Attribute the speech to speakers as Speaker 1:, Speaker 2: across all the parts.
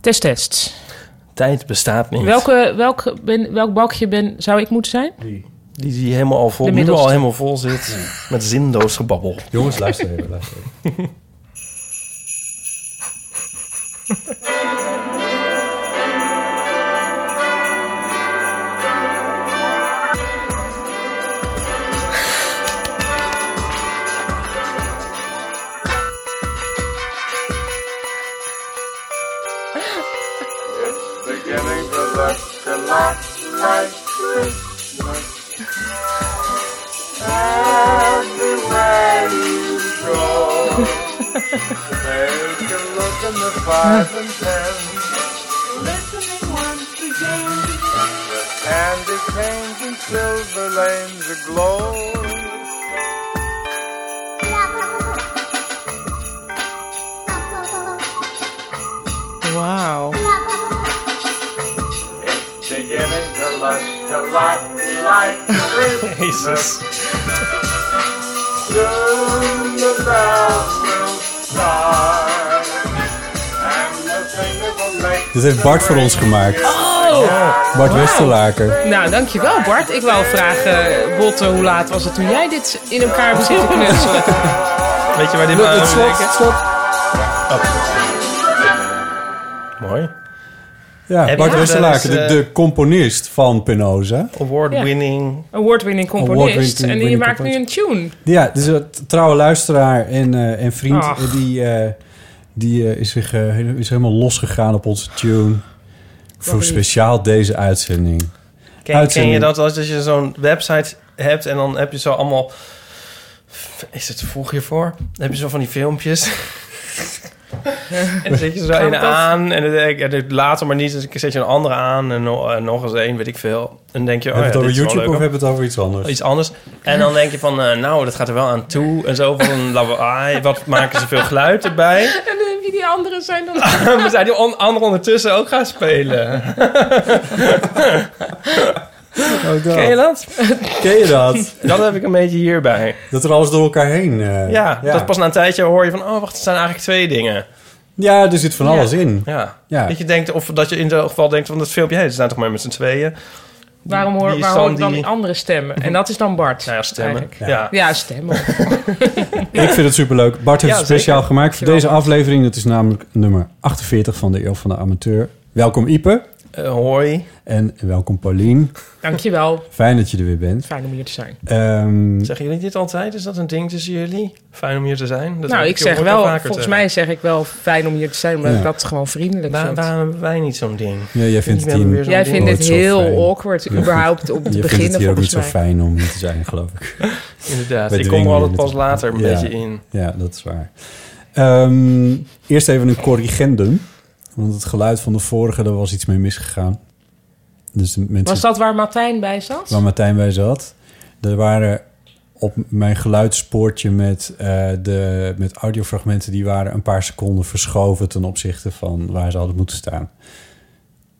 Speaker 1: Test tests.
Speaker 2: Tijd bestaat niet.
Speaker 1: Welke, welk, ben, welk balkje ben, zou ik moeten zijn?
Speaker 2: Die, die helemaal al vol,
Speaker 1: De
Speaker 2: nu
Speaker 1: middelste.
Speaker 2: al helemaal vol zit. Met zinloos gebabbel.
Speaker 3: Jongens, luister even. Luister even.
Speaker 4: And the changing silver lanes aglow.
Speaker 1: Wauw.
Speaker 4: Beginning to lush, to light, light,
Speaker 2: Jezus.
Speaker 4: Soon the bells will start. And the singer will make
Speaker 3: Dit heeft Bart voor ons gemaakt. Bart Westerlaker.
Speaker 1: Oh! Nou, dankjewel Bart. Ik wou vragen, Botte, hoe laat was het toen jij dit in elkaar bezit te knutselen?
Speaker 2: Weet je waar dit maar aan moet denken?
Speaker 3: slot.
Speaker 2: Mooi.
Speaker 3: Ja,
Speaker 2: Heb
Speaker 3: Bart
Speaker 2: je- eh,
Speaker 3: Westerlaker,
Speaker 2: dat
Speaker 3: de,
Speaker 2: is,
Speaker 3: de componist van Penosa.
Speaker 2: Award-winning.
Speaker 1: Award-winning componist.
Speaker 3: Award-winning
Speaker 1: en je maakt nu een
Speaker 3: componist.
Speaker 1: tune.
Speaker 3: Ja, dus een t- trouwe luisteraar en, eh, en vriend.
Speaker 1: Ach.
Speaker 3: eh, Die, eh, die eh, is, zich, eh, hele- is helemaal losgegaan op onze tune. Voor
Speaker 1: lief.
Speaker 3: speciaal deze uitzending.
Speaker 2: Ken, ken je
Speaker 3: Uitzending.
Speaker 2: dat als als je zo'n website hebt en dan heb je zo allemaal... Is het te vroeg hiervoor? Dan heb je zo van die filmpjes. en dan zet je zo een
Speaker 1: dat?
Speaker 2: aan en dan denk ik, eh, later maar niet. Dus ik zet je een andere aan en no- eh, nog eens één, weet ik veel. En dan denk je, oh ja,
Speaker 3: hebben we
Speaker 2: dit
Speaker 3: het
Speaker 2: is wel
Speaker 3: over YouTube
Speaker 2: leuk.
Speaker 3: of hebben we het over iets anders?
Speaker 2: iets anders. En dan denk je van, eh, nou, dat gaat er wel aan toe. En zo van een lawaai. Wat maken ze veel geluid erbij?
Speaker 1: En dan heb je die anderen zijn dan...
Speaker 2: We zijn die on anderen ondertussen ook gaan spelen.
Speaker 3: Oh,
Speaker 2: Ken je dat?
Speaker 3: Ken je dat?
Speaker 2: Dat heb ik een beetje hierbij.
Speaker 3: Dat er alles door elkaar heen... eh,
Speaker 2: Ja, dat pas na een tijdje hoor je van, oh wacht, er zijn eigenlijk twee dingen.
Speaker 3: ja, er zit van alles in.
Speaker 2: Ja.
Speaker 3: Ja.
Speaker 2: Dat je denkt, of dat je in ieder geval denkt van dat filmpje, hé, ze zijn toch maar met z'n tweeën.
Speaker 1: Waarom hoor,
Speaker 2: Die
Speaker 1: waar hoor ik
Speaker 2: Sandy.
Speaker 1: dan die andere stemmen? En dat is dan Bart.
Speaker 2: Nou ja, stemmen.
Speaker 1: eigenlijk.
Speaker 2: Ja.
Speaker 1: Ja, stemmen.
Speaker 3: Ik vind het superleuk. Bart heeft
Speaker 2: Ja,
Speaker 3: het speciaal
Speaker 2: zeker.
Speaker 3: gemaakt voor deze aflevering. Dat is namelijk nummer 48 van de Eeuw van de Amateur. Welkom Ipe
Speaker 2: Eh, hoi.
Speaker 3: en welkom Paulien.
Speaker 1: Dankjewel.
Speaker 3: Fijn dat je er weer bent.
Speaker 1: Fijn om hier te zijn.
Speaker 3: Ehm,
Speaker 2: Zeggen jullie dit altijd? Is dat een ding tussen jullie? Fijn om hier te zijn. Dat
Speaker 1: nou,
Speaker 2: heb
Speaker 1: ik
Speaker 2: je
Speaker 1: zeg
Speaker 2: ooit al
Speaker 1: wel,
Speaker 2: vaker
Speaker 1: volgens
Speaker 2: te-
Speaker 1: mij zeg ik wel fijn om hier te zijn, omdat
Speaker 3: Ja.
Speaker 1: ik dat gewoon vriendelijk
Speaker 2: Waar-
Speaker 1: vind.
Speaker 2: waarom hebben wij niet zo'n ding?
Speaker 3: ja, jij vindt het
Speaker 2: Ik ben weer
Speaker 3: hier,
Speaker 2: zo'n
Speaker 1: Jij
Speaker 2: ding.
Speaker 1: vindt
Speaker 3: nooit
Speaker 1: het
Speaker 3: zo
Speaker 1: heel
Speaker 3: fijn.
Speaker 1: awkward, überhaupt, om te
Speaker 3: jij vindt het
Speaker 1: beginnen,
Speaker 3: hier ook niet
Speaker 1: volgens
Speaker 3: zo
Speaker 1: mij.
Speaker 3: fijn om hier te zijn, geloof ik.
Speaker 2: Inderdaad,
Speaker 3: Wij
Speaker 2: ik kom
Speaker 3: dwingen
Speaker 2: er altijd
Speaker 3: je
Speaker 2: pas
Speaker 3: natuurlijk.
Speaker 2: later een
Speaker 3: Ja.
Speaker 2: beetje in.
Speaker 3: Ja, dat is waar. Ehm, eerst even een corrigendum. Want het geluid van de vorige, daar was iets mee misgegaan. Dus de mensen
Speaker 1: Was dat waar Martijn bij zat?
Speaker 3: waar Martijn bij zat. Er waren op mijn geluidsspoortje met, eh, de, met audiofragmenten... die waren een paar seconden verschoven ten opzichte van waar ze hadden moeten staan.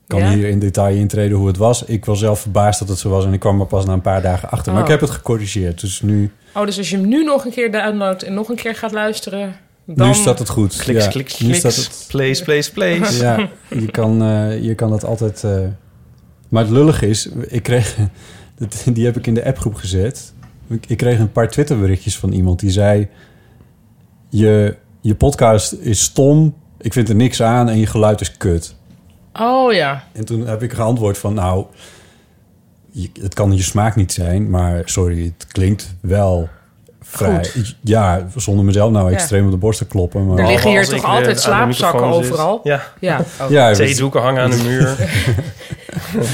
Speaker 3: Ik kan
Speaker 1: Ja?
Speaker 3: hier in detail intreden hoe het was. Ik was zelf verbaasd dat het zo was en ik kwam er pas na een paar dagen achter. Maar
Speaker 1: Oh.
Speaker 3: ik heb het gecorrigeerd, dus nu,
Speaker 1: Oh, dus als je hem nu nog een keer downloadt en nog een keer gaat luisteren, dan...
Speaker 3: nu staat het goed.
Speaker 2: Kliks,
Speaker 3: Ja,
Speaker 2: kliks,
Speaker 3: Nu
Speaker 2: kliks.
Speaker 3: staat het,
Speaker 2: Place, place, place.
Speaker 3: Ja, je kan, eh, je kan dat altijd. eh, Maar het lullige is, ik kreeg. dat- Die heb ik in de appgroep gezet. Ik, ik kreeg een paar Twitterberichtjes van iemand die zei: je, je podcast is stom, ik vind er niks aan en je geluid is kut.
Speaker 1: Oh ja.
Speaker 3: En toen heb ik geantwoord van: Nou, je- het kan je smaak niet zijn, maar sorry, het klinkt wel vrij. Ja, zonder mezelf nou
Speaker 1: Ja.
Speaker 3: extreem op de borst te kloppen. Maar...
Speaker 1: Er liggen hier
Speaker 2: Als
Speaker 1: toch
Speaker 2: ik
Speaker 1: altijd
Speaker 2: weer eh, aan de
Speaker 1: slaapzakken
Speaker 2: microfoon zit.
Speaker 1: overal?
Speaker 2: Ja,
Speaker 1: Ja.
Speaker 3: ja, dus-
Speaker 2: theedoeken hangen aan de muur.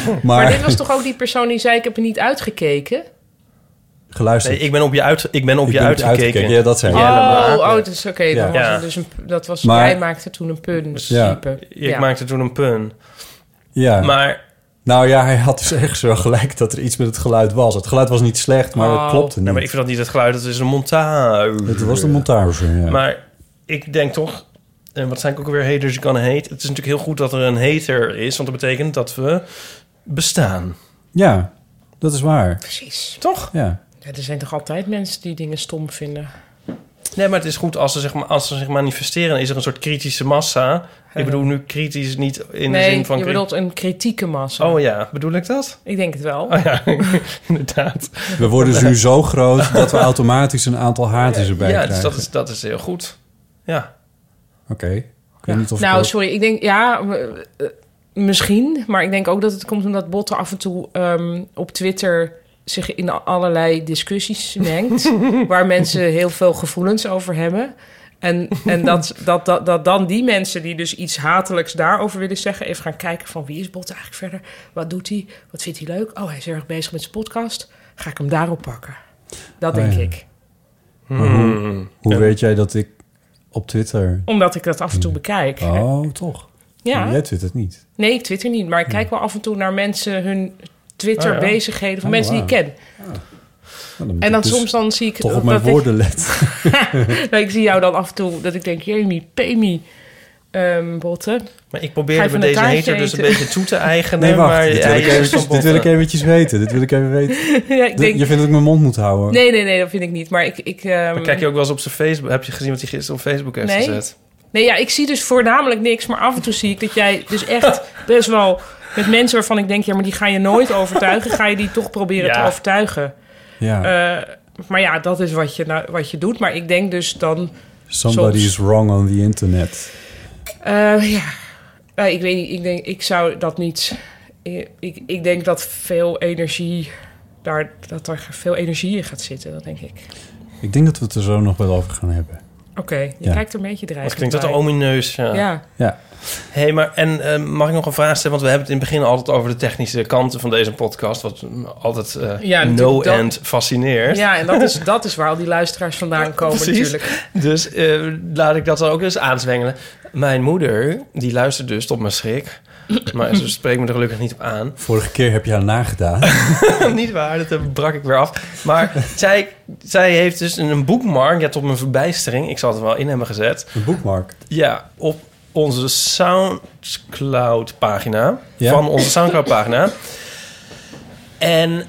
Speaker 1: Maar
Speaker 3: maar
Speaker 1: dit was toch ook die persoon die zei: Ik heb er niet uitgekeken?
Speaker 3: geluisterd.
Speaker 2: Nee, ik ben op je, uit, ik ben op
Speaker 3: Ik
Speaker 2: je
Speaker 3: ben
Speaker 2: uitgekeken.
Speaker 3: Ja, dat zijn we.
Speaker 2: Ja.
Speaker 1: Oh,
Speaker 2: maar-
Speaker 1: oh, dat is oké.
Speaker 3: Ja.
Speaker 1: dan was
Speaker 2: Ja.
Speaker 1: het Dus een, dat was,
Speaker 3: Maar-
Speaker 1: Hij maakte toen een pun. Dus
Speaker 3: Ja.
Speaker 1: type.
Speaker 2: Ik maakte toen een pun.
Speaker 3: Ja.
Speaker 2: Maar,
Speaker 3: Nou ja, hij had dus echt zo gelijk dat er iets met het geluid was. Het geluid was niet slecht, maar
Speaker 1: Oh.
Speaker 3: het klopte niet.
Speaker 2: nou, maar ik vind dat niet het geluid, dat is een montage.
Speaker 3: Het was de montage, ja.
Speaker 2: Maar ik denk toch, en wat zijn ik ook weer haters je kan hate. Het is natuurlijk heel goed dat er een hater is, want dat betekent dat we bestaan.
Speaker 3: Ja, dat is waar.
Speaker 1: Precies.
Speaker 2: Toch?
Speaker 3: Ja.
Speaker 1: Ja, er zijn toch altijd mensen die dingen stom vinden?
Speaker 2: Nee, maar het is goed als ze, zich, ma- als ze zich manifesteren. Is er een soort kritische massa? Ik bedoel nu kritisch niet in de
Speaker 1: nee,
Speaker 2: zin van...
Speaker 1: je
Speaker 2: kri-
Speaker 1: bedoelt een kritieke massa.
Speaker 2: Oh ja, bedoel ik dat?
Speaker 1: Ik denk het wel.
Speaker 2: Oh ja, inderdaad.
Speaker 3: We worden nu zo groot dat we automatisch een aantal haatjes erbij
Speaker 2: ja, dus
Speaker 3: krijgen.
Speaker 2: dat is, dat is heel goed. Ja.
Speaker 3: Oké. Ik weet niet of ik
Speaker 1: Nou,
Speaker 3: dat-
Speaker 1: sorry. Ik denk, ja, m- eh, misschien. Maar ik denk ook dat het komt omdat Botten af en toe ehm, op Twitter zich in allerlei discussies mengt. waar mensen heel veel gevoelens over hebben. En, en dat, dat, dat, dat dan die mensen die dus iets hatelijks daarover willen zeggen... even gaan kijken van wie is Botten eigenlijk verder? Wat doet hij? Wat vindt hij leuk? Oh, hij is erg bezig met zijn podcast. Ga ik hem daarop pakken? Dat
Speaker 3: Oh,
Speaker 1: denk
Speaker 3: ja.
Speaker 1: ik.
Speaker 3: Maar hoe hoe weet jij dat ik op Twitter...
Speaker 1: Omdat ik dat af en toe bekijk.
Speaker 3: Oh, toch?
Speaker 1: ja.
Speaker 3: Jij twittert niet.
Speaker 1: Nee, ik twitter niet. Maar ik
Speaker 3: Hm.
Speaker 1: kijk wel af en toe naar mensen hun Twitter-bezigheden... van
Speaker 3: Oh,
Speaker 1: mensen die ik ken.
Speaker 3: Nou, dan moet
Speaker 1: En
Speaker 3: ik
Speaker 1: dan
Speaker 3: dus
Speaker 1: soms dan zie ik...
Speaker 3: Toch op
Speaker 1: dat
Speaker 3: mijn
Speaker 1: ik-
Speaker 3: woorden let.
Speaker 1: Nou, ik zie jou dan af en toe dat ik denk... Jamie, Pemi, ehm botten.
Speaker 2: Maar ik
Speaker 1: Ga
Speaker 2: probeer
Speaker 1: je
Speaker 2: met
Speaker 1: van
Speaker 2: deze
Speaker 1: een
Speaker 2: hater
Speaker 1: taartje
Speaker 2: dus een
Speaker 1: eten?
Speaker 2: beetje toe te eigenen.
Speaker 3: Nee, wacht.
Speaker 2: maar
Speaker 3: dit, wil
Speaker 2: hij
Speaker 3: ik
Speaker 2: is
Speaker 3: eventjes,
Speaker 2: van
Speaker 3: dit wil ik
Speaker 2: botten.
Speaker 3: eventjes weten. Dit wil ik even weten.
Speaker 1: ja, ik denk...
Speaker 3: Je vindt dat ik mijn mond moet houden?
Speaker 1: Nee, nee, nee, dat vind ik niet. Maar ik... ik ehm,
Speaker 2: Maar kijk je ook wel eens op zijn Facebook? Heb je gezien wat hij gisteren op Facebook heeft
Speaker 1: Nee.
Speaker 2: gezet?
Speaker 1: Nee, ja, ik zie dus voornamelijk niks. Maar af en toe zie ik dat jij dus echt best wel... met mensen waarvan ik denk... ja, maar die ga je nooit overtuigen. Ga je die toch proberen
Speaker 2: Ja.
Speaker 1: te overtuigen.
Speaker 3: Ja.
Speaker 1: Eh, maar ja, dat is wat je, nou, wat je doet. Maar ik denk dus dan...
Speaker 3: Somebody
Speaker 1: soms-
Speaker 3: is wrong on the internet.
Speaker 1: Eh, ja, Eh, ik weet niet. Ik denk, ik zou dat niet. Ik, ik, ik denk dat veel energie daar, dat er veel energie in gaat zitten. Dat denk ik.
Speaker 3: Ik denk dat we het er zo nog wel over gaan hebben.
Speaker 1: Oké, je
Speaker 3: Ja.
Speaker 1: kijkt er een beetje dreigend.
Speaker 2: Dat klinkt dat
Speaker 1: bij.
Speaker 2: omineus. Ja.
Speaker 1: Ja.
Speaker 3: Ja.
Speaker 2: Hey, maar en eh, mag ik nog een vraag stellen? Want we hebben het in het begin altijd over de technische kanten van deze podcast. Wat me altijd eh,
Speaker 1: Ja,
Speaker 2: no
Speaker 1: natuurlijk dat-
Speaker 2: end fascineert.
Speaker 1: ja, en dat is, dat is waar al die luisteraars vandaan komen
Speaker 2: Precies.
Speaker 1: natuurlijk.
Speaker 2: Dus eh, laat ik dat dan ook eens aanzwengelen. Mijn moeder, die luistert dus tot mijn schrik. Maar ze spreekt me er gelukkig niet op aan.
Speaker 3: Vorige keer heb je haar nagedaan.
Speaker 2: niet waar, dat eh, brak ik weer af. Maar zij, zij heeft dus een boekmark. Ja, tot mijn verbijstering. Ik zal het er wel in hebben gezet.
Speaker 3: Een boekmark.
Speaker 2: Ja, op onze SoundCloud-pagina.
Speaker 3: Ja.
Speaker 2: Van onze SoundCloud-pagina. En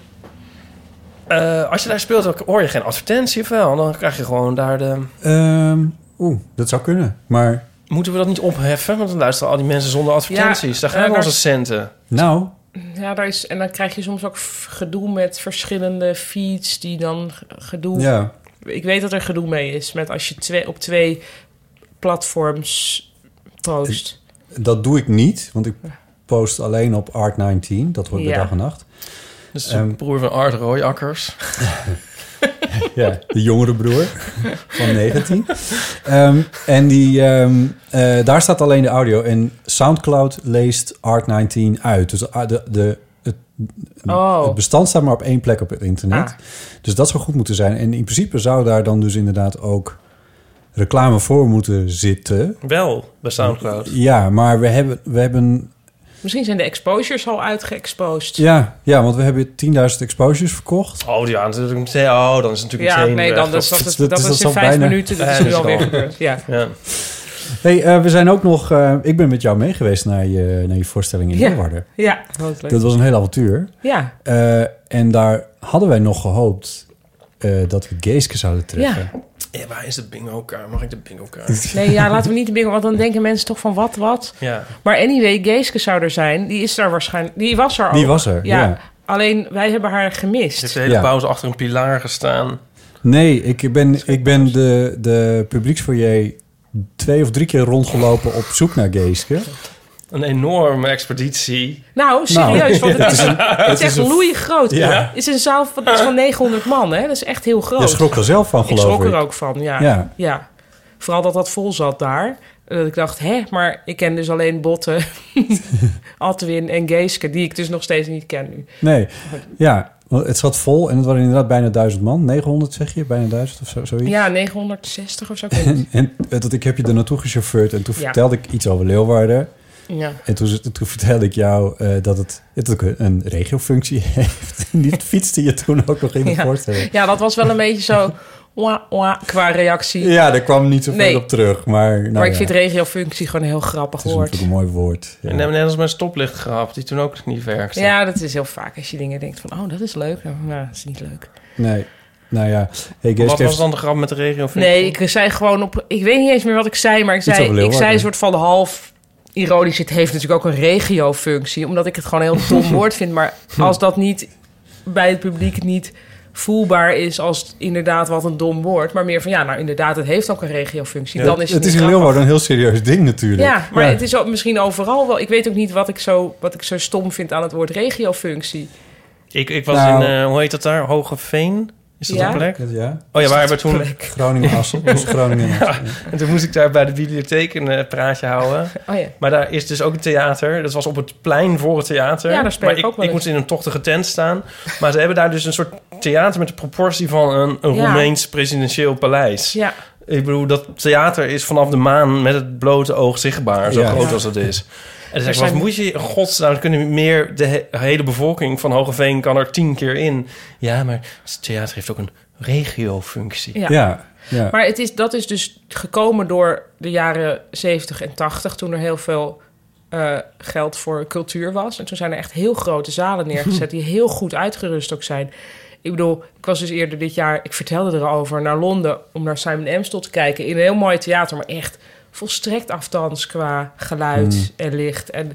Speaker 2: eh, als je daar speelt, dan hoor je geen advertentie of wel. Dan krijg je gewoon daar de...
Speaker 3: Ehm, Oeh, dat zou kunnen. Maar
Speaker 2: Moeten we dat niet opheffen? Want dan luisteren al die mensen zonder advertenties.
Speaker 1: Ja,
Speaker 2: daar gaan
Speaker 1: eh,
Speaker 2: onze
Speaker 1: daar-
Speaker 2: centen.
Speaker 3: nou,
Speaker 1: Ja, daar is, en dan krijg je soms ook f- gedoe met verschillende feeds die dan g- gedoe...
Speaker 3: ja.
Speaker 1: Ik weet dat er gedoe mee is met als je twee, op twee platforms troost.
Speaker 3: Dat doe ik niet, want ik post alleen op Art19. Dat hoort bij
Speaker 1: Ja.
Speaker 3: dag en nacht.
Speaker 2: Dus de
Speaker 3: Ehm,
Speaker 2: broer van Art Royakkers.
Speaker 3: Ja, de jongere broer van 19. Ehm, en die, ehm, eh, daar staat alleen de audio. En Soundcloud leest Art19 uit. Dus ah, de, de, het,
Speaker 1: Oh.
Speaker 3: het bestand staat maar op één plek op het internet.
Speaker 1: Ah.
Speaker 3: Dus dat zou goed moeten zijn. En in principe zou daar dan dus inderdaad ook reclame voor moeten zitten.
Speaker 2: Wel, bij Soundcloud.
Speaker 3: Ja, maar we hebben, we hebben
Speaker 1: Misschien zijn de exposures al uitgeëxposed.
Speaker 3: Ja, ja, want we hebben 10.000 exposures verkocht.
Speaker 2: Oh, ja, natuurlijk meteen. Oh, dan is het natuurlijk
Speaker 1: Ja,
Speaker 2: meteen
Speaker 1: nee,
Speaker 2: weg.
Speaker 1: dan is
Speaker 2: Dat-
Speaker 1: dat, dat,
Speaker 3: dat
Speaker 1: dat,
Speaker 3: is- dat
Speaker 1: was
Speaker 3: zal
Speaker 1: in vijf
Speaker 3: bijna-
Speaker 1: minuten. Dat
Speaker 2: Ja,
Speaker 1: is
Speaker 2: dat
Speaker 1: nu
Speaker 2: is
Speaker 1: alweer
Speaker 2: al.
Speaker 1: gebeurd. Ja.
Speaker 2: Ja.
Speaker 3: hey, eh, we zijn ook nog... eh, ik ben met jou mee geweest naar je, naar je voorstelling in
Speaker 1: Ja.
Speaker 3: Leeuwarden.
Speaker 1: Ja, wat leuk.
Speaker 3: Dat was een heel avontuur.
Speaker 1: ja,
Speaker 3: Eh, en daar hadden wij nog gehoopt eh, dat we Geeske zouden treffen.
Speaker 1: ja.
Speaker 2: Ja, waar is de bingo kaart? Mag ik de bingo kaart?
Speaker 1: Nee, ja, laten we niet te bingo, want dan denken mensen toch van wat, wat.
Speaker 2: ja.
Speaker 1: Maar anyway, Geeske zou er zijn. Die is daar waarschijnlijk. Die was er al.
Speaker 3: Die was er, ja.
Speaker 1: Alleen wij hebben haar
Speaker 2: Ze heeft
Speaker 1: gemist.
Speaker 2: de hele
Speaker 3: Ja.
Speaker 2: pauze achter een pilaar gestaan.
Speaker 3: Nee, ik ben, ik ben de, de publieksfoyer twee of drie keer rondgelopen op zoek naar Geeske.
Speaker 2: Een enorme expeditie.
Speaker 1: Nou, serieus, want het is, het is
Speaker 3: is
Speaker 1: echt
Speaker 3: een-
Speaker 1: loeiend groot.
Speaker 3: Ja.
Speaker 1: Het is een zaal van, het is van 900 man, hè? Dat is echt heel groot.
Speaker 3: Je schrok er zelf van,
Speaker 1: ik
Speaker 3: geloof
Speaker 1: schrok
Speaker 3: ik.
Speaker 1: er ook van, ja.
Speaker 3: Ja.
Speaker 1: ja. Vooral dat dat vol zat daar. Dat ik dacht, hè, maar ik ken dus alleen Botten, Altwin en Geeske, die ik dus nog steeds niet ken nu.
Speaker 3: Nee, ja. want Het zat vol en het waren inderdaad bijna duizend man. 900 zeg je, bijna duizend of zo, zoiets.
Speaker 1: Ja, 960 of zo. ik weet niet.
Speaker 3: En eh, dat ik heb je er naartoe gechauffeurd en toen
Speaker 1: Ja.
Speaker 3: vertelde ik iets over Leeuwarden.
Speaker 1: Ja.
Speaker 3: En toen, ze- toen vertelde ik jou eh, dat het, dat het ook een regiofunctie heeft. En Die fietste je toen ook nog in de
Speaker 1: Ja.
Speaker 3: voorstelling.
Speaker 1: ja, dat was wel een beetje zo wah, wah, qua reactie.
Speaker 3: Ja, daar kwam niet zoveel
Speaker 1: Nee.
Speaker 3: op terug. Maar, nou
Speaker 1: maar ik
Speaker 3: ja,
Speaker 1: vind regiofunctie gewoon een heel grappig
Speaker 3: het is
Speaker 1: woord.
Speaker 3: natuurlijk een mooi woord. Ja.
Speaker 2: En net als mijn stoplicht gehad, die toen ook niet werkte.
Speaker 1: Ja, dat is heel vaak als je dingen denkt van, oh, dat is leuk. Nou, nou, dat is niet leuk.
Speaker 3: Nee, nou ja. Hey, Geeske
Speaker 2: Wat
Speaker 3: heeft-
Speaker 2: was dan de grap met de regio?
Speaker 1: Nee, ik zei gewoon op... Ik weet niet eens meer wat ik zei, maar ik
Speaker 3: over
Speaker 1: zei, ik
Speaker 3: Leeuwarden.
Speaker 1: zei een soort van half ironisch... Het heeft natuurlijk ook een regiofunctie, omdat ik het gewoon een heel dom woord vind. Maar als dat niet bij het publiek niet voelbaar is als inderdaad wat een dom woord... maar meer van, ja, nou inderdaad, het heeft ook een regiofunctie. dan is het,
Speaker 3: het
Speaker 1: niet
Speaker 3: is in
Speaker 1: grappig.
Speaker 3: Leeuwarden een heel serieus ding natuurlijk.
Speaker 1: Ja, maar het is ook misschien overal wel... Ik weet ook niet wat ik zo, wat ik zo stom vind aan het woord regiofunctie.
Speaker 2: Ik, ik was
Speaker 3: Nou.
Speaker 2: in, eh, hoe heet dat daar? Hogeveen? Is dat
Speaker 1: Ja.
Speaker 2: een plek?
Speaker 3: Ja,
Speaker 2: Oh ja, waar we toen...
Speaker 3: Groningen-Assel. Dus Groningen-Assel.
Speaker 2: En toen moest ik daar bij de bibliotheek een eh, praatje houden.
Speaker 1: Oh ja.
Speaker 2: Maar daar is dus ook een theater. Dat was op het plein voor het theater.
Speaker 1: Ja, daar speel
Speaker 2: maar
Speaker 1: ik ook wel
Speaker 2: ik
Speaker 1: eens.
Speaker 2: moest in een tochtige tent staan. Maar ze hebben daar dus een soort theater met de proportie van een, een
Speaker 1: Ja.
Speaker 2: Roemeens presidentieel paleis.
Speaker 1: Ja,
Speaker 2: Ik bedoel, dat theater is vanaf de maan met het blote oog zichtbaar. Zo
Speaker 3: Ja.
Speaker 2: groot
Speaker 1: Ja.
Speaker 2: als dat is. En dan zeg ik,
Speaker 1: zijn-
Speaker 2: wat moet je, in godsnaam, kunnen meer, de he- hele bevolking van Hogeveen kan er tien keer in. Ja, maar het theater heeft ook een regiofunctie.
Speaker 1: ja.
Speaker 3: Ja, ja.
Speaker 1: Maar het is, dat is dus gekomen door de jaren 70 en 80, toen er heel veel eh, geld voor cultuur was. En toen zijn er echt heel grote zalen neergezet, die heel goed uitgerust ook zijn. Ik bedoel, ik was dus eerder dit jaar, ik vertelde erover, naar Londen om naar Simon Amstel te kijken. In een heel mooi theater, maar echt volstrekt afdans qua geluid en licht. En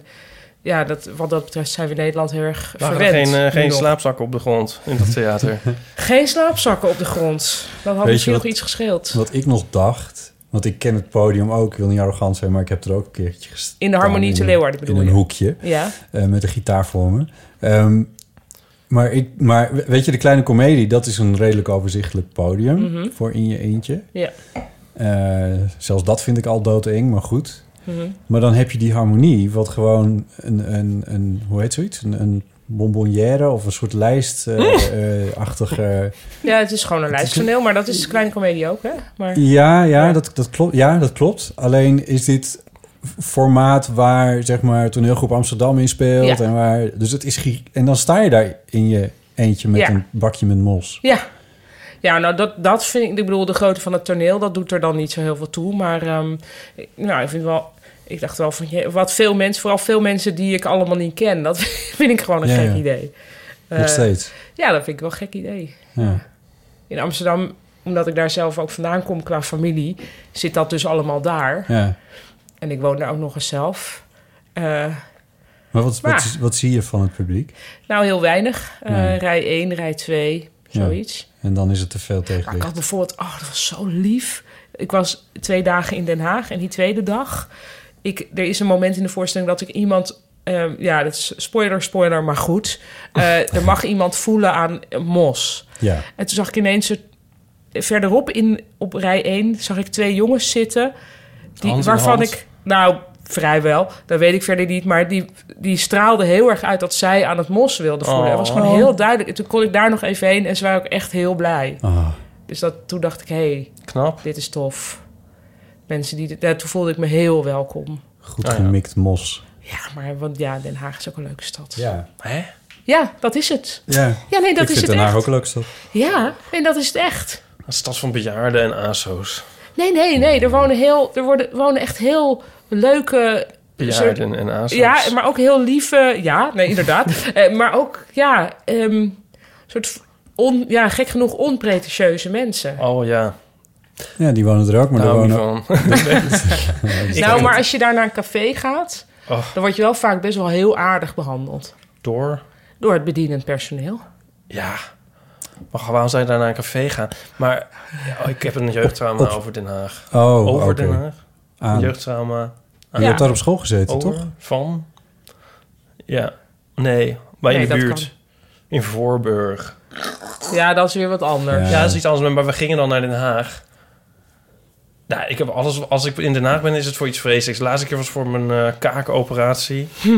Speaker 1: ja, dat, wat dat betreft zijn we in Nederland heel erg
Speaker 2: Waren er
Speaker 1: verwend.
Speaker 2: geen, eh,
Speaker 1: nu
Speaker 2: geen
Speaker 1: nog.
Speaker 2: slaapzakken op de grond in dat theater.
Speaker 1: Geen slaapzakken op de grond. Dat had
Speaker 3: je
Speaker 1: misschien
Speaker 3: wat-
Speaker 1: nog iets gescheeld.
Speaker 3: Wat ik nog dacht, want ik ken het podium ook, ik wil niet arrogant zijn, maar ik heb er ook een keertje gestaan.
Speaker 1: In de Harmonie te
Speaker 3: in-
Speaker 1: Leeuwarden bedoel
Speaker 3: In een
Speaker 1: je?
Speaker 3: hoekje,
Speaker 1: Ja.
Speaker 3: eh, met een gitaar voor me. Ehm, maar, ik, maar we- weet je, de kleine komedie, dat is een redelijk overzichtelijk podium voor in je eentje.
Speaker 1: Mhm. Ja.
Speaker 3: Eh, zelfs dat vind ik al doodeng, maar goed.
Speaker 1: Mhm.
Speaker 3: Maar dan heb je die harmonie, wat gewoon een, een, een hoe heet zoiets? Een, een bonbonnière of een soort eh, lijstachtige...
Speaker 1: Ja, het is gewoon een lijsttoneel, maar dat is kleine komedie ook, hè? Maar
Speaker 3: Ja, ja,
Speaker 1: Ja.
Speaker 3: Dat, dat klopt, ja, dat klopt. Alleen is dit formaat waar zeg maar toneelgroep Amsterdam in speelt
Speaker 1: Ja.
Speaker 3: en waar dus het is gi- en dan sta je daar in je eentje met
Speaker 1: Ja.
Speaker 3: een bakje met mos.
Speaker 1: ja. Ja, nou, dat, dat vind ik... Ik bedoel, de grootte van het toneel, dat doet er dan niet zo heel veel toe. Maar, ehm, ik- nou, ik vind wel... Ik dacht wel van, je, wat veel mensen... Vooral veel mensen die ik allemaal niet ken. Dat vind ik gewoon een
Speaker 3: Ja,
Speaker 1: gek
Speaker 3: ja.
Speaker 1: idee. Eh,
Speaker 3: Nog steeds.
Speaker 1: ja, dat vind ik wel een gek idee.
Speaker 3: Ja.
Speaker 1: In Amsterdam, omdat ik daar zelf ook vandaan kom qua familie... zit dat dus allemaal daar.
Speaker 3: ja.
Speaker 1: En ik woon daar ook nog eens zelf. Eh,
Speaker 3: Maar wat,
Speaker 1: Maar-
Speaker 3: wat, is- wat zie je van het publiek?
Speaker 1: nou, heel weinig. Eh,
Speaker 3: Nee.
Speaker 1: Rij 1, rij 2,
Speaker 3: Ja.
Speaker 1: zoiets.
Speaker 3: En dan is het te veel
Speaker 1: Maar ik had
Speaker 3: tegenlicht.
Speaker 1: bijvoorbeeld, oh, dat was zo lief. Ik was twee dagen in Den Haag en die tweede dag. Ik, er is een moment in de voorstelling dat ik iemand. ehm, ja, dat is spoiler, spoiler, maar goed.
Speaker 2: Oh.
Speaker 1: Eh, er mag iemand voelen aan eh, mos.
Speaker 3: Ja.
Speaker 1: En toen zag ik ineens het- verderop in, op rij 1 zag ik twee jongens zitten. Die,
Speaker 2: Hand in
Speaker 1: waarvan
Speaker 2: hand.
Speaker 1: ik. Nou, vrijwel. Dat weet ik verder niet. Maar die, die straalden heel erg uit dat zij aan het mos wilden voelen.
Speaker 2: Oh.
Speaker 1: Dat was gewoon heel duidelijk. En toen kon ik daar nog even heen en ze waren ook echt heel blij.
Speaker 3: Ah,
Speaker 1: Dus dat, toen dacht ik, hé, hey,
Speaker 2: Knap.
Speaker 1: dit is tof. Mensen die... dit- Ja, toen voelde ik me heel welkom.
Speaker 3: goed
Speaker 2: Ah, ja.
Speaker 3: gemikt mos.
Speaker 1: Ja, maar want ja, Den Haag is ook een leuke stad.
Speaker 3: Ja.
Speaker 2: Hè?
Speaker 1: Ja, dat is het.
Speaker 3: Ja.
Speaker 1: Ja, nee, dat
Speaker 3: ik
Speaker 1: is
Speaker 3: vind
Speaker 1: het
Speaker 3: Den Haag
Speaker 1: echt.
Speaker 3: ook leuk stad.
Speaker 1: Ja, nee, dat is het echt.
Speaker 2: Een stad van bejaarden en ASO's.
Speaker 1: Nee, nee, nee. Er wonen, heel, er worden, wonen echt heel leuke...
Speaker 2: Bejaarden en ASO's.
Speaker 1: Ja, maar ook heel lieve... Ja, nee, inderdaad. Eh, maar ook, ja, ehm soort... On, ja, gek genoeg onpretentieuze mensen.
Speaker 2: Oh ja,
Speaker 3: Ja, die wonen er ook, maar
Speaker 2: daar
Speaker 3: daar
Speaker 2: hou ik niet
Speaker 3: wonen
Speaker 2: van.
Speaker 1: nou, maar als je daar naar een café gaat...
Speaker 2: Oh.
Speaker 1: dan word je wel vaak best wel heel aardig behandeld.
Speaker 2: Door?
Speaker 1: Door het bedienend personeel.
Speaker 2: Ja. Maar waarom zou je daar naar een café gaan? Maar ja, oh, ik heb een jeugdtrauma
Speaker 3: Op- op-
Speaker 2: over Den Haag.
Speaker 3: Oh,
Speaker 2: over
Speaker 3: oké.
Speaker 2: Den Haag?
Speaker 3: Aan.
Speaker 2: Jeugdtrauma
Speaker 3: Je hebt daar op school gezeten,
Speaker 2: Over,
Speaker 3: toch?
Speaker 2: Van? Ja. Nee, maar in
Speaker 1: Nee,
Speaker 2: de
Speaker 1: dat
Speaker 2: buurt. In Voorburg.
Speaker 1: Ja, dat is weer wat anders.
Speaker 2: Ja.
Speaker 3: Eh.
Speaker 2: dat is iets anders. Maar we gingen dan naar Den Haag. Nou, ik heb alles... Als ik in Den Haag ben, is het voor iets vreselijks. De laatste keer was voor mijn eh, kaakoperatie.
Speaker 3: Ja,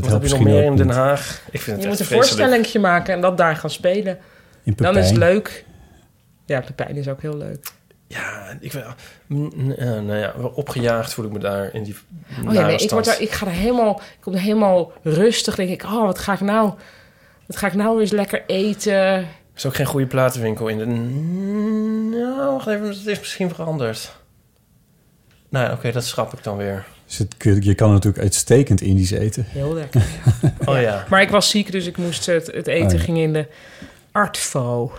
Speaker 3: dat
Speaker 2: Wat heb je
Speaker 3: helpt
Speaker 2: nog
Speaker 3: misschien
Speaker 2: meer
Speaker 3: ook
Speaker 2: in
Speaker 3: niet.
Speaker 2: Den Haag? Ik vind het
Speaker 1: Je
Speaker 2: echt
Speaker 1: moet een
Speaker 2: vreselijk.
Speaker 1: voorstellingje maken en dat daar gaan spelen.
Speaker 3: In
Speaker 1: Dan is het
Speaker 3: Pepijn.
Speaker 1: leuk. Ja, Pepijn is ook heel leuk.
Speaker 2: Ja, ik ben... mm, eh, nou ja, wel opgejaagd voel ik me daar in die
Speaker 1: Oh ja, nee, ik, word daar, ik ga er helemaal, ik kom er helemaal rustig. Denk ik, oh, wat ga ik nou? Wat ga ik nou eens lekker eten?
Speaker 2: Er is ook geen goede platenwinkel in de... Nou, wacht even, het is misschien veranderd. Nou, ja, oké, dat schrap ik dan weer.
Speaker 3: Dus het, kun je je kan natuurlijk uitstekend Indisch eten.
Speaker 1: Heel lekker.
Speaker 2: Oh ja.
Speaker 1: Maar ik was ziek, dus ik moest het, het eten
Speaker 3: Oh ja.
Speaker 1: ging in de Artfo.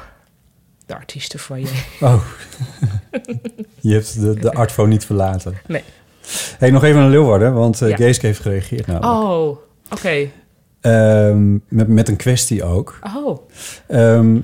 Speaker 1: De artiesten van je.
Speaker 3: Oh, je hebt de, de artfo niet verlaten.
Speaker 1: Nee.
Speaker 3: Hey, nog even naar Leeuwarden, want eh
Speaker 1: Ja.
Speaker 3: Geeske heeft gereageerd namelijk.
Speaker 1: Oh, oké.
Speaker 3: Ehm, met, met een kwestie ook.
Speaker 1: Oh,
Speaker 3: Ehm,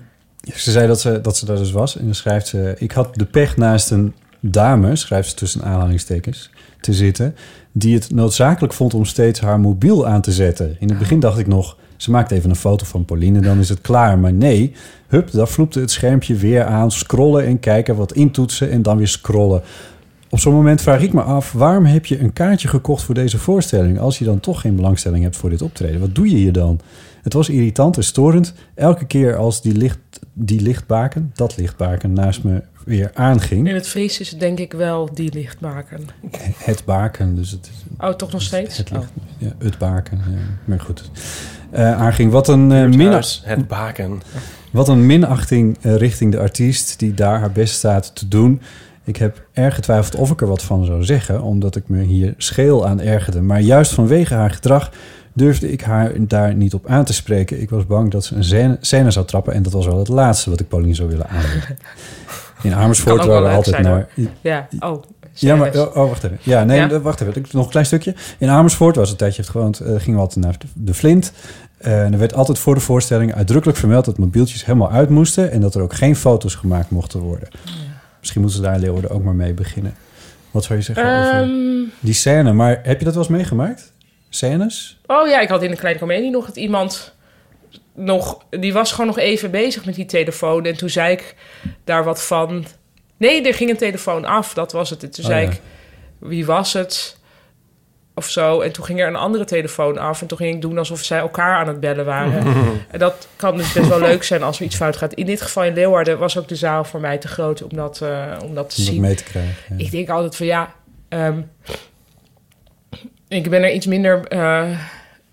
Speaker 3: ze zei dat ze, dat ze daar dus was. En dan schrijft ze... Ik had de pech naast een dame, schrijft ze tussen aanhalingstekens, te zitten... die het noodzakelijk vond om steeds haar mobiel aan te zetten. In het begin dacht ik nog... ze maakt even een foto van Pauline, dan is het klaar. Maar nee, hup, daar vloepte het schermpje weer aan. Scrollen en kijken, wat intoetsen en dan weer scrollen. Op zo'n moment vraag ik me af... waarom heb je een kaartje gekocht voor deze voorstelling... als je dan toch geen belangstelling hebt voor dit optreden? Wat doe je hier dan? Het was irritant en storend. Elke keer als die, licht, die lichtbaken, dat lichtbaken, naast me weer
Speaker 1: in
Speaker 3: aanging.
Speaker 1: het Fries is het denk ik wel die lichtmaken.
Speaker 3: Het baken, dus het,
Speaker 1: Oh, toch nog steeds?
Speaker 3: het
Speaker 1: Oh.
Speaker 3: licht. Ja, het baken, ja. maar goed. Eh, aanging. Wat een, eh, mina
Speaker 2: Huis, het baken.
Speaker 3: wat een minachting eh, richting de artiest die daar haar best staat te doen. Ik heb erg getwijfeld of ik er wat van zou zeggen, omdat ik me hier scheel aan ergerde. Maar juist vanwege haar gedrag durfde ik haar daar niet op aan te spreken. Ik was bang dat ze een scène, scène zou trappen en dat was wel het laatste wat ik Pauline zou willen aanbieden. In Amersfoort
Speaker 1: Kan ook wel
Speaker 3: waren we
Speaker 1: leuk
Speaker 3: altijd
Speaker 1: zijn,
Speaker 3: naar...
Speaker 1: Ja, oh.
Speaker 3: Ja, maar
Speaker 1: serieus.
Speaker 3: oh, oh, wacht even. Ja, nee,
Speaker 1: Ja?
Speaker 3: wacht even. Nog een klein stukje. In Amersfoort, was een tijdje heeft gewoond, eh, gingen we altijd naar de- de Flint. Eh, en er werd altijd voor de voorstelling uitdrukkelijk vermeld dat mobieltjes helemaal uit moesten en dat er ook geen foto's gemaakt mochten worden. Misschien moeten ze daar in Leeuwarden ook maar mee beginnen. Wat zou je zeggen over
Speaker 1: Ehm,
Speaker 3: die scène? Maar heb je dat wel eens meegemaakt? Scènes?
Speaker 1: Oh ja, ik had in de kleine comedie nog dat iemand nog, die was gewoon nog even bezig met die telefoon. En toen zei ik daar wat van. Nee, er ging een telefoon af, dat was het. En toen
Speaker 3: Oh,
Speaker 1: zei
Speaker 3: ja.
Speaker 1: ik, wie was het? Of zo. En toen ging er een andere telefoon af. En toen ging ik doen alsof zij elkaar aan het bellen waren. en dat kan dus best wel leuk zijn als er iets fout gaat. In dit geval in Leeuwarden was ook de zaal voor mij te groot om dat, eh, om dat te
Speaker 3: Om dat
Speaker 1: zien.
Speaker 3: mee te krijgen. Ja.
Speaker 1: Ik denk altijd van ja, ehm, ik ben er iets minder eh,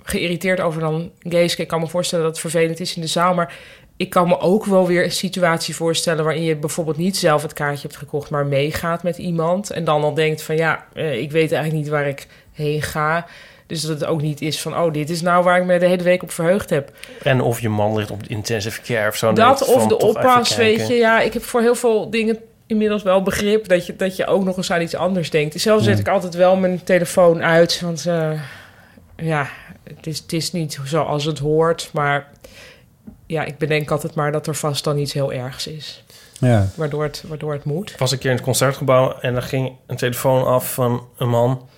Speaker 1: geïrriteerd over dan Geeske. Ik kan me voorstellen dat het vervelend is in de zaal, maar ik kan me ook wel weer een situatie voorstellen waarin je bijvoorbeeld niet zelf het kaartje hebt gekocht, maar meegaat met iemand en dan al denkt van ja, eh, ik weet eigenlijk niet waar ik heen ga. Dus dat het ook niet is van, oh, dit is nou waar ik me de hele week op verheugd heb.
Speaker 2: En of je man ligt op de intensive care of zo. Dan
Speaker 1: Dat
Speaker 2: denk ik
Speaker 1: of
Speaker 2: van,
Speaker 1: de
Speaker 2: toch even
Speaker 1: oppas,
Speaker 2: kijken.
Speaker 1: weet je. Ja, ik heb voor heel veel dingen inmiddels wel begrip dat je, dat je ook nog eens aan iets anders denkt. Zelf zet ik altijd wel mijn telefoon uit, want eh, ja, het is, het is niet zoals het hoort. Maar ja, ik bedenk altijd maar dat er vast dan iets heel ergs is,
Speaker 3: Ja.
Speaker 1: waardoor het, waardoor het moet.
Speaker 2: Ik was een keer in het concertgebouw en er ging een telefoon af van een man.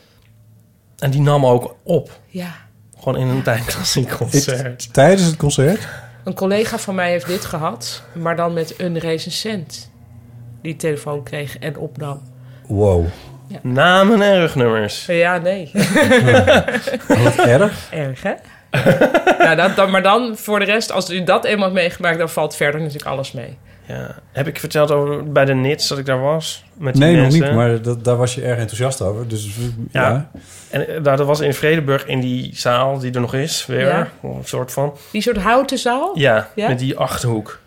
Speaker 2: En die nam ook op.
Speaker 1: Ja.
Speaker 2: Gewoon in een tijdklassiek concert.
Speaker 3: Tijdens het concert?
Speaker 1: Een collega van mij heeft dit gehad, maar dan met een recensent die telefoon kreeg en opnam.
Speaker 3: Wow.
Speaker 2: Namen en rugnummers.
Speaker 1: Ja, nee.
Speaker 3: Wat erg.
Speaker 1: Erg, hè? ja, Nou, dat, dat- maar dan voor de rest, als u dat eenmaal hebt meegemaakt, dan valt verder natuurlijk alles mee.
Speaker 2: Ja. Heb ik verteld over bij de Nits dat ik daar was? Met die
Speaker 3: Nee, nog
Speaker 2: mensen?
Speaker 3: niet, maar dat, daar was je erg enthousiast over. Dus ja.
Speaker 2: Ja. En eh, daar dat was in Vredeburg in die zaal die er nog is, weer.
Speaker 1: Ja.
Speaker 2: Een soort van.
Speaker 1: Die soort houten zaal?
Speaker 2: Ja,
Speaker 1: Ja?
Speaker 2: met die achterhoek.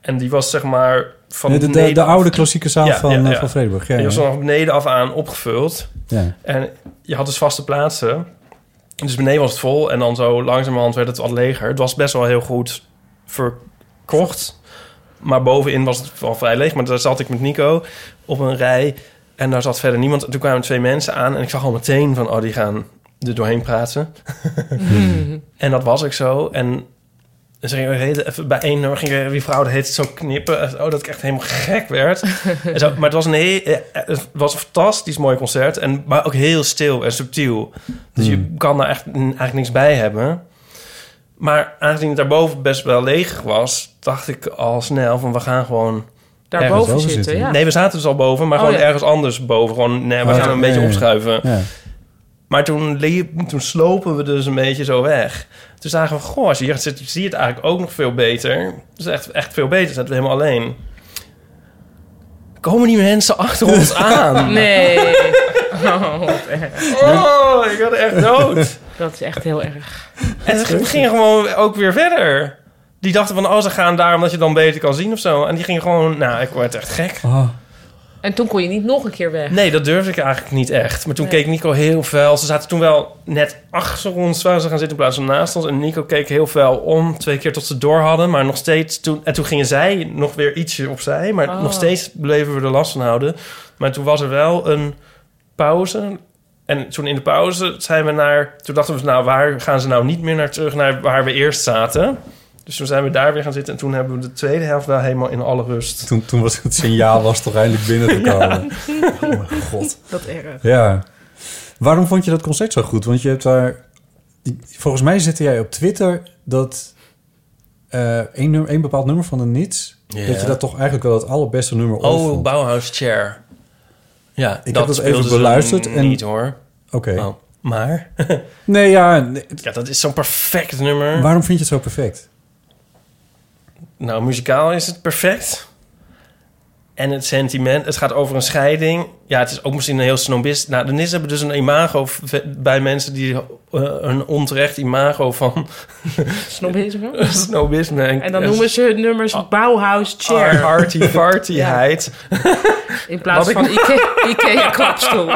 Speaker 2: En die was zeg maar van
Speaker 3: Nee, de, de,
Speaker 2: beneden
Speaker 3: de
Speaker 2: af-
Speaker 3: oude klassieke zaal
Speaker 2: Ja,
Speaker 3: van,
Speaker 2: ja,
Speaker 3: eh,
Speaker 2: ja.
Speaker 3: van Vredeburg. Ja,
Speaker 2: Die was
Speaker 3: ja.
Speaker 2: van beneden af aan opgevuld.
Speaker 3: Ja.
Speaker 2: En je had dus vaste plaatsen. Dus beneden was het vol. En dan zo langzamerhand werd het wat leger. Het was best wel heel goed verkocht. Maar bovenin was het wel vrij leeg. Maar daar zat ik met Nico op een rij. En daar zat verder niemand. En toen kwamen twee mensen aan. En ik zag al meteen van... Oh, die gaan er doorheen praten. en dat was ik zo. En En ze gingen heel- even bij één nummer gingen die vrouw de heet zo knippen. Oh, dat ik echt helemaal gek werd. en zo, maar het was, een heel, eh, het was een fantastisch mooi concert. En, maar ook heel stil en subtiel. Dus
Speaker 3: Hmm.
Speaker 2: je kan daar echt, mm, eigenlijk niks bij hebben. Maar aangezien het daarboven best wel leeg was... dacht ik al snel van we gaan gewoon...
Speaker 1: Daarboven
Speaker 3: boven
Speaker 1: zitten,
Speaker 3: zitten.
Speaker 1: ja.
Speaker 2: Nee, we zaten dus al boven, maar
Speaker 1: Oh,
Speaker 2: gewoon
Speaker 1: ja.
Speaker 2: ergens anders boven. Gewoon, nee, we
Speaker 3: Oh,
Speaker 2: gaan een
Speaker 3: ja,
Speaker 2: beetje
Speaker 3: ja, ja.
Speaker 2: opschuiven.
Speaker 3: Ja.
Speaker 2: Maar toen, liep- toen slopen we dus een beetje zo weg. Toen zagen we, goh, als je hier zit, zie je het eigenlijk ook nog veel beter. Het is echt, echt veel beter, zaten we helemaal alleen. Komen die mensen achter ons aan?
Speaker 1: Nee. Oh, wat erg.
Speaker 2: Oh, ik had echt dood.
Speaker 1: dat is echt heel erg.
Speaker 2: En ze gingen gewoon ook weer verder. Die dachten van, oh, ze gaan daar omdat je dan beter kan zien of zo. En die gingen gewoon, nou, ik werd echt gek.
Speaker 3: Ah,
Speaker 1: En toen kon je niet nog een keer weg.
Speaker 2: Nee, dat durfde ik eigenlijk niet echt. Maar toen
Speaker 1: Nee.
Speaker 2: keek Nico heel fel. Ze zaten toen wel net achter ons waar ze gaan zitten in plaats van naast ons. En Nico keek heel fel om, twee keer tot ze door hadden. Maar nog steeds, toen, en toen gingen zij nog weer ietsje opzij. Maar
Speaker 1: Oh.
Speaker 2: nog steeds bleven we er last van houden. Maar toen was er wel een pauze. En toen in de pauze zijn we naar... Toen dachten we, nou, waar gaan ze nou niet meer naar terug? Naar waar we eerst zaten. Dus toen zijn we daar weer gaan zitten. En toen hebben we de tweede helft wel helemaal in alle rust.
Speaker 3: toen, toen was het signaal was toch eindelijk binnen te komen. Oh mijn god.
Speaker 1: Dat erg.
Speaker 3: Ja. Waarom vond je dat concert zo goed? Want je hebt daar... die- Volgens mij zette jij op Twitter dat... eh één, nummer, één bepaald nummer van de Nits...
Speaker 2: Ja.
Speaker 3: dat je dat toch eigenlijk wel het allerbeste nummer ooit
Speaker 2: Oh,
Speaker 3: vond.
Speaker 2: Bauhaus Chair. Ja,
Speaker 3: Ik heb dat
Speaker 2: speelden
Speaker 3: even
Speaker 2: ze
Speaker 3: beluisterd en-
Speaker 2: Niet hoor.
Speaker 3: Oké.
Speaker 2: Oh, maar?
Speaker 3: Nee, ja... nee,
Speaker 2: ja, dat is zo'n perfect nummer.
Speaker 3: Waarom vind je het zo perfect?
Speaker 2: Nou, muzikaal is het perfect. En het sentiment, het gaat over een scheiding. Ja, het is ook misschien een heel snobist. Nou, de NIS hebben dus een imago v- bij mensen die eh, een onterecht imago van
Speaker 1: Snobisme.
Speaker 2: snobisme en,
Speaker 1: En dan noemen ze hun nummers Bauhaus Chair.
Speaker 2: arty fartyheid.
Speaker 1: In plaats van Ikea, Ikea klapstoel.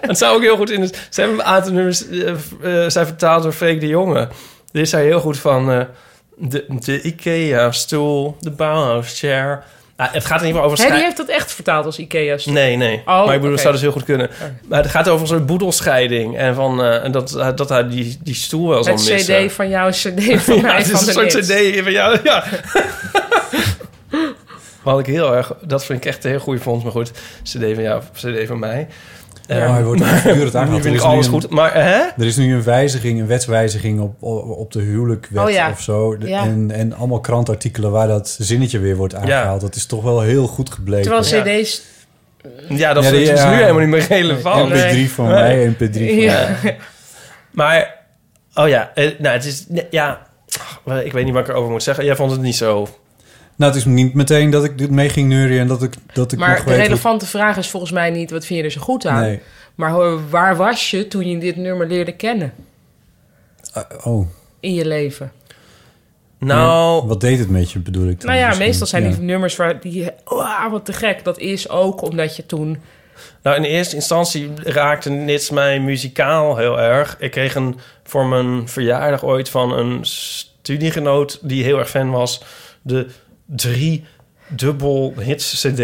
Speaker 2: Het zou ook heel goed in. het- Ze hebben een aantal nummers. eh, v- eh, zijn vertaald door Freek de Jonge. Dit zei heel goed van. eh, de, de IKEA-stoel, de Bauhaus-chair. Ah, het gaat in ieder geval over.
Speaker 1: Hè, die
Speaker 2: schei-
Speaker 1: heeft dat echt vertaald als Ikea stoel.
Speaker 2: Nee, nee.
Speaker 1: Oh,
Speaker 2: maar ik bedoel,
Speaker 1: oké.
Speaker 2: het zou dus heel goed kunnen. Maar het gaat over een soort boedelscheiding. En van, eh, en dat, dat hij die, die stoel wel zal
Speaker 1: Het
Speaker 2: missen.
Speaker 1: cd van jou, cd van
Speaker 2: Ja,
Speaker 1: mij,
Speaker 2: het
Speaker 1: van
Speaker 2: is
Speaker 1: de
Speaker 2: een soort
Speaker 1: niks.
Speaker 2: cd van jou. Ja. Wat ik heel erg... Dat vind ik echt een heel goede vondst. Maar goed, cd van jou, cd van mij. Ehm,
Speaker 3: oh, hij wordt voortdurend aangehad.
Speaker 2: Nu
Speaker 3: Er
Speaker 2: vind ik
Speaker 3: is nu
Speaker 2: alles
Speaker 3: een-
Speaker 2: goed. Maar eh, hè?
Speaker 3: Er is nu een wijziging, een wetswijziging op, op, op de huwelijkwet
Speaker 1: Oh ja.
Speaker 3: of zo. De-
Speaker 1: Ja.
Speaker 3: En, en allemaal krantartikelen waar dat zinnetje weer wordt aangehaald. Dat is toch wel heel goed gebleken.
Speaker 1: Terwijl
Speaker 2: Ja.
Speaker 1: cd's...
Speaker 2: Ja, dat
Speaker 3: Ja,
Speaker 2: vind ik
Speaker 3: die-
Speaker 2: dus
Speaker 3: ja.
Speaker 2: nu helemaal niet meer relevant.
Speaker 1: Oh, Nee.
Speaker 3: MP3 van
Speaker 2: Nee.
Speaker 3: mij, MP3 van
Speaker 1: Ja.
Speaker 3: mij.
Speaker 2: Maar, oh ja, eh, nou, het is, nee, ja, ach, ik weet niet wat ik erover moet zeggen. Jij vond het niet zo.
Speaker 3: Nou, het is niet meteen dat ik dit mee ging neurien en dat ik, dat ik nog
Speaker 1: Maar de
Speaker 3: weet... hoe-
Speaker 1: relevante vraag is volgens mij niet... wat vind je er zo goed aan?
Speaker 3: Nee.
Speaker 1: Maar hoor, waar was je toen je dit nummer leerde kennen
Speaker 3: Ah, oh,
Speaker 1: in je leven?
Speaker 2: Nou,
Speaker 3: wat deed het met je, bedoel ik dan
Speaker 1: Nou ja,
Speaker 3: misschien?
Speaker 1: meestal zijn
Speaker 3: Ja.
Speaker 1: die nummers waar die... Wauw, wat te gek. Dat is ook omdat je toen...
Speaker 2: nou, in eerste instantie raakte Nits mij muzikaal heel erg. Ik kreeg een, voor mijn verjaardag ooit van een studiegenoot... die heel erg fan was, de drie dubbel hits cd.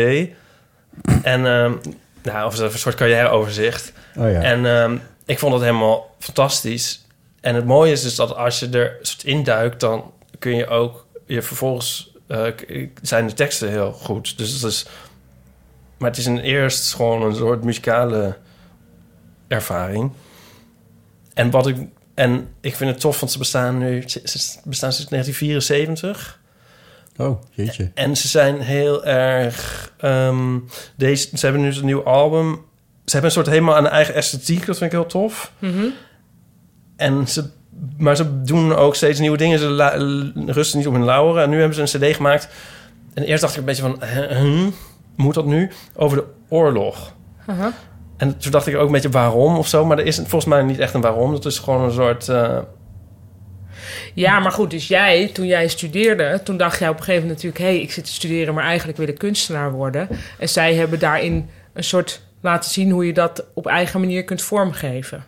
Speaker 2: En, ehm, nou, of een soort carrièreoverzicht.
Speaker 3: Oh ja.
Speaker 2: En ehm, ik vond dat helemaal fantastisch. En het mooie is dus dat als je er soort induikt, dan kun je ook je vervolgens eh, k- zijn de teksten heel goed. Dus het is, maar het is een eerst gewoon een soort muzikale ervaring. En wat ik en ik vind het tof, want ze bestaan nu ze ze bestaan sinds 1974.
Speaker 3: Oh, jeetje.
Speaker 2: En ze zijn heel erg. ehm, deze, ze hebben nu dus een nieuw album. Ze hebben een soort helemaal een eigen esthetiek. Dat vind ik heel tof. En ze, maar ze doen ook steeds nieuwe dingen. Ze la- l- rusten niet op hun lauweren. En nu hebben ze een CD gemaakt. En eerst dacht ik een beetje van. "Hè, hm, moet dat nu? Over de oorlog.
Speaker 1: Aha.
Speaker 2: En toen dacht ik ook een beetje waarom of zo. Maar er is volgens mij niet echt een waarom. Dat is gewoon een soort. eh,
Speaker 1: Ja, maar goed, dus jij, toen jij studeerde, toen dacht jij op een gegeven moment natuurlijk: hé, hey, ik zit te studeren, maar eigenlijk wil ik kunstenaar worden. En zij hebben daarin een soort laten zien hoe je dat op eigen manier kunt vormgeven.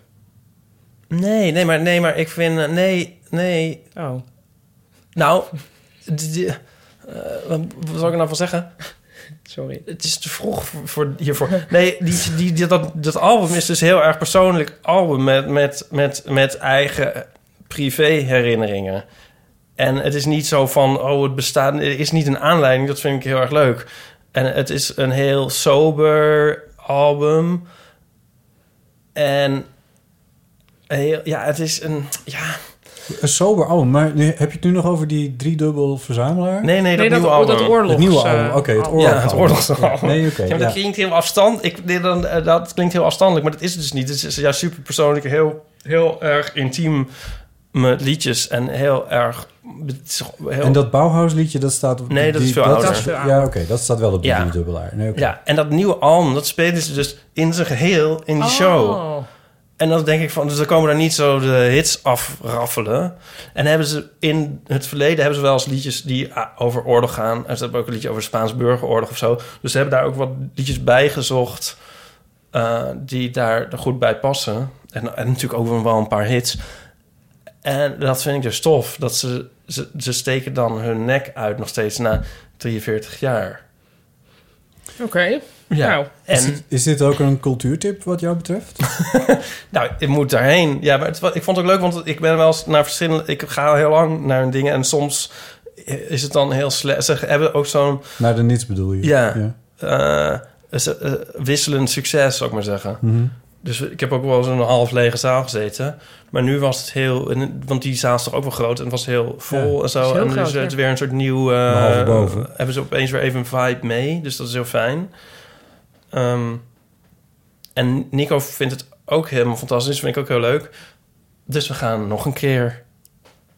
Speaker 2: nee, nee, maar, nee, maar ik vind. eh, Nee, nee.
Speaker 1: Oh.
Speaker 2: Nou, d- d- eh, wat, wat zal ik er nou van zeggen?
Speaker 1: Sorry.
Speaker 2: Het is te vroeg voor, voor- hiervoor. Nee, die, die, die- dat, dat album is dus heel erg persoonlijk album met, met, met, met eigen privé herinneringen. En het is niet zo van, oh, het bestaat... Er is niet een aanleiding, dat vind ik heel erg leuk. En het is een heel sober album. En heel, ja, het is een... Ja,
Speaker 3: Een Eh, sober album. Maar nu, heb je het nu nog over die driedubbel verzamelaar?
Speaker 2: nee, nee, dat
Speaker 1: nee, dat,
Speaker 2: nieuwe
Speaker 1: dat,
Speaker 2: album.
Speaker 1: oorlogs,
Speaker 3: Het nieuwe
Speaker 1: eh,
Speaker 3: album, oké, het
Speaker 1: album.
Speaker 3: oorlog-
Speaker 2: Ja, het
Speaker 3: album.
Speaker 2: oorlogsal.
Speaker 3: Nee, oké,
Speaker 2: ja, maar dat
Speaker 3: ja.
Speaker 2: klinkt heel afstand. Ik, nee, dan, eh, dat klinkt heel afstandelijk, maar dat is het dus niet. Het is juist super persoonlijk, heel, heel erg intiem met liedjes en heel erg. het is heel-
Speaker 3: En dat Bauhaus liedje, dat staat... op-
Speaker 2: oh. Nee, dat is veel ouder.
Speaker 1: Dat is veel
Speaker 3: ja,
Speaker 1: ouder.
Speaker 3: oké, dat staat wel op de
Speaker 2: Ja.
Speaker 3: driedubbelaar. Nee, oké.
Speaker 2: ja, en dat nieuwe album, dat spelen ze dus in zijn geheel in die show.
Speaker 1: Oh.
Speaker 2: En dan denk ik van, dus dan komen daar niet zo de hits afraffelen. En hebben ze in het verleden hebben ze wel eens liedjes die ah, over oorlog gaan. En ze hebben ook een liedje over de Spaans burgeroorlog of zo. Dus ze hebben daar ook wat liedjes bij gezocht eh, die daar goed bij passen. En, en natuurlijk ook wel een paar hits. En dat vind ik dus tof. Dat ze, ze, ze steken dan hun nek uit nog steeds na 43 jaar.
Speaker 1: Oké.
Speaker 2: Ja.
Speaker 1: Nou,
Speaker 3: Is,
Speaker 2: en
Speaker 3: dit, is dit ook een cultuurtip wat jou betreft?
Speaker 2: Nou, ik moet daarheen. Ja, maar het, wa- ik vond het ook leuk, want ik ben wel eens naar verschillende... Ik ga heel lang naar hun dingen en soms is het dan heel slecht. Ze hebben ook zo'n
Speaker 3: Naar de Nou, niets bedoel je?
Speaker 2: Ja. eh, ze- eh, wisselend succes, zou ik maar zeggen.
Speaker 3: Mhm.
Speaker 2: Dus ik heb ook wel eens in een half lege zaal gezeten. Maar nu was het heel... en- Want die zaal is toch ook wel groot en het was heel vol
Speaker 3: Ja,
Speaker 2: en
Speaker 1: is
Speaker 2: zo.
Speaker 1: heel
Speaker 2: En nu
Speaker 1: groot,
Speaker 2: is het
Speaker 1: ja.
Speaker 2: weer een soort nieuw... eh,
Speaker 3: Behalve boven.
Speaker 2: Hebben ze opeens weer even een vibe mee. Dus dat is heel fijn. Ehm, en Nico vindt het ook helemaal fantastisch. Vind ik ook heel leuk. Dus we gaan nog een keer...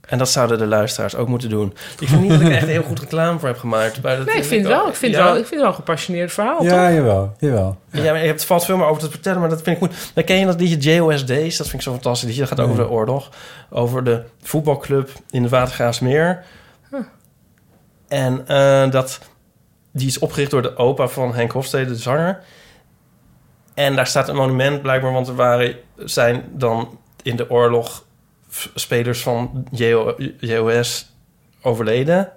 Speaker 2: En dat zouden de luisteraars ook moeten doen. Ik vind niet dat ik er echt heel goed reclame voor heb gemaakt. maar dat
Speaker 1: nee, ik vind het wel. Ik vind,
Speaker 2: Ja.
Speaker 1: het wel, ik vind het wel een gepassioneerd verhaal, Oh, toch?
Speaker 3: Ja, jawel, jawel.
Speaker 2: Ja, maar je hebt valt veel meer over te vertellen, maar dat vind ik goed. Dan ken je dat liedje JOSD's, dat vind ik zo fantastisch. liedje. Dat gaat over de oorlog, over de voetbalclub in de Watergraafsmeer. En eh, dat, die is opgericht door de opa van Henk Hofstede, de zanger. En daar staat een monument blijkbaar, want er waren, zijn dan in de oorlog f- spelers van JO, JOS overleden.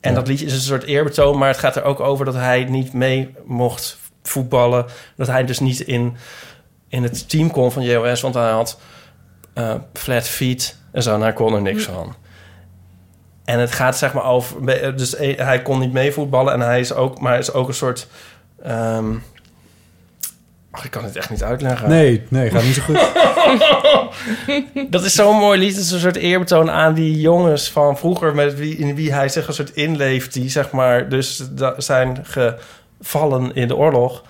Speaker 2: En dat liedje is een soort eerbetoon, maar het gaat er ook over dat hij niet mee mocht voetballen. Dat hij dus niet in, in het team kon van JOS, want hij had eh, flat feet en zo. En hij kon er niks van. En het gaat zeg maar over... Dus eh, hij kon niet mee voetballen en hij is ook... Maar hij is ook een soort... ehm, ach, ik kan het echt niet uitleggen.
Speaker 3: Nee, nee, gaat niet zo goed.
Speaker 2: Dat is zo'n mooi lied. Het is een soort eerbetoon aan die jongens van vroeger... Met wie, in wie hij zich een soort inleeft. Die zeg maar dus da- zijn gevallen in de oorlog.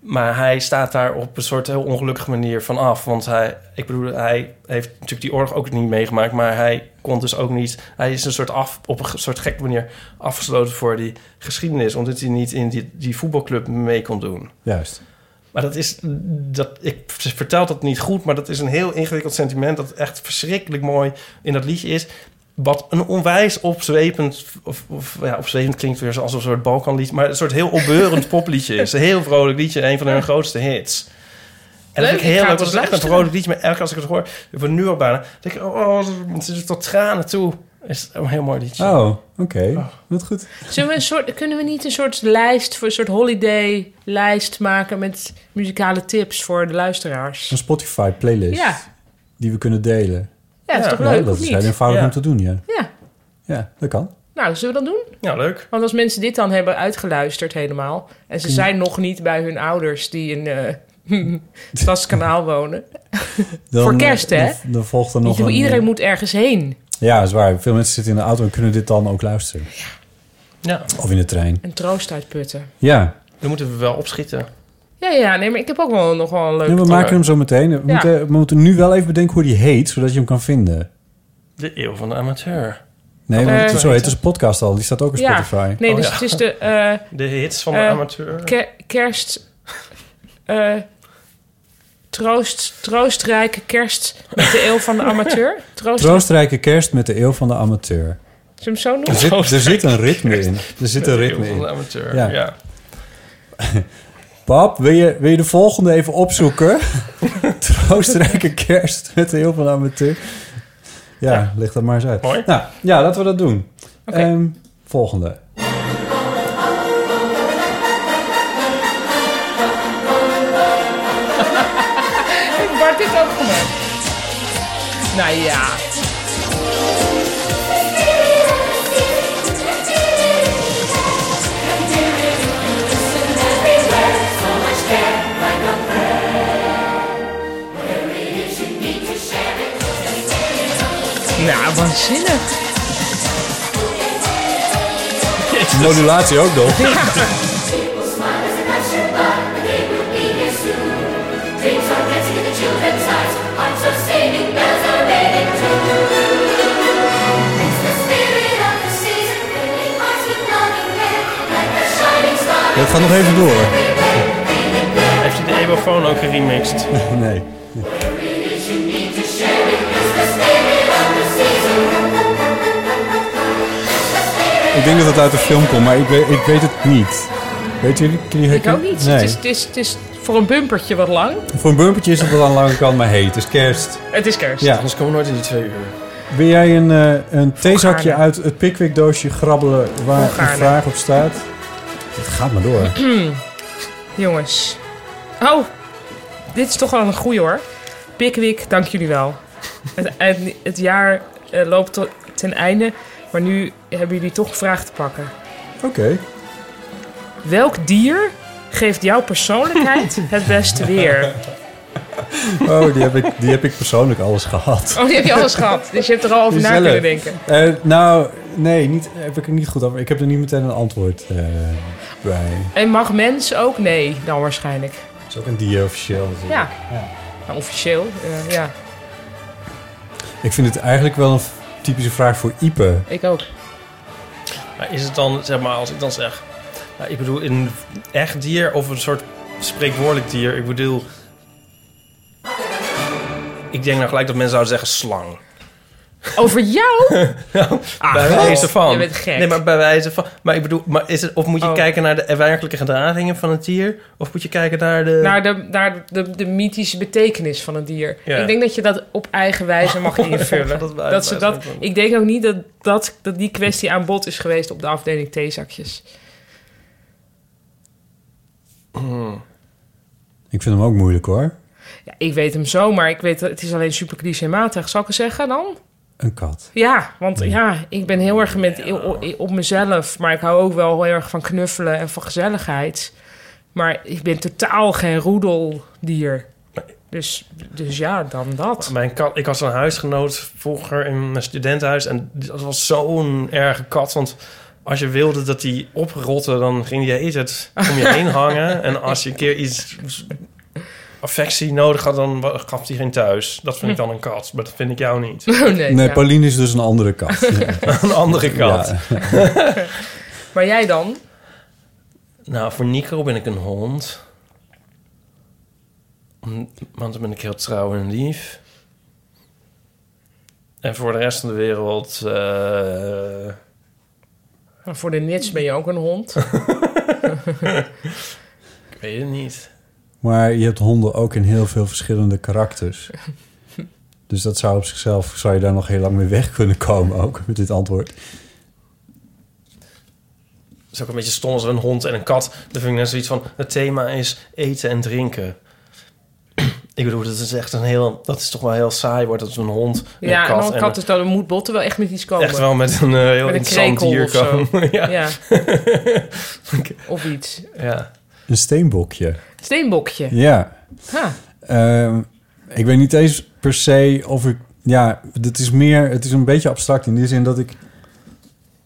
Speaker 2: Maar hij staat daar op een soort heel ongelukkige manier van af. Want hij, ik bedoel, hij heeft natuurlijk die oorlog ook niet meegemaakt. Maar hij kon dus ook niet... Hij is een soort af, op een ge- soort gekke manier afgesloten voor die geschiedenis. Omdat hij niet in die, die voetbalclub mee kon doen.
Speaker 3: Juist.
Speaker 2: Maar dat is, dat, ik vertel dat niet goed, maar dat is een heel ingewikkeld sentiment dat echt verschrikkelijk mooi in dat liedje is. Wat een onwijs opzwepend, of, of ja, opzwepend klinkt weer als een soort Balkanlied, maar een soort heel opbeurend popliedje is. Een heel vrolijk liedje, een van hun grootste hits. En
Speaker 1: Leuk,
Speaker 2: dat vind ik
Speaker 1: ik
Speaker 2: heel
Speaker 1: ga
Speaker 2: leuk,
Speaker 1: het
Speaker 2: dat is
Speaker 1: eens
Speaker 2: echt een
Speaker 1: luisteren.
Speaker 2: vrolijk liedje, maar elke keer als ik het hoor, van nu al bijna, denk ik, oh, het is tot tranen toe. Is het een heel mooi liedje.
Speaker 3: Oh, oké. Wat goed.
Speaker 1: Zullen we een soort, kunnen we niet een soort lijst, voor een soort holiday-lijst maken met muzikale tips voor de luisteraars?
Speaker 3: Een Spotify playlist
Speaker 1: Ja,
Speaker 3: die we kunnen delen.
Speaker 1: ja, dat is toch
Speaker 3: Ja, nou,
Speaker 1: leuk,
Speaker 3: dat
Speaker 1: of
Speaker 3: is
Speaker 1: niet?
Speaker 3: heel eenvoudig
Speaker 2: Ja.
Speaker 3: om te doen, ja.
Speaker 1: Ja,
Speaker 3: Ja, dat kan.
Speaker 1: nou, zullen we dat doen?
Speaker 2: Nou, leuk.
Speaker 1: Want als mensen dit dan hebben uitgeluisterd helemaal... en
Speaker 3: Mm.
Speaker 1: ze zijn nog niet bij hun ouders die in eh Stadskanaal wonen...
Speaker 3: Dan,
Speaker 1: Voor kerst,
Speaker 3: eh,
Speaker 1: hè?
Speaker 3: Dan, dan volgt er nog
Speaker 1: Ik bedoel,
Speaker 3: een... eh,
Speaker 1: iedereen moet ergens heen.
Speaker 3: Ja, is waar. Veel mensen zitten in de auto en kunnen dit dan ook luisteren.
Speaker 2: Ja,
Speaker 3: Of in de trein.
Speaker 1: Een troost uitputten.
Speaker 3: Ja,
Speaker 2: daar moeten we wel opschieten.
Speaker 1: Ja, ja, nee, maar ik heb ook wel nog wel een leuk...
Speaker 3: Ja, we maken hem zo meteen. We,
Speaker 1: Ja.
Speaker 3: moeten, we moeten nu wel even bedenken hoe die heet, zodat je hem kan vinden.
Speaker 2: De eeuw van de amateur.
Speaker 3: Nee, want
Speaker 1: Eh,
Speaker 3: zo heet dus een podcast al. Die staat ook op
Speaker 1: ja,
Speaker 3: Spotify.
Speaker 1: nee,
Speaker 2: Oh,
Speaker 1: dus
Speaker 2: ja.
Speaker 1: het is de eh,
Speaker 2: De hits van de
Speaker 1: Eh,
Speaker 2: amateur.
Speaker 1: ke- kerst... eh, troost, troostrijke kerst met de eeuw van de amateur. Troost,
Speaker 3: Troostrijke kerst met de eeuw van de amateur.
Speaker 1: Zullen we hem zo
Speaker 3: Er
Speaker 1: noemen?
Speaker 3: zit, er zit een ritme in. Er zit een
Speaker 2: Met heel
Speaker 3: ritme
Speaker 2: veel
Speaker 3: in.
Speaker 2: amateur.
Speaker 3: Ja.
Speaker 2: Ja.
Speaker 3: Pap, wil je, wil je de volgende even opzoeken? Troostrijke kerst met de heel van de amateur. Ja,
Speaker 2: Ja.
Speaker 3: leg dat maar eens uit.
Speaker 2: Mooi.
Speaker 3: Nou, ja, laten we dat doen.
Speaker 1: Oké.
Speaker 3: Ehm, volgende.
Speaker 1: Heeft Bart dit ook gemaakt? Nou ja. Nou, waanzinnig.
Speaker 3: Modulatie ook nog. eh, Het gaat nog even door.
Speaker 2: Heeft je de Evofoon ook geremixed?
Speaker 3: Nee. Ik denk dat het uit de film komt, maar ik weet, ik weet het niet. Weet jullie? jullie
Speaker 1: Ik ook
Speaker 3: herkennen-
Speaker 1: niet.
Speaker 3: Nee.
Speaker 1: Het, is, het, is, het is voor een bumpertje wat lang.
Speaker 3: Voor een bumpertje is het wel aan de lange kant, maar heet. Het is kerst.
Speaker 1: Het is kerst.
Speaker 3: Ja.
Speaker 2: Anders komen we nooit in die twee uur.
Speaker 3: Wil jij een, eh, een theezakje
Speaker 1: Gaarne.
Speaker 3: uit het Pickwick doosje grabbelen waar
Speaker 1: Gaarne.
Speaker 3: een vraag op staat? Het gaat maar door.
Speaker 1: Jongens. Oh, dit is toch wel een goeie hoor. Pickwick, dank jullie wel. Het, het, het jaar eh, loopt tot, ten einde, maar nu hebben jullie toch een vraag te pakken.
Speaker 3: Oké.
Speaker 1: Welk dier geeft jouw persoonlijkheid het beste weer?
Speaker 3: Oh, die heb, ik, die heb ik persoonlijk alles gehad.
Speaker 1: Oh, die heb je alles gehad. Dus je hebt er al over na
Speaker 3: Gezellig.
Speaker 1: kunnen denken.
Speaker 3: Eh, nou, nee, niet, heb ik er niet goed over. Ik heb er niet meteen een antwoord eh, bij.
Speaker 1: En mag mens ook? Nee, dan waarschijnlijk.
Speaker 3: Het is ook een dier officieel. natuurlijk.
Speaker 1: Ja. Nou, officieel, eh, ja.
Speaker 3: Ik vind het eigenlijk wel een f- typische vraag voor Ipe.
Speaker 1: Ik ook.
Speaker 2: Maar is het dan, zeg maar, als ik dan zeg... Nou, ik bedoel, een echt dier of een soort spreekwoordelijk dier? Ik bedoel... Ik denk nou gelijk dat mensen zouden zeggen slang.
Speaker 1: Over jou? Ah,
Speaker 3: Ah,
Speaker 2: bij wijze van.
Speaker 1: Je bent gek.
Speaker 2: Nee, maar bij wijze van. Maar ik bedoel, maar is het, of moet je
Speaker 1: Oh.
Speaker 2: kijken naar de werkelijke gedragingen van het dier? Of moet je kijken naar de.
Speaker 1: Naar, de, naar de, de mythische betekenis van een dier.
Speaker 2: Ja.
Speaker 1: Ik denk dat je dat op eigen wijze mag invullen.
Speaker 2: Dat
Speaker 1: dat
Speaker 2: wij-
Speaker 1: ze
Speaker 2: wij-
Speaker 1: dat, ik denk ook niet dat, dat, dat die kwestie aan bod is geweest op de afdeling theezakjes.
Speaker 3: Ik vind hem ook moeilijk hoor.
Speaker 1: Ja, ik weet hem zo, maar ik weet, dat- het is alleen super clichématig. Zal ik het zeggen dan?
Speaker 3: Een kat.
Speaker 1: Ja, want ja, ik ben heel erg met, op mezelf. Maar ik hou ook wel heel erg van knuffelen en van gezelligheid. Maar ik ben totaal geen roedeldier. Dus, dus ja, dan dat.
Speaker 2: Mijn kat, ik had een huisgenoot vroeger in mijn studentenhuis. En dat was zo'n erge kat. Want als je wilde dat die oprotte, dan ging die de hele tijd om je heen hangen. En als je een keer iets affectie nodig had, dan wa- gaf die geen thuis. Dat vind ik dan een kat. Maar dat vind ik jou niet.
Speaker 1: Oh, nee,
Speaker 3: Nee,
Speaker 1: ja.
Speaker 3: Pauline is dus een andere kat. Ja.
Speaker 2: Een andere kat.
Speaker 3: Ja.
Speaker 1: Maar jij dan?
Speaker 2: Nou, voor Nico ben ik een hond. Om- Want dan ben ik heel trouw en lief. En voor de rest van de wereld... eh,
Speaker 1: Nou, Voor de nits ben je ook een hond.
Speaker 2: ik weet het niet.
Speaker 3: Maar je hebt honden ook in heel veel verschillende karakters. Dus dat zou op zichzelf, zou je daar nog heel lang mee weg kunnen komen ook, met dit antwoord.
Speaker 2: Het is ook een beetje stom als er een hond en een kat... Dan vind ik net zoiets van... Het thema is eten en drinken. ik bedoel, dat is echt een heel... Dat is toch wel heel saai wordt als een hond en
Speaker 1: ja, en
Speaker 2: een kat...
Speaker 1: dan een kat
Speaker 2: en
Speaker 1: is dan moet botten wel echt met iets komen.
Speaker 2: echt wel met een eh, heel
Speaker 1: Met een
Speaker 2: interessant
Speaker 1: krekel
Speaker 2: dier
Speaker 1: of zo.
Speaker 2: komen. ja.
Speaker 1: Ja,
Speaker 2: Oké.
Speaker 1: of iets.
Speaker 2: ja.
Speaker 3: Een steenbokje.
Speaker 1: Steenbokje.
Speaker 3: Ja.
Speaker 1: Ha.
Speaker 3: Ehm, ik weet niet eens per se of ik... Ja, het is meer... Het is een beetje abstract in die zin dat ik...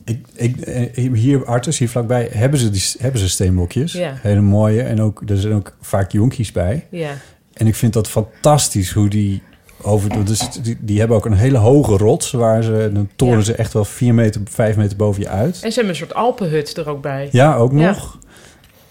Speaker 3: ik, ik eh, hier, Artus, hier vlakbij, hebben ze, die, hebben ze steenbokjes.
Speaker 1: Ja.
Speaker 3: Hele mooie. En ook, er zijn ook vaak jonkies bij.
Speaker 1: Ja.
Speaker 3: En ik vind dat fantastisch hoe die... Over, dus die, die hebben ook een hele hoge rots... waar ze, dan toren
Speaker 1: Ja.
Speaker 3: ze echt wel 4 meter, 5 meter boven je uit.
Speaker 1: En ze hebben een soort Alpenhut er ook bij.
Speaker 3: Ja, ook
Speaker 1: Ja.
Speaker 3: nog.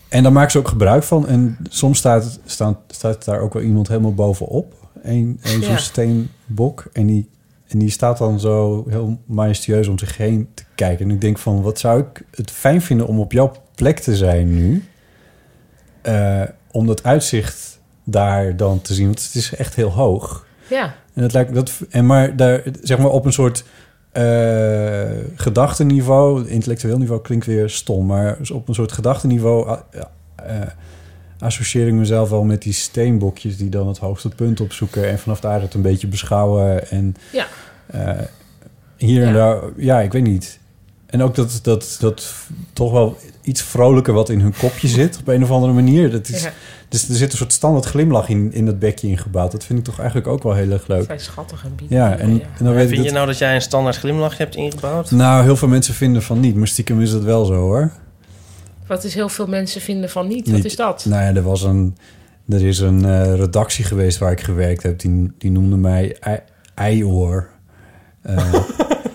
Speaker 3: En daar maken ze ook gebruik van. En soms staat, het- staan, staat daar ook wel iemand helemaal bovenop. Eén één zo'n
Speaker 1: Ja.
Speaker 3: steenbok. En die, en die staat dan zo heel majestueus om zich heen te kijken. En ik denk van, wat zou ik het fijn vinden om op jouw plek te zijn nu? Eh, om dat uitzicht daar dan te zien. Want het is echt heel hoog.
Speaker 1: Ja.
Speaker 3: En dat lijkt dat en maar daar zeg maar op een soort eh gedachtenniveau, intellectueel niveau klinkt weer stom, maar dus op een soort gedachtenniveau ah, ja, eh, associeer ik mezelf wel met die steenbokjes die dan het hoogste punt opzoeken en vanaf daar het een beetje beschouwen en
Speaker 1: Ja.
Speaker 3: eh, hier en
Speaker 1: Ja.
Speaker 3: daar, ja, ik weet niet. En ook dat, dat, dat toch wel iets vrolijker wat in hun kopje zit, op een of andere manier. Dat is,
Speaker 1: Ja.
Speaker 3: Dus er zit een soort standaard glimlach in, in dat bekje ingebouwd. Dat vind ik toch eigenlijk ook wel heel erg leuk.
Speaker 1: Vrij schattig en bieden.
Speaker 3: Ja, en, en dan weet ik
Speaker 2: Vind je
Speaker 3: dat,
Speaker 2: nou dat jij een standaard glimlach hebt ingebouwd?
Speaker 3: nou, heel veel mensen vinden van niet, maar stiekem is dat wel zo hoor.
Speaker 1: Wat is heel veel mensen vinden van niet. Wat
Speaker 3: Niet-
Speaker 1: is dat?
Speaker 3: Nou ja, er was een. Er is een eh, redactie geweest waar ik gewerkt heb. Die, die noemde mij ei- Eioor.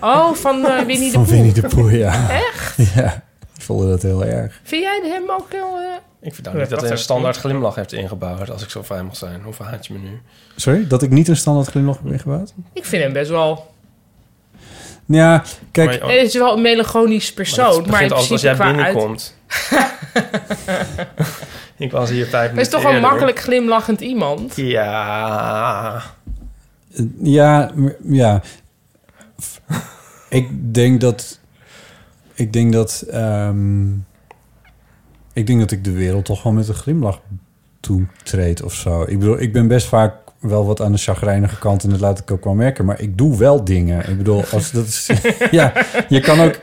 Speaker 1: Oh, van eh, Winnie de
Speaker 3: Van
Speaker 1: Pooh.
Speaker 3: Winnie de Pooh, ja. Echt? Ja, ik vond dat heel erg.
Speaker 1: Vind jij hem ook heel... eh,
Speaker 2: Ik vind nou niet dat je een standaard glimlach hebt ingebouwd, als ik zo fijn mag zijn. Hoe verhaat je me nu?
Speaker 3: Sorry, dat ik niet een standaard glimlach heb ingebouwd?
Speaker 1: ik vind hem best wel...
Speaker 3: Ja, kijk,
Speaker 2: Maar je-
Speaker 1: Hij is wel een melancholisch
Speaker 2: Oh. het
Speaker 1: persoon, Eh, maar, in
Speaker 2: begint altijd
Speaker 1: principe
Speaker 2: als jij
Speaker 1: qua uit...
Speaker 2: binnenkomt. ik was hier vijf minuten
Speaker 1: Hij is toch wel
Speaker 2: eerder.
Speaker 1: makkelijk glimlachend iemand.
Speaker 2: Ja.
Speaker 3: ja, m- ja. Ik denk dat... Ik denk dat... ehm, ik denk dat ik de wereld toch wel met een glimlach toetreed of zo. Ik bedoel, ik ben best vaak wel wat aan de chagrijnige kant... en dat laat ik ook wel merken, maar ik doe wel dingen. Ik bedoel, als dat is... ja, je kan ook...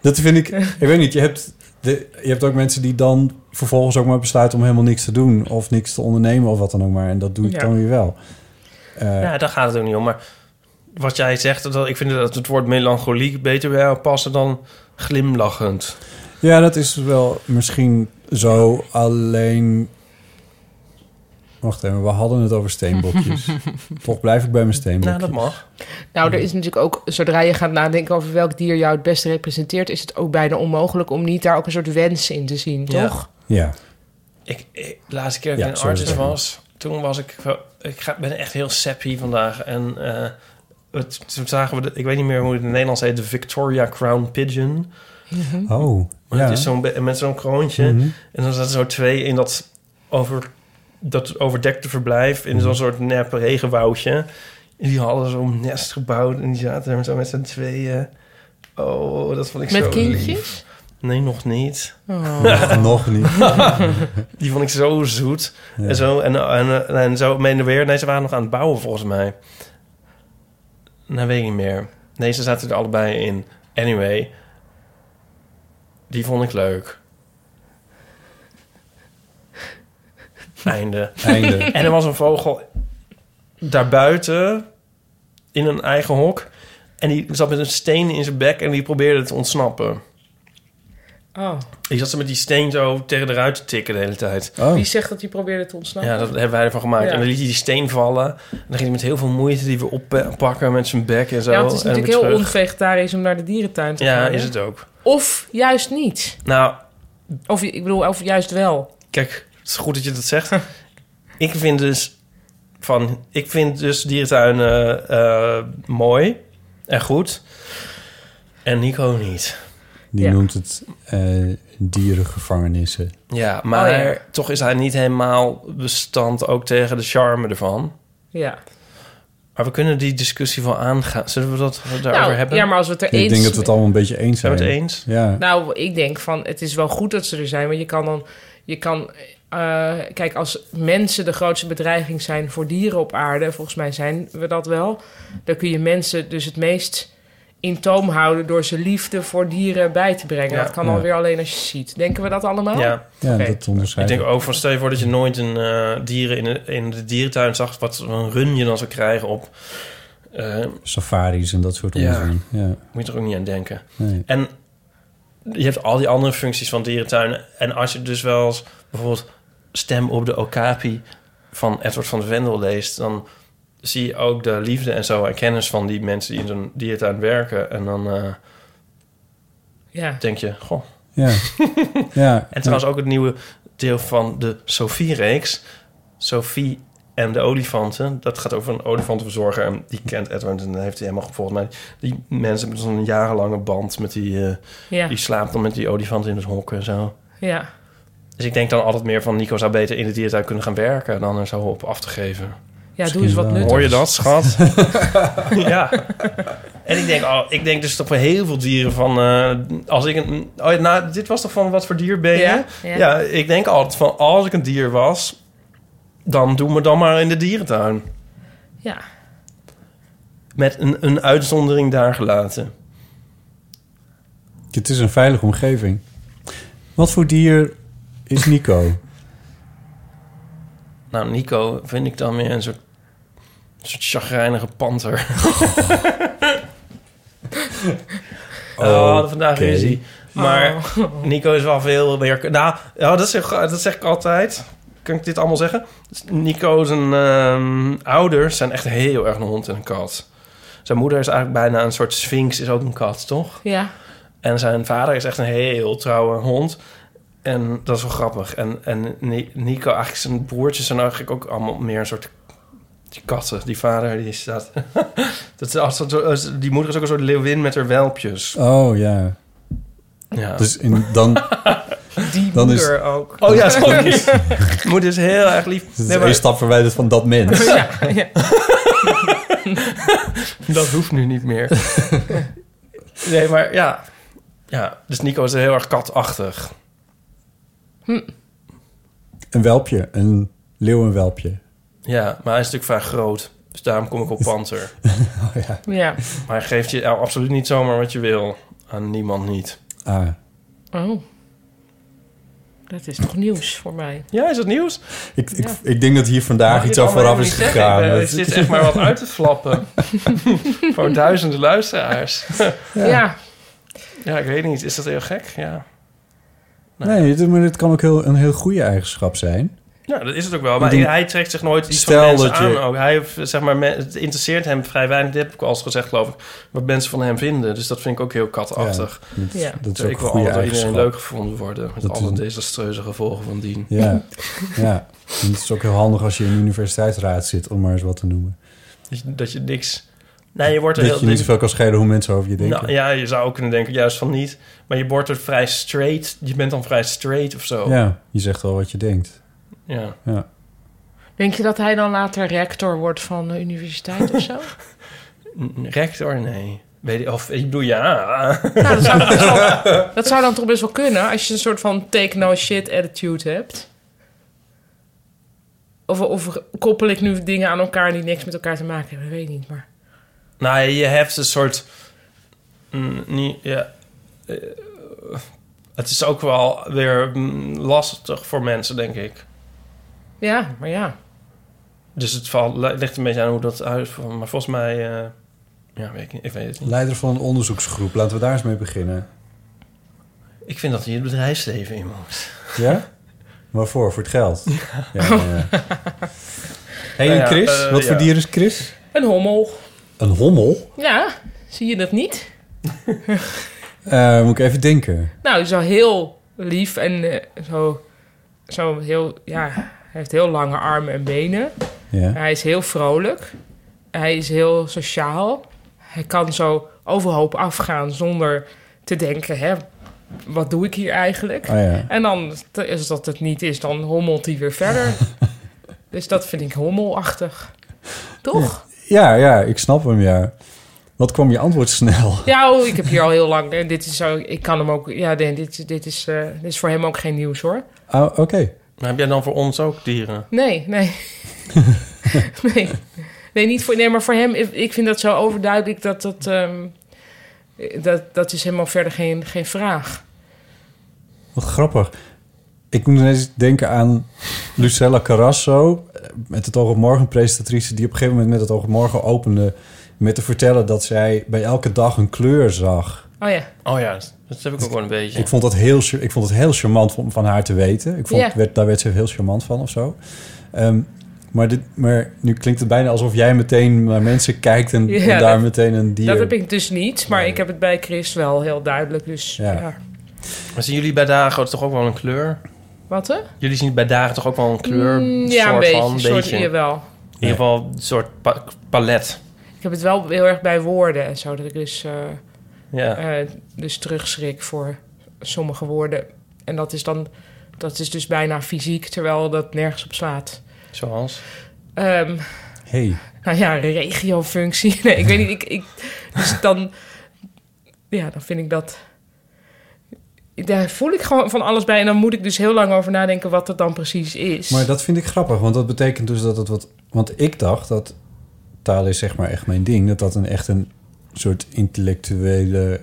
Speaker 3: Dat vind ik... Ik weet niet, je hebt, de, je hebt ook mensen die dan vervolgens ook maar besluiten... om helemaal niks te doen of niks te ondernemen of wat dan ook maar. En dat doe ik
Speaker 1: Ja.
Speaker 3: dan weer wel. Eh,
Speaker 2: ja, daar gaat het ook niet om. Maar wat jij zegt, dat, ik vind dat het woord melancholiek beter bij passen dan glimlachend.
Speaker 3: Ja, dat is wel misschien zo. Alleen. Wacht even, we hadden het over steenbokjes. Toch blijf ik bij mijn
Speaker 2: Nou,
Speaker 3: steenbokjes.
Speaker 2: dat mag.
Speaker 1: Nou, er is natuurlijk ook, zodra je gaat nadenken over welk dier jou het beste representeert, is het ook bijna onmogelijk om niet daar ook een soort wens in te zien,
Speaker 2: Ja.
Speaker 1: toch?
Speaker 3: Ja,
Speaker 2: Ik, ik, de laatste keer dat
Speaker 3: Ja,
Speaker 2: ik een
Speaker 3: sorry,
Speaker 2: artist
Speaker 3: sorry.
Speaker 2: was, toen was ik... wel- Ik ga, ben echt heel sappy vandaag. En eh, het, toen zagen we... De, ik weet niet meer hoe het in het Nederlands heet. De Victoria Crown Pigeon.
Speaker 3: oh.
Speaker 2: Hm? Maar
Speaker 3: ja.
Speaker 2: het is zo'n be- met zo'n kroontje.
Speaker 3: Mhm.
Speaker 2: En dan zaten zo twee in dat, over, dat overdekte verblijf... in zo'n soort nep regenwoudje. En die hadden zo'n nest gebouwd. En die zaten er zo met z'n tweeën. Oh, dat vond ik zo
Speaker 1: Met
Speaker 2: lief.
Speaker 1: kindjes?
Speaker 2: Nee, nog niet.
Speaker 3: Nog niet.
Speaker 2: Die vond ik zo zoet.
Speaker 3: Ja.
Speaker 2: En zo, en, en, en zo meen en weer. Nee, ze waren nog aan het bouwen volgens mij. Nou, weet ik niet meer. Nee, ze zaten er allebei in. Anyway, die vond ik leuk. Einde.
Speaker 3: Einde.
Speaker 2: En er was een vogel daarbuiten in een eigen hok. En die zat met een steen in zijn bek en die probeerde te ontsnappen.
Speaker 1: Oh,
Speaker 2: Die zat ze met die steen zo tegen de ruit te tikken de hele tijd.
Speaker 3: Oh.
Speaker 1: wie zegt dat hij probeerde te ontsnappen?
Speaker 2: Ja, dat hebben wij ervan gemaakt.
Speaker 1: Ja.
Speaker 2: En dan liet hij die steen vallen. En dan ging hij met heel veel moeite die we oppakken met zijn bek en zo.
Speaker 1: Ja, want het is
Speaker 2: en
Speaker 1: natuurlijk
Speaker 2: weer
Speaker 1: heel
Speaker 2: terug.
Speaker 1: onvegetarisch om naar de dierentuin te gaan.
Speaker 2: Ja,
Speaker 1: hè?
Speaker 2: is het ook.
Speaker 1: Of juist niet.
Speaker 2: Nou,
Speaker 1: Of ik bedoel, of juist wel.
Speaker 2: kijk, het is goed dat je dat zegt. ik vind dus van, ik vind dus dierentuinen eh, mooi en goed. En Nico niet.
Speaker 3: Die
Speaker 1: Ja.
Speaker 3: noemt het eh, dierengevangenissen.
Speaker 2: Ja, maar
Speaker 1: Oh, ja.
Speaker 2: toch is hij niet helemaal bestand ook tegen de charme ervan.
Speaker 1: Ja.
Speaker 2: Maar we kunnen die discussie wel aangaan. Zullen we dat daarover
Speaker 1: nou,
Speaker 2: hebben?
Speaker 1: ja, maar als we het er eens...
Speaker 3: Ik denk dat we het allemaal een beetje eens
Speaker 2: Zijn
Speaker 3: zijn.
Speaker 2: we het eens?
Speaker 3: Ja.
Speaker 1: Nou, ik denk van, het is wel goed dat ze er zijn, want je kan dan... Je kan, eh, kijk, als mensen de grootste bedreiging zijn voor dieren op aarde, volgens mij zijn we dat wel, dan kun je mensen dus het meest in toom houden door ze liefde voor dieren bij te brengen.
Speaker 2: Ja.
Speaker 1: dat kan
Speaker 3: Ja.
Speaker 1: alweer alleen als je ziet. Denken we dat allemaal?
Speaker 2: Ja.
Speaker 3: ja,
Speaker 1: Oké.
Speaker 3: dat onderscheid.
Speaker 2: Ik denk ook van stel je voor dat je nooit een eh, dieren in de, in de dierentuin zag, wat een run je dan zou krijgen op. eh,
Speaker 3: Safaris en dat soort
Speaker 2: Ja.
Speaker 3: onzin. Ja.
Speaker 2: moet je er ook niet aan denken.
Speaker 3: Nee.
Speaker 2: En je hebt al die andere functies van dierentuinen. En als je dus wel eens bijvoorbeeld Stem op de Okapi van Edward van de Vendel leest, dan zie je ook de liefde en zo en kennis van die mensen die in zo'n dierentuin werken. En dan eh,
Speaker 1: Ja.
Speaker 2: denk je, goh.
Speaker 3: Ja. ja.
Speaker 2: En trouwens ook het nieuwe deel van de Sophie-reeks. Sophie en de olifanten. Dat gaat over een olifantenverzorger. En die kent Edward en dan heeft hij helemaal volgens mij... Die mensen hebben zo'n jarenlange band met die... eh,
Speaker 1: Ja.
Speaker 2: Die slaapt dan met die olifanten in het hok en zo.
Speaker 1: ja.
Speaker 2: Dus ik denk dan altijd meer van... Nico zou beter in de dierentuin kunnen gaan werken... dan er zo op af te geven.
Speaker 1: Ja, doe eens wat
Speaker 3: wel.
Speaker 1: nuttigs.
Speaker 2: Hoor je dat, schat? ja. En ik denk, oh, ik denk dus toch voor heel veel dieren van... eh, als ik een... Oh, ja, nou, dit was toch van wat voor dier ben je?
Speaker 1: Ja,
Speaker 2: Ja.
Speaker 1: ja.
Speaker 2: ik denk altijd van als ik een dier was, dan doe me dan maar in de dierentuin.
Speaker 1: Ja.
Speaker 2: Met een, een uitzondering daar gelaten.
Speaker 3: Het is een veilige omgeving. Wat voor dier is Nico?
Speaker 2: Nou, Nico vind ik dan meer een soort, een soort chagrijnige panter. oh, vandaag
Speaker 3: Oké.
Speaker 2: is hij. Maar Nico is wel veel meer... Nou, ja, dat, zeg, dat zeg ik altijd. Kan ik dit allemaal zeggen? Nico's en, ehm, ouders zijn echt heel erg een hond en een kat. Zijn moeder is eigenlijk bijna een soort sphinx, is ook een kat, toch?
Speaker 1: Ja.
Speaker 2: En zijn vader is echt een heel trouwe hond. En dat is wel grappig. En, en Ni- Nico, eigenlijk zijn broertjes zijn eigenlijk ook allemaal meer een soort die katten. Die vader, die staat... dat is altijd zo- die moeder is ook een soort leeuwin met haar welpjes.
Speaker 3: Oh ja.
Speaker 2: Ja.
Speaker 3: Dus in, dan,
Speaker 1: Die
Speaker 3: Dan is-
Speaker 1: moeder ook.
Speaker 2: oh ja, sorry. moeder is heel erg lief.
Speaker 3: dat is
Speaker 2: Nee,
Speaker 3: één
Speaker 2: maar
Speaker 3: stap verwijderd van dat mens.
Speaker 1: Ja, ja.
Speaker 2: dat hoeft nu niet meer. nee, maar ja. ja. Dus Nico is heel erg katachtig.
Speaker 3: Een welpje. Een leeuwenwelpje.
Speaker 2: Ja, maar hij is natuurlijk vaak groot. Dus daarom kom ik op panter.
Speaker 3: Oh ja.
Speaker 1: ja.
Speaker 2: Maar hij geeft je absoluut niet zomaar wat je wil. Aan niemand niet.
Speaker 3: Ah.
Speaker 1: Oh. Dat is toch nieuws voor mij.
Speaker 2: Ja, is dat nieuws?
Speaker 3: Ik, ik, ik denk dat hier vandaag iets aan vooraf is gegaan.
Speaker 2: Het
Speaker 3: Dat-
Speaker 2: is dit Eh, echt maar wat uit te flappen. Voor duizenden luisteraars.
Speaker 1: Ja.
Speaker 2: ja, ik weet niet. Is dat heel gek? Ja.
Speaker 3: nee, dit- maar dit kan ook heel, een heel goede eigenschap zijn.
Speaker 2: Ja, dat is het ook wel. Maar
Speaker 3: Ik bedoel,
Speaker 2: hij trekt zich nooit iets
Speaker 3: stel
Speaker 2: van mensen
Speaker 3: dat je-
Speaker 2: aan. Ook. Hij, heeft, zeg maar, me- het interesseert hem vrij weinig. Dit heb ik al eens gezegd, geloof ik. Wat mensen van hem vinden. Dus dat vind ik ook heel katachtig.
Speaker 3: Dat,
Speaker 1: Ja.
Speaker 3: dat is ook
Speaker 2: ik
Speaker 3: een
Speaker 2: wil
Speaker 3: goede
Speaker 2: altijd door iedereen
Speaker 3: eigenschap.
Speaker 2: leuk gevonden worden. Met
Speaker 3: Dat is
Speaker 2: alle
Speaker 3: een-
Speaker 2: desastreuze gevolgen van dien.
Speaker 3: Ja, ja. En het is ook heel handig als je in de universiteitsraad zit, om maar eens wat te noemen.
Speaker 2: Dat je, dat je niks... Nee, je wordt er
Speaker 3: Dat je
Speaker 2: heel...
Speaker 3: niet zoveel kan schelen hoe mensen over je denken.
Speaker 2: Nou, ja, je zou ook kunnen denken, juist van niet. Maar je wordt er vrij straight. Je bent dan vrij straight of zo.
Speaker 3: Ja, je zegt wel wat je denkt.
Speaker 2: Ja.
Speaker 3: Ja.
Speaker 1: Denk je dat hij dan later rector wordt van de universiteit of zo?
Speaker 2: N- Rector, nee. Weet je, of ik bedoel, ja.
Speaker 1: Nou, dat zou, toch best wel- dat zou dan toch best wel kunnen als je een soort van take no shit attitude hebt. Of, of koppel ik nu dingen aan elkaar die niks met elkaar te maken hebben? Ik weet niet, maar...
Speaker 2: nou, je hebt een soort... mm, niet, ja. Eh, het is ook wel weer mm, lastig voor mensen, denk ik.
Speaker 1: Ja, maar ja.
Speaker 2: Dus het valt, ligt een beetje aan hoe dat uit... Maar volgens mij... eh, ja, weet ik, niet, ik weet het niet.
Speaker 3: Leider van een onderzoeksgroep, laten we daar eens mee beginnen.
Speaker 2: Ik vind dat je het bedrijfsleven in moet.
Speaker 3: Ja? Waarvoor? Voor het geld? Ja. ja, ja. Hey,
Speaker 2: Nou ja,
Speaker 3: Chris,
Speaker 2: eh,
Speaker 3: wat voor
Speaker 2: ja.
Speaker 3: dier is Chris?
Speaker 1: Een hommel.
Speaker 3: Een hommel?
Speaker 1: Ja, zie je dat niet?
Speaker 3: Eh, moet ik even denken.
Speaker 1: Nou, hij is wel heel lief en eh, zo, zo heel... Ja, hij heeft heel lange armen en benen.
Speaker 3: Ja.
Speaker 1: Hij is heel vrolijk. Hij is heel sociaal. Hij kan zo overhoop afgaan zonder te denken, hè, wat doe ik hier eigenlijk?
Speaker 3: Oh ja.
Speaker 1: En dan, t- als dat het niet is, dan hommelt hij weer verder. dus dat vind ik hommelachtig. Toch?
Speaker 3: Ja, ja, ik snap hem, ja. Wat kwam je antwoord snel?
Speaker 1: Ja, oh, ik heb hier al heel lang... En dit is zo, ik kan hem ook... Ja, nee, dit, is- dit, is, eh, dit is voor hem ook geen nieuws, hoor.
Speaker 3: Oh, oké.
Speaker 2: Maar heb jij dan voor ons ook dieren?
Speaker 1: Nee, nee. nee. Nee, niet voor, nee, maar voor hem, ik- ik vind dat zo overduidelijk dat dat. ehm, dat, dat is helemaal verder geen, geen vraag.
Speaker 3: Wat grappig. Ik moet ineens denken aan Lucella Carrasso... eh, met het oog op morgen, presentatrice... die op een gegeven moment met het oog op morgen opende... met te vertellen dat zij bij elke dag een kleur zag.
Speaker 1: Oh ja.
Speaker 2: Oh ja, dat heb ik ook wel een beetje.
Speaker 3: Ik vond dat heel, char- ik vond het heel charmant om van haar te weten. Ik vond,
Speaker 1: Ja.
Speaker 3: werd, daar werd ze heel charmant van of zo. Ehm, maar, dit, maar nu klinkt het bijna alsof jij meteen naar mensen kijkt... en,
Speaker 1: Ja,
Speaker 3: en daar
Speaker 1: dat-
Speaker 3: meteen een dier...
Speaker 1: Dat heb ik dus niet, maar ik heb het bij Chris wel heel duidelijk. Dus
Speaker 3: Ja.
Speaker 1: ja.
Speaker 2: Maar zien jullie bij dagen toch ook wel een kleur?
Speaker 1: Wat hè?
Speaker 2: Jullie zien bij dagen toch ook wel een kleur?
Speaker 1: Mm, ja, een
Speaker 2: soort
Speaker 1: beetje.
Speaker 2: van,
Speaker 1: een soort,
Speaker 2: beetje.
Speaker 1: Jawel.
Speaker 2: In ieder geval een soort pa- palet.
Speaker 1: Ik heb het wel heel erg bij woorden en zo. Dat ik dus, eh,
Speaker 2: Ja.
Speaker 1: eh, dus terugschrik voor sommige woorden. En dat is dan. Dat is dus bijna fysiek, terwijl dat nergens op slaat.
Speaker 2: Zoals?
Speaker 1: Ehm,
Speaker 3: Hey.
Speaker 1: nou ja, regiofunctie. Nee, ik weet niet. Ik, ik, dus dan, ja, dan vind ik dat. Daar voel ik gewoon van alles bij. En dan moet ik dus heel lang over nadenken wat dat dan precies is.
Speaker 3: Maar dat vind ik grappig, want dat betekent dus dat het wat... Want ik dacht dat taal is zeg maar echt mijn ding. Dat dat een echt een soort intellectuele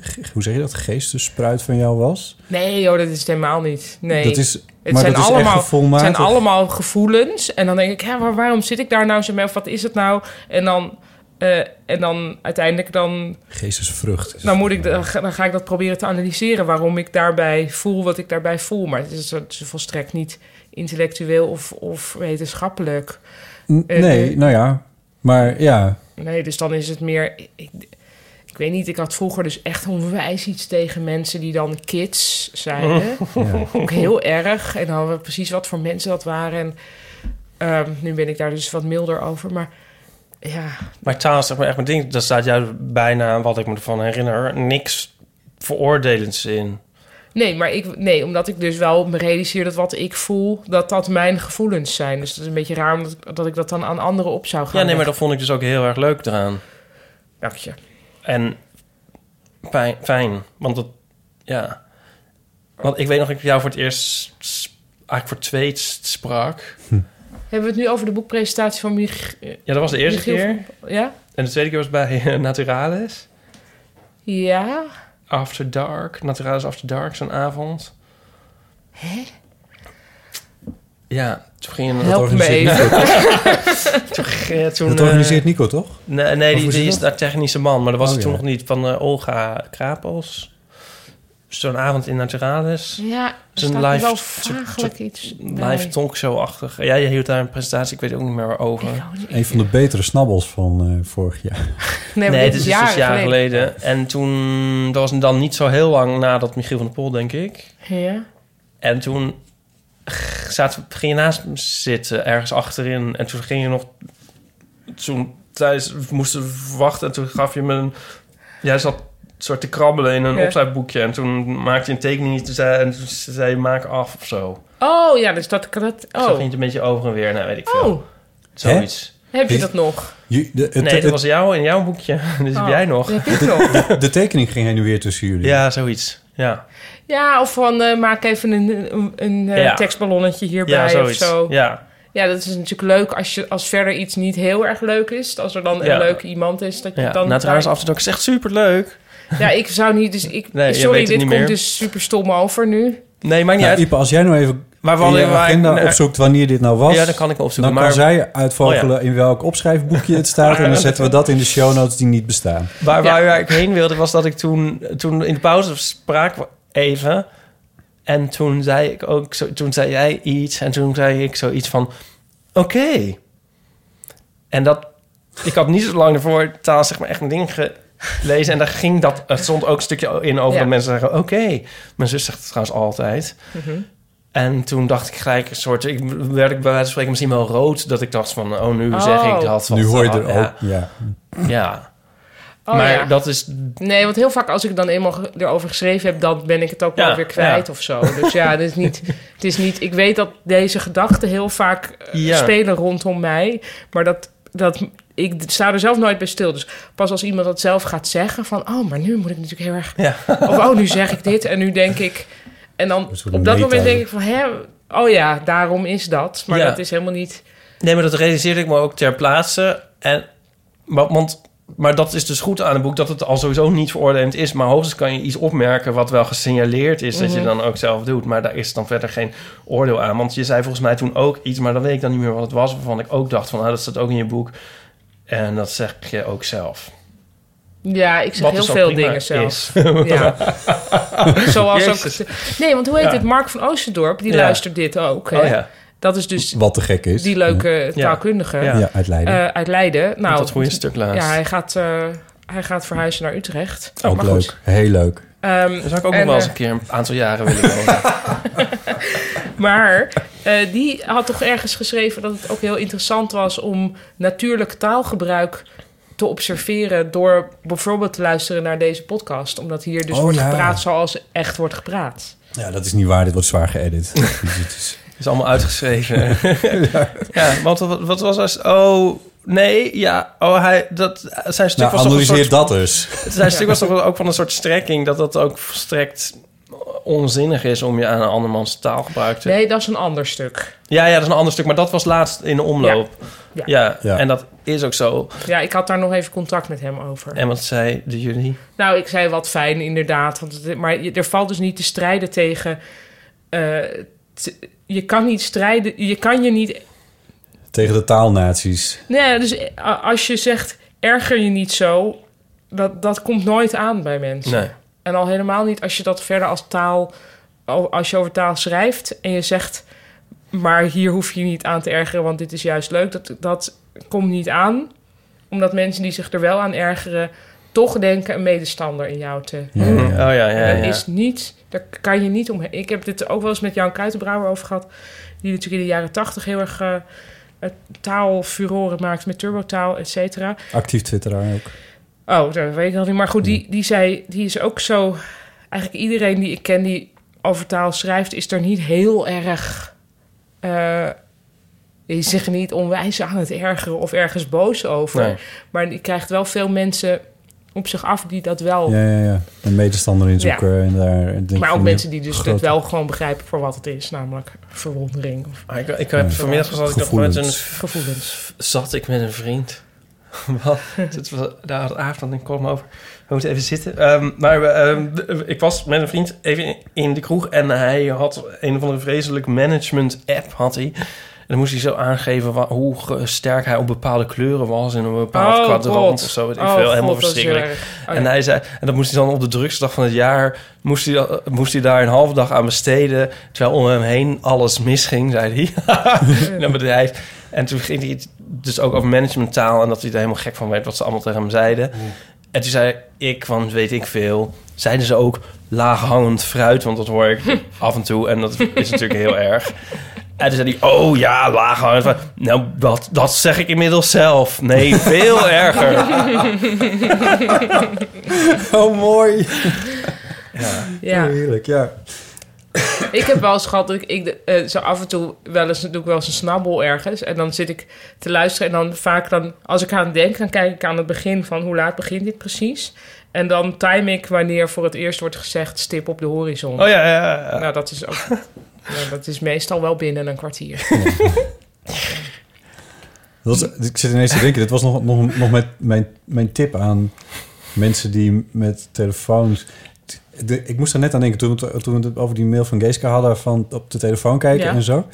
Speaker 3: ge- hoe zeg je dat, geestespruit van jou was.
Speaker 1: Nee, joh, dat is het helemaal niet. Nee.
Speaker 3: Dat is,
Speaker 1: Het
Speaker 3: maar
Speaker 1: zijn,
Speaker 3: dat is
Speaker 1: allemaal,
Speaker 3: echt gevoelmatig.
Speaker 1: het zijn allemaal gevoelens. En dan denk ik, hè, waar- waarom zit ik daar nou zo mee? Of wat is het nou? En dan, eh, en dan uiteindelijk dan,
Speaker 3: Geestesvrucht. is
Speaker 1: Dus dan,
Speaker 3: het.
Speaker 1: moet ik, dan ga dan ga ik dat proberen te analyseren. Waarom ik daarbij voel wat ik daarbij voel. Maar het is, het is volstrekt niet intellectueel of, of wetenschappelijk.
Speaker 3: N-
Speaker 1: eh,
Speaker 3: nee,
Speaker 1: eh.
Speaker 3: nou ja. Maar ja,
Speaker 1: Nee, dus dan is het meer... Ik, ik weet niet, ik had vroeger dus echt onwijs iets tegen mensen die dan kids zeiden.
Speaker 3: ja.
Speaker 1: ook heel erg. En dan we precies wat voor mensen dat waren. En ehm, nu ben ik daar dus wat milder over. Maar ja,
Speaker 2: Maar taal is zeg maar echt mijn ding. Daar staat juist bijna, wat ik me ervan herinner, niks veroordelends in.
Speaker 1: nee, maar ik, nee, omdat ik dus wel me realiseer dat wat ik voel, dat dat mijn gevoelens zijn. Dus dat is een beetje raar omdat, dat ik dat dan aan anderen op zou gaan.
Speaker 2: Ja, nee, maar dat vond ik dus ook heel erg leuk eraan.
Speaker 1: Dank je.
Speaker 2: En fijn, fijn want dat, ja. Want ik weet nog dat ik jou voor het eerst, s- eigenlijk voor het tweet sprak.
Speaker 1: Hebben we het nu over de boekpresentatie van Mich
Speaker 2: Ja, dat was de eerste
Speaker 1: Michiel?
Speaker 2: keer.
Speaker 1: Ja?
Speaker 2: En de tweede keer was bij eh, Naturalis.
Speaker 1: Ja?
Speaker 2: After Dark. Naturalis After Dark, zo'n avond.
Speaker 1: Hè?
Speaker 2: Ja, toen ging je...
Speaker 1: Help me
Speaker 3: organiseert
Speaker 1: even.
Speaker 2: eh, Toen,
Speaker 3: dat
Speaker 2: eh,
Speaker 3: organiseert Nico toch?
Speaker 2: Nee, nee
Speaker 3: Of
Speaker 2: die,
Speaker 3: hoe
Speaker 2: die
Speaker 3: zit
Speaker 2: is daar
Speaker 3: dat?
Speaker 2: technische man, maar dat was
Speaker 3: Oh,
Speaker 2: het toen
Speaker 3: ja.
Speaker 2: nog niet. Van eh, Olga Krapels. Zo'n avond in Naturalis.
Speaker 1: Ja, er
Speaker 2: is een
Speaker 1: staat
Speaker 2: live-
Speaker 1: wel
Speaker 2: soort-
Speaker 1: vaaglijk iets bij.
Speaker 2: Live talkshow-achtig. Ja, je hield daar een presentatie, ik weet ook niet meer waarover.
Speaker 1: Ik hou niet-
Speaker 3: Een van de betere snabbels van eh, vorig jaar.
Speaker 1: Nee, maar
Speaker 2: Nee,
Speaker 1: dit
Speaker 2: dit is dus
Speaker 1: jaren
Speaker 2: jaren geleden. En toen, dat was dan niet zo heel lang nadat Michiel van der Pol, denk ik.
Speaker 1: Ja?
Speaker 2: En toen g- zaten, we- ging je naast me zitten, ergens achterin. En toen ging je nog... Toen tijdens, we moesten wachten en toen gaf je me een... Jij zat soort te krabbelen in een
Speaker 1: Ja.
Speaker 2: opschrijfboekje. En toen maakte je een tekening toen zei- en toen zei je maak af of zo.
Speaker 1: Oh ja, dus dat kan dat.
Speaker 2: Oh. Zo ging
Speaker 1: Oh.
Speaker 2: het een beetje over en weer, nou weet ik veel.
Speaker 1: oh,
Speaker 2: Zoiets.
Speaker 1: heb je dat nog?
Speaker 3: Je- de, het-
Speaker 2: nee, dat
Speaker 3: het-
Speaker 2: was jou in jouw boekje.
Speaker 1: Oh,
Speaker 2: Dus heb jij nog.
Speaker 1: dat Heb ik nog?
Speaker 3: de tekening ging heen en weer tussen jullie.
Speaker 2: Ja, zoiets. Ja,
Speaker 1: Ja, of van eh, maak even een, een, een eh,
Speaker 2: Ja.
Speaker 1: tekstballonnetje hierbij
Speaker 2: ja
Speaker 1: of
Speaker 2: zoiets.
Speaker 1: zo. Ja.
Speaker 2: Ja.
Speaker 1: dat is natuurlijk leuk als, je, als verder iets niet heel erg leuk is. Als er dan
Speaker 2: Ja.
Speaker 1: een leuk iemand is, dat je
Speaker 2: ja.
Speaker 1: dan...
Speaker 2: nou, trouwens, af en toe is echt superleuk.
Speaker 1: Ja, ik zou niet... Dus ik,
Speaker 2: Nee, je weet
Speaker 1: sorry,
Speaker 2: het
Speaker 1: dit
Speaker 2: niet
Speaker 1: komt
Speaker 2: meer.
Speaker 1: dus super stom over nu.
Speaker 2: Nee, maakt niet uit.
Speaker 3: Nou, Ipe, als jij nou even
Speaker 2: Maar we
Speaker 3: in je
Speaker 2: hadden- maar-
Speaker 3: agenda
Speaker 2: nee.
Speaker 3: opzoekt wanneer dit nou was...
Speaker 2: Ja, dan kan ik hem opzoeken.
Speaker 3: dan kan
Speaker 2: maar Oh,
Speaker 3: zij uitvogelen in welk opschrijfboekje het staat... en dan zetten we dat in de show notes die niet bestaan.
Speaker 2: waar, waar, waar ik heen wilde, was dat ik toen, toen in de pauze spraken we even. En toen zei ik ook, zo, toen zei jij iets. En toen zei ik zoiets van, oké. En dat, ik had niet zo lang ervoor taal zeg maar echt een ding gelezen. En daar ging dat, er stond ook een stukje in over
Speaker 1: Ja.
Speaker 2: dat mensen zeggen, oké. Mijn zus zegt het trouwens altijd.
Speaker 1: Mhm.
Speaker 2: En toen dacht ik gelijk een soort... Ik werd ik bij wijze van spreken misschien wel rood... dat ik dacht van, oh, nu zeg
Speaker 1: Oh.
Speaker 2: ik dat.
Speaker 3: nu
Speaker 2: want,
Speaker 3: hoor je
Speaker 2: ah,
Speaker 3: er
Speaker 2: ja,
Speaker 3: ook... Ja.
Speaker 2: Ja.
Speaker 1: Oh,
Speaker 2: maar
Speaker 1: ja.
Speaker 2: dat is...
Speaker 1: Nee, want heel vaak als ik dan eenmaal ge- erover geschreven heb... dan ben ik het ook
Speaker 2: Ja,
Speaker 1: wel weer kwijt
Speaker 2: ja.
Speaker 1: of zo. Dus ja, het is, niet, het is niet... Ik weet dat deze gedachten heel vaak eh,
Speaker 2: Ja.
Speaker 1: spelen rondom mij. Maar dat, dat, ik sta er zelf nooit bij stil. Dus pas als iemand dat zelf gaat zeggen van... oh, maar nu moet ik natuurlijk heel erg...
Speaker 2: Ja.
Speaker 1: of oh, nu zeg ik dit en nu denk ik... En dan
Speaker 3: Een soort
Speaker 1: op dat moment
Speaker 3: meta.
Speaker 1: denk ik van... hè, oh ja, daarom is dat. Maar
Speaker 2: Ja.
Speaker 1: dat is helemaal niet...
Speaker 2: Nee, maar dat realiseerde ik me ook ter plaatse. En, wa- want, maar dat is dus goed aan het boek... dat het al sowieso niet veroordeeld is. Maar hoogstens kan je iets opmerken wat wel gesignaleerd is...
Speaker 1: Mhm.
Speaker 2: dat je dan ook zelf doet. Maar daar is dan verder geen oordeel aan. Want je zei volgens mij toen ook iets... maar dan weet ik dan niet meer wat het was... waarvan ik ook dacht van, ah, dat staat ook in je boek... En dat zeg je ook zelf.
Speaker 1: Ja, ik zeg
Speaker 2: Wat
Speaker 1: heel
Speaker 2: dus al
Speaker 1: veel
Speaker 2: prima
Speaker 1: dingen zelf.
Speaker 2: is.
Speaker 1: Ja. Zoals
Speaker 2: Jezus.
Speaker 1: ook. Nee, want hoe heet
Speaker 2: Ja.
Speaker 1: het? Mark van Oosterdorp, die
Speaker 2: Ja.
Speaker 1: luistert dit ook. Hè?
Speaker 2: Oh ja.
Speaker 1: Dat is dus
Speaker 3: Wat te gek is.
Speaker 1: die leuke taalkundige
Speaker 2: Ja.
Speaker 3: Ja, uit Leiden.
Speaker 1: eh, uit Leiden. Nou,
Speaker 2: Met dat goede stuk laatst.
Speaker 1: ja, hij gaat, eh, hij gaat verhuizen naar Utrecht.
Speaker 3: ook
Speaker 1: maar
Speaker 3: leuk.
Speaker 1: goed.
Speaker 3: Heel leuk.
Speaker 1: Ehm,
Speaker 2: Daar zou ik ook
Speaker 1: En,
Speaker 2: nog wel eens
Speaker 1: eh,
Speaker 2: een keer een aantal jaren willen wonen.
Speaker 1: maar eh, die had toch ergens geschreven dat het ook heel interessant was om natuurlijk taalgebruik te observeren door bijvoorbeeld te luisteren naar deze podcast. Omdat hier dus
Speaker 3: Oh,
Speaker 1: wordt
Speaker 3: ja.
Speaker 1: gepraat zoals echt wordt gepraat.
Speaker 3: Ja, dat is niet waar. Dit wordt zwaar geëdit. Dus het is-
Speaker 2: is allemaal uitgeschreven. ja, want wat, wat was als Oh, nee, ja. Oh, hij, dat, zijn stuk
Speaker 3: nou,
Speaker 2: was toch een
Speaker 3: analyseer
Speaker 2: soort,
Speaker 3: dat dus.
Speaker 2: Zijn stuk was toch ook van een soort strekking... dat dat ook verstrekt onzinnig is om je aan een andermans taalgebruik te...
Speaker 1: Nee, dat is een ander stuk.
Speaker 2: Ja, ja, dat is een ander stuk, maar dat was laatst in de omloop.
Speaker 1: Ja.
Speaker 2: Ja,
Speaker 3: Ja.
Speaker 2: en dat is ook zo.
Speaker 1: Ja, ik had daar nog even contact met hem over.
Speaker 2: En wat zeiden jullie?
Speaker 1: Nou, ik zei wat fijn, inderdaad. Want het- maar je- er valt dus niet te strijden tegen. eh, t- je kan niet strijden. Je kan je niet.
Speaker 3: Tegen de taalnaties.
Speaker 1: Nee, dus eh, a- als je zegt erger je niet zo, dat, dat komt nooit aan bij mensen.
Speaker 2: Nee.
Speaker 1: En al helemaal niet als je dat verder als taal. al- Als je over taal schrijft en je zegt. Maar hier hoef je je niet aan te ergeren, want dit is juist leuk. Dat, dat komt niet aan. Omdat mensen die zich er wel aan ergeren. toch denken een medestander in jou te
Speaker 3: Ja, ja.
Speaker 2: Oh ja, ja, ja.
Speaker 1: dat is niet, daar kan je niet omheen. Ik heb dit ook wel eens met Jan Kuitenbrouwer over gehad. Die natuurlijk in de jaren tachtig heel erg eh taalfuroren maakt met turbotaal, et cetera.
Speaker 3: Actief twitteraar ook.
Speaker 1: Oh, dat weet ik nog niet. Maar goed, die, die zei, die is ook zo... Eigenlijk iedereen die ik ken die over taal schrijft... is er niet heel erg... eh is zich niet onwijs aan het ergeren of ergens boos over.
Speaker 2: Nee.
Speaker 1: Maar die krijgt wel veel mensen op zich af die dat wel...
Speaker 3: Ja, ja, ja. Een medestander inzoeken. En daar, en denk
Speaker 1: Oh. Maar
Speaker 3: van,
Speaker 1: ook mensen die dus
Speaker 3: grote-
Speaker 1: het wel gewoon begrijpen voor wat het is, namelijk verwondering of
Speaker 2: Ah, Ik, ik heb vanmiddag zat ik nog met een,
Speaker 3: Gevoelens.
Speaker 1: gevoelens.
Speaker 2: zat ik met een vriend. Wat? Dit was, daar had Aafland en Kolm over. We moeten even zitten. Ehm, maar we, ehm, d- ik was met een vriend even in, in de kroeg en hij had een of andere vreselijk management app had hij. En dan moest hij zo aangeven wa- hoe ge- sterk hij op bepaalde kleuren was in een bepaald kwadrant of Oh, zo. Weet ik
Speaker 1: Oh,
Speaker 2: veel.
Speaker 1: God,
Speaker 2: Helemaal
Speaker 1: dat is
Speaker 2: verschrikkelijk.
Speaker 1: heel erg. Oh,
Speaker 2: en
Speaker 1: ja.
Speaker 2: hij zei, en dat moest hij dan op de drukste dag van het jaar, moest hij, da- moest hij daar een halve dag aan besteden. Terwijl om hem heen alles misging, zei hij. in een bedrijf. En toen ging hij het dus ook over managementtaal en dat hij er helemaal gek van werd wat ze allemaal tegen hem zeiden.
Speaker 1: Hmm.
Speaker 2: En toen zei ik, want weet ik veel, zeiden ze ook laaghangend fruit, want dat hoor ik af en toe en dat is natuurlijk heel erg. En toen zei hij, oh ja, laaghangend fruit. Nou, dat, dat zeg ik inmiddels zelf. Nee, veel erger.
Speaker 3: Oh, mooi.
Speaker 1: Ja.
Speaker 3: Heerlijk, ja.
Speaker 1: ik heb wel eens gehad dat ik, ik eh, zo af en toe wel eens, doe ik wel eens een snabbel ergens. En dan zit ik te luisteren en dan vaak dan, als ik aan denk, dan kijk ik aan het begin van hoe laat begint dit precies. En dan time ik wanneer voor het eerst wordt gezegd stip op de horizon.
Speaker 2: Oh ja, ja, ja.
Speaker 1: Nou, dat is ook, nou, dat is meestal wel binnen een kwartier.
Speaker 3: Dat was- ik zit ineens te denken, dit was nog, nog, nog met mijn, mijn tip aan mensen die met telefoons... De- ik moest er net aan denken toen, we het- toen we het over die mail van Geeske hadden... van op de telefoon kijken
Speaker 1: Ja.
Speaker 3: en zo.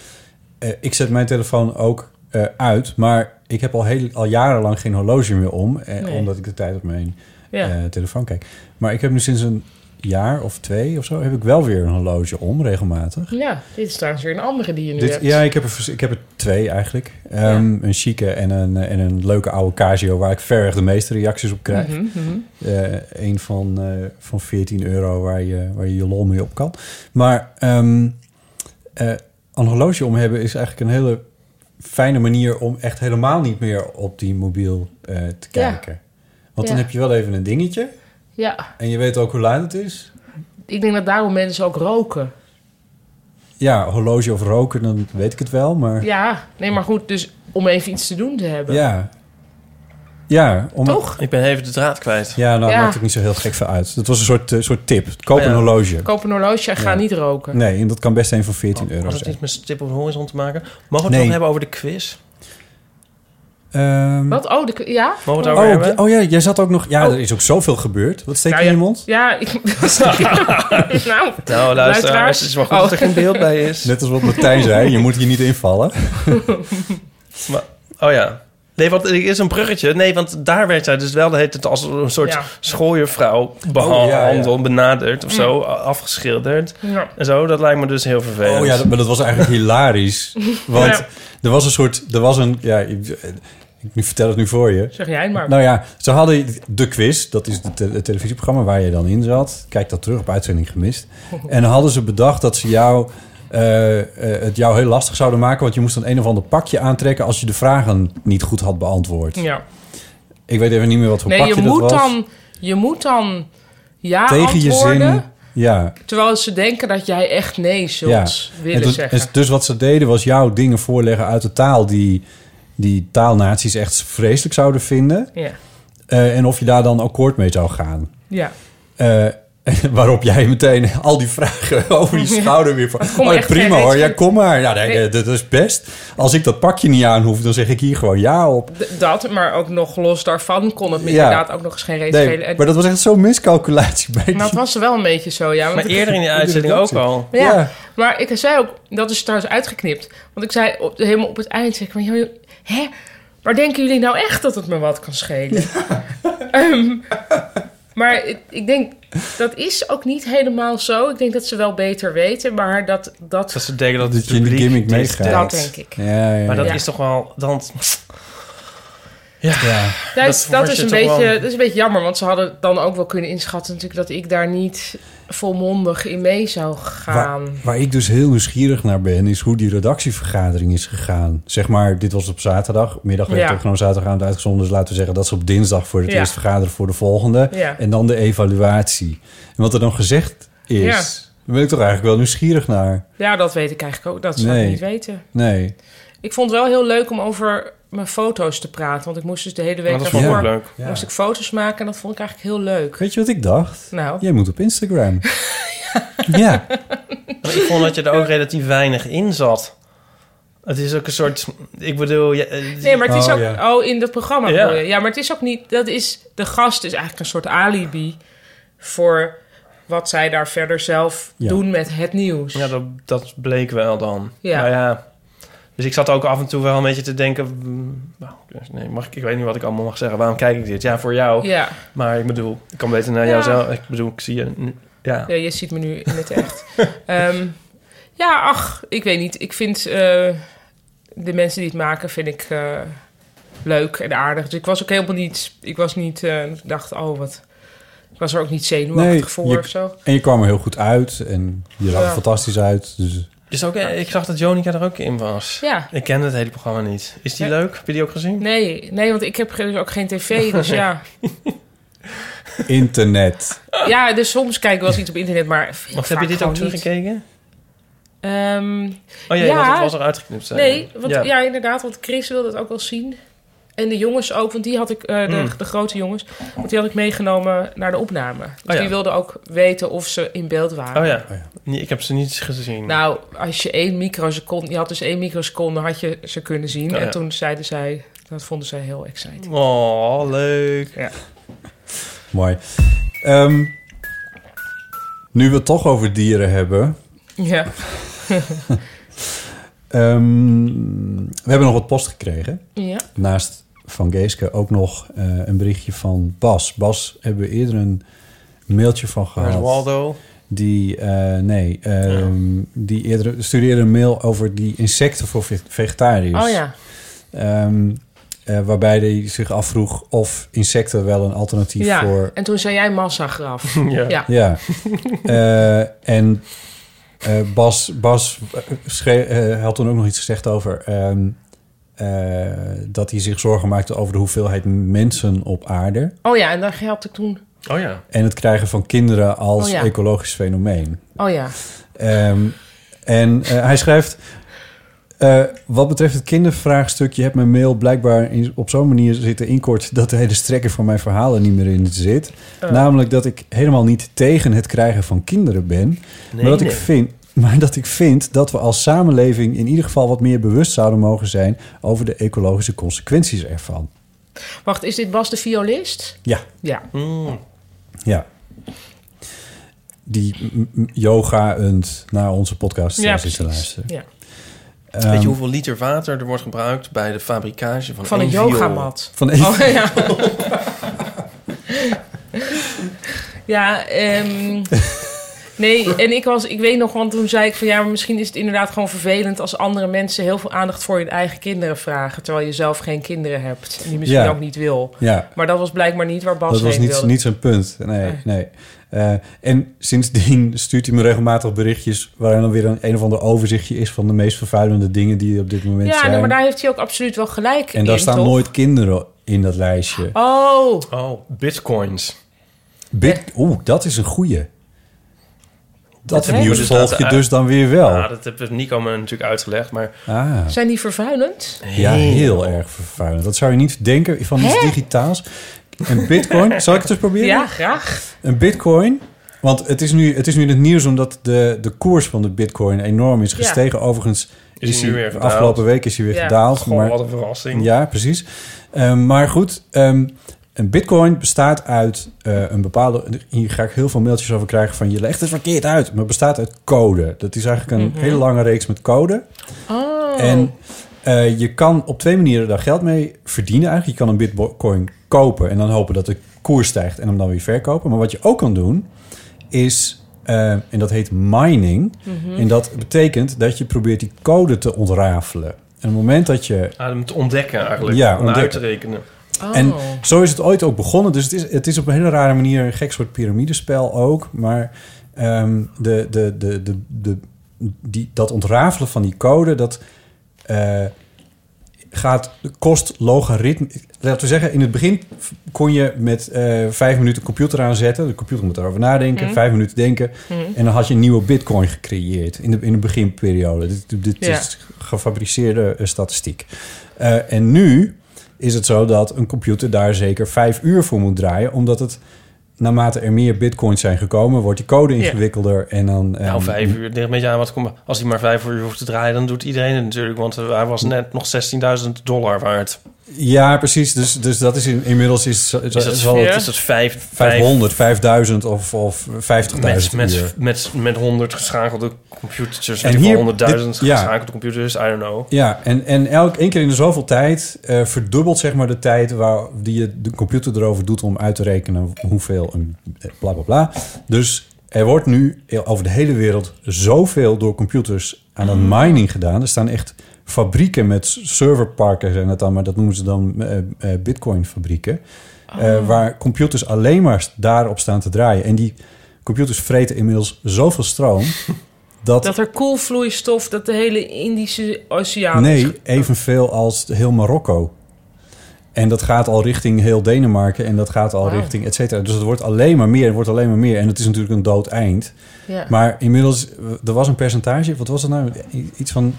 Speaker 3: Eh, ik zet mijn telefoon ook eh, uit, maar ik heb al, heel, al jarenlang geen horloge meer om... eh,
Speaker 1: Nee.
Speaker 3: omdat ik de tijd op mijn
Speaker 1: Ja.
Speaker 3: eh, telefoon kijk. Maar ik heb nu sinds een jaar of twee of zo... heb ik wel weer een horloge om, regelmatig.
Speaker 1: ja, dit is trouwens weer een andere die je nu
Speaker 3: Dit,
Speaker 1: hebt.
Speaker 3: ja, ik heb, er, vers- ik heb er twee eigenlijk. Ehm, Een chique en een, eh, en een leuke oude Casio... waar ik verreweg de meeste reacties op krijg.
Speaker 1: Mhm, mhm.
Speaker 3: Eh, een van, eh, van 14 euro waar je, waar je je lol mee op kan. Maar ehm, eh, een horloge om hebben is eigenlijk een hele fijne manier... om echt helemaal niet meer op die mobiel eh, te
Speaker 1: Ja.
Speaker 3: kijken. Want
Speaker 1: Ja.
Speaker 3: dan heb je wel even een dingetje...
Speaker 1: Ja,
Speaker 3: en je weet ook hoe laat het is.
Speaker 1: ik denk dat daarom mensen ook roken.
Speaker 3: Ja, horloge of roken, dan weet ik het wel, maar...
Speaker 1: Ja, nee, maar goed, dus om even iets te doen te hebben.
Speaker 3: Ja. Ja, om,
Speaker 1: Toch?
Speaker 2: Ik ben even de draad kwijt.
Speaker 3: Ja, nou,
Speaker 1: Ja. Oh
Speaker 3: maakt ook niet zo heel gek veel uit. Dat was een soort, eh, soort tip. Koop
Speaker 2: Ja.
Speaker 3: een horloge.
Speaker 1: Koop Oh, een horloge en ga niet roken.
Speaker 3: Nee, en dat kan best een van 14 euro
Speaker 2: Had het
Speaker 3: zijn.
Speaker 2: iets met stip op de horizon te maken? Mogen we het
Speaker 3: Nee.
Speaker 2: nog hebben over de quiz?
Speaker 3: Ehm,
Speaker 1: Wat? Oh, de, ja?
Speaker 2: Mogen we het over
Speaker 3: oh,
Speaker 2: hebben?
Speaker 3: ja, oh ja, jij zat ook nog... Ja,
Speaker 1: Oh.
Speaker 3: er is ook zoveel gebeurd. Wat steek je
Speaker 1: Nou,
Speaker 3: in
Speaker 1: ja,
Speaker 3: je mond?
Speaker 1: Ja, ik... nou,
Speaker 2: Nou, luister,
Speaker 1: Luisteraars?
Speaker 2: het is wel goed
Speaker 1: Oh.
Speaker 2: dat er geen beeld bij is.
Speaker 3: Net als wat Martijn zei, je moet hier niet invallen.
Speaker 2: Maar, oh ja. Nee, want er is een bruggetje. Nee, want daar werd zij dus wel de hele tijd als een soort
Speaker 1: Ja.
Speaker 2: schooiervrouw
Speaker 3: Oh, ja, ja.
Speaker 2: behandeld, benaderd of
Speaker 1: Mm.
Speaker 2: zo, a- afgeschilderd.
Speaker 1: Nou, ja.
Speaker 2: En zo, dat lijkt me dus heel vervelend.
Speaker 3: Oh ja, dat, maar dat was eigenlijk hilarisch. Want
Speaker 1: Ja.
Speaker 3: er was een soort... Er was een... Ja, ik, ik- ik vertel het nu voor je.
Speaker 1: zeg jij het maar.
Speaker 3: Nou ja, ze hadden de quiz. Dat is het, te- het televisieprogramma waar je dan in zat. Kijk dat terug op uitzending gemist. En dan hadden ze bedacht dat ze jou, eh, eh, het jou heel lastig zouden maken. Want je moest dan een of ander pakje aantrekken als je de vragen niet goed had beantwoord.
Speaker 1: ja.
Speaker 3: Ik weet even niet meer wat voor
Speaker 1: Nee,
Speaker 3: pakje
Speaker 1: je
Speaker 3: dat
Speaker 1: moet,
Speaker 3: was.
Speaker 1: dan, je moet dan ja
Speaker 3: Tegen je
Speaker 1: antwoorden...
Speaker 3: zin. Ja,
Speaker 1: terwijl ze denken dat jij echt nee
Speaker 3: ja.
Speaker 1: zult
Speaker 3: En
Speaker 1: willen
Speaker 3: dus,
Speaker 1: zeggen.
Speaker 3: en dus wat ze deden was jou dingen voorleggen uit de taal die, die taalnaties echt vreselijk zouden vinden.
Speaker 1: Ja.
Speaker 3: Eh, en of je daar dan akkoord mee zou gaan.
Speaker 1: ja.
Speaker 3: Eh, Waarop jij meteen al die vragen over je schouder weer van...
Speaker 1: kom
Speaker 3: oh ja,
Speaker 1: echt
Speaker 3: prima
Speaker 1: geen
Speaker 3: hoor, ja
Speaker 1: reactie.
Speaker 3: kom maar. Ja, nee,
Speaker 1: Nee.
Speaker 3: dat is best. Als ik dat pakje niet aan hoef, dan zeg ik hier gewoon ja op.
Speaker 1: D- dat, maar ook nog los daarvan kon het me
Speaker 3: Ja.
Speaker 1: inderdaad ook nog eens geen reden
Speaker 3: Nee,
Speaker 1: spelen. En-
Speaker 3: maar dat was echt zo'n miscalculatie bij
Speaker 1: maar het
Speaker 3: die-
Speaker 1: was wel een beetje zo, ja. want
Speaker 2: Maar
Speaker 1: het-
Speaker 2: eerder in die uitzending ook al.
Speaker 1: Ja.
Speaker 3: Ja.
Speaker 1: Maar ik zei ook, dat is trouwens uitgeknipt. Want ik zei op, helemaal op het eind, zeg ik, maar, joh, hè? Maar denken jullie nou echt dat het me wat kan schelen? Ehm, maar ik, ik denk, dat is ook niet helemaal zo. Ik denk dat ze wel beter weten, maar dat... dat,
Speaker 2: Dat ze denken dat
Speaker 3: Dat
Speaker 2: het
Speaker 3: je in de
Speaker 2: publiek
Speaker 3: gimmick
Speaker 2: dit denkt.
Speaker 3: meegaat.
Speaker 1: dat denk ik.
Speaker 3: Ja, ja,
Speaker 2: Maar dat
Speaker 3: ja.
Speaker 1: Ja.
Speaker 2: is toch wel... Dan,
Speaker 3: Ja.
Speaker 1: Dat, is-
Speaker 2: Dat
Speaker 1: dat
Speaker 2: word
Speaker 1: is
Speaker 2: je
Speaker 1: een
Speaker 2: toch
Speaker 1: beetje,
Speaker 2: wel-
Speaker 1: dat is een beetje jammer, want ze hadden dan ook wel kunnen inschatten natuurlijk... dat ik daar niet volmondig in mee zou
Speaker 3: Waar,
Speaker 1: gaan.
Speaker 3: waar ik dus heel nieuwsgierig naar ben, is hoe die redactievergadering is gegaan. Zeg maar, dit was op zaterdag. Middag werd
Speaker 1: Ja.
Speaker 3: het gewoon zaterdagavond uitgezonden. Dus laten we zeggen dat ze op dinsdag voor het
Speaker 1: Ja.
Speaker 3: eerst vergaderen voor de volgende.
Speaker 1: Ja.
Speaker 3: En dan de evaluatie. En wat er dan gezegd is,
Speaker 1: Ja.
Speaker 3: daar ben ik toch eigenlijk wel nieuwsgierig naar.
Speaker 1: Ja, dat weet ik eigenlijk ook. Dat zou
Speaker 3: Nee.
Speaker 1: ik niet weten.
Speaker 3: Nee.
Speaker 1: Ik vond het wel heel leuk om over mijn foto's te praten. Want ik moest dus de hele week
Speaker 2: dat
Speaker 3: vond
Speaker 2: vond
Speaker 3: ik
Speaker 2: ik
Speaker 3: ook
Speaker 1: daarvoor...
Speaker 2: leuk.
Speaker 3: Ja.
Speaker 1: moest ik foto's maken en dat vond ik eigenlijk heel leuk.
Speaker 3: Weet je wat ik dacht?
Speaker 1: Nou,
Speaker 3: Jij moet op Instagram. ja.
Speaker 2: Ik vond dat je er ook relatief weinig in zat. Het is ook een soort... Ik bedoel... je- eh,
Speaker 1: nee, maar het is
Speaker 3: Oh,
Speaker 1: ook...
Speaker 3: ja.
Speaker 1: Oh, in dat programma
Speaker 2: Ja.
Speaker 1: ja. je. Ja, maar het is ook niet... Dat is... De gast is eigenlijk een soort alibi voor wat zij daar verder zelf
Speaker 3: Ja.
Speaker 1: doen met het nieuws.
Speaker 2: Ja, dat, dat bleek wel dan.
Speaker 1: Ja.
Speaker 2: Nou ja. Dus ik zat ook af en toe wel een beetje te denken... mm, Nou, dus nee, mag ik, ik weet niet wat ik allemaal mag zeggen. Waarom kijk ik dit? Ja, voor jou.
Speaker 1: Ja.
Speaker 2: Maar ik bedoel, ik kan beter naar
Speaker 1: Ja.
Speaker 2: jou zelf. Ik bedoel, ik zie je... nu- Ja.
Speaker 1: Ja, je ziet me nu in het echt. Ehm, ja, ach, ik weet niet. Ik vind eh, de mensen die het maken, vind ik eh, leuk en aardig. Dus ik was ook helemaal niet... Ik was niet... eh, ik dacht, oh, wat... Ik was er ook niet zenuwachtig
Speaker 3: Nee,
Speaker 1: voor
Speaker 3: je-
Speaker 1: of zo.
Speaker 3: En je kwam er heel goed uit. En je zag er
Speaker 1: Ja.
Speaker 3: fantastisch uit. Dus
Speaker 2: Dus ook, eh, ik zag dat Jonica er ook in was.
Speaker 1: Ja.
Speaker 2: Ik ken het hele programma niet. Is die
Speaker 1: Nee.
Speaker 2: leuk? Heb je die ook gezien?
Speaker 1: Nee, nee, want ik heb ge- ook geen tv, dus ja.
Speaker 3: internet.
Speaker 1: Ja, dus soms kijk ik wel eens iets op internet, maar...
Speaker 2: Of heb je dit ook teruggekeken?
Speaker 1: Ehm,
Speaker 2: Oh ja,
Speaker 1: Ja.
Speaker 2: want het was er uitgeknipt. zei
Speaker 1: Nee,
Speaker 2: je.
Speaker 1: want, ja. inderdaad, want Chris wilde het ook wel zien. En de jongens ook, want die had ik, eh, de,
Speaker 2: Mm.
Speaker 1: de grote jongens, want die had ik meegenomen naar de opname. Dus
Speaker 2: Oh ja.
Speaker 1: die wilden ook weten of ze in beeld waren.
Speaker 2: Oh ja. Nee, ik heb ze niet gezien.
Speaker 1: Nou, als je één microseconde, je had dus één microseconde, had je ze kunnen zien.
Speaker 2: Oh, ja.
Speaker 1: En toen zeiden zij, dat vonden zij heel exciting.
Speaker 2: Oh, leuk.
Speaker 3: Mooi. Ehm, nu we het toch over dieren hebben.
Speaker 1: Ja,
Speaker 3: Ehm, we hebben nog wat post gekregen.
Speaker 1: ja.
Speaker 3: Naast van Geeske ook nog eh, een berichtje van Bas. Bas hebben we eerder een mailtje van
Speaker 2: Waar is
Speaker 3: gehad.
Speaker 2: Waldo?
Speaker 3: Die, eh, nee, ehm, die eerder studeerde een mail over die insecten voor ve- vegetariërs.
Speaker 1: Oh ja,
Speaker 3: Ehm, eh, waarbij hij zich afvroeg of insecten wel een alternatief
Speaker 1: ja.
Speaker 3: voor
Speaker 1: En toen zei jij massagraf.
Speaker 2: Ja.
Speaker 1: Ja.
Speaker 3: Ja. Eh, en eh, Bas, Bas schreef, eh, had toen ook nog iets gezegd over... ehm, eh, dat hij zich zorgen maakte over de hoeveelheid mensen op aarde...
Speaker 1: Oh ja, en daar helpte ik toen.
Speaker 2: Oh ja.
Speaker 3: en het krijgen van kinderen als
Speaker 1: Oh ja.
Speaker 3: ecologisch fenomeen.
Speaker 1: Oh ja,
Speaker 3: Ehm, en eh, hij schrijft... eh, wat betreft het kindervraagstuk, je hebt mijn mail blijkbaar in- op zo'n manier zitten inkort dat de hele strekker van mijn verhalen niet meer in zit. Namelijk dat ik helemaal niet tegen het krijgen van kinderen ben. maar, dat Ik
Speaker 2: nee.
Speaker 3: vind, maar dat ik vind dat we als samenleving in ieder geval wat meer bewust zouden mogen zijn over de ecologische consequenties ervan.
Speaker 1: wacht, is dit Bas de violist?
Speaker 3: Ja,
Speaker 1: Ja.
Speaker 3: ja. Die m- m- yoga-end naar onze podcast
Speaker 1: Ja,
Speaker 3: zit te
Speaker 1: precies.
Speaker 3: luisteren.
Speaker 1: Ja.
Speaker 3: Ehm,
Speaker 2: Weet je hoeveel liter water er wordt gebruikt bij de fabricage van,
Speaker 1: Van
Speaker 2: één
Speaker 1: een
Speaker 2: viool?
Speaker 1: yogamat.
Speaker 3: Van één-
Speaker 1: Oh, ja. ja, ehm, nee, en ik, was, ik weet nog, want toen zei ik van ja, maar misschien is het inderdaad gewoon vervelend als andere mensen heel veel aandacht voor je eigen kinderen vragen, terwijl je zelf geen kinderen hebt en die misschien
Speaker 3: Ja.
Speaker 1: ook niet wil.
Speaker 3: Ja,
Speaker 1: Maar dat was blijkbaar niet waar Bas
Speaker 3: dat was
Speaker 1: heen
Speaker 3: niet,
Speaker 1: wilde.
Speaker 3: niet zijn punt. Nee, nee. Eh, en sindsdien stuurt hij me regelmatig berichtjes... waarin dan weer een, een of ander overzichtje is... van de meest vervuilende dingen die er op dit moment
Speaker 1: ja,
Speaker 3: zijn.
Speaker 1: nee, maar daar heeft hij ook absoluut wel gelijk in.
Speaker 3: en daar staan
Speaker 1: toch?
Speaker 3: nooit kinderen in dat lijstje.
Speaker 1: Oh,
Speaker 2: Oh, bitcoins.
Speaker 3: Bit, Oeh, dat is een goeie. Dat
Speaker 2: heb ik
Speaker 3: nieuws
Speaker 2: dus
Speaker 3: volg je
Speaker 1: eh,
Speaker 2: laten
Speaker 3: dus dan weer wel.
Speaker 2: Ja, dat heeft Nico me natuurlijk uitgelegd, maar...
Speaker 3: Ah,
Speaker 1: zijn die vervuilend?
Speaker 3: ja, heel erg vervuilend. Dat zou je niet denken van iets digitaals. Een bitcoin, zal ik het eens proberen?
Speaker 1: Ja, graag.
Speaker 3: Een bitcoin Want het is nu, het is nu in het nieuws omdat de, de koers van de bitcoin enorm is gestegen. Overigens
Speaker 2: Is hij nu weer gedaald?
Speaker 3: afgelopen week is hij weer
Speaker 1: Ja.
Speaker 3: gedaald.
Speaker 2: Goh,
Speaker 3: maar-
Speaker 2: wat een verrassing.
Speaker 3: Ja, precies. Ehm, maar goed, ehm, een bitcoin bestaat uit eh, een bepaalde... Hier ga ik heel veel mailtjes over krijgen van... je legt het verkeerd uit, maar het bestaat uit code. Dat is eigenlijk een hele lange reeks met code. En eh, je kan op twee manieren daar geld mee verdienen eigenlijk. Je kan een bitcoin kopen en dan hopen dat de koers stijgt... en hem dan weer verkopen. Maar wat je ook kan doen, is... eh, en dat heet mining. En dat betekent dat je probeert die code te ontrafelen. En op het moment dat je
Speaker 2: Ah, om te ontdekken eigenlijk.
Speaker 3: Ja,
Speaker 2: om
Speaker 3: ontdekken.
Speaker 2: uit te rekenen.
Speaker 3: en
Speaker 1: Oh.
Speaker 3: zo is het ooit ook begonnen. Dus het is, het is op een hele rare manier een gek soort piramidespel ook. Maar ehm, de, de, de, de, de, die, dat ontrafelen van die code, dat eh, gaat, kost logaritme. Laten we zeggen, in het begin kon je met eh, vijf minuten computer aanzetten. De computer moet erover nadenken, vijf minuten denken. En dan had je een nieuwe bitcoin gecreëerd in de, in de beginperiode. Dit, dit
Speaker 1: Ja.
Speaker 3: is gefabriceerde eh, statistiek. Eh, en nu is het zo dat een computer daar zeker vijf uur voor moet draaien, omdat het naarmate er meer bitcoins zijn gekomen, wordt die code ingewikkelder en dan.
Speaker 2: Nou,
Speaker 3: ehm,
Speaker 2: vijf uur. Het ligt een beetje aan wat komt. Als hij maar vijf uur hoeft te draaien, dan doet iedereen het natuurlijk. Want eh, hij was net nog 16.000 dollar waard.
Speaker 3: Ja, precies. Dus, dus dat is in, inmiddels is,
Speaker 2: Is dat,
Speaker 3: zal
Speaker 2: is
Speaker 3: het
Speaker 2: dat vijf, vijf
Speaker 3: 500, 5000 of, of 50.000
Speaker 2: met,
Speaker 3: uur.
Speaker 2: met, met, met 100 geschakelde computers.
Speaker 3: En
Speaker 2: En
Speaker 3: hier-
Speaker 2: hier 100.000
Speaker 3: dit- ja.
Speaker 2: geschakelde computers. I don't know.
Speaker 3: Ja, en, en elk één keer in de zoveel tijd eh, verdubbelt zeg maar de tijd waar, die je de computer erover doet om uit te rekenen hoeveel een eh, bla bla bla. Dus er wordt nu e, over de hele wereld zoveel door computers aan dat mining gedaan. Er staan echt fabrieken met serverparken zijn dat dan, maar dat noemen ze dan eh eh, bitcoinfabrieken. Eh, waar computers alleen maar daarop staan te draaien. En die computers vreten inmiddels zoveel stroom dat
Speaker 1: Dat er koelvloeistof, dat de hele Indische Oceaan... is
Speaker 3: Nee,
Speaker 1: ge-
Speaker 3: evenveel als heel Marokko. En dat gaat al richting heel Denemarken en dat gaat al
Speaker 1: Wauw.
Speaker 3: richting et cetera. Dus het wordt alleen maar meer, het wordt alleen maar meer. En het is natuurlijk een dood eind.
Speaker 1: Ja.
Speaker 3: Maar inmiddels, eh, er was een percentage, wat was het nou? Iets van,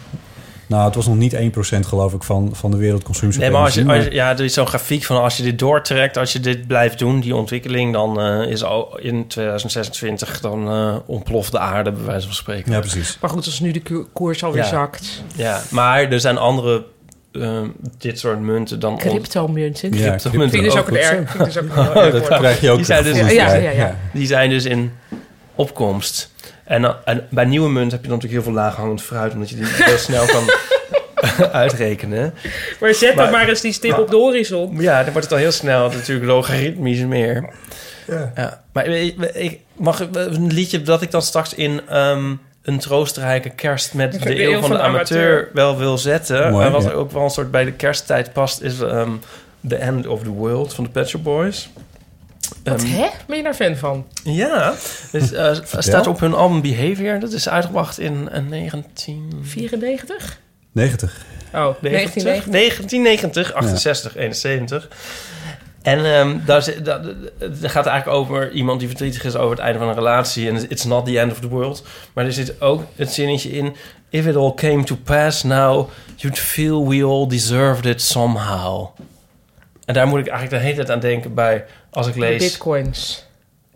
Speaker 3: nou het was nog niet 1% geloof ik van, van de wereldconsumptie.
Speaker 2: Nee,
Speaker 3: op
Speaker 2: maar als je,
Speaker 3: energie,
Speaker 2: als je- ja, er is zo'n grafiek van als je dit doortrekt, als je dit blijft doen, die ontwikkeling, dan eh, is al in 2026 dan eh, ontploft de aarde, bij wijze van spreken.
Speaker 3: Ja, precies.
Speaker 1: Maar goed, als nu de ko- koers alweer
Speaker 2: Ja.
Speaker 1: zakt.
Speaker 2: Ja, maar er zijn andere eh, dit soort munten dan.
Speaker 1: Cryptomunten.
Speaker 3: Ja,
Speaker 2: crypto-
Speaker 3: crypto-
Speaker 1: Vind ik dus ook een
Speaker 3: goed zo.
Speaker 1: erg. vind ik dus ook een heel erg
Speaker 3: Dat
Speaker 1: woord.
Speaker 3: krijg je ook.
Speaker 2: Die zijn dus-
Speaker 3: gevoeld,
Speaker 1: Ja, ja, ja.
Speaker 2: Die zijn dus in opkomst. En, dan- en bij nieuwe munt heb je dan natuurlijk heel veel laaghangend fruit, omdat je die heel snel kan uitrekenen.
Speaker 1: Maar zet
Speaker 2: Maar-
Speaker 1: dan maar eens die stip op de horizon.
Speaker 2: Ja, dan wordt het al heel snel natuurlijk logaritmisch meer.
Speaker 3: Ja.
Speaker 2: Ja. Maar ik, ik- mag ik- een liedje dat ik dan straks in ehm, een troostrijke kerst met de, eeuw van, de amateur, wel wil zetten.
Speaker 3: Mooi,
Speaker 2: en wat
Speaker 3: ja.
Speaker 2: ook wel een soort bij de kersttijd past, is ehm, The End of the World van de Pet Shop Boys.
Speaker 1: Wat,
Speaker 2: Ehm,
Speaker 1: hè? Ben je daar fan van?
Speaker 2: Ja, dus, eh, staat op hun album Behavior. Dat is uitgebracht in eh, 19...
Speaker 1: 94?
Speaker 3: 90.
Speaker 1: Oh,
Speaker 2: 1990,
Speaker 1: 1990.
Speaker 2: 1990 68, 71. En ehm, daar, zit- daar- het gaat eigenlijk over iemand die verdrietig is over het einde van een relatie. En it's not the end of the world. Maar er zit ook het zinnetje in... If it all came to pass now, you'd feel we all deserved it somehow. En daar moet ik eigenlijk de hele tijd aan denken bij als ik
Speaker 1: De
Speaker 2: lees...
Speaker 1: bitcoins.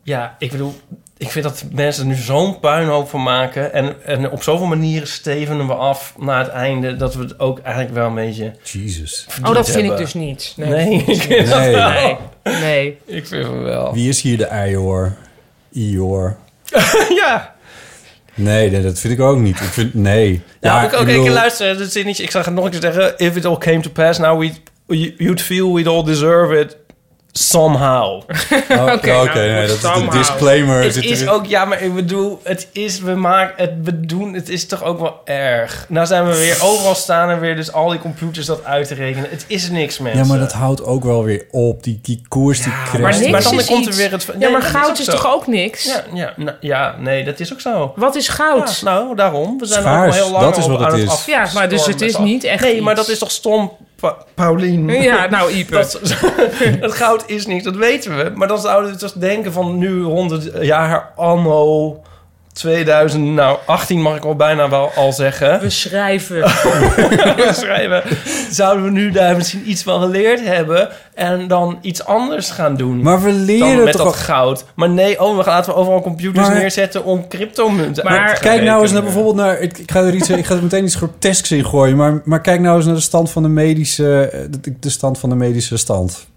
Speaker 2: Ja, ik bedoel, ik vind dat mensen er nu zo'n puinhoop van maken. En, en op zoveel manieren stevenen we af naar het einde dat we het ook eigenlijk wel een beetje.
Speaker 3: Jesus.
Speaker 1: Oh,
Speaker 2: verdiend
Speaker 1: dat vind ik
Speaker 2: hebben.
Speaker 1: dus niet. Nee.
Speaker 2: Nee, ik vind dat
Speaker 3: Nee.
Speaker 2: wel.
Speaker 1: Nee. nee.
Speaker 2: Ik vind het wel.
Speaker 3: Wie is hier de Ior? Ior.
Speaker 2: Ja,
Speaker 3: Nee, nee, dat vind ik ook niet. Ik vind, nee.
Speaker 2: ja, ik ook een
Speaker 3: bedoel-
Speaker 2: keer luisteren. Dat zinnetje, ik zag het nog een keer zeggen. If it all came to pass, now we, you'd feel we'd all deserve it somehow.
Speaker 3: Oh, Oké,
Speaker 1: nou,
Speaker 3: nee, dat is de
Speaker 1: somehow.
Speaker 3: disclaimer.
Speaker 2: Het
Speaker 3: zit
Speaker 2: is
Speaker 3: erin.
Speaker 2: ook, ja, maar ik bedoel, het is, we maken, het, we doen, het is toch ook wel erg. Nou zijn we weer, overal staan er weer dus al die computers dat uit te rekenen. Het is niks, mensen.
Speaker 3: Ja, maar dat houdt ook wel weer op. Die, die koers, die crest.
Speaker 1: Maar niks
Speaker 2: Maar dan
Speaker 1: is
Speaker 2: komt er
Speaker 1: iets.
Speaker 2: weer het-
Speaker 1: ja,
Speaker 2: Nee,
Speaker 1: maar
Speaker 2: dat is ook
Speaker 1: goud is,
Speaker 2: zo.
Speaker 1: toch ook niks?
Speaker 2: Ja, ja, nou, ja, nee, dat is ook zo.
Speaker 1: Wat is
Speaker 2: Ja,
Speaker 1: goud?
Speaker 2: nou, daarom. We zijn
Speaker 3: Schaars,
Speaker 2: er al heel lang
Speaker 3: dat is
Speaker 2: op
Speaker 3: wat het
Speaker 2: aan
Speaker 3: is.
Speaker 1: Ja, maar dus het
Speaker 2: afstormen
Speaker 1: is
Speaker 2: af-
Speaker 1: niet echt
Speaker 2: Nee,
Speaker 1: iets.
Speaker 2: maar dat is toch stom, Pa- Paulien?
Speaker 1: Ja, nou, Ipe.
Speaker 2: Dat, het goud is niks, dat weten we. Maar dan zouden we toch denken van nu 100 jaar anno 2000, nou 18 mag ik al bijna wel al zeggen,
Speaker 1: We schrijven.
Speaker 2: schrijven. Zouden we nu daar misschien iets van geleerd hebben? en dan iets anders gaan doen.
Speaker 3: Maar we
Speaker 2: dan
Speaker 3: leren
Speaker 2: met
Speaker 3: toch
Speaker 2: dat
Speaker 3: al-
Speaker 2: goud. Maar nee, oh, we gaan laten we overal computers
Speaker 3: Maar-
Speaker 2: neerzetten om cryptomunten
Speaker 1: Maar-
Speaker 2: uit te gaan
Speaker 3: Kijk nou eens naar
Speaker 2: rekenen.
Speaker 3: bijvoorbeeld naar. Ik, ik ga er iets, ik ga er meteen iets grotesks in gooien. Maar, maar kijk nou eens naar de stand van de medische. eh, De, de stand van de medische stand.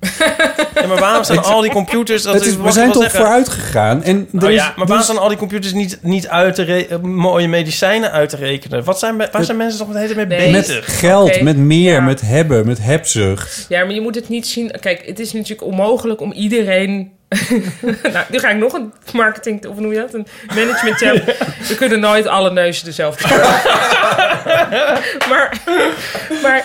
Speaker 2: Ja, maar waarom staan al die computers... Dat
Speaker 3: Het is,
Speaker 2: is,
Speaker 3: we
Speaker 2: wat
Speaker 3: zijn
Speaker 2: ik wil
Speaker 3: toch
Speaker 2: zeggen.
Speaker 3: vooruit gegaan. En er
Speaker 2: Oh
Speaker 3: is, dus
Speaker 2: ja, maar
Speaker 3: er
Speaker 2: waarom
Speaker 3: is-
Speaker 2: staan al die computers niet, niet uit te re- eh, mooie medicijnen uit te rekenen? Wat zijn, we- waar zijn mensen toch met de hele tijd mee
Speaker 1: Nee.
Speaker 3: met
Speaker 2: bezig?
Speaker 3: geld,
Speaker 1: Oké,
Speaker 3: met meer,
Speaker 1: ja.
Speaker 3: met hebben, met hebzucht.
Speaker 1: Ja, maar je moet het niet zien. Kijk, het is natuurlijk onmogelijk om iedereen. nou, nu ga ik nog een marketing. Of noem je dat? Een management term. We kunnen nooit alle neuzen dezelfde kleur. maar, maar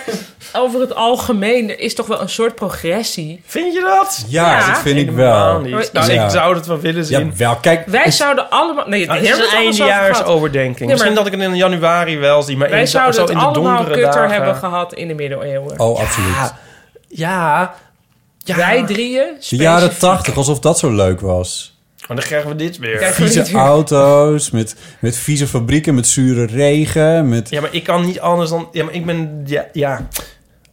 Speaker 1: over het algemeen, er is toch wel een soort progressie.
Speaker 2: Vind je dat?
Speaker 3: Ja, dus
Speaker 1: Ja,
Speaker 3: dat vind ik
Speaker 2: Helemaal
Speaker 3: wel.
Speaker 2: niet.
Speaker 1: Maar-
Speaker 2: Nou,
Speaker 3: Ja.
Speaker 2: ik zou dat wel willen zien.
Speaker 3: Ja, wel. Kijk,
Speaker 1: Wij
Speaker 3: het-
Speaker 1: zouden allemaal. Nee,
Speaker 2: Nou,
Speaker 1: daar
Speaker 2: het
Speaker 1: hebben
Speaker 2: is
Speaker 1: we
Speaker 2: een
Speaker 1: het alles over
Speaker 2: eindejaars
Speaker 1: gehad.
Speaker 2: overdenking.
Speaker 1: maar-
Speaker 2: Misschien dat ik het in januari wel zie, maar
Speaker 1: Wij
Speaker 2: in, zo
Speaker 1: zouden het
Speaker 2: in de
Speaker 1: allemaal
Speaker 2: donkere
Speaker 1: kutter
Speaker 2: dagen.
Speaker 1: hebben gehad in de middeleeuwen.
Speaker 3: Oh, absoluut.
Speaker 2: Ja, ja.
Speaker 1: Wij drieën.
Speaker 3: De jaren tachtig, alsof dat zo leuk was.
Speaker 2: Maar Oh, dan krijgen we dit weer.
Speaker 1: Kijk.
Speaker 3: Vieze auto's, met, met vieze fabrieken, met zure regen, met,
Speaker 2: Ja, maar ik kan niet anders dan... Ja, maar ik ben... Ja, ja.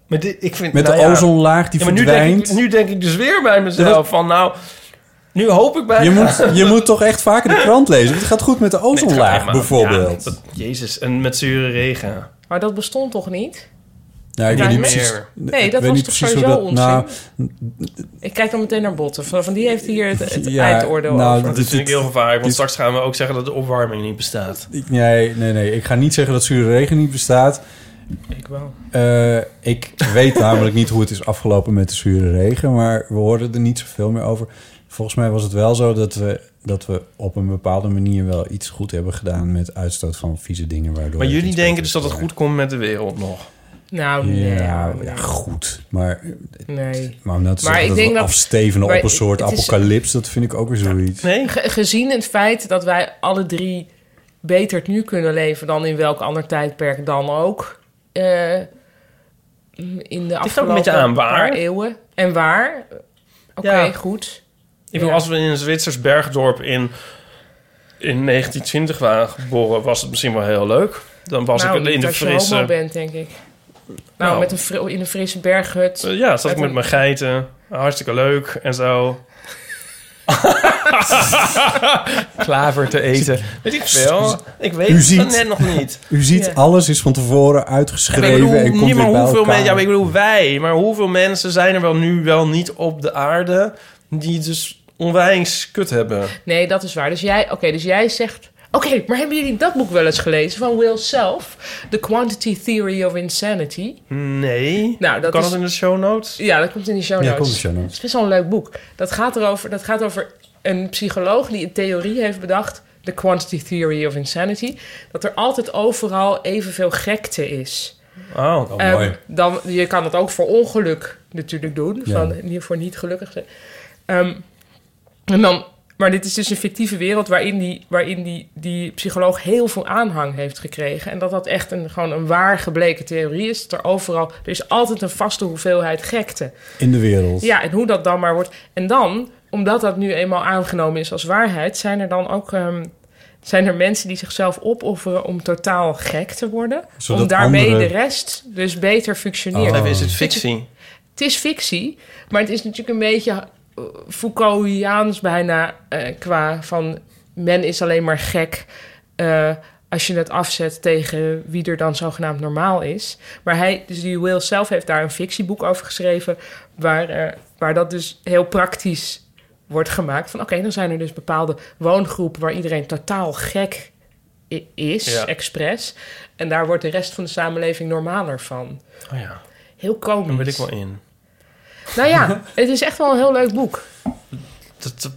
Speaker 2: Maar dit, ik vind,
Speaker 3: met
Speaker 2: nou
Speaker 3: de
Speaker 2: ja.
Speaker 3: ozonlaag die
Speaker 2: Ja, maar nu denk,
Speaker 3: verdwijnt.
Speaker 2: ik, nu denk ik dus weer bij mezelf van nou... Nu hoop ik bij...
Speaker 3: Je moet, je moet toch echt vaker de krant lezen. want Het gaat goed met de
Speaker 2: Nee, het gaat
Speaker 3: ozonlaag,
Speaker 2: helemaal-
Speaker 3: bijvoorbeeld.
Speaker 2: ja, dat- jezus, en met zure regen.
Speaker 1: Maar dat bestond toch niet?
Speaker 3: nou, ik
Speaker 1: Ja,
Speaker 3: weet niet
Speaker 1: meer.
Speaker 3: precies.
Speaker 1: Nee,
Speaker 3: ik
Speaker 1: dat
Speaker 3: weet
Speaker 1: was
Speaker 3: niet
Speaker 1: toch
Speaker 3: precies hoe
Speaker 1: sowieso
Speaker 3: dat- nou,
Speaker 1: Ik kijk dan meteen naar Botten. Van, van die heeft hier het, het
Speaker 3: Ja,
Speaker 1: eindoordeel
Speaker 3: nou,
Speaker 1: over.
Speaker 2: Dat
Speaker 3: Dit-
Speaker 2: vind ik heel gevaarlijk, want
Speaker 3: dit-
Speaker 2: straks gaan we ook zeggen dat de opwarming niet bestaat.
Speaker 3: ik- nee, nee, nee. Ik ga niet zeggen dat zure regen niet bestaat.
Speaker 2: Ik wel.
Speaker 3: Eh, ik weet namelijk niet hoe het is afgelopen met de zure regen, maar we hoorden er niet zoveel meer over. Volgens mij was het wel zo dat we, dat we op een bepaalde manier wel iets goed hebben gedaan met uitstoot van vieze dingen. Waardoor
Speaker 2: Maar
Speaker 3: het
Speaker 2: jullie
Speaker 3: iets
Speaker 2: denken
Speaker 3: beter
Speaker 2: dus dat het
Speaker 3: werd.
Speaker 2: goed komt met de wereld nog.
Speaker 1: Nou, nee.
Speaker 3: Ja,
Speaker 1: nee.
Speaker 3: ja, goed. Maar,
Speaker 1: Nee.
Speaker 3: maar om nou te
Speaker 1: Maar
Speaker 3: zeggen
Speaker 1: ik
Speaker 3: dat
Speaker 1: denk
Speaker 3: we
Speaker 1: dat-
Speaker 3: afsteven
Speaker 1: maar
Speaker 3: op een soort
Speaker 1: het is-
Speaker 3: apocalyps, dat vind ik ook weer zoiets.
Speaker 2: Nee?
Speaker 1: Ge- gezien het feit dat wij alle drie beter nu kunnen leven dan in welk ander tijdperk dan ook. eh, in de
Speaker 2: ook een
Speaker 1: afgelopen
Speaker 2: beetje aan waar.
Speaker 1: paar eeuwen. En waar? Oké,
Speaker 2: Ja.
Speaker 1: goed.
Speaker 2: Ik bedoel,
Speaker 1: Ja.
Speaker 2: als we in een Zwitsers bergdorp in, in 1920 waren geboren, was het misschien wel heel leuk. Dan was
Speaker 1: nou,
Speaker 2: ik in
Speaker 1: niet
Speaker 2: de
Speaker 1: als je homo
Speaker 2: frisse...
Speaker 1: bent, denk ik. Nou,
Speaker 2: Nou.
Speaker 1: Met een fri- in een frisse berghut.
Speaker 2: Eh, Ja, zat ik
Speaker 1: Met
Speaker 2: met
Speaker 1: een-
Speaker 2: mijn geiten. Hartstikke leuk en zo. Klaver te eten. Weet ik veel. Ik weet
Speaker 3: U
Speaker 2: het
Speaker 3: ziet-
Speaker 2: net nog niet.
Speaker 3: U ziet,
Speaker 1: Ja.
Speaker 3: alles is van tevoren
Speaker 2: Ik
Speaker 3: uitgeschreven
Speaker 2: bedoel,
Speaker 3: en komt
Speaker 2: niet
Speaker 3: weer
Speaker 2: maar
Speaker 3: bij
Speaker 2: hoeveel
Speaker 3: elkaar.
Speaker 2: mensen, ja, maar ik bedoel wij, maar hoeveel mensen zijn er wel nu wel niet op de aarde die het dus onwijs kut hebben?
Speaker 1: Nee, dat is waar. Dus jij, oké, dus jij zegt. Oké, maar hebben jullie dat boek wel eens gelezen van Will Self? The Quantity Theory of Insanity.
Speaker 2: Nee.
Speaker 1: Nou, dat
Speaker 2: kan
Speaker 1: is-
Speaker 2: dat in de show notes?
Speaker 1: Ja, dat komt in die show notes.
Speaker 3: Ja, komt in de show notes.
Speaker 1: Het is best wel een leuk boek. Dat gaat, erover, dat gaat over een psycholoog die een theorie heeft bedacht... de Quantity Theory of Insanity... dat er altijd overal evenveel gekte is.
Speaker 2: Oh.
Speaker 3: Oh, mooi.
Speaker 1: Ehm, dan, je kan dat ook voor ongeluk natuurlijk doen.
Speaker 3: Ja.
Speaker 1: Van, niet- voor niet gelukkig zijn. Ehm, en dan, maar dit is dus een fictieve wereld... waarin, die, waarin die, die psycholoog heel veel aanhang heeft gekregen. En dat dat echt een, gewoon een waar gebleken theorie is. Dat er overal... Er is altijd een vaste hoeveelheid gekte.
Speaker 3: In de wereld.
Speaker 1: Ja, en hoe dat dan maar wordt. En dan, omdat dat nu eenmaal aangenomen is als waarheid, zijn er dan ook. ehm, zijn er mensen die zichzelf opofferen om totaal gek te worden?
Speaker 3: Zodat
Speaker 1: om daarmee
Speaker 3: anderen-
Speaker 1: de rest dus beter functioneert.
Speaker 2: Even is het fictie.
Speaker 1: Het is fictie, maar het is natuurlijk een beetje eh, Foucaultiaans bijna eh, qua van men is alleen maar gek eh, als je het afzet tegen wie er dan zogenaamd normaal is. Maar hij, dus die Will zelf heeft daar een fictieboek over geschreven waar, eh, waar dat dus heel praktisch wordt gemaakt. Van oké, dan zijn er dus bepaalde woongroepen waar iedereen totaal gek i- is,
Speaker 2: Ja.
Speaker 1: expres. En daar wordt de rest van de samenleving normaler van.
Speaker 2: Oh ja,
Speaker 1: Heel komisch.
Speaker 2: dan wil ik wel in.
Speaker 1: Nou ja, het is echt wel een heel leuk boek.
Speaker 2: Dat, dat-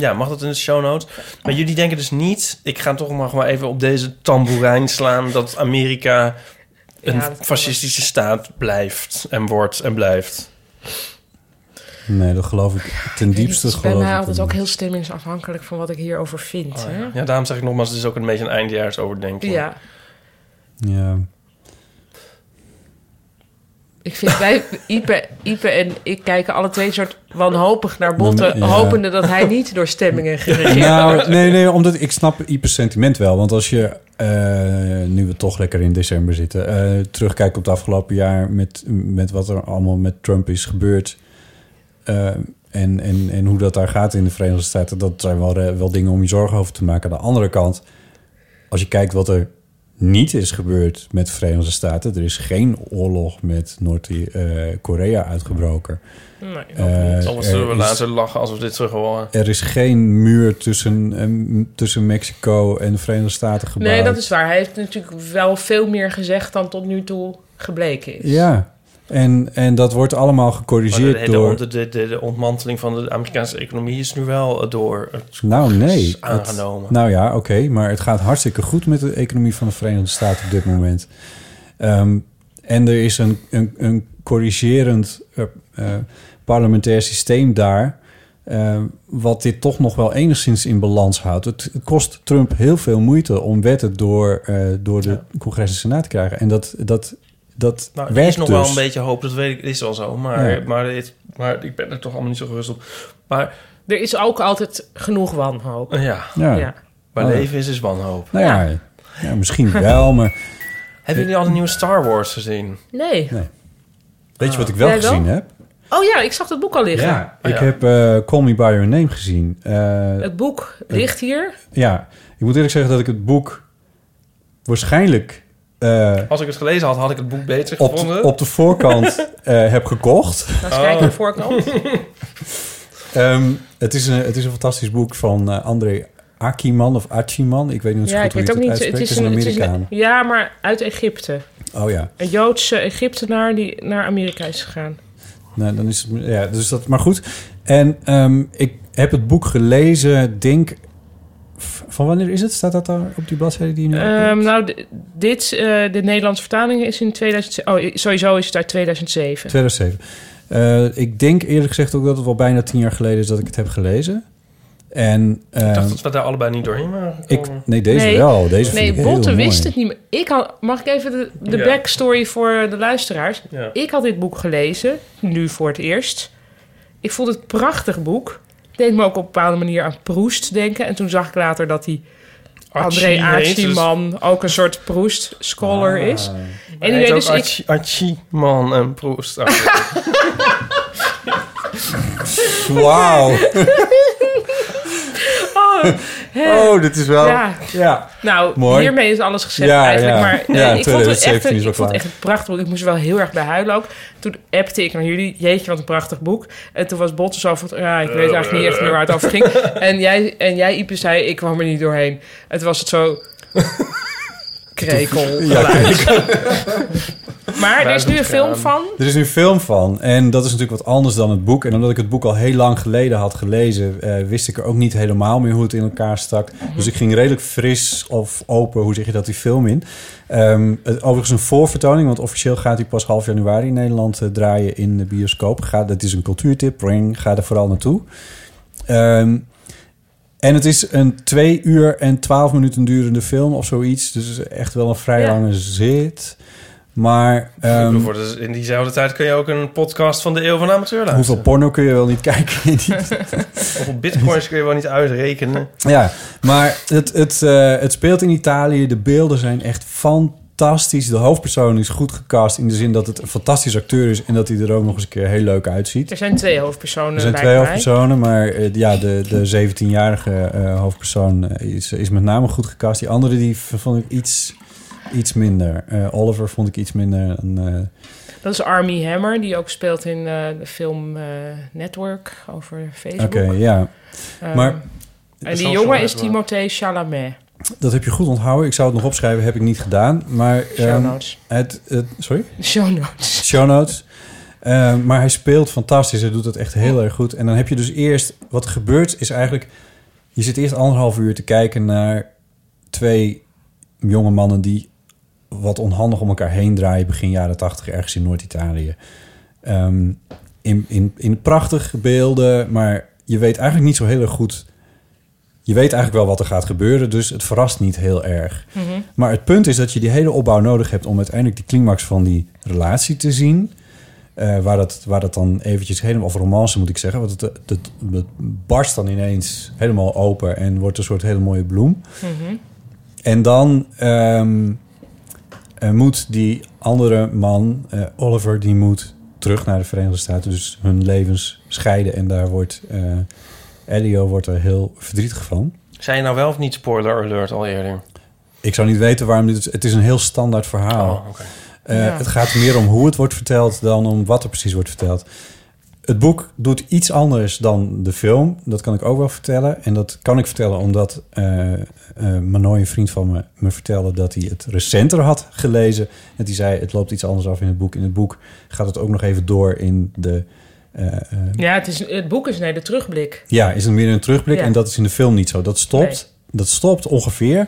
Speaker 2: ja, mag dat in de show notes? Maar jullie denken dus niet... Ik ga toch maar gewoon even op deze tamboerijn slaan... dat Amerika een
Speaker 1: Ja, dat kan
Speaker 2: fascistische staat blijft en wordt en blijft.
Speaker 3: Nee, dat geloof ik ten diepste.
Speaker 1: Het is bij
Speaker 3: geloof
Speaker 1: mij
Speaker 3: ik Oh
Speaker 1: altijd
Speaker 3: dat
Speaker 1: ook
Speaker 3: niet.
Speaker 1: heel stemmingsafhankelijk van wat ik hierover vind. hè? ja.
Speaker 2: Ja, daarom zeg ik nogmaals, het is ook een beetje een eindejaars overdenking.
Speaker 3: Ja.
Speaker 1: ik vind wij, Ipe, Ipe en ik kijken alle twee een soort wanhopig naar Botten,
Speaker 3: Ja.
Speaker 1: hopende dat hij niet door stemmingen geregeerd
Speaker 3: Nou, nee, nee, omdat ik snap Ieper's sentiment wel. Want als je, eh, nu we toch lekker in december zitten, eh terugkijkt op het afgelopen jaar met, met wat er allemaal met Trump is gebeurd. eh, en, en, en hoe dat daar gaat in de Verenigde Staten, dat zijn wel, eh, wel dingen om je zorgen over te maken. Aan de andere kant, als je kijkt wat er niet is gebeurd met de Verenigde Staten, er is geen oorlog met Noord-Korea uitgebroken.
Speaker 1: Nee, ook
Speaker 3: Eh,
Speaker 1: niet.
Speaker 2: Anders zullen we
Speaker 3: er is-
Speaker 2: later lachen als we dit terug horen.
Speaker 3: Er is geen muur tussen, eh, tussen Mexico en de Verenigde Staten gebouwd.
Speaker 1: Nee, dat is waar. Hij heeft natuurlijk wel veel meer gezegd dan tot nu toe gebleken is.
Speaker 3: Ja, en, en dat wordt allemaal
Speaker 2: Maar de,
Speaker 3: gecorrigeerd
Speaker 2: hele
Speaker 3: door...
Speaker 2: ont- de, de, de ontmanteling van de Amerikaanse economie is nu wel eh, door het
Speaker 3: Nou, nee.
Speaker 2: is aangenomen.
Speaker 3: Het- nou ja, oké. maar het gaat hartstikke goed met de economie van de Verenigde Staten op dit moment. Ehm, en er is een, een, een corrigerend eh, eh, parlementair systeem daar... eh, wat dit toch nog wel enigszins in balans houdt. Het kost Trump heel veel moeite om wetten door, eh, door de Congres en Senaat te krijgen. En dat, dat, dat
Speaker 2: Nou, er
Speaker 3: werkt
Speaker 2: is nog
Speaker 3: dus.
Speaker 2: wel een beetje hoop, dat weet ik, is wel zo. Maar,
Speaker 3: Ja.
Speaker 2: maar, dit- maar ik ben er toch allemaal niet zo gerust op. Maar
Speaker 1: Er is ook altijd genoeg wanhoop.
Speaker 2: eh, ja,
Speaker 3: Ja.
Speaker 1: Ja.
Speaker 2: waar
Speaker 3: Oh, ja.
Speaker 2: leven is, is wanhoop.
Speaker 3: Nou ja, ja. misschien wel, maar
Speaker 2: Hebben jullie al de nieuwe Star Wars gezien?
Speaker 1: Nee.
Speaker 3: weet je wat ik wel
Speaker 1: Jij wel?
Speaker 3: gezien heb?
Speaker 1: Oh ja, ik zag dat boek al liggen.
Speaker 3: Ik
Speaker 2: Ja.
Speaker 3: heb eh, Call Me By Your Name gezien. Eh,
Speaker 1: Het boek ligt hier.
Speaker 3: ja, ik moet eerlijk zeggen dat ik het boek waarschijnlijk eh,
Speaker 2: Als ik het gelezen had, had ik het boek beter
Speaker 3: op, de-
Speaker 2: gevonden.
Speaker 3: op de voorkant eh, heb gekocht.
Speaker 1: Laat eens kijken naar de voorkant.
Speaker 3: Ehm, het, is een, het is een fantastisch boek van eh, André Akiman of Achiman. Ik weet niet zo
Speaker 1: Ja, ik
Speaker 3: goed hoe
Speaker 1: weet
Speaker 3: je
Speaker 1: ook
Speaker 3: het
Speaker 1: niet.
Speaker 3: uitspreekt.
Speaker 1: Het is
Speaker 3: Het is een
Speaker 1: een, het is een-
Speaker 3: Amerikaan.
Speaker 1: ja, maar uit Egypte.
Speaker 3: Oh ja.
Speaker 1: Een Joodse Egyptenaar die naar Amerika is gegaan.
Speaker 3: Nou, dan is het, ja, dus dat maar goed. En ehm, ik heb het boek gelezen, denk. v- Van wanneer is het? Staat dat daar op die bladzijde die je nu
Speaker 1: Ehm,
Speaker 3: opent?
Speaker 1: nou, d- dit, eh, de Nederlandse vertaling is in 2007. Oh, sowieso is het uit 2007.
Speaker 3: 2007. Eh, ik denk eerlijk gezegd ook dat het wel bijna tien jaar geleden is dat ik het heb gelezen. En
Speaker 2: Ik
Speaker 3: ehm,
Speaker 2: dacht dat we daar allebei niet doorheen waren
Speaker 3: ik,
Speaker 2: gekomen.
Speaker 3: nee, deze
Speaker 1: Nee.
Speaker 3: wel. Deze
Speaker 1: Nee,
Speaker 3: vind ik
Speaker 1: Botte
Speaker 3: heel mooi.
Speaker 1: wist het niet meer. Ik had, mag ik even de, de
Speaker 2: Ja.
Speaker 1: backstory voor de luisteraars?
Speaker 2: Ja.
Speaker 1: Ik had dit boek gelezen, nu voor het eerst. Ik vond het een prachtig boek. Deed me ook op een bepaalde manier aan Proest denken. En toen zag ik later dat die André
Speaker 2: man.
Speaker 1: Aartieman ook een soort Proest-scholar
Speaker 3: Ah.
Speaker 1: is. En die
Speaker 2: En
Speaker 1: deed
Speaker 2: ook
Speaker 1: dus ik...
Speaker 2: Archie, Archie, man en Proest. Ah,
Speaker 3: Ah. Wauw.
Speaker 1: Oh, hè.
Speaker 3: Oh, dit is wel... Ja.
Speaker 1: Ja, nou,
Speaker 3: Mooi.
Speaker 1: hiermee is alles gezegd
Speaker 3: Ja,
Speaker 1: eigenlijk.
Speaker 3: ja.
Speaker 1: Maar
Speaker 3: Ja,
Speaker 1: nee, ik vond het
Speaker 3: 2017
Speaker 1: echt, een,
Speaker 3: is wel
Speaker 1: ik vond het
Speaker 3: klaar.
Speaker 1: echt een prachtig boek. Ik moest er wel heel erg bij huilen ook. Toen appte ik naar jullie, jeetje, wat een prachtig boek. En toen was Botte zo van, ja, ik weet eigenlijk niet echt meer waar het over ging. En jij, en jij Ipe, zei, ik kwam er niet doorheen. En toen was het zo... Krekel. Maar er is nu een film van.
Speaker 3: Er is nu een film van en dat is natuurlijk wat anders dan het boek. En omdat ik het boek al heel lang geleden had gelezen, eh, wist ik er ook niet helemaal meer hoe het in elkaar stak.
Speaker 1: Mhm.
Speaker 3: Dus ik ging redelijk fris of open, hoe zeg je dat, die film in. Ehm, het, overigens een voorvertoning, want officieel gaat die pas half januari in Nederland eh, draaien in de bioscoop. Ga, dat is een cultuurtip, ring, ga er vooral naartoe. Ehm, en het is een twee uur en twaalf minuten durende film of zoiets. Dus het is echt wel een vrij
Speaker 1: Ja.
Speaker 3: lange zit. Maar
Speaker 2: ik
Speaker 3: ehm,
Speaker 2: bedoel, voor de- in diezelfde tijd kun je ook een podcast van de Eeuw van de Amateur luisteren.
Speaker 3: Hoeveel porno kun je wel niet kijken? in die-
Speaker 2: Hoeveel bitcoins kun je wel niet uitrekenen?
Speaker 3: ja, maar het, het, eh, het speelt in Italië. De beelden zijn echt fantastisch. De hoofdpersoon is goed gecast in de zin dat het een fantastisch acteur is... en dat hij er ook nog eens een keer heel leuk uitziet.
Speaker 1: Er zijn twee hoofdpersonen
Speaker 3: Er zijn
Speaker 1: lijkt
Speaker 3: twee
Speaker 1: mij.
Speaker 3: hoofdpersonen, maar eh, ja, de, de 17-jarige eh, hoofdpersoon eh, is, is met name goed gecast. Die andere die v- vond ik iets, iets minder. Eh, Oliver vond ik iets minder. dan, eh,
Speaker 1: Dat is Army Hammer, die ook speelt in eh, de film eh, Network over Facebook.
Speaker 3: Oké, ja.
Speaker 1: Ehm,
Speaker 3: Maar-
Speaker 1: en die
Speaker 2: Social
Speaker 1: jongen is
Speaker 2: network.
Speaker 1: Timothée Chalamet.
Speaker 3: Dat heb je goed onthouden. Ik zou het nog opschrijven, heb ik niet gedaan. Maar
Speaker 1: Show
Speaker 3: ehm,
Speaker 1: notes.
Speaker 3: het, het, sorry?
Speaker 1: Show notes.
Speaker 3: show notes. Eh, maar hij speelt fantastisch. Hij doet dat echt heel erg goed. En dan heb je dus eerst... Wat er gebeurt is eigenlijk... Je zit eerst anderhalf uur te kijken naar twee jonge mannen... die wat onhandig om elkaar heen draaien... begin jaren tachtig ergens in Noord-Italië. Ehm, in, in, in prachtige beelden, maar je weet eigenlijk niet zo heel erg goed... Je weet eigenlijk wel wat er gaat gebeuren, dus het verrast niet heel erg. Maar het punt is dat je die hele opbouw nodig hebt om uiteindelijk die climax van die relatie te zien. Eh, waar, dat, waar dat dan eventjes helemaal, of romance moet ik zeggen, want het, het, het, barst dan ineens helemaal open en wordt een soort hele mooie bloem. En dan ehm, eh, moet die andere man, eh, Oliver, die moet terug naar de Verenigde Staten, dus hun levens scheiden. En daar wordt eh, Elio wordt er heel verdrietig van.
Speaker 2: Zijn je nou wel of niet spoiler alert al eerder?
Speaker 3: Oh, Ik zou niet weten waarom dit... Het is een heel standaard verhaal.
Speaker 2: Oh, oké.
Speaker 3: Eh,
Speaker 1: Ja.
Speaker 3: Het gaat meer om hoe het wordt verteld dan om wat er precies wordt verteld. Het boek doet iets anders dan de film. Dat kan ik ook wel vertellen. En dat kan ik vertellen omdat eh eh Manoy, een vriend van me, me vertelde dat hij het recenter had gelezen. En die zei, het loopt iets anders af in het boek. In het boek gaat het ook nog even door in de... eh, eh,
Speaker 1: Ja, het, is, het boek is nee, de terugblik.
Speaker 3: ja, is het meer een terugblik.
Speaker 1: Ja.
Speaker 3: En dat is in de film niet zo. Dat stopt, dat stopt ongeveer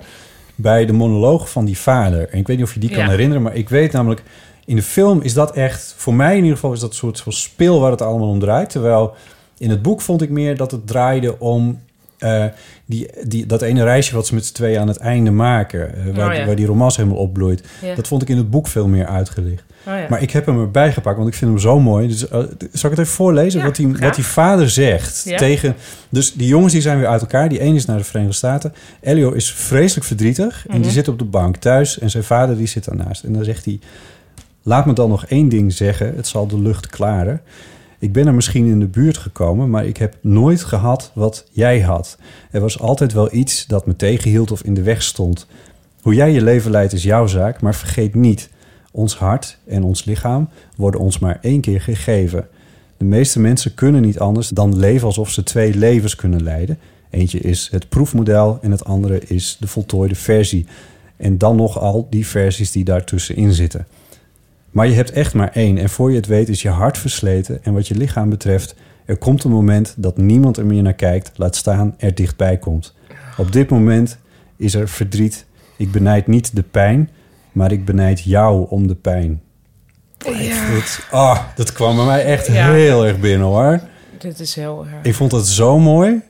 Speaker 3: bij de monoloog van die vader. En ik weet niet of je die kan
Speaker 1: Ja.
Speaker 3: herinneren, maar ik weet namelijk... In de film is dat echt, voor mij in ieder geval, is dat een soort van speel waar het allemaal om draait. Terwijl in het boek vond ik meer dat het draaide om eh, die, die, dat ene reisje wat ze met z'n tweeën aan het einde maken. eh, waar,
Speaker 1: Oh ja.
Speaker 3: waar die romans helemaal opbloeit.
Speaker 1: Ja.
Speaker 3: Dat vond ik in het boek veel meer uitgelicht.
Speaker 1: Oh ja.
Speaker 3: Maar ik heb hem erbij gepakt, want ik vind hem zo mooi. Dus, eh, zal ik het even voorlezen?
Speaker 1: Ja,
Speaker 3: wat, die,
Speaker 1: graag.
Speaker 3: wat die vader zegt
Speaker 1: Ja.
Speaker 3: tegen... Dus die jongens die zijn weer uit elkaar. Die een is naar de Verenigde Staten. Elio is vreselijk verdrietig. En
Speaker 1: Mhm.
Speaker 3: die zit op de bank thuis. En zijn vader die zit daarnaast. En dan zegt hij... Laat me dan nog één ding zeggen. Het zal de lucht klaren. Ik ben er misschien in de buurt gekomen, maar ik heb nooit gehad wat jij had. Er was altijd wel iets dat me tegenhield of in de weg stond. Hoe jij je leven leidt is jouw zaak, maar vergeet niet: ons hart en ons lichaam worden ons maar één keer gegeven. De meeste mensen kunnen niet anders dan leven alsof ze twee levens kunnen leiden. Eentje is het proefmodel en het andere is de voltooide versie. En dan nog al die versies die daartussenin zitten. Maar je hebt echt maar één. En voor je het weet is je hart versleten. En wat je lichaam betreft, er komt een moment dat niemand er meer naar kijkt. Laat staan, er dichtbij komt. Op dit moment is er verdriet. Ik benijd niet de pijn, maar ik benijd jou om de pijn. Dat, ah, dat kwam bij mij echt
Speaker 1: Ja.
Speaker 3: heel erg binnen hoor.
Speaker 1: Dit is heel... eh,
Speaker 3: Ik vond dat zo mooi.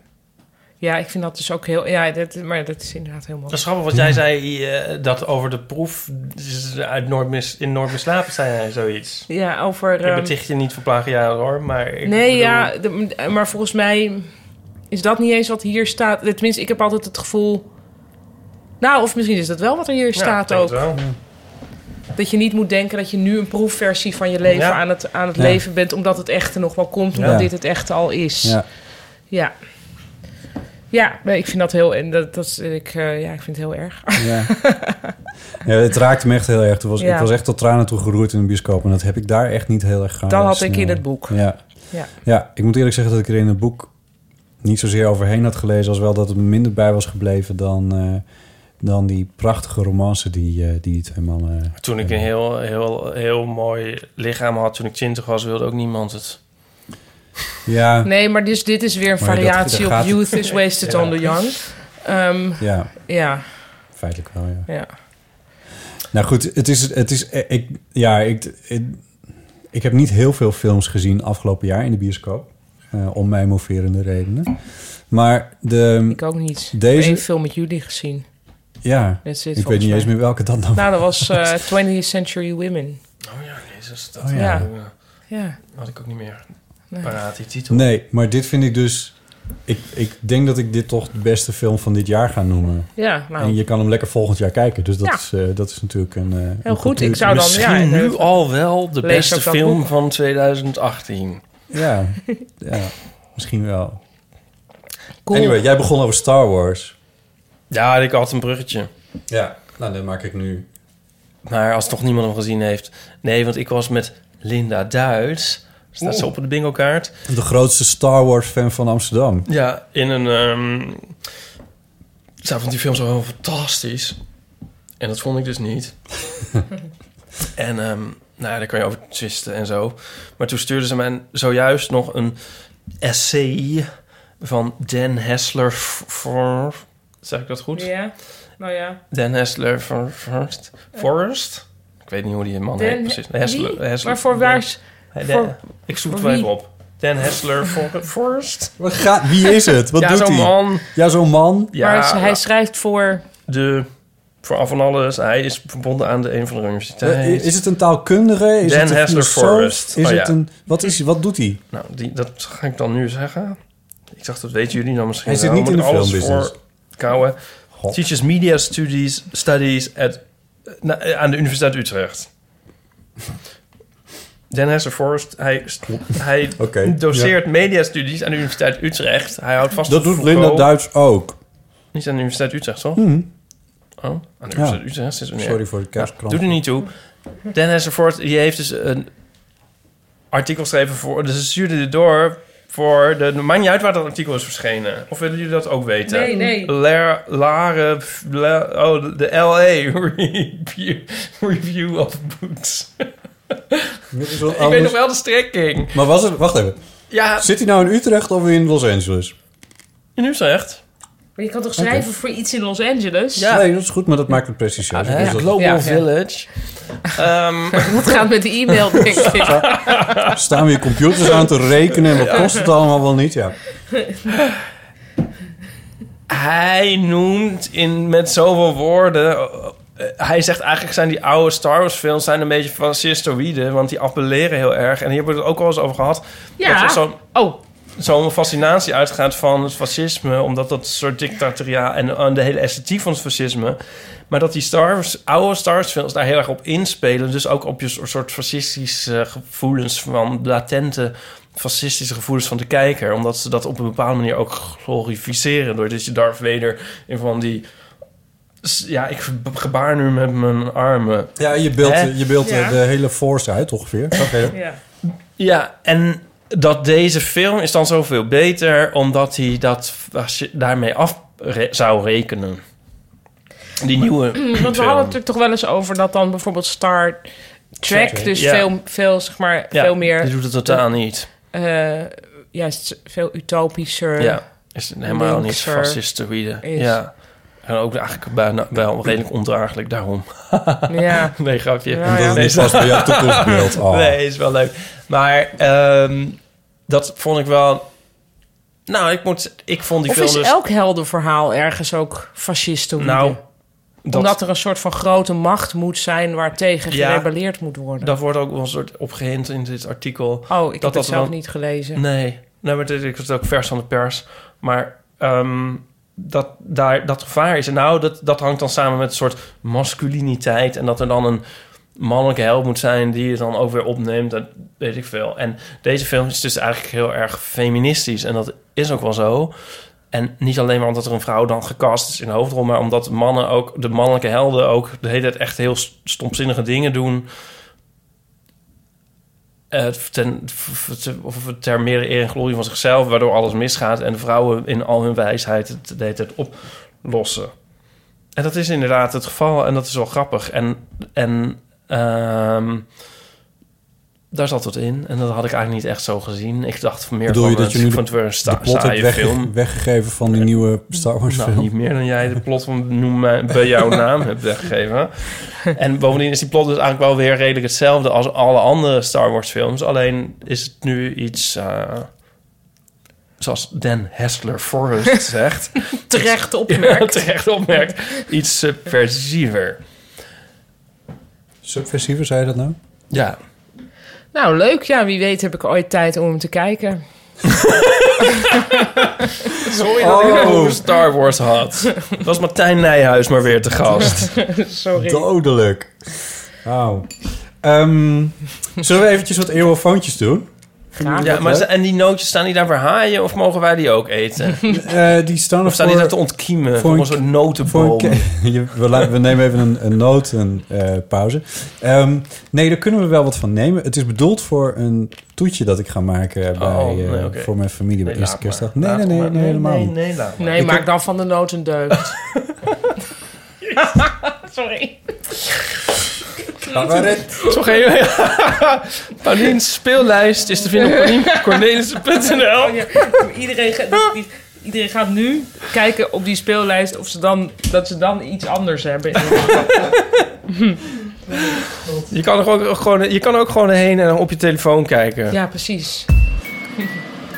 Speaker 1: ja, ik vind dat dus ook heel... Ja, dat, maar dat is inderdaad heel mooi.
Speaker 2: Dat is grappig wat jij zei eh, dat over de proef uit Noord mis, in Noord mislapen zijn zoiets.
Speaker 1: Ja, over...
Speaker 2: Ik
Speaker 1: ehm,
Speaker 2: beticht je niet voor plagiaat hoor, maar... Ik
Speaker 1: nee,
Speaker 2: bedoel-
Speaker 1: ja, de- maar volgens mij is dat niet eens wat hier staat. Tenminste, ik heb altijd het gevoel... Nou, of misschien is dat wel wat er hier
Speaker 2: Ja, ik
Speaker 1: staat
Speaker 2: denk
Speaker 1: ook.
Speaker 2: het wel.
Speaker 1: Dat je niet moet denken dat je nu een proefversie van je leven
Speaker 2: Ja.
Speaker 1: aan het, aan het
Speaker 3: Ja.
Speaker 1: leven bent... omdat het echte nog wel komt, omdat
Speaker 3: Ja.
Speaker 1: dit het echte al is.
Speaker 3: Ja.
Speaker 1: Ja. Ja, nee, ik vind dat heel... En dat, dat is, ik, eh, ja, ik vind het heel erg.
Speaker 3: Ja. Ja, het raakte me echt heel erg. Toen was,
Speaker 1: Ja.
Speaker 3: Ik was echt tot tranen toe geroerd in de bioscoop. En dat heb ik daar echt niet heel erg gehad.
Speaker 1: Dat had ik in het boek.
Speaker 3: Ja.
Speaker 1: Ja.
Speaker 3: ja, ik moet eerlijk zeggen dat ik er in het boek niet zozeer overheen had gelezen... als wel dat het me minder bij was gebleven dan, eh, dan die prachtige romance die eh, die, die twee mannen...
Speaker 2: Toen ik een heel, heel, heel mooi lichaam had, toen ik 20 was, wilde ook niemand het.
Speaker 3: Ja,
Speaker 1: Nee, maar dus, dit is weer een
Speaker 3: Maar dat-
Speaker 1: variatie
Speaker 3: dat
Speaker 1: op
Speaker 3: gaat-
Speaker 1: Youth is Wasted on the Young. Ehm,
Speaker 3: ja,
Speaker 1: ja,
Speaker 3: feitelijk wel, ja.
Speaker 1: ja.
Speaker 3: Nou goed, het is, het is ik, ja, ik, ik, ik heb niet heel veel films gezien afgelopen jaar in de bioscoop. eh, om mij moverende redenen. Maar de,
Speaker 1: Ik ook niet.
Speaker 3: Deze-
Speaker 1: Ik heb één film met jullie gezien.
Speaker 3: ja,
Speaker 1: That's it,
Speaker 3: ik weet
Speaker 1: volgens
Speaker 3: niet
Speaker 1: mij.
Speaker 3: eens meer welke dat nou
Speaker 1: Nou, dat was eh, 20th Century Women.
Speaker 2: Oh ja, jezus, dat
Speaker 3: Oh
Speaker 1: ja.
Speaker 2: eh,
Speaker 1: Ja.
Speaker 2: had ik ook niet meer
Speaker 1: Nee.
Speaker 2: paraat, die titel.
Speaker 3: Nee, maar dit vind ik dus... Ik, ik denk dat ik dit toch de beste film van dit jaar ga noemen.
Speaker 1: Ja, nou,
Speaker 3: En je kan hem lekker volgend jaar kijken. Dus dat,
Speaker 1: Ja.
Speaker 3: is, eh, dat is natuurlijk een... eh,
Speaker 1: heel
Speaker 3: een
Speaker 1: goed.
Speaker 3: conclusie.
Speaker 1: Ik zou dan...
Speaker 2: Misschien
Speaker 1: Ja,
Speaker 2: nu
Speaker 1: eh,
Speaker 2: al wel de
Speaker 1: Lees
Speaker 2: beste
Speaker 1: ook dat
Speaker 2: film
Speaker 1: boek.
Speaker 2: van 2018.
Speaker 3: Ja, ja, misschien wel.
Speaker 1: cool.
Speaker 3: Anyway, jij begon over Star Wars.
Speaker 2: Ja, ik had een bruggetje.
Speaker 3: Ja, nou, dat maak ik nu.
Speaker 2: Maar als toch niemand hem gezien heeft. Nee, want ik was met Linda Duits. Staat ze op de bingo kaart.
Speaker 3: De grootste Star Wars fan van Amsterdam.
Speaker 2: Ja, in een... ehm Zij vond die film zo heel fantastisch. En dat vond ik dus niet. en ehm, nou ja, daar kan je over twisten en zo. Maar toen stuurde ze mij zojuist nog een essay van Dan Hessler. voor Zeg ik dat goed?
Speaker 1: Ja, nou ja.
Speaker 2: Dan Hessler van Forrest. Forrest? Ik weet niet hoe die man heet
Speaker 1: Dan,
Speaker 2: precies.
Speaker 1: wie? Maar voor waar... is-
Speaker 2: Hey,
Speaker 1: voor-
Speaker 2: Dan- ik zoek
Speaker 1: voor
Speaker 2: het wel
Speaker 1: wie?
Speaker 2: even op. Dan Hessler for, Forrest?
Speaker 3: Wat gaat, wie is het? Wat
Speaker 2: ja,
Speaker 3: doet
Speaker 2: zo'n
Speaker 3: hij?
Speaker 2: man.
Speaker 3: Ja, zo'n man.
Speaker 2: Ja,
Speaker 1: maar ze- hij schrijft voor...
Speaker 2: de, voor al van alles. Hij is verbonden aan de een van de
Speaker 3: Eh,
Speaker 2: universiteiten.
Speaker 3: Is, het een taalkundige? Is
Speaker 2: Dan
Speaker 3: het een
Speaker 2: Hessler
Speaker 3: filosoof?
Speaker 2: Forrest.
Speaker 3: Is
Speaker 2: Oh,
Speaker 3: het
Speaker 2: ja.
Speaker 3: een, wat, is, wat doet hij?
Speaker 2: Nou, die, dat ga ik dan nu zeggen. Ik dacht, dat weten jullie nou misschien
Speaker 3: Hij zit
Speaker 2: wel,
Speaker 3: niet
Speaker 2: maar
Speaker 3: in de
Speaker 2: alles
Speaker 3: filmbusiness.
Speaker 2: voor Kouwen.
Speaker 3: God.
Speaker 2: Teaches media studies, studies at, na- aan de Universiteit Utrecht. Dan Hessenforst, hij, hij
Speaker 3: Oké,
Speaker 2: doseert mediastudies aan de Universiteit Utrecht. Hij houdt vast
Speaker 3: Dat
Speaker 2: op
Speaker 3: doet Linda
Speaker 2: Foucault.
Speaker 3: Duits ook.
Speaker 2: Niet aan de Universiteit Utrecht, toch?
Speaker 3: Mhm.
Speaker 2: Oh, aan de Universiteit Utrecht is het meer.
Speaker 3: Sorry voor de kerstkrant.
Speaker 2: Doet er niet toe. Dan Hessenforst, die heeft dus een artikel geschreven voor... Dus ze stuurde dit door voor... De, maakt niet uit waar dat artikel is verschenen. Of willen jullie dat ook weten?
Speaker 1: Nee, nee.
Speaker 2: Ler, Lare... La- oh, de LA review, review of Boots.
Speaker 3: Dit is wel
Speaker 2: Ik
Speaker 3: anders.
Speaker 2: weet nog wel de strekking.
Speaker 3: Maar was het... Wacht even.
Speaker 2: Ja,
Speaker 3: Zit hij nou in Utrecht of in Los Angeles?
Speaker 2: in Utrecht.
Speaker 1: Maar je kan toch schrijven voor iets in Los Angeles?
Speaker 2: Ja.
Speaker 3: Nee, dat is goed, maar dat maakt het precies zo.
Speaker 2: Hè?
Speaker 3: Dus dat-
Speaker 2: Global
Speaker 1: Ja, ja.
Speaker 2: Village. Ehm,
Speaker 1: Het gaat met de e-mail, denk ik.
Speaker 3: Dus Staan we hier computers aan te rekenen en wat kost het allemaal wel niet? Ja.
Speaker 2: hij noemt in, met zoveel woorden... eh, hij zegt eigenlijk zijn die oude Star Wars films... zijn een beetje fascistoïde, want die appelleren heel erg. En hier hebben we het ook al eens over gehad. Dat
Speaker 1: Ja.
Speaker 2: er zo'n
Speaker 1: Oh,
Speaker 2: zo'n fascinatie uitgaat van het fascisme... omdat dat soort dictatoria en, en de hele esthetiek van het fascisme... maar dat die Star Wars, oude Star Wars films daar heel erg op inspelen... dus ook op je soort- soort fascistische gevoelens van latente fascistische gevoelens van de kijker. Omdat ze dat op een bepaalde manier ook glorificeren. Doordat je Darth Vader in van die... s- Ja, ik ge- gebaar nu met mijn armen.
Speaker 3: Ja, je beeldt
Speaker 2: Hè?
Speaker 3: je beeldt, eh,
Speaker 1: Ja.
Speaker 3: de hele force uit ongeveer. Oké.
Speaker 1: ja.
Speaker 2: Ja, en dat deze film is dan zoveel beter... omdat hij dat fasci- daarmee af re- zou rekenen. Die nieuwe
Speaker 1: Mm, Want we
Speaker 2: film.
Speaker 1: hadden het er toch wel eens over dat dan bijvoorbeeld Star Trek... dus
Speaker 2: ja.
Speaker 1: veel, veel, zeg maar,
Speaker 2: Ja,
Speaker 1: veel
Speaker 2: Die
Speaker 1: meer...
Speaker 2: doet het totaal niet.
Speaker 1: eh juist veel utopischer.
Speaker 2: Ja, is helemaal niet
Speaker 1: linkser
Speaker 2: fascistoïde.
Speaker 1: is.
Speaker 2: Ja. En ook eigenlijk bijna, wel redelijk ondraaglijk daarom.
Speaker 1: ja.
Speaker 2: Nee, grapje.
Speaker 1: Ja, ja.
Speaker 3: Dat was bij jouw toekomstbeeld. Oh.
Speaker 2: Nee, is wel leuk. Maar ehm, dat vond ik wel... Nou, ik, moet, ik vond die
Speaker 1: Of
Speaker 2: film
Speaker 1: is
Speaker 2: dus...
Speaker 1: elk heldenverhaal ergens ook fascistoïde?
Speaker 2: nou, dat,
Speaker 1: Omdat er een soort van grote macht moet zijn... waartegen
Speaker 2: Ja.
Speaker 1: gerebelleerd moet worden.
Speaker 2: dat wordt ook wel een soort opgehind in dit artikel.
Speaker 1: oh, ik
Speaker 2: dat
Speaker 1: heb
Speaker 2: dat
Speaker 1: het zelf
Speaker 2: wel-
Speaker 1: niet gelezen.
Speaker 2: Nee, nee maar dit, ik was ook vers van de pers. Maar ehm, dat, daar, dat gevaar is. En nou, dat, dat hangt dan samen met een soort masculiniteit. En dat er dan een mannelijke held moet zijn die het dan ook weer opneemt. Dat weet ik veel. En deze film is dus eigenlijk heel erg feministisch. En dat is ook wel zo. En niet alleen maar omdat er een vrouw dan gecast is in de hoofdrol... maar omdat mannen ook, de mannelijke helden ook... de hele tijd echt heel st- stomzinnige dingen doen... eh, ten, v- v- te- of ter meer eer en glorie van zichzelf... waardoor alles misgaat... en de vrouwen in al hun wijsheid het de hele tijd oplossen. En dat is inderdaad het geval. En dat is wel grappig. En, en ehm, daar zat wat in. En dat had ik eigenlijk niet echt zo gezien. Ik dacht meer
Speaker 3: Bedoel
Speaker 2: van...
Speaker 3: je dat
Speaker 2: een-
Speaker 3: je nu
Speaker 2: van het weer een sta-
Speaker 3: de plot
Speaker 2: saaie
Speaker 3: hebt wegge-
Speaker 2: film.
Speaker 3: weggegeven van die nieuwe Star Wars
Speaker 2: Nou,
Speaker 3: film.
Speaker 2: niet meer dan jij de plot van Noem mij bij jouw naam hebt weggegeven. En bovendien is die plot dus eigenlijk wel weer redelijk hetzelfde als alle andere Star Wars films. Alleen is het nu iets, eh, zoals Dan Hessler Forrest zegt,
Speaker 1: Terecht
Speaker 2: ja,
Speaker 1: opmerkt.
Speaker 2: terecht opmerkt, iets subversiever.
Speaker 3: Subversiever, zei je dat nou?
Speaker 2: Ja.
Speaker 1: Nou, leuk. Ja, wie weet heb ik ooit tijd om hem te kijken.
Speaker 2: Sorry dat ik het over Star Wars had. Oh. Was Martijn Nijhuis maar weer te gast.
Speaker 1: Sorry.
Speaker 3: Dodelijk. Wauw. Ehm, zullen we eventjes wat eeuwofoontjes doen?
Speaker 1: Graag.
Speaker 2: Ja, maar, en die nootjes, staan die daar voor haaien of mogen wij die ook eten?
Speaker 3: Eh, die staan er
Speaker 2: Of staan die
Speaker 3: voor-
Speaker 2: daar te ontkiemen?
Speaker 3: voor
Speaker 2: Voor een
Speaker 3: een-
Speaker 2: soort
Speaker 3: Voor een
Speaker 2: notenboom.
Speaker 3: ke- Je- we, la- we nemen even een, een noot, een eh, pauze. Ehm, nee, daar kunnen we wel wat van nemen. Het is bedoeld voor een toetje dat ik ga maken bij,
Speaker 2: Oh, nee,
Speaker 3: eh,
Speaker 2: oké.
Speaker 3: voor mijn familie bij
Speaker 2: Nee,
Speaker 3: de eerste
Speaker 2: laat maar.
Speaker 3: kerstdag. Nee,
Speaker 2: Laat
Speaker 3: nee, nee,
Speaker 2: maar.
Speaker 3: nee, helemaal
Speaker 2: nee,
Speaker 3: niet.
Speaker 2: nee, laat maar.
Speaker 1: Nee,
Speaker 3: Ik
Speaker 1: maak
Speaker 3: heb-
Speaker 1: dan van de nood een deugd. Sorry.
Speaker 2: Zo ga je... Paulien's speellijst is te vinden op pauliencornelissen.nl.
Speaker 1: Iedereen, ga- i- iedereen gaat nu kijken op die speellijst of ze dan, dat ze dan iets anders hebben.
Speaker 2: Je kan, er ook, gewoon, je kan ook gewoon heen en op je telefoon kijken.
Speaker 1: Ja, precies.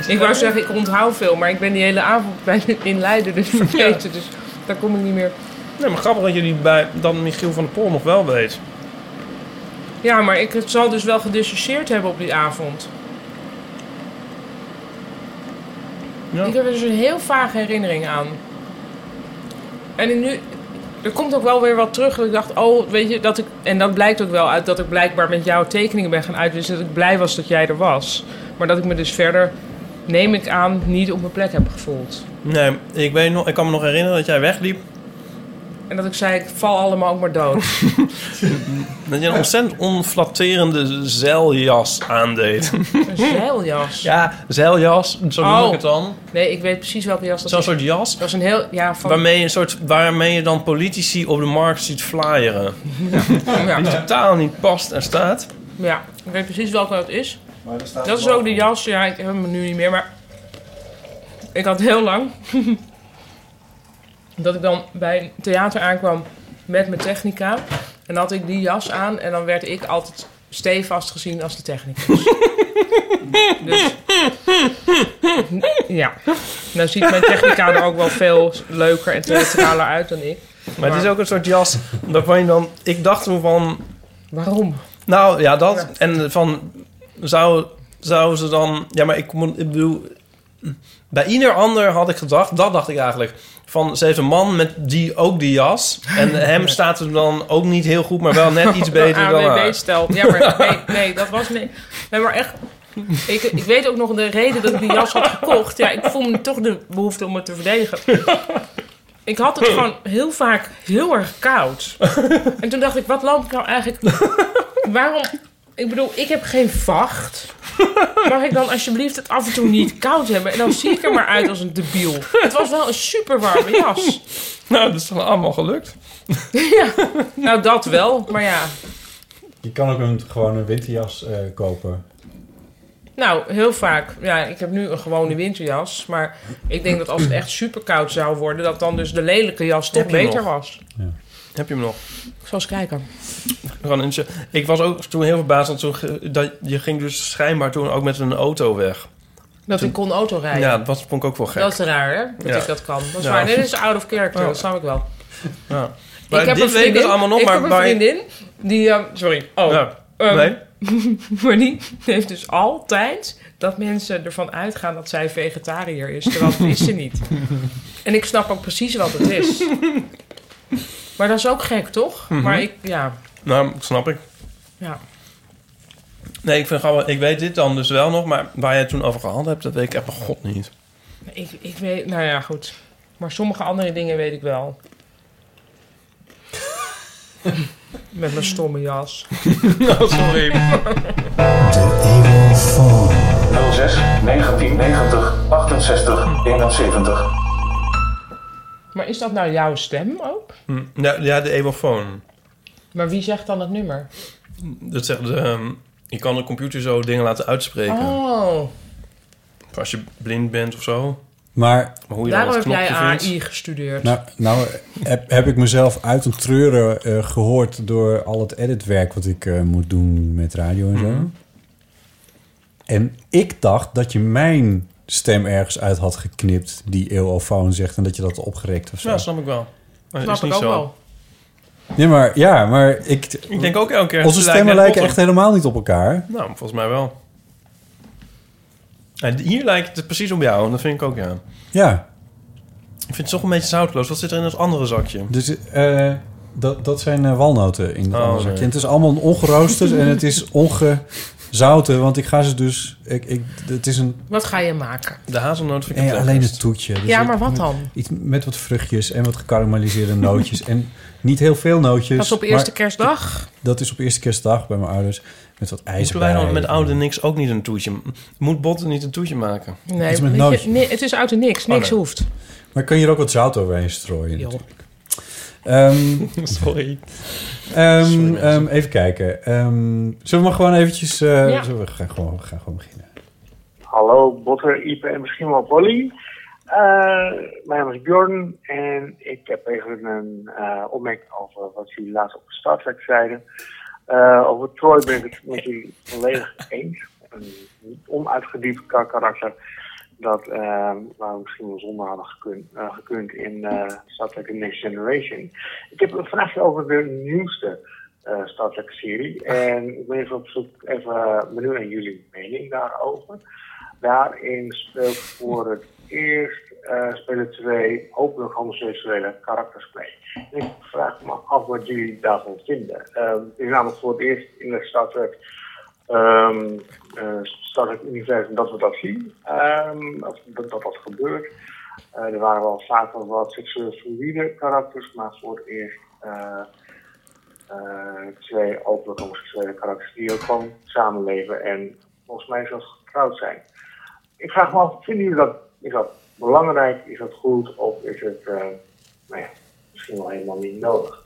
Speaker 1: Ik wou zeggen, ik onthoud veel, maar ik ben die hele avond bij, in Leiden dus vergeten. Dus daar kom ik niet meer.
Speaker 2: Nee, maar grappig dat jullie bij, dan Michiel van der Pol nog wel weet.
Speaker 1: Ja, maar ik het zal dus wel gedissocieerd hebben op die avond.
Speaker 2: Ja.
Speaker 1: Ik heb er dus een heel vage herinnering aan. En nu, er komt ook wel weer wat terug. Dat ik dacht, oh, weet je, dat ik. En dat blijkt ook wel uit dat ik blijkbaar met jouw tekeningen ben gaan uitwisselen. Dat ik blij was dat jij er was. Maar dat ik me dus verder, neem ik aan, niet op mijn plek heb gevoeld.
Speaker 2: Nee, ik, weet nog, ik kan me nog herinneren dat jij wegliep.
Speaker 1: En dat ik zei, ik val allemaal ook maar dood.
Speaker 2: Dat je een ontzettend onflatterende zeiljas aandeed.
Speaker 1: Een zeiljas.
Speaker 2: Ja, zeiljas, zo noem
Speaker 1: Oh.
Speaker 2: ik het dan.
Speaker 1: Nee, ik weet precies welke jas dat
Speaker 2: Zo'n
Speaker 1: is.
Speaker 2: soort jas.
Speaker 1: Dat was een heel. Ja, van.
Speaker 2: Waarmee je, een soort, waarmee je dan politici op de markt ziet flyeren.
Speaker 1: ja,
Speaker 2: Die totaal niet past en staat.
Speaker 1: ja, ik weet precies welke dat is. Dat is ook de jas. Ja, ik heb hem nu niet meer, maar ik had heel lang dat ik dan bij een theater aankwam met mijn technica. En dan had ik die jas aan en dan werd ik altijd stevast gezien als de technicus. dus ja, nou ziet mijn technica er ook wel veel leuker en theatraler uit dan ik.
Speaker 2: Maar het is ook een soort jas waarvan je dan... Ik dacht toen van...
Speaker 1: Waarom?
Speaker 2: Nou ja, dat. En van zou, zou ze dan. Ja, maar ik, moet- ik bedoel. Bij ieder ander had ik gedacht, dat dacht ik eigenlijk. Van ze heeft een man met die ook die jas. En hem staat er dan ook niet heel goed, maar wel net iets beter dan haar.
Speaker 1: stelt. Ja, maar nee, nee, dat was nee. Nee, maar echt. Ik, ik weet ook nog de reden dat ik die jas had gekocht. Ja, ik voel me toch de behoefte om het te verdedigen. Ik had het gewoon heel vaak heel erg koud. En toen dacht ik, wat loop ik nou eigenlijk... Waarom... Ik bedoel, ik heb geen vacht. Mag ik dan alsjeblieft het af en toe niet koud hebben? En dan zie ik er maar uit als een debiel. Het was wel een super warme jas.
Speaker 2: Nou, dat is dan allemaal gelukt.
Speaker 1: Ja, nou dat wel. Maar ja,
Speaker 3: Je kan ook een, gewoon een winterjas eh, kopen.
Speaker 1: Nou, heel vaak. Ja, ik heb nu een gewone winterjas. Maar ik denk dat als het echt super koud zou worden, dat dan dus de lelijke jas toch
Speaker 2: Heb je
Speaker 1: beter
Speaker 2: nog?
Speaker 1: was.
Speaker 2: Heb je hem nog?
Speaker 1: Ik zal eens kijken.
Speaker 2: Gewoon een- Ik was ook toen heel verbaasd, want toen, ge- dat, je ging dus schijnbaar toen ook met een auto weg.
Speaker 1: Dat ik kon autorijden.
Speaker 2: Ja, dat was, vond ik ook wel
Speaker 1: Ah,
Speaker 2: gek.
Speaker 1: dat is raar, hè? Dat
Speaker 2: Ja.
Speaker 1: ik dat kan. Dat is
Speaker 2: Ja.
Speaker 1: waar. Nee, dit is out of character.
Speaker 2: Ja.
Speaker 1: Dat snap ik wel.
Speaker 2: Ja. Maar
Speaker 1: ik heb
Speaker 2: dit
Speaker 1: een
Speaker 2: weet ik
Speaker 1: vriendin.
Speaker 2: dus allemaal nog,
Speaker 1: ik
Speaker 2: maar
Speaker 1: heb een
Speaker 2: waar-
Speaker 1: vriendin die... ehm, sorry. Oh.
Speaker 2: Ja.
Speaker 1: ehm,
Speaker 2: nee?
Speaker 1: Maar die heeft dus altijd dat mensen ervan uitgaan dat zij vegetariër is, terwijl dat is ze niet. En ik snap ook precies wat het is. Maar dat is ook gek, toch?
Speaker 2: Mhm.
Speaker 1: Maar ik, ja,
Speaker 2: Nou, snap ik.
Speaker 1: ja.
Speaker 2: Nee, ik vind het grappig. Ik weet dit dan dus wel nog, maar waar jij het toen over gehad hebt, dat weet ik echt mijn god niet.
Speaker 1: Ik, ik weet, nou ja, goed. Maar sommige andere dingen weet ik wel. Met mijn stomme jas.
Speaker 2: Oh, sorry.
Speaker 5: 06 1990 68 71.
Speaker 1: Maar is dat nou jouw stem ook?
Speaker 2: Hm, Ja, ja, de evofoon.
Speaker 1: Maar wie zegt dan het nummer?
Speaker 2: Dat zegt, ehm, je kan de computer zo dingen laten uitspreken.
Speaker 1: Oh,
Speaker 2: Als je blind bent of zo.
Speaker 3: Maar
Speaker 2: Maar hoe je
Speaker 1: daarom
Speaker 2: dan
Speaker 1: heb
Speaker 2: dat knopje
Speaker 1: jij AI
Speaker 2: vindt.
Speaker 1: gestudeerd.
Speaker 3: nou, nou heb, heb ik mezelf uit een treuren eh, gehoord door al het editwerk wat ik eh, moet doen met radio en zo.
Speaker 2: Mhm.
Speaker 3: En ik dacht dat je mijn stem ergens uit had geknipt, die EOFoon zegt, en dat je dat opgerekt of zo.
Speaker 2: Ja, snap ik wel. Maar
Speaker 1: Snap
Speaker 2: is niet
Speaker 1: ik ook
Speaker 2: zo.
Speaker 1: wel.
Speaker 3: Nee, maar ja, maar ik,
Speaker 2: Ik denk ook elke keer...
Speaker 3: onze
Speaker 2: ze
Speaker 3: stemmen lijken echt
Speaker 2: net
Speaker 3: helemaal niet op elkaar.
Speaker 2: botten. Nou, volgens mij wel. En hier lijkt het precies op jou, en dat vind ik ook, ja.
Speaker 3: Ja,
Speaker 2: Ik vind het toch een beetje zoutloos. Wat zit er in dat andere zakje?
Speaker 3: dus eh, dat, dat zijn eh, walnoten in dat
Speaker 2: Oh,
Speaker 3: andere zakje.
Speaker 2: nee.
Speaker 3: En Het is allemaal ongeroosterd en het is ongezouten, want ik ga ze dus... Ik, ik, het is een,
Speaker 1: Wat ga je maken?
Speaker 2: De hazelnoot vind ik
Speaker 3: nee,
Speaker 2: het
Speaker 3: alleen
Speaker 2: lekkerst.
Speaker 3: het toetje. Dus
Speaker 1: Ja,
Speaker 3: ik-
Speaker 1: maar wat dan?
Speaker 3: Iets met wat vruchtjes en wat gekarameliseerde nootjes. En niet heel veel nootjes.
Speaker 1: Dat is op eerste
Speaker 3: maar
Speaker 1: kerstdag.
Speaker 3: dat is op eerste kerstdag bij mijn ouders. Met wat ijzer
Speaker 2: Moeten wij dan
Speaker 3: bij.
Speaker 2: met oude niks ook niet een toetje? Moet Botten niet een toetje maken?
Speaker 1: Nee,
Speaker 3: Iets met
Speaker 1: weet
Speaker 3: nootjes.
Speaker 1: je, nee, het is uit de niks.
Speaker 2: Oh,
Speaker 1: Niks
Speaker 2: nee.
Speaker 1: hoeft.
Speaker 3: Maar kun je er ook wat zout overheen strooien?
Speaker 1: Joh.
Speaker 3: Ehm,
Speaker 2: Sorry.
Speaker 3: Ehm,
Speaker 2: Sorry, mensen.
Speaker 3: ehm, even kijken. Ehm, zullen we maar gewoon eventjes... eh,
Speaker 1: Ja.
Speaker 3: zullen we, we gaan gewoon, we gaan gewoon beginnen.
Speaker 5: Hallo Botter, Ipe en misschien wel Polly. Eh, mijn naam is Bjorn en ik heb even een eh, opmerking over wat jullie laatst op Star Trek zeiden. Eh, over Troy ben ik het met jullie volledig eens. Een niet onuitgediept ka- karakter dat eh, waar we misschien wel zonder hadden gekund, eh, gekund in eh Star Trek The Next Generation. Ik heb een vraagje over de nieuwste eh, Star Trek serie en ik ben even eh, op zoek even benieuwd naar jullie mening daarover. Daarin speelt voor het eerst eh, spelen twee openlijk homoseksuele karakters mee. En ik vraag me af wat jullie daarvan vinden. Ehm, het is namelijk voor het eerst in de Star Trek, ehm, eh, Star Trek universum dat we dat zien. Ehm, dat, dat dat dat gebeurt. Eh, er waren wel vaker wat seksueel fluïde karakters, maar voor het eerst eh, eh, twee openlijk homoseksuele karakters die ook gewoon samenleven en volgens mij zelfs getrouwd zijn. Ik vraag me af, vinden jullie dat, is dat belangrijk, is dat goed of is het eh, nou ja, misschien wel helemaal niet nodig?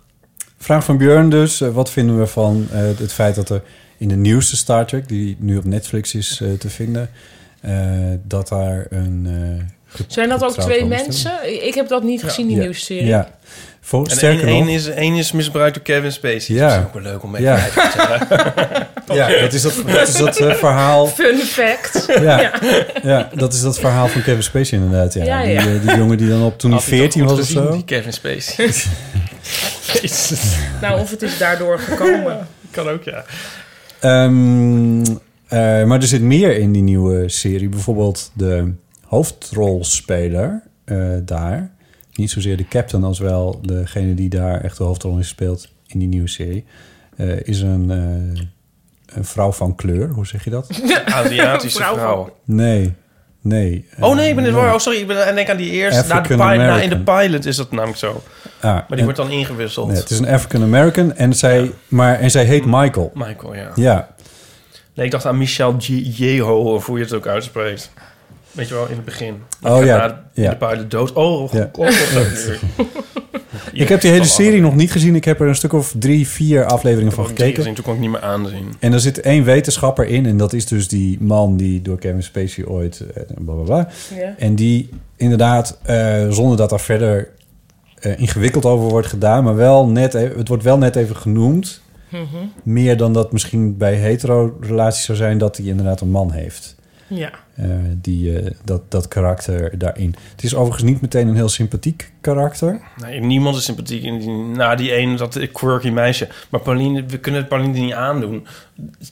Speaker 3: Vraag van Björn dus. eh, wat vinden we van eh, het feit dat er in de nieuwste Star Trek... die nu op Netflix is eh, te vinden... eh, dat daar een... eh, ge-
Speaker 1: Zijn dat ook
Speaker 3: getrouwd
Speaker 1: twee
Speaker 3: homo-
Speaker 1: mensen? Ik heb dat niet gezien, die
Speaker 3: Ja.
Speaker 1: nieuwste serie.
Speaker 3: Ja. Vol,
Speaker 2: En
Speaker 3: sterker
Speaker 2: één,
Speaker 3: nog...
Speaker 2: één is, één is misbruikt door Kevin Spacey.
Speaker 3: Ja.
Speaker 2: Dat is ook wel leuk om mee
Speaker 3: Ja.
Speaker 2: te vertellen.
Speaker 3: Ja, dat is dat, dat, is dat eh, verhaal...
Speaker 1: Fun fact.
Speaker 3: Ja. Ja. dat is dat verhaal van Kevin Spacey inderdaad. Ja.
Speaker 1: Ja,
Speaker 3: Die,
Speaker 1: ja.
Speaker 3: eh, die jongen die dan op toen hij
Speaker 2: Had hij toch
Speaker 3: 14
Speaker 2: goed
Speaker 3: was of
Speaker 2: gezien, Die
Speaker 3: zo.
Speaker 2: Kevin Spacey. Jezus.
Speaker 1: Nou, of het is daardoor gekomen.
Speaker 2: Kan ook, ja.
Speaker 3: Ehm, eh, maar er zit meer in die nieuwe serie. Bijvoorbeeld de hoofdrolspeler eh, daar. Niet zozeer de captain als wel degene die daar echt de hoofdrol in speelt in die nieuwe serie. eh, is een, eh, een vrouw van kleur. Hoe zeg je dat?
Speaker 2: Aziatische
Speaker 1: Vrouw
Speaker 2: vrouw.
Speaker 1: van-
Speaker 3: Nee, nee. eh,
Speaker 2: Oh nee, ik ben het waar. Oh sorry, ik ben aan denk aan die eerste. Na de
Speaker 3: African
Speaker 2: pilot, na in de
Speaker 3: American.
Speaker 2: pilot is dat namelijk zo. Maar
Speaker 3: ah,
Speaker 2: die
Speaker 3: en-
Speaker 2: wordt dan ingewisseld.
Speaker 3: nee, het is een African American en zij, maar, en zij heet Michael.
Speaker 2: Michael, ja.
Speaker 3: Ja,
Speaker 2: Nee, ik dacht aan Michelle G- Yeoh, of hoe je het ook uitspreekt. Weet je wel, in het begin. Dan
Speaker 3: Oh,
Speaker 2: gaat
Speaker 3: ja.
Speaker 2: na- In
Speaker 3: Ja.
Speaker 2: de pilot dood. Oh, god,
Speaker 3: Ja.
Speaker 2: god, god, god.
Speaker 3: Ik heb die hele serie nog niet gezien. Ik heb er een stuk of drie, vier afleveringen van gekeken.
Speaker 2: Toen kon ik niet meer aanzien.
Speaker 3: En er zit één wetenschapper in. En dat is dus die man die door Kevin Spacey ooit... eh, Bla, bla, bla.
Speaker 1: Ja.
Speaker 3: En die inderdaad, eh, zonder dat daar verder eh, ingewikkeld over wordt gedaan... maar wel net even, het wordt wel net even genoemd.
Speaker 2: Mhm.
Speaker 3: Meer dan dat misschien bij hetero-relaties zou zijn... dat hij inderdaad een man heeft.
Speaker 1: Ja.
Speaker 3: Eh, die, eh, dat, dat karakter daarin. Het is overigens niet meteen een heel sympathiek karakter.
Speaker 2: Nee, niemand is sympathiek in die, na die ene, dat quirky meisje. Maar Pauline, we kunnen het Pauline niet aandoen.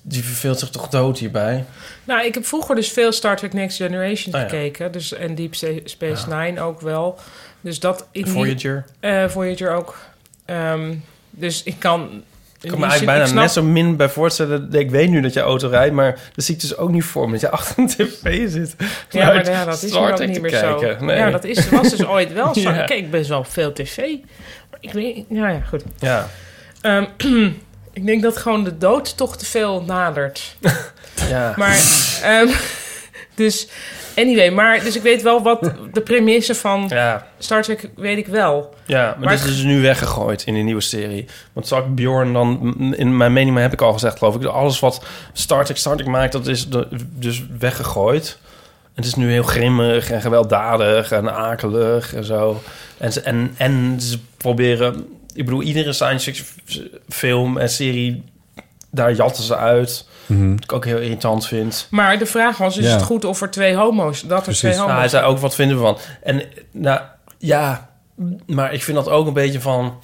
Speaker 2: Die verveelt zich toch dood hierbij?
Speaker 1: Nou, ik heb vroeger dus veel Star Trek Next Generation
Speaker 2: Ah, ja.
Speaker 1: gekeken. Dus, en Deep Spa- Space Nine ook wel. Dus dat... Ik niet-
Speaker 2: Voyager.
Speaker 1: eh, Voyager ook. Ehm, dus ik kan...
Speaker 2: Ik kan me eigenlijk bijna net zo min bij voorstellen. Ik weet nu dat je auto rijdt, maar dat zie ik dus ook niet voor me. Dat je achter een tv zit.
Speaker 1: Ja, maar
Speaker 2: Uit
Speaker 1: ja, dat is
Speaker 2: Star
Speaker 1: nu ook
Speaker 2: Trek
Speaker 1: niet
Speaker 2: te
Speaker 1: meer
Speaker 2: kijken.
Speaker 1: zo.
Speaker 2: Nee.
Speaker 1: Ja, dat is, was dus ooit wel zo.
Speaker 2: Ja.
Speaker 1: Kijk, ik ben wel veel tv. Maar ik weet... Ja, ja, goed.
Speaker 2: Ja.
Speaker 1: Ehm, ik denk dat gewoon de dood toch te veel nadert.
Speaker 2: ja.
Speaker 1: Maar, ehm, dus, anyway, maar, dus ik weet wel wat de premisse van
Speaker 2: ja.
Speaker 1: Star Trek weet ik wel.
Speaker 2: Ja, maar,
Speaker 1: Maar
Speaker 2: dit is dus nu weggegooid in de nieuwe serie. Want Zak Bjorn dan, m- in mijn mening maar heb ik al gezegd, geloof ik, alles wat Star Trek Star Trek maakt, dat is de- dus weggegooid. Het is nu heel grimmig en gewelddadig en akelig en zo. En ze, en, en ze proberen, ik bedoel, iedere science fiction film en serie, daar jatten ze uit. Wat ik ook heel irritant vind.
Speaker 1: Maar de vraag was, is
Speaker 3: Ja.
Speaker 1: het goed of er twee homo's... Dat er
Speaker 3: Precies.
Speaker 1: twee
Speaker 2: Nou,
Speaker 1: homo's...
Speaker 2: hij zei ook, wat vinden we van? En nou, ja, maar ik vind dat ook een beetje van...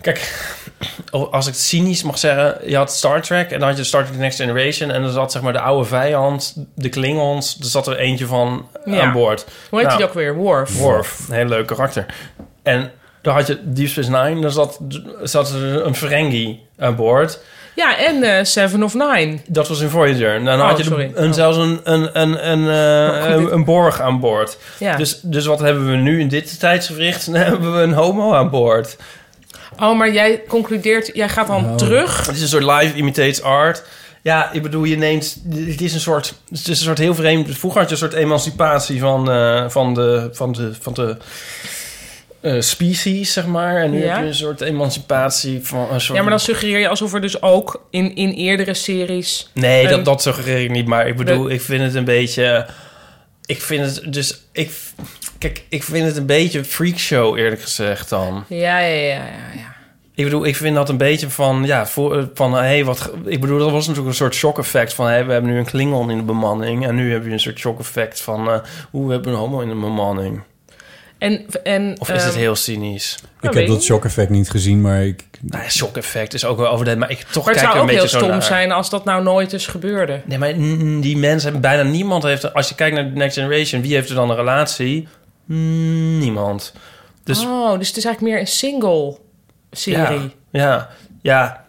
Speaker 2: Kijk, als ik het cynisch mag zeggen... Je had Star Trek en dan had je Star Trek Next Generation... en er zat zeg maar de oude vijand, de Klingons... er zat er eentje van
Speaker 1: Ja.
Speaker 2: aan boord.
Speaker 1: Hoe heet
Speaker 2: Nou,
Speaker 1: hij ook weer? Worf.
Speaker 2: Worf, een heel leuk karakter. En dan had je Deep Space Nine... daar zat, zat er een Ferengi aan boord...
Speaker 1: Ja, en eh, Seven of Nine.
Speaker 2: Dat was in Voyager. En dan
Speaker 1: Oh,
Speaker 2: had je de-
Speaker 1: sorry.
Speaker 2: een,
Speaker 1: Oh.
Speaker 2: zelfs een, een, een, een, eh,
Speaker 1: goed, dit-
Speaker 2: een, een borg aan boord.
Speaker 1: Ja.
Speaker 2: Dus, dus wat hebben we nu in dit tijdsgevricht? Dan hebben we een homo aan boord.
Speaker 1: Oh, maar jij concludeert... Jij gaat dan
Speaker 3: Nou.
Speaker 1: terug.
Speaker 2: Het is een soort live imitates art. Ja, ik bedoel, je neemt... Het is een soort, het is een soort heel vreemd... Vroeger had je een soort emancipatie van, eh, van de... Van de, van de eh, species, zeg maar. En nu
Speaker 1: Ja.
Speaker 2: heb je een soort emancipatie van... Een soort
Speaker 1: Ja, maar dan suggereer je alsof er dus ook in, in eerdere series...
Speaker 2: Nee,
Speaker 1: Een-
Speaker 2: dat, dat suggereer ik niet. Maar ik bedoel,
Speaker 1: De-
Speaker 2: ik vind het een beetje. Ik vind het dus. Ik, kijk, ik vind het een beetje freakshow, eerlijk gezegd dan.
Speaker 1: Ja, ja, ja, ja. ja.
Speaker 2: Ik bedoel, ik vind dat een beetje van. Ja, voor, eh, van hé, hey, wat. ge- Ik bedoel, dat was natuurlijk een soort shock effect van. Hé, we hebben nu een Klingon in de bemanning. En nu heb je een soort shock effect van. eh, hoe we hebben een homo in de bemanning.
Speaker 1: En En, en,
Speaker 2: Of is het
Speaker 1: ehm,
Speaker 2: heel cynisch?
Speaker 1: weet
Speaker 3: Ik
Speaker 1: ik
Speaker 3: heb dat
Speaker 1: niet.
Speaker 3: shock effect niet gezien, maar ik,
Speaker 2: Nou ja, shock effect is ook wel overdreven, maar ik toch
Speaker 1: Maar het zou
Speaker 2: kijk er een
Speaker 1: ook heel
Speaker 2: beetje zo
Speaker 1: stom
Speaker 2: naar.
Speaker 1: zijn als dat nou nooit eens gebeurde.
Speaker 2: Nee, maar mm, die mensen, bijna niemand heeft... Als je kijkt naar de Next Generation, wie heeft er dan een relatie? Mm, Niemand. Dus
Speaker 1: Oh, dus het is eigenlijk meer een single serie.
Speaker 2: ja, ja, ja,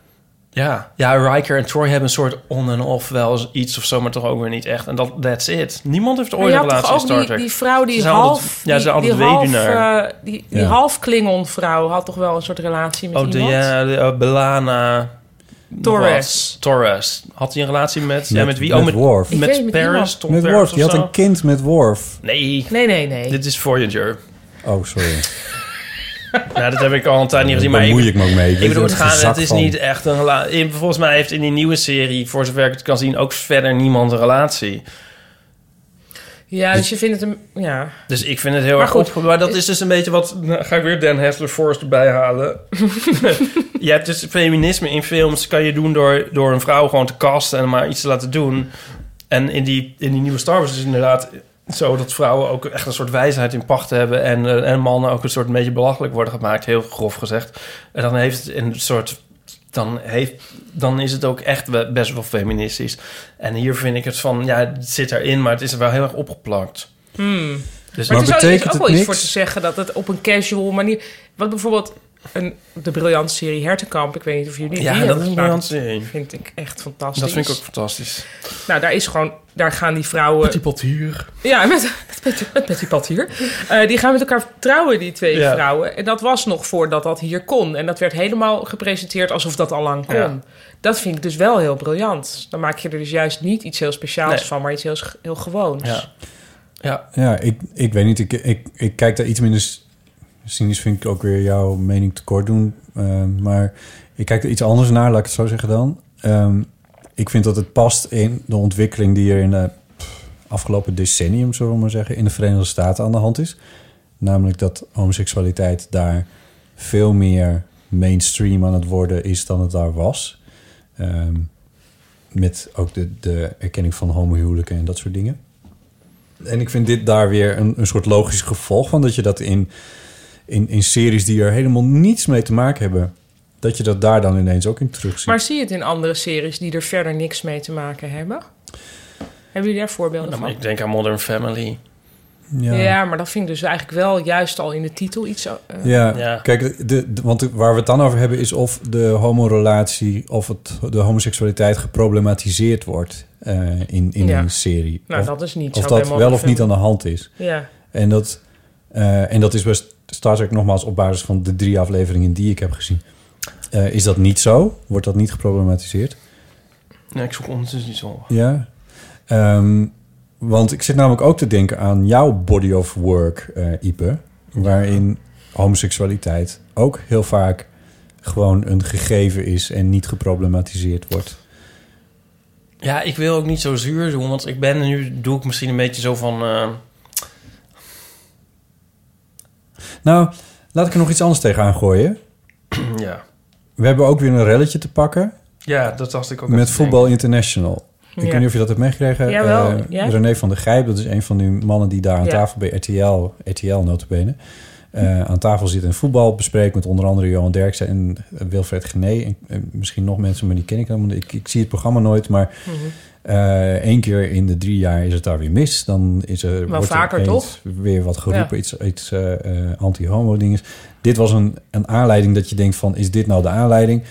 Speaker 2: ja. Ja, Riker en Troy hebben een soort on en off wel eens iets of zo, maar toch ook weer niet echt. En dat, that's it. Niemand heeft
Speaker 1: Maar
Speaker 2: ooit
Speaker 1: je
Speaker 2: een
Speaker 1: had
Speaker 2: relatie
Speaker 1: toch
Speaker 2: in
Speaker 1: ook
Speaker 2: Star
Speaker 1: die,
Speaker 2: Trek.
Speaker 1: die vrouw die
Speaker 2: Ze zijn
Speaker 1: half...
Speaker 2: altijd- ja, ze zijn
Speaker 1: die, die
Speaker 2: altijd
Speaker 1: half,
Speaker 2: weduwnaar.
Speaker 1: eh, die die
Speaker 3: Ja.
Speaker 1: half Klingon vrouw had toch wel een soort relatie met
Speaker 2: Oh, de,
Speaker 1: iemand?
Speaker 2: ja, de, eh, Belana...
Speaker 1: Torres.
Speaker 2: Wat? Torres. Had hij een relatie met... ja,
Speaker 3: Met-
Speaker 2: met wie?
Speaker 3: met
Speaker 2: oh, met
Speaker 3: Worf.
Speaker 1: Ik weet
Speaker 2: Met
Speaker 1: niet,
Speaker 2: Paris,
Speaker 1: iemand.
Speaker 2: Tom
Speaker 3: Met
Speaker 2: Paris
Speaker 3: Worf.
Speaker 2: of
Speaker 3: Die had
Speaker 2: zo?
Speaker 3: een kind met Worf.
Speaker 2: Nee,
Speaker 1: Nee, nee, nee.
Speaker 2: dit is Voyager.
Speaker 3: Oh, sorry.
Speaker 2: Nou, dat heb ik al een tijd niet gezien, maar
Speaker 3: Daar
Speaker 2: ik,
Speaker 3: moei ik me ook mee.
Speaker 2: ik bedoel, het,
Speaker 3: gaat.
Speaker 2: gaat, het is niet echt een relatie. Volgens mij heeft in die nieuwe serie, voor zover ik het kan zien, ook verder niemand een relatie.
Speaker 1: Ja, dus je vindt het een... Ja.
Speaker 2: Dus ik vind het heel
Speaker 1: Maar
Speaker 2: erg
Speaker 1: goed. eh,
Speaker 2: op. Maar dat is dus een beetje wat... Nou, ga ik weer Dan Hessler Forrest erbij halen. je hebt dus feminisme in films. Kan je doen door, door een vrouw gewoon te casten en maar iets te laten doen. En in die, in die nieuwe Star Wars is het inderdaad zo dat vrouwen ook echt een soort wijsheid in pacht hebben. En, eh, en mannen ook een soort een beetje belachelijk worden gemaakt. Heel grof gezegd. En dan heeft het een soort... Dan, heeft, dan is het ook echt we- best wel feministisch. En hier vind ik het van, ja, het zit erin, maar het is er wel heel erg opgeplakt. Dus
Speaker 1: Maar,
Speaker 3: Maar
Speaker 1: er zou dus
Speaker 3: betekent
Speaker 1: ook
Speaker 3: het
Speaker 1: wel iets
Speaker 3: niks?
Speaker 1: voor te zeggen dat het op een casual manier... Wat bijvoorbeeld een, de briljante serie Hertenkamp, ik weet niet of jullie die
Speaker 2: Ja,
Speaker 1: hebben
Speaker 2: dat is een
Speaker 1: gemaakt.
Speaker 2: briljante serie.
Speaker 1: vind ik echt fantastisch.
Speaker 2: Dat vind ik ook fantastisch.
Speaker 1: Nou, daar is gewoon... Daar gaan die vrouwen...
Speaker 2: Pottier.
Speaker 1: Ja, met, met, met Betty Pat hier. Eh, die gaan met elkaar trouwen, die twee
Speaker 2: Ja.
Speaker 1: vrouwen. En dat was nog voordat dat hier kon. En dat werd helemaal gepresenteerd alsof dat al lang kon.
Speaker 2: Ja.
Speaker 1: Dat vind ik dus wel heel briljant. Dan maak je er dus juist niet iets heel speciaals
Speaker 2: Nee.
Speaker 1: van, maar iets heel, s- heel gewoons.
Speaker 2: Ja. Ja.
Speaker 3: Ja, ik, ik weet niet. Ik, ik, ik kijk daar iets minder... s- Cynisch vind ik ook weer jouw mening tekort doen. eh, maar ik kijk er iets anders naar, laat ik het zo zeggen dan. Ehm, ik vind dat het past in de ontwikkeling die er in de pff, afgelopen decennium, zullen we maar zeggen, in de Verenigde Staten aan de hand is. Namelijk dat homoseksualiteit daar veel meer mainstream aan het worden is dan het daar was. Ehm, met ook de, de erkenning van homohuwelijken en dat soort dingen. En ik vind dit daar weer een, een soort logisch gevolg van. Dat je dat in, in, in series die er helemaal niets mee te maken hebben... dat je dat daar dan ineens ook in terugziet.
Speaker 1: Maar zie je het in andere series die er verder niks mee te maken hebben? Hebben jullie daar voorbeelden
Speaker 2: Nou, maar
Speaker 1: van?
Speaker 2: ik denk aan Modern Family.
Speaker 1: Ja. maar dat vind ik dus eigenlijk wel juist al in de titel iets... eh,
Speaker 3: Ja,
Speaker 2: Ja.
Speaker 3: kijk, de, de- want waar we het dan over hebben is of de homorelatie of het, de homoseksualiteit geproblematiseerd wordt eh, in, in
Speaker 1: Ja.
Speaker 3: een serie.
Speaker 1: nou,
Speaker 3: of
Speaker 1: dat is niet
Speaker 3: of
Speaker 1: zo.
Speaker 3: dat
Speaker 1: bij
Speaker 3: wel of niet
Speaker 1: Modern
Speaker 3: aan de hand is.
Speaker 1: Family. Ja.
Speaker 3: En dat, eh, en dat is bij Star Trek nogmaals op basis van de drie afleveringen die ik heb gezien. Eh, is dat niet zo? Wordt dat niet geproblematiseerd?
Speaker 2: Nee, ik zoek ondertussen niet zo.
Speaker 3: Ja. Ehm, want ik zit namelijk ook te denken aan jouw body of work, eh, Ipe. Waarin homoseksualiteit ook heel vaak gewoon een gegeven is en niet geproblematiseerd wordt.
Speaker 2: Ja, ik wil ook niet zo zuur doen, want ik ben nu... Doe ik misschien een beetje zo van... eh,
Speaker 3: Nou, laat ik er nog iets anders tegenaan gooien.
Speaker 2: ja.
Speaker 3: We hebben ook weer een relletje te pakken
Speaker 2: ja, dat dacht ik ook. even
Speaker 3: met
Speaker 2: te
Speaker 3: Voetbal International.
Speaker 1: Ja.
Speaker 3: Ik weet niet of je dat hebt meegekregen.
Speaker 1: Jawel,
Speaker 3: Eh,
Speaker 1: ja.
Speaker 3: René van der Gijp, dat is een van die mannen die daar aan
Speaker 1: Ja.
Speaker 3: tafel bij RTL, RTL notabene, eh, aan tafel zit en voetbal bespreekt met onder andere Johan Derksen en eh, Wilfred Gené. En, eh, misschien nog mensen, maar die ken ik helemaal niet. Ik, ik zie het programma nooit, maar
Speaker 1: Mhm.
Speaker 3: eh, één keer in de drie jaar is het daar weer mis. Dan is er, wordt er
Speaker 1: vaker,
Speaker 3: opeens
Speaker 1: toch?
Speaker 3: weer wat geroepen, iets, iets eh, eh, anti-homo-dinges. Dit was een, een aanleiding dat je denkt van, is dit nou de aanleiding?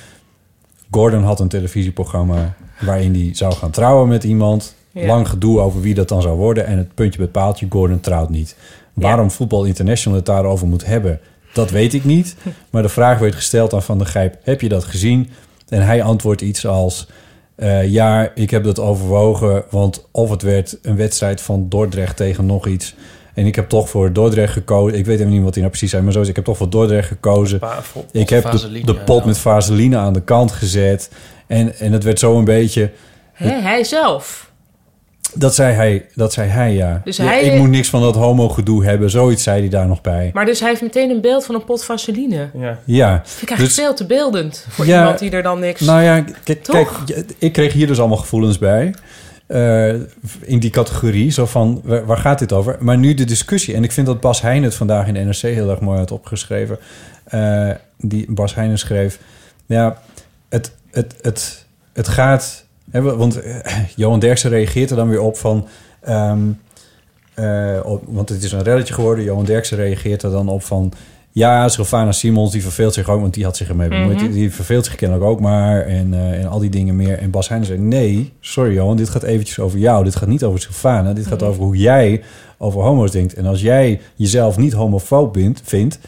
Speaker 3: Gordon had een televisieprogramma waarin hij zou gaan trouwen met iemand.
Speaker 1: Ja.
Speaker 3: Lang gedoe over wie dat dan zou worden. En het puntje bij het paaltje, Gordon trouwt niet. Waarom Voetbal International het daarover moet hebben, dat weet ik niet. Maar de vraag werd gesteld aan Van der Gijp, heb je dat gezien? En hij antwoordt iets als, eh, ja, ik heb dat overwogen. Want of het werd een wedstrijd van Dordrecht tegen nog iets... En ik heb toch voor Dordrecht gekozen. Ik weet even niet wat hij nou precies zei, maar zo is. Ik heb toch voor Dordrecht gekozen.
Speaker 2: Pa- voor-
Speaker 3: Ik heb de,
Speaker 2: Vaseline,
Speaker 3: de
Speaker 2: ja,
Speaker 3: pot
Speaker 2: ja.
Speaker 3: met vaseline aan de kant gezet. En, en het werd zo een beetje...
Speaker 1: Hè, hij zelf.
Speaker 3: Dat zei hij, dat zei hij ja.
Speaker 1: Dus
Speaker 3: Ja,
Speaker 1: hij-
Speaker 3: Ik moet niks van dat homo-gedoe hebben. Zoiets zei hij daar nog bij.
Speaker 1: Maar dus hij heeft meteen een beeld van een pot vaseline.
Speaker 2: Ja.
Speaker 3: Ja.
Speaker 1: Vind ik eigenlijk
Speaker 3: Dus-
Speaker 1: veel te beeldend voor
Speaker 3: Ja,
Speaker 1: iemand die er dan niks...
Speaker 3: Nou ja, kijk,
Speaker 1: Toch?
Speaker 3: kijk, ik kreeg hier dus allemaal gevoelens bij. eh, in die categorie. Zo van, waar, waar gaat dit over? Maar nu de discussie. En ik vind dat Bas Heijn het vandaag in de NRC heel erg mooi had opgeschreven. Eh, die Bas Heijnen schreef. Ja, het, het, het, het gaat... Hè, want eh, Johan Derksen reageert er dan weer op van... ehm, eh, op- want het is een relletje geworden. Johan Derksen reageert er dan op van... Ja, Sylvana Simons, die verveelt zich ook, want die had zich ermee bemoeid.
Speaker 1: Mhm.
Speaker 3: Die- Die verveelt zich kennelijk ook maar en, eh, en al die dingen meer. En Bas Heijnen zei, nee, sorry Johan, dit gaat eventjes over jou. Dit gaat niet over Sylvana, dit gaat
Speaker 1: Mhm.
Speaker 3: over hoe jij over homo's denkt. En als jij jezelf niet homofoob bent, vindt...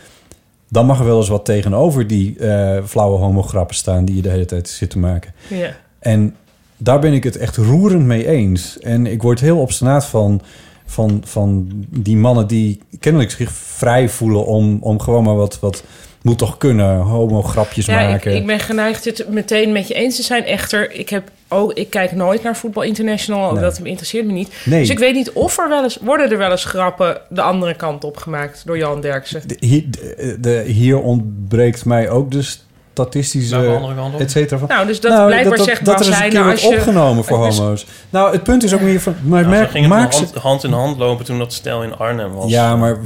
Speaker 3: dan mag er wel eens wat tegenover die eh, flauwe homograppen staan... die je de hele tijd zit te maken.
Speaker 1: Ja.
Speaker 3: En daar ben ik het echt roerend mee eens. En ik word heel obstinaat van, van, van die mannen die kennelijk zich vrij voelen om, om gewoon maar wat, wat moet toch kunnen, homo-grapjes
Speaker 1: Ja, ik,
Speaker 3: maken.
Speaker 1: ik ben geneigd het meteen met je eens te zijn. Echter, ik, heb ook, ik kijk nooit naar Voetbal International.
Speaker 3: Nee.
Speaker 1: Dat interesseert me niet.
Speaker 3: Nee.
Speaker 1: Dus ik weet niet of er wel eens... Worden er wel eens grappen de andere kant op gemaakt door Jan Derksen?
Speaker 3: De- hier, de, de- hier ontbreekt mij ook de statistische...
Speaker 2: Naar Nou, de andere kant op.
Speaker 3: et cetera van.
Speaker 1: Nou, dus dat blijkbaar zegt
Speaker 3: dat
Speaker 1: Bas
Speaker 3: er eens een
Speaker 1: Heijn,
Speaker 3: keer
Speaker 1: nou,
Speaker 3: wordt
Speaker 1: als je-
Speaker 3: opgenomen voor
Speaker 1: Dus-
Speaker 3: homo's. Nou, het punt is ook meer van... Maar
Speaker 2: Nou,
Speaker 3: merk,
Speaker 2: zo ging het
Speaker 3: maak ze-
Speaker 2: hand, hand in hand lopen toen dat stel in Arnhem was.
Speaker 3: Ja, maar...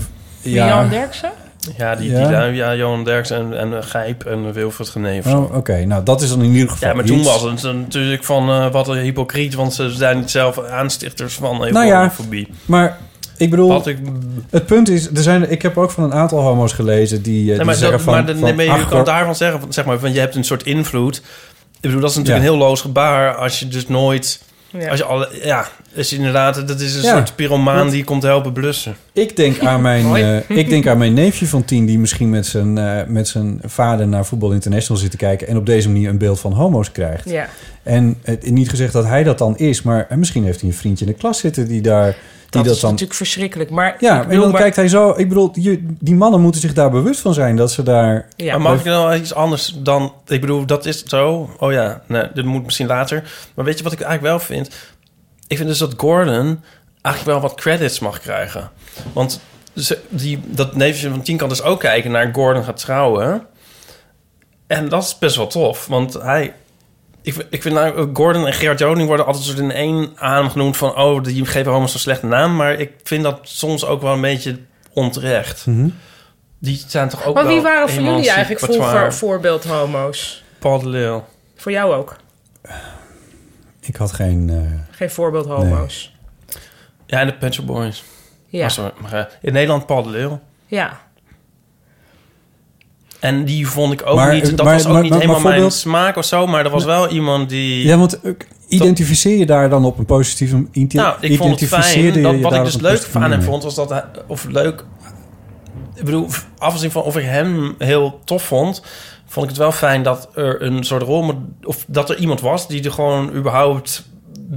Speaker 1: Ja.
Speaker 3: Ja,
Speaker 1: Jan Derksen?
Speaker 2: Ja, die,
Speaker 3: Ja.
Speaker 2: Die, lui- ja Johan Derksen en, en eh, Gijp en Wilfred Geneef.
Speaker 3: Oh, Oké, nou dat is dan in ieder geval
Speaker 2: Ja, maar toen
Speaker 3: iets.
Speaker 2: was het natuurlijk van eh, wat een hypocriet, want ze zijn niet zelf aanstichters van
Speaker 3: Nou ja.
Speaker 2: homofobie.
Speaker 3: Maar ik bedoel...
Speaker 2: Wat ik,
Speaker 3: Het punt is, er zijn, ik heb ook van een aantal homo's gelezen die, eh, die
Speaker 2: nee, maar
Speaker 3: zeggen
Speaker 2: dat,
Speaker 3: van...
Speaker 2: maar de-
Speaker 3: van,
Speaker 2: nee, maar
Speaker 3: ach,
Speaker 2: je kan
Speaker 3: hoor,
Speaker 2: daarvan zeggen, van, zeg maar, van je hebt een soort invloed. Ik bedoel, dat is natuurlijk
Speaker 3: Ja.
Speaker 2: een heel loos gebaar als je dus nooit...
Speaker 1: Ja.
Speaker 2: Als je alle, ja, als je inderdaad, dat is een
Speaker 3: Ja.
Speaker 2: soort pyromaan
Speaker 3: Want-
Speaker 2: die je komt helpen blussen.
Speaker 3: Ik denk, aan mijn,
Speaker 1: Mooi.
Speaker 3: eh, ik denk aan mijn neefje van tien... die misschien met zijn, eh, met zijn vader naar Voetbal International zit te kijken... en op deze manier een beeld van homo's krijgt.
Speaker 1: Ja.
Speaker 3: En het, niet gezegd dat hij dat dan is... maar eh, misschien heeft hij een vriendje in de klas zitten die daar... Die
Speaker 1: Dat,
Speaker 3: dat,
Speaker 1: is
Speaker 3: dan,
Speaker 1: natuurlijk verschrikkelijk. Maar
Speaker 3: ja,
Speaker 1: ik
Speaker 3: en
Speaker 1: bedoel,
Speaker 3: dan
Speaker 1: maar-
Speaker 3: kijkt hij zo... Ik bedoel, je- die mannen moeten zich daar bewust van zijn... dat ze daar...
Speaker 1: Ja.
Speaker 2: maar mag ik nou iets anders dan... Ik bedoel, dat is zo. Oh ja, nee, dit moet misschien later. Maar weet je wat ik eigenlijk wel vind? Ik vind dus dat Gordon eigenlijk wel wat credits mag krijgen. Want ze- die, dat neefje van tien kan dus ook kijken naar Gordon gaat trouwen. En dat is best wel tof, want hij... Ik, vind- ik vind nou, Gordon en Gerard Joning worden altijd soort in één adem genoemd van... oh, die geven homo's zo'n slechte naam. Maar ik vind dat soms ook wel een beetje onterecht.
Speaker 3: Mhm.
Speaker 2: Die zijn toch ook
Speaker 1: Maar wie
Speaker 2: wel
Speaker 1: waren voor
Speaker 2: eenmaal
Speaker 1: jullie eigenlijk
Speaker 2: repertoire.
Speaker 1: vroeger voorbeeld homo's?
Speaker 2: Paul de Leeuw.
Speaker 1: Voor jou ook?
Speaker 3: Ik had geen... eh,
Speaker 1: Geen voorbeeld homo's.
Speaker 2: Ja, en de Pet Shop Boys.
Speaker 1: Ja.
Speaker 2: Oh, sorry, maar, eh, in Nederland Paul de Leeuw.
Speaker 1: ja.
Speaker 2: En die vond ik ook
Speaker 3: Maar,
Speaker 2: niet... Dat
Speaker 3: maar-
Speaker 2: was ook
Speaker 3: maar-
Speaker 2: niet
Speaker 3: maar- maar
Speaker 2: helemaal mijn
Speaker 3: voorbeeld-
Speaker 2: smaak of zo... maar er was wel iemand die...
Speaker 3: ja, want eh, identificeer je daar dan op een positieve... Inti-
Speaker 2: nou, ik vond het
Speaker 3: identificeerde
Speaker 2: fijn.
Speaker 3: je
Speaker 2: Dat,
Speaker 3: je
Speaker 2: wat
Speaker 3: daar
Speaker 2: ik
Speaker 3: op
Speaker 2: dus
Speaker 3: een
Speaker 2: leuk
Speaker 3: positieve
Speaker 2: aan hem
Speaker 3: manier?
Speaker 2: vond, was dat hij... Of leuk... Ik bedoel, afgezien van of ik hem heel tof vond... vond ik het wel fijn dat er een soort rol... of dat er iemand was die er gewoon überhaupt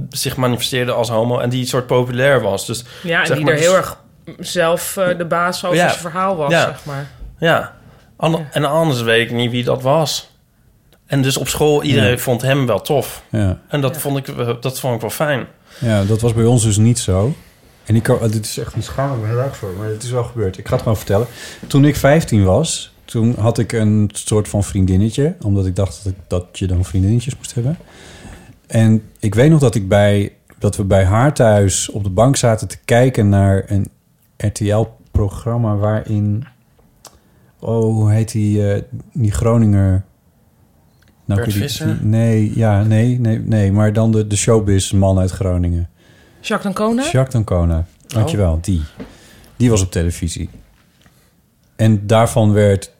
Speaker 2: zich manifesteerde als homo... en die soort populair was. Dus
Speaker 1: Ja, en
Speaker 2: Zeg
Speaker 1: die
Speaker 2: maar,
Speaker 1: er
Speaker 2: dus-
Speaker 1: heel erg zelf eh, de baas over
Speaker 2: Ja.
Speaker 1: zijn verhaal was,
Speaker 2: Ja.
Speaker 1: zeg maar.
Speaker 2: Ja. Ander- En anders weet ik niet wie dat was. En dus op school, iedereen vond hem wel tof.
Speaker 3: Ja.
Speaker 2: En dat,
Speaker 1: Ja.
Speaker 2: vond ik, eh, dat vond ik wel fijn.
Speaker 3: Ja, dat was bij ons dus niet zo. En ik, kan- dit is echt een schaam me heel erg voor, maar het is wel gebeurd. Ik ga het gewoon vertellen. Toen ik 15 was, toen had ik een soort van vriendinnetje. Omdat ik dacht dat, ik, dat je dan vriendinnetjes moest hebben. En ik weet nog dat, ik bij, dat we bij haar thuis op de bank zaten te kijken naar een RTL-programma waarin... Oh, hoe heet die, eh, die Groninger... Nou,
Speaker 2: Bert
Speaker 3: ik weet
Speaker 2: Visser?
Speaker 3: nee, ja, nee, nee, nee. Maar dan de, de showbiz-man uit Groningen.
Speaker 1: Jacques D'Ancona?
Speaker 3: Jacques D'Ancona. Dankjewel, die. Die was op televisie. En daarvan werd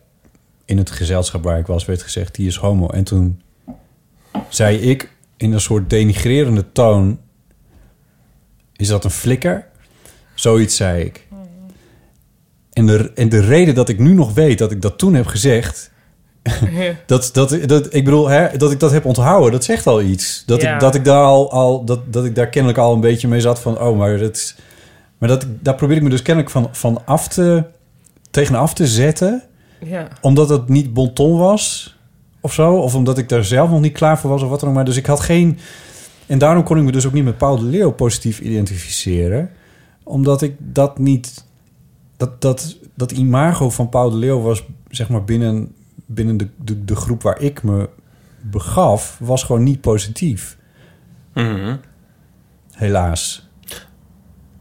Speaker 3: in het gezelschap waar ik was, werd gezegd: die is homo. En toen zei ik in een soort denigrerende toon: Is dat een flikker? Zoiets zei ik. En de, en de reden dat ik nu nog weet dat ik dat toen heb gezegd. Dat, dat, dat, ik bedoel, hè, dat ik dat heb onthouden, dat zegt al iets. Dat,
Speaker 1: Ja.
Speaker 3: ik, dat ik daar al, al dat, dat ik daar kennelijk al een beetje mee zat van, oh, maar dat is. Maar dat, daar probeer ik me dus kennelijk van, van af te, tegen af te zetten
Speaker 1: Ja.
Speaker 3: omdat het niet bonton was of zo. Of omdat ik daar zelf nog niet klaar voor was of wat dan ook. Maar dus ik had geen... En daarom kon ik me dus ook niet met Paul de Leeuw positief identificeren. Omdat ik dat niet... Dat, dat, dat imago van Paul de Leeuw was, zeg maar, binnen, binnen de, de, de groep waar ik
Speaker 2: Mhm.
Speaker 3: me begaf... was gewoon niet positief. Helaas.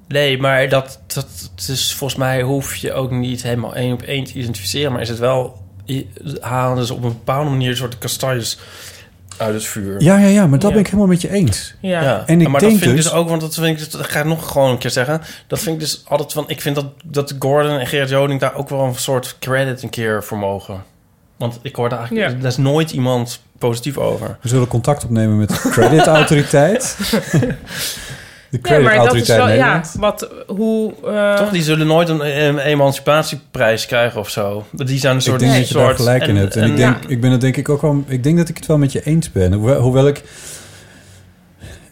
Speaker 2: Nee, maar dat, dat het is volgens mij hoef je ook niet helemaal één op één te identificeren. Maar is het wel, i- halen ze op een bepaalde manier een soort kastanjes uit het vuur.
Speaker 3: Ja, ja, ja, maar dat
Speaker 2: Ja.
Speaker 3: ben ik helemaal met je eens.
Speaker 1: Ja.
Speaker 3: En ik
Speaker 2: maar
Speaker 3: denk
Speaker 2: dat vind
Speaker 3: dus-
Speaker 2: ik dus ook, want dat vind ik, dus- dat ga ik nog gewoon een keer zeggen. Dat vind ik dus altijd van, ik vind dat, dat Gordon en Gerard Joling daar ook wel een soort credit een keer voor mogen. Want ik hoorde eigenlijk,
Speaker 1: Ja.
Speaker 2: daar is nooit iemand positief over.
Speaker 3: We zullen contact opnemen met de creditautoriteit. de
Speaker 1: Ja, maar dat is
Speaker 3: creditautoriteit
Speaker 1: wel, ja,
Speaker 3: Nederland.
Speaker 1: wat, hoe... eh,
Speaker 2: Toch, die zullen nooit een, een emancipatieprijs krijgen of zo. Die zijn een soort...
Speaker 3: ik denk
Speaker 2: een
Speaker 3: dat je daar
Speaker 2: soort-
Speaker 3: gelijk in
Speaker 2: en-
Speaker 3: hebt. En,
Speaker 2: en-
Speaker 3: ik, denk,
Speaker 1: ja.
Speaker 3: ik ben het denk ik ook wel... Ik denk dat ik het wel met je eens ben. Hoewel, hoewel ik...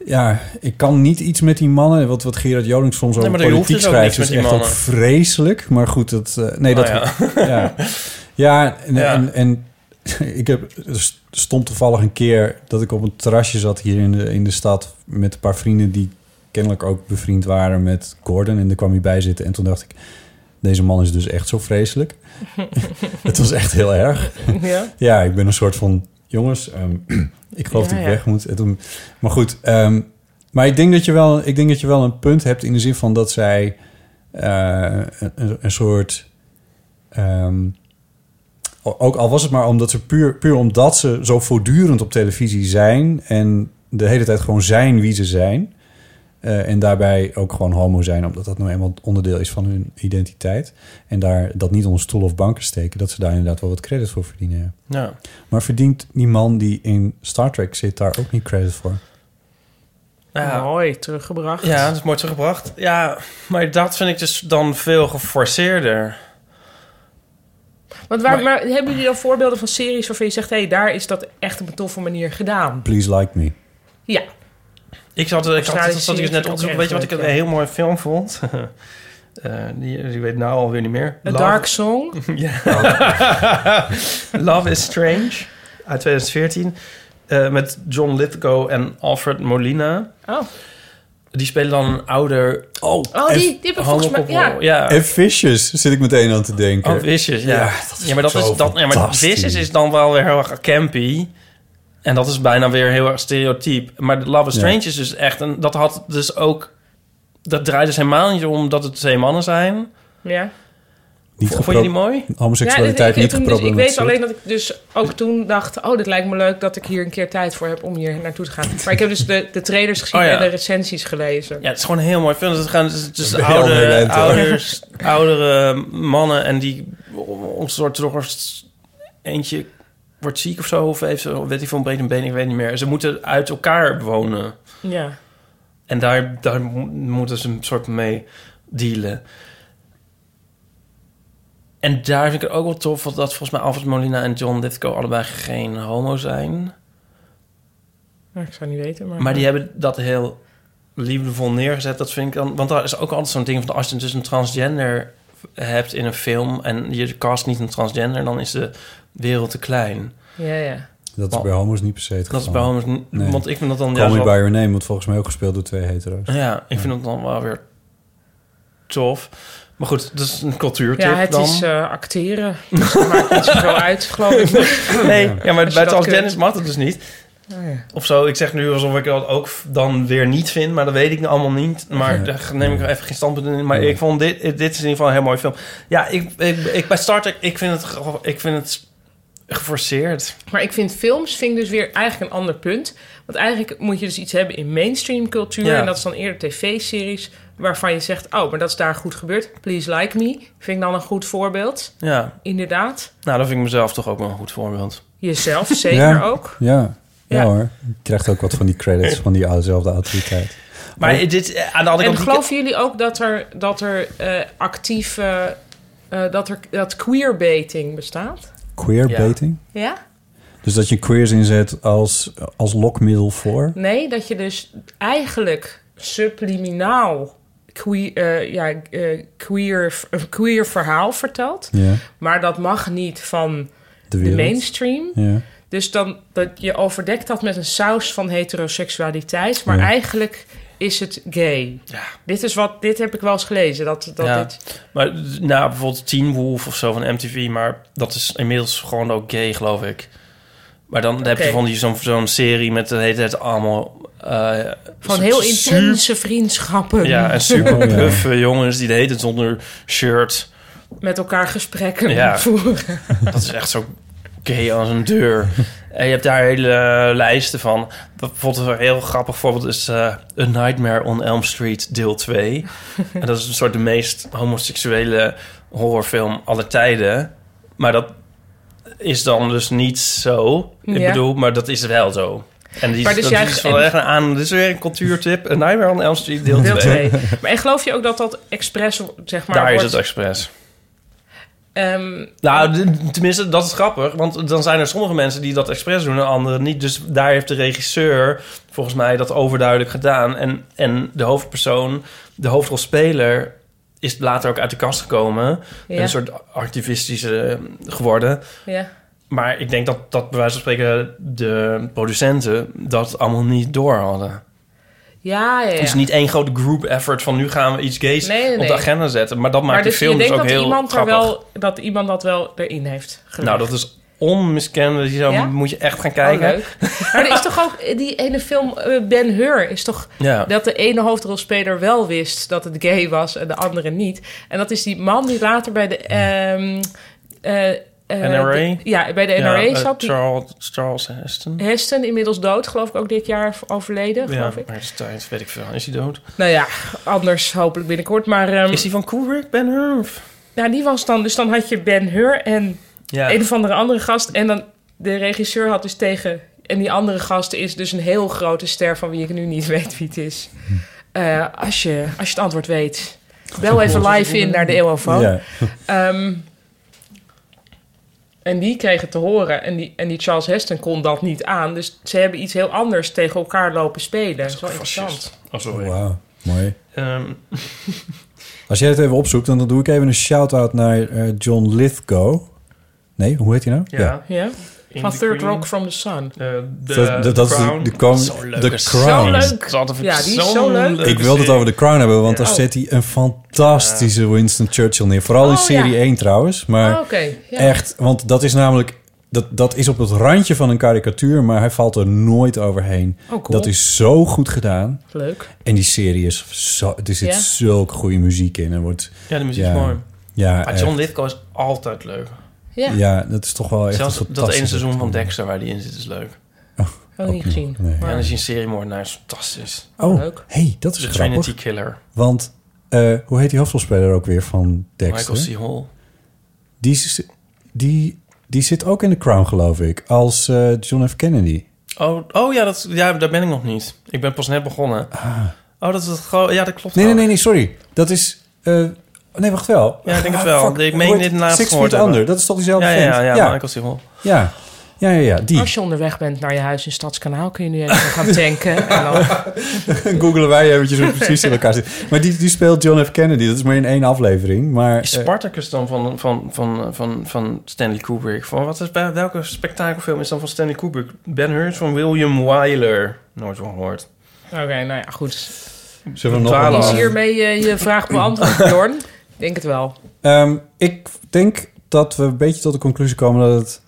Speaker 3: Ja, ik kan niet iets met die mannen. Wat, wat Gerard Joling soms
Speaker 2: Nee,
Speaker 3: over
Speaker 2: maar je hoeft
Speaker 3: politiek
Speaker 2: dus ook
Speaker 3: schrijft...
Speaker 2: niks
Speaker 3: is
Speaker 2: met die
Speaker 3: echt ook
Speaker 2: mannen.
Speaker 3: vreselijk. Maar goed, dat... eh, nee, dat...
Speaker 2: Nou
Speaker 3: Ja, ja, en,
Speaker 2: Ja.
Speaker 3: En, en ik heb er stond toevallig een keer dat ik op een terrasje zat hier in de, in de stad met een paar vrienden die kennelijk ook bevriend waren met Gordon. En daar kwam hij bij zitten en toen dacht ik, deze man is dus echt zo vreselijk. Het was echt heel erg.
Speaker 1: ja.
Speaker 3: Ja, ik ben een soort van... Jongens, ehm, ik geloof
Speaker 1: Ja,
Speaker 3: dat ik
Speaker 1: ja.
Speaker 3: weg moet. En toen- maar goed, ehm, maar ik denk, dat je wel, ik denk dat je wel een punt hebt... in de zin van dat zij eh, een, een soort... ehm, o- ook al was het maar omdat ze puur, puur omdat ze zo voortdurend op televisie zijn... en de hele tijd gewoon zijn wie ze zijn... eh, en daarbij ook gewoon homo zijn, omdat dat nou eenmaal onderdeel is van hun identiteit. En daar dat niet onder stoel of banken steken, dat ze daar inderdaad wel wat credit voor verdienen. ja.
Speaker 2: Ja.
Speaker 3: Maar verdient die man die in Star Trek zit daar ook niet credit voor?
Speaker 2: Ja.
Speaker 1: Mooi, teruggebracht.
Speaker 2: Ja, dat is mooi teruggebracht. Ja, maar dat vind ik dus dan veel geforceerder.
Speaker 1: Want waar, maar, hebben jullie dan voorbeelden van series waarvan je zegt... hé, hey, daar is dat echt op een toffe manier gedaan?
Speaker 3: Please like me.
Speaker 1: Ja.
Speaker 2: Ik zat, ik zat,
Speaker 1: Australische
Speaker 2: dat zat ik dus net
Speaker 1: series
Speaker 2: op te zoeken.
Speaker 1: vind ik
Speaker 2: Weet je wat
Speaker 1: ook
Speaker 2: ik
Speaker 1: echt
Speaker 2: een
Speaker 1: leuk,
Speaker 2: heel mooie film vond? Eh, die, die weet nou alweer niet meer.
Speaker 1: A
Speaker 2: Love-
Speaker 1: Dark Song.
Speaker 2: Love is Strange uit 2014. eh, met John Lithgow en Alfred Molina.
Speaker 1: Oh,
Speaker 2: Die spelen dan een ouder... Oh,
Speaker 1: oh die, die heb ik volgens mij... Ja.
Speaker 2: ja.
Speaker 3: En Vicious zit ik meteen aan te denken.
Speaker 2: Oh, Vicious, ja.
Speaker 3: Ja,
Speaker 2: Ja,
Speaker 3: dat is
Speaker 2: maar dat
Speaker 3: zo
Speaker 2: is dat. Ja, maar
Speaker 3: fantastisch.
Speaker 2: Vicious is dan wel weer heel erg campy. En dat is bijna weer heel erg stereotyp. Maar de Love is
Speaker 3: Ja.
Speaker 2: Strange is dus echt... En dat had dus ook... Dat draait dus helemaal niet om dat het twee mannen zijn.
Speaker 1: ja.
Speaker 2: Vond
Speaker 3: niet
Speaker 2: je
Speaker 3: gepro-
Speaker 2: die mooi?
Speaker 1: Ja,
Speaker 3: Homoseksualiteit
Speaker 1: dit- ik-
Speaker 3: niet
Speaker 1: toen- dus Ik weet
Speaker 3: geproblematiseerd.
Speaker 1: alleen dat ik dus ook toen dacht... oh, dit lijkt me leuk dat ik hier een keer tijd voor heb om hier naartoe te gaan. Maar ik heb dus de, de trailers gezien
Speaker 2: Oh, ja.
Speaker 1: en de recensies gelezen.
Speaker 2: Ja, het is gewoon een heel mooi film. Het gaan dus, dus
Speaker 3: Ben je al mee
Speaker 2: oude,
Speaker 3: lent, hoor.
Speaker 2: ouders, oudere mannen en die om een soort door eentje wordt ziek of zo of heeft zo, weet ik veel, een breed een been, ik weet niet meer. Ze moeten uit elkaar wonen
Speaker 1: Ja.
Speaker 2: en daar, daar mo- moeten ze een soort mee dealen. En daar vind ik het ook wel tof want dat volgens mij Alfred Molina en John Lithgow allebei geen homo zijn.
Speaker 3: Mhm.
Speaker 1: Nou, ik zou niet weten, maar...
Speaker 2: Maar die hebben dat heel liefdevol neergezet. Dat vind ik dan. Want daar is ook altijd zo'n ding van als je dus een transgender hebt in een film en je cast niet een transgender, dan is de wereld te klein.
Speaker 1: eh, Ja, ja.
Speaker 3: Oh. Dat is bij homo's niet per se het
Speaker 2: Dat is bij
Speaker 3: geval.
Speaker 2: homo's. niet-
Speaker 3: Oh. Nee.
Speaker 2: Want ik vind dat dan
Speaker 3: Call
Speaker 2: juist
Speaker 3: Me dus.
Speaker 2: wel-
Speaker 3: By Your Name wordt volgens mij ook gespeeld door twee hetero's.
Speaker 2: Ja, ik vind dat dan wel weer tof. Maar goed, dat is een cultuurtip
Speaker 1: Ja, het
Speaker 2: dan.
Speaker 1: is eh, acteren. Dus dat maakt niet zoveel uit, geloof ik.
Speaker 2: nee, ja, maar
Speaker 1: Als je
Speaker 2: bij
Speaker 1: dat
Speaker 2: transgenders
Speaker 1: kunt. Oh,
Speaker 2: mag dat dus niet. Of zo, ik zeg nu alsof ik dat ook dan weer niet vind, maar dat weet ik nou allemaal niet. Maar
Speaker 3: Ja.
Speaker 2: daar neem ik wel even geen standpunt in. Maar
Speaker 3: Nee.
Speaker 2: ik vond dit, dit is in ieder geval een heel mooi film. Ja, ik, ik, ik, bij Star Trek, ik vind het, ge- ik vind het geforceerd.
Speaker 1: Maar ik vind films vind ik dus weer eigenlijk een ander punt. Want eigenlijk moet je dus iets hebben in mainstream cultuur.
Speaker 2: Ja.
Speaker 1: En dat is dan eerder tv-series waarvan je zegt... oh, maar dat is daar goed gebeurd. Please Like Me vind ik dan een goed voorbeeld.
Speaker 2: Ja,
Speaker 1: Inderdaad.
Speaker 2: nou, dat vind ik mezelf toch ook wel een goed voorbeeld.
Speaker 1: Jezelf zeker
Speaker 3: Ja.
Speaker 1: ook.
Speaker 3: Ja. Ja,
Speaker 1: Ja.
Speaker 3: hoor. Je krijgt ook wat van die credits van diezelfde autoriteit.
Speaker 2: Maar dit, eh, aan de andere
Speaker 1: En
Speaker 2: kant...
Speaker 1: geloven jullie ook dat er, dat er eh, actief... eh, eh, dat er dat queerbaiting bestaat?
Speaker 3: Queerbaiting?
Speaker 1: Ja?
Speaker 3: Dus dat je queers inzet als, als lokmiddel voor?
Speaker 1: Nee, dat je dus eigenlijk subliminaal... Queer, eh, ja, eh, queer, een queer verhaal vertelt.
Speaker 3: Ja,
Speaker 1: Maar dat mag niet van
Speaker 3: de
Speaker 1: de
Speaker 3: wereld.
Speaker 1: mainstream.
Speaker 3: Ja.
Speaker 1: Dus dan dat je overdekt dat met een saus van heteroseksualiteit. Maar
Speaker 3: Ja.
Speaker 1: eigenlijk is het gay. Dit, is wat, dit heb ik wel eens gelezen. Dat, dat
Speaker 2: Ja.
Speaker 1: dit,
Speaker 2: Maar nou, bijvoorbeeld Teen Wolf of zo van MTV, maar dat is inmiddels gewoon ook gay, geloof ik. Maar dan heb je
Speaker 1: Oké.
Speaker 2: van die zo'n zo'n serie met de hele tijd allemaal eh,
Speaker 1: Van heel
Speaker 2: su-
Speaker 1: intense vriendschappen.
Speaker 2: Ja, en super
Speaker 3: Oh, ja.
Speaker 2: puffe jongens die de hele tijd zonder shirt.
Speaker 1: Met elkaar gesprekken
Speaker 2: Ja.
Speaker 1: voeren.
Speaker 2: Dat is echt zo gay als een deur. En je hebt daar hele eh, lijsten van. Bijvoorbeeld een heel grappig voorbeeld is... eh A Nightmare on Elm Street deel 2. En dat is een soort de meest homoseksuele horrorfilm aller tijden. Maar dat is dan dus niet zo. Ik
Speaker 1: Ja.
Speaker 2: bedoel, maar dat is wel zo. En die,
Speaker 1: Maar dus
Speaker 2: dat
Speaker 1: jij-
Speaker 2: is wel echt een aan... Dit is weer een cultuurtip. A Nightmare on Elm Street deel
Speaker 1: Deel
Speaker 2: 2.
Speaker 1: 2. Maar en geloof je ook dat dat expres, zeg maar,
Speaker 2: Daar is
Speaker 1: wordt,
Speaker 2: het expres.
Speaker 1: ehm,
Speaker 2: Nou, d- tenminste, dat is grappig. Want dan zijn er sommige mensen die dat expres doen en anderen niet. Dus daar heeft de regisseur volgens mij dat overduidelijk gedaan. En, en de hoofdpersoon, de hoofdrolspeler, is later ook uit de kast gekomen.
Speaker 1: Ja.
Speaker 2: En een soort activistische eh, geworden.
Speaker 1: ja.
Speaker 2: Maar ik denk dat, dat bij wijze van spreken de producenten dat allemaal niet door hadden.
Speaker 1: Ja, ja, ja.
Speaker 2: Het is niet één grote group effort van nu gaan we iets gays
Speaker 1: Nee, nee,
Speaker 2: op
Speaker 1: nee.
Speaker 2: de agenda zetten. Maar dat maakt
Speaker 1: maar
Speaker 2: de
Speaker 1: dus je
Speaker 2: film dus
Speaker 1: denkt
Speaker 2: ook
Speaker 1: dat
Speaker 2: heel
Speaker 1: iemand, er
Speaker 2: grappig.
Speaker 1: wel, dat iemand dat wel erin heeft gelegd.
Speaker 2: Nou, dat is onmiskenbaar. Die zou,
Speaker 1: Ja?
Speaker 2: moet je echt gaan
Speaker 1: Oh,
Speaker 2: kijken.
Speaker 1: leuk. Maar er is toch ook eh, die ene film eh, Ben Hur is toch
Speaker 2: Ja.
Speaker 1: dat de ene hoofdrolspeler wel wist dat het gay was en de andere niet. En dat is die man die later bij
Speaker 2: Hmm.
Speaker 1: de ehm, eh, eh,
Speaker 2: NRA?
Speaker 1: de- ja, bij de NRA
Speaker 2: Ja, eh,
Speaker 1: zat. Die
Speaker 2: Charles, Charles Heston.
Speaker 1: Heston inmiddels dood, geloof ik ook dit jaar overleden,
Speaker 2: Ja,
Speaker 1: geloof ik.
Speaker 2: maar is tijd, weet ik veel. Is hij dood?
Speaker 1: Nou ja, anders hopelijk binnenkort. Maar ehm,
Speaker 2: Is hij van Kubrick, Ben Hur?
Speaker 1: nou, die was dan, dus dan had je Ben Hur en
Speaker 2: Ja.
Speaker 1: een of andere andere gast. En dan de regisseur had dus tegen. En die andere gast is dus een heel grote ster van wie ik nu niet weet wie het is. Eh, als, je, als je het antwoord weet, bel even live in naar de E EOFO.
Speaker 3: Ja.
Speaker 1: Ehm, en die kregen het te horen. En die, en die Charles Heston kon dat niet aan. Dus ze hebben iets heel anders tegen elkaar lopen spelen. Dat is wel interessant.
Speaker 2: Oh, sorry.
Speaker 3: Wauw, mooi.
Speaker 2: Ehm,
Speaker 3: Als jij het even opzoekt, dan doe ik even een shout-out naar eh, John Lithgow. Nee, hoe heet hij nou?
Speaker 2: ja.
Speaker 1: Ja?
Speaker 2: In
Speaker 1: Van
Speaker 2: the
Speaker 1: Third
Speaker 2: Green,
Speaker 1: Rock from the Sun.
Speaker 2: eh, de
Speaker 3: Dat- dat- dat is de-
Speaker 2: Crown.
Speaker 3: de Crown-
Speaker 2: Zo'n leuke
Speaker 3: de
Speaker 2: serie.
Speaker 3: Crown. Zo
Speaker 1: leuk.
Speaker 2: Wat een-
Speaker 1: Ja, die is
Speaker 2: zo'n
Speaker 1: zo leuk.
Speaker 2: leuke
Speaker 3: Ik wilde het
Speaker 2: serie.
Speaker 3: over de Crown hebben, want daar
Speaker 1: Oh.
Speaker 3: zet hij een fantastische Winston Churchill neer. Vooral in
Speaker 1: Oh,
Speaker 3: serie
Speaker 1: ja.
Speaker 3: 1 trouwens. Maar
Speaker 2: Oh,
Speaker 1: Ah, Oké. Ja.
Speaker 3: echt, want dat is namelijk... Dat, dat is op het randje van een karikatuur, maar hij valt er nooit overheen.
Speaker 2: Oh,
Speaker 1: cool.
Speaker 3: Dat is zo goed gedaan.
Speaker 1: Leuk.
Speaker 3: En die serie is zo... Er zit
Speaker 1: Ja.
Speaker 3: zulke goede muziek in. Er wordt...
Speaker 2: Ja, de muziek
Speaker 3: ja,
Speaker 2: is mooi.
Speaker 3: Ja,
Speaker 2: Maar John
Speaker 3: echt.
Speaker 2: Lithgow is altijd leuk.
Speaker 1: Ja.
Speaker 3: ja, dat is toch wel echt
Speaker 2: Zelfs
Speaker 3: een
Speaker 2: dat ene
Speaker 3: fantastische
Speaker 2: seizoen van
Speaker 3: acteur.
Speaker 2: Dexter waar die in zit is leuk.
Speaker 1: Ook niet gezien.
Speaker 3: Nee.
Speaker 2: En
Speaker 1: Maar-
Speaker 2: dan is hij een seriemoordenaar, is fantastisch.
Speaker 3: Oh,
Speaker 1: Leuk.
Speaker 3: hey, dat is
Speaker 2: De
Speaker 3: grappig.
Speaker 2: Trinity Killer,
Speaker 3: Want eh, hoe heet die hoofdrolspeler ook weer van Dexter?
Speaker 2: Michael C. Hall.
Speaker 3: Die, is- die, die zit ook in de Crown, geloof ik. Als eh, John F. Kennedy.
Speaker 2: Oh, oh ja, dat, ja, daar ben ik nog niet. Ik ben pas net begonnen. Oh, dat is het gewoon... Ja, dat klopt
Speaker 3: Ah. Nee, nee,
Speaker 2: ook.
Speaker 3: nee, nee, sorry. Dat is... eh, nee, wacht wel.
Speaker 2: Ja, ik denk het
Speaker 3: Ah,
Speaker 2: wel.
Speaker 3: fuck.
Speaker 2: Ik meen
Speaker 3: Hoe
Speaker 2: dit
Speaker 3: heet-
Speaker 2: laatst
Speaker 3: Six
Speaker 2: gehoord
Speaker 3: Feet
Speaker 2: hebben.
Speaker 3: Under, dat is toch diezelfde
Speaker 2: Ja, ja,
Speaker 3: vent?
Speaker 2: ja, ja,
Speaker 3: ja,
Speaker 2: Michael C. Hall.
Speaker 3: ja, ja, ja, ja, die.
Speaker 1: Als je onderweg bent naar je huis in Stadskanaal, kun je nu even gaan tanken. En dan,
Speaker 3: Googelen wij eventjes hoe het precies in elkaar zit. Maar die, die speelt John F. Kennedy. Dat is maar in één aflevering. Maar,
Speaker 2: Is
Speaker 3: eh,
Speaker 2: Spartacus dan van, van, van, van, van Stanley Kubrick? Van, wat is, bij- welke spektakelfilm is dan van Stanley Kubrick? Ben Hur is van William Wyler. Nooit van gehoord.
Speaker 1: Oké, nou ja, goed.
Speaker 3: zullen we nog
Speaker 2: Twaalf.
Speaker 1: Is
Speaker 3: een-
Speaker 1: hiermee eh, je vraag beantwoord, Jorn? Denk het wel.
Speaker 3: Ehm, ik denk dat we een beetje tot de conclusie komen dat het,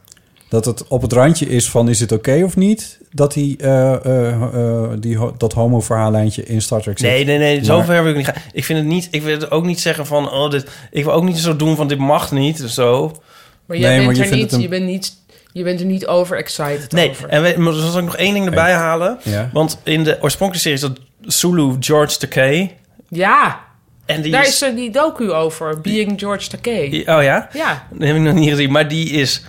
Speaker 3: dat het op het randje is van is het oké of niet? Dat, die, eh, eh, eh, die, ho- dat homo-verhaallijntje in Star Trek zit.
Speaker 2: Nee, nee, nee.
Speaker 3: Maar-
Speaker 2: Zover wil ik niet gaan. Ik, vind het niet, ik wil het ook niet zeggen van... Oh, dit, ik wil ook niet zo doen van dit mag niet. of Zo.
Speaker 1: Maar jij
Speaker 3: Nee,
Speaker 1: bent
Speaker 3: maar je
Speaker 1: er
Speaker 3: vindt
Speaker 1: niet,
Speaker 3: het een-
Speaker 1: je bent niet, je bent er niet over excited
Speaker 2: Nee, eh,
Speaker 1: over.
Speaker 2: en we, maar zal ik nog één ding erbij halen?
Speaker 3: Ja.
Speaker 2: Want in de oorspronkelijke serie is dat Zulu George Takei.
Speaker 1: Ja,
Speaker 2: En die
Speaker 1: daar is er die docu over, Being George Takei.
Speaker 2: Oh ja?
Speaker 1: Ja,
Speaker 2: Dat heb ik nog niet gezien. Maar die is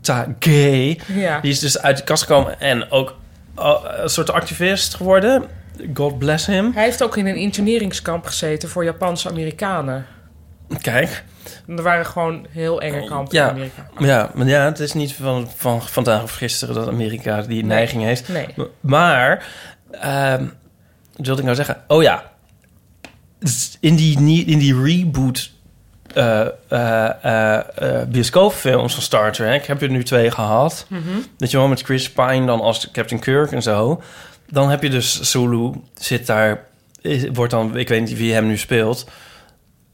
Speaker 2: Takei.
Speaker 1: ja.
Speaker 2: Die is dus uit de kast gekomen en ook eh, een soort activist geworden. God bless him.
Speaker 1: Hij heeft ook in een interneringskamp gezeten voor Japanse Amerikanen.
Speaker 2: Kijk,
Speaker 1: En Er waren gewoon heel enge kampen
Speaker 2: Ja.
Speaker 1: in Amerika.
Speaker 2: ja, maar ja, het is niet van, van vandaag of gisteren dat Amerika die neiging heeft.
Speaker 1: Nee.
Speaker 2: M- Maar, ehm wat wilde ik nou zeggen? Oh ja, Dus in die, nie- in die reboot eh, eh, eh, eh, bioscoopfilms van Star Trek heb je er nu twee gehad.
Speaker 1: Mhm.
Speaker 2: Dat je wel met Chris Pine dan als Captain Kirk en zo. Dan heb je dus Zulu zit daar, is- wordt dan, ik weet niet wie hem nu speelt.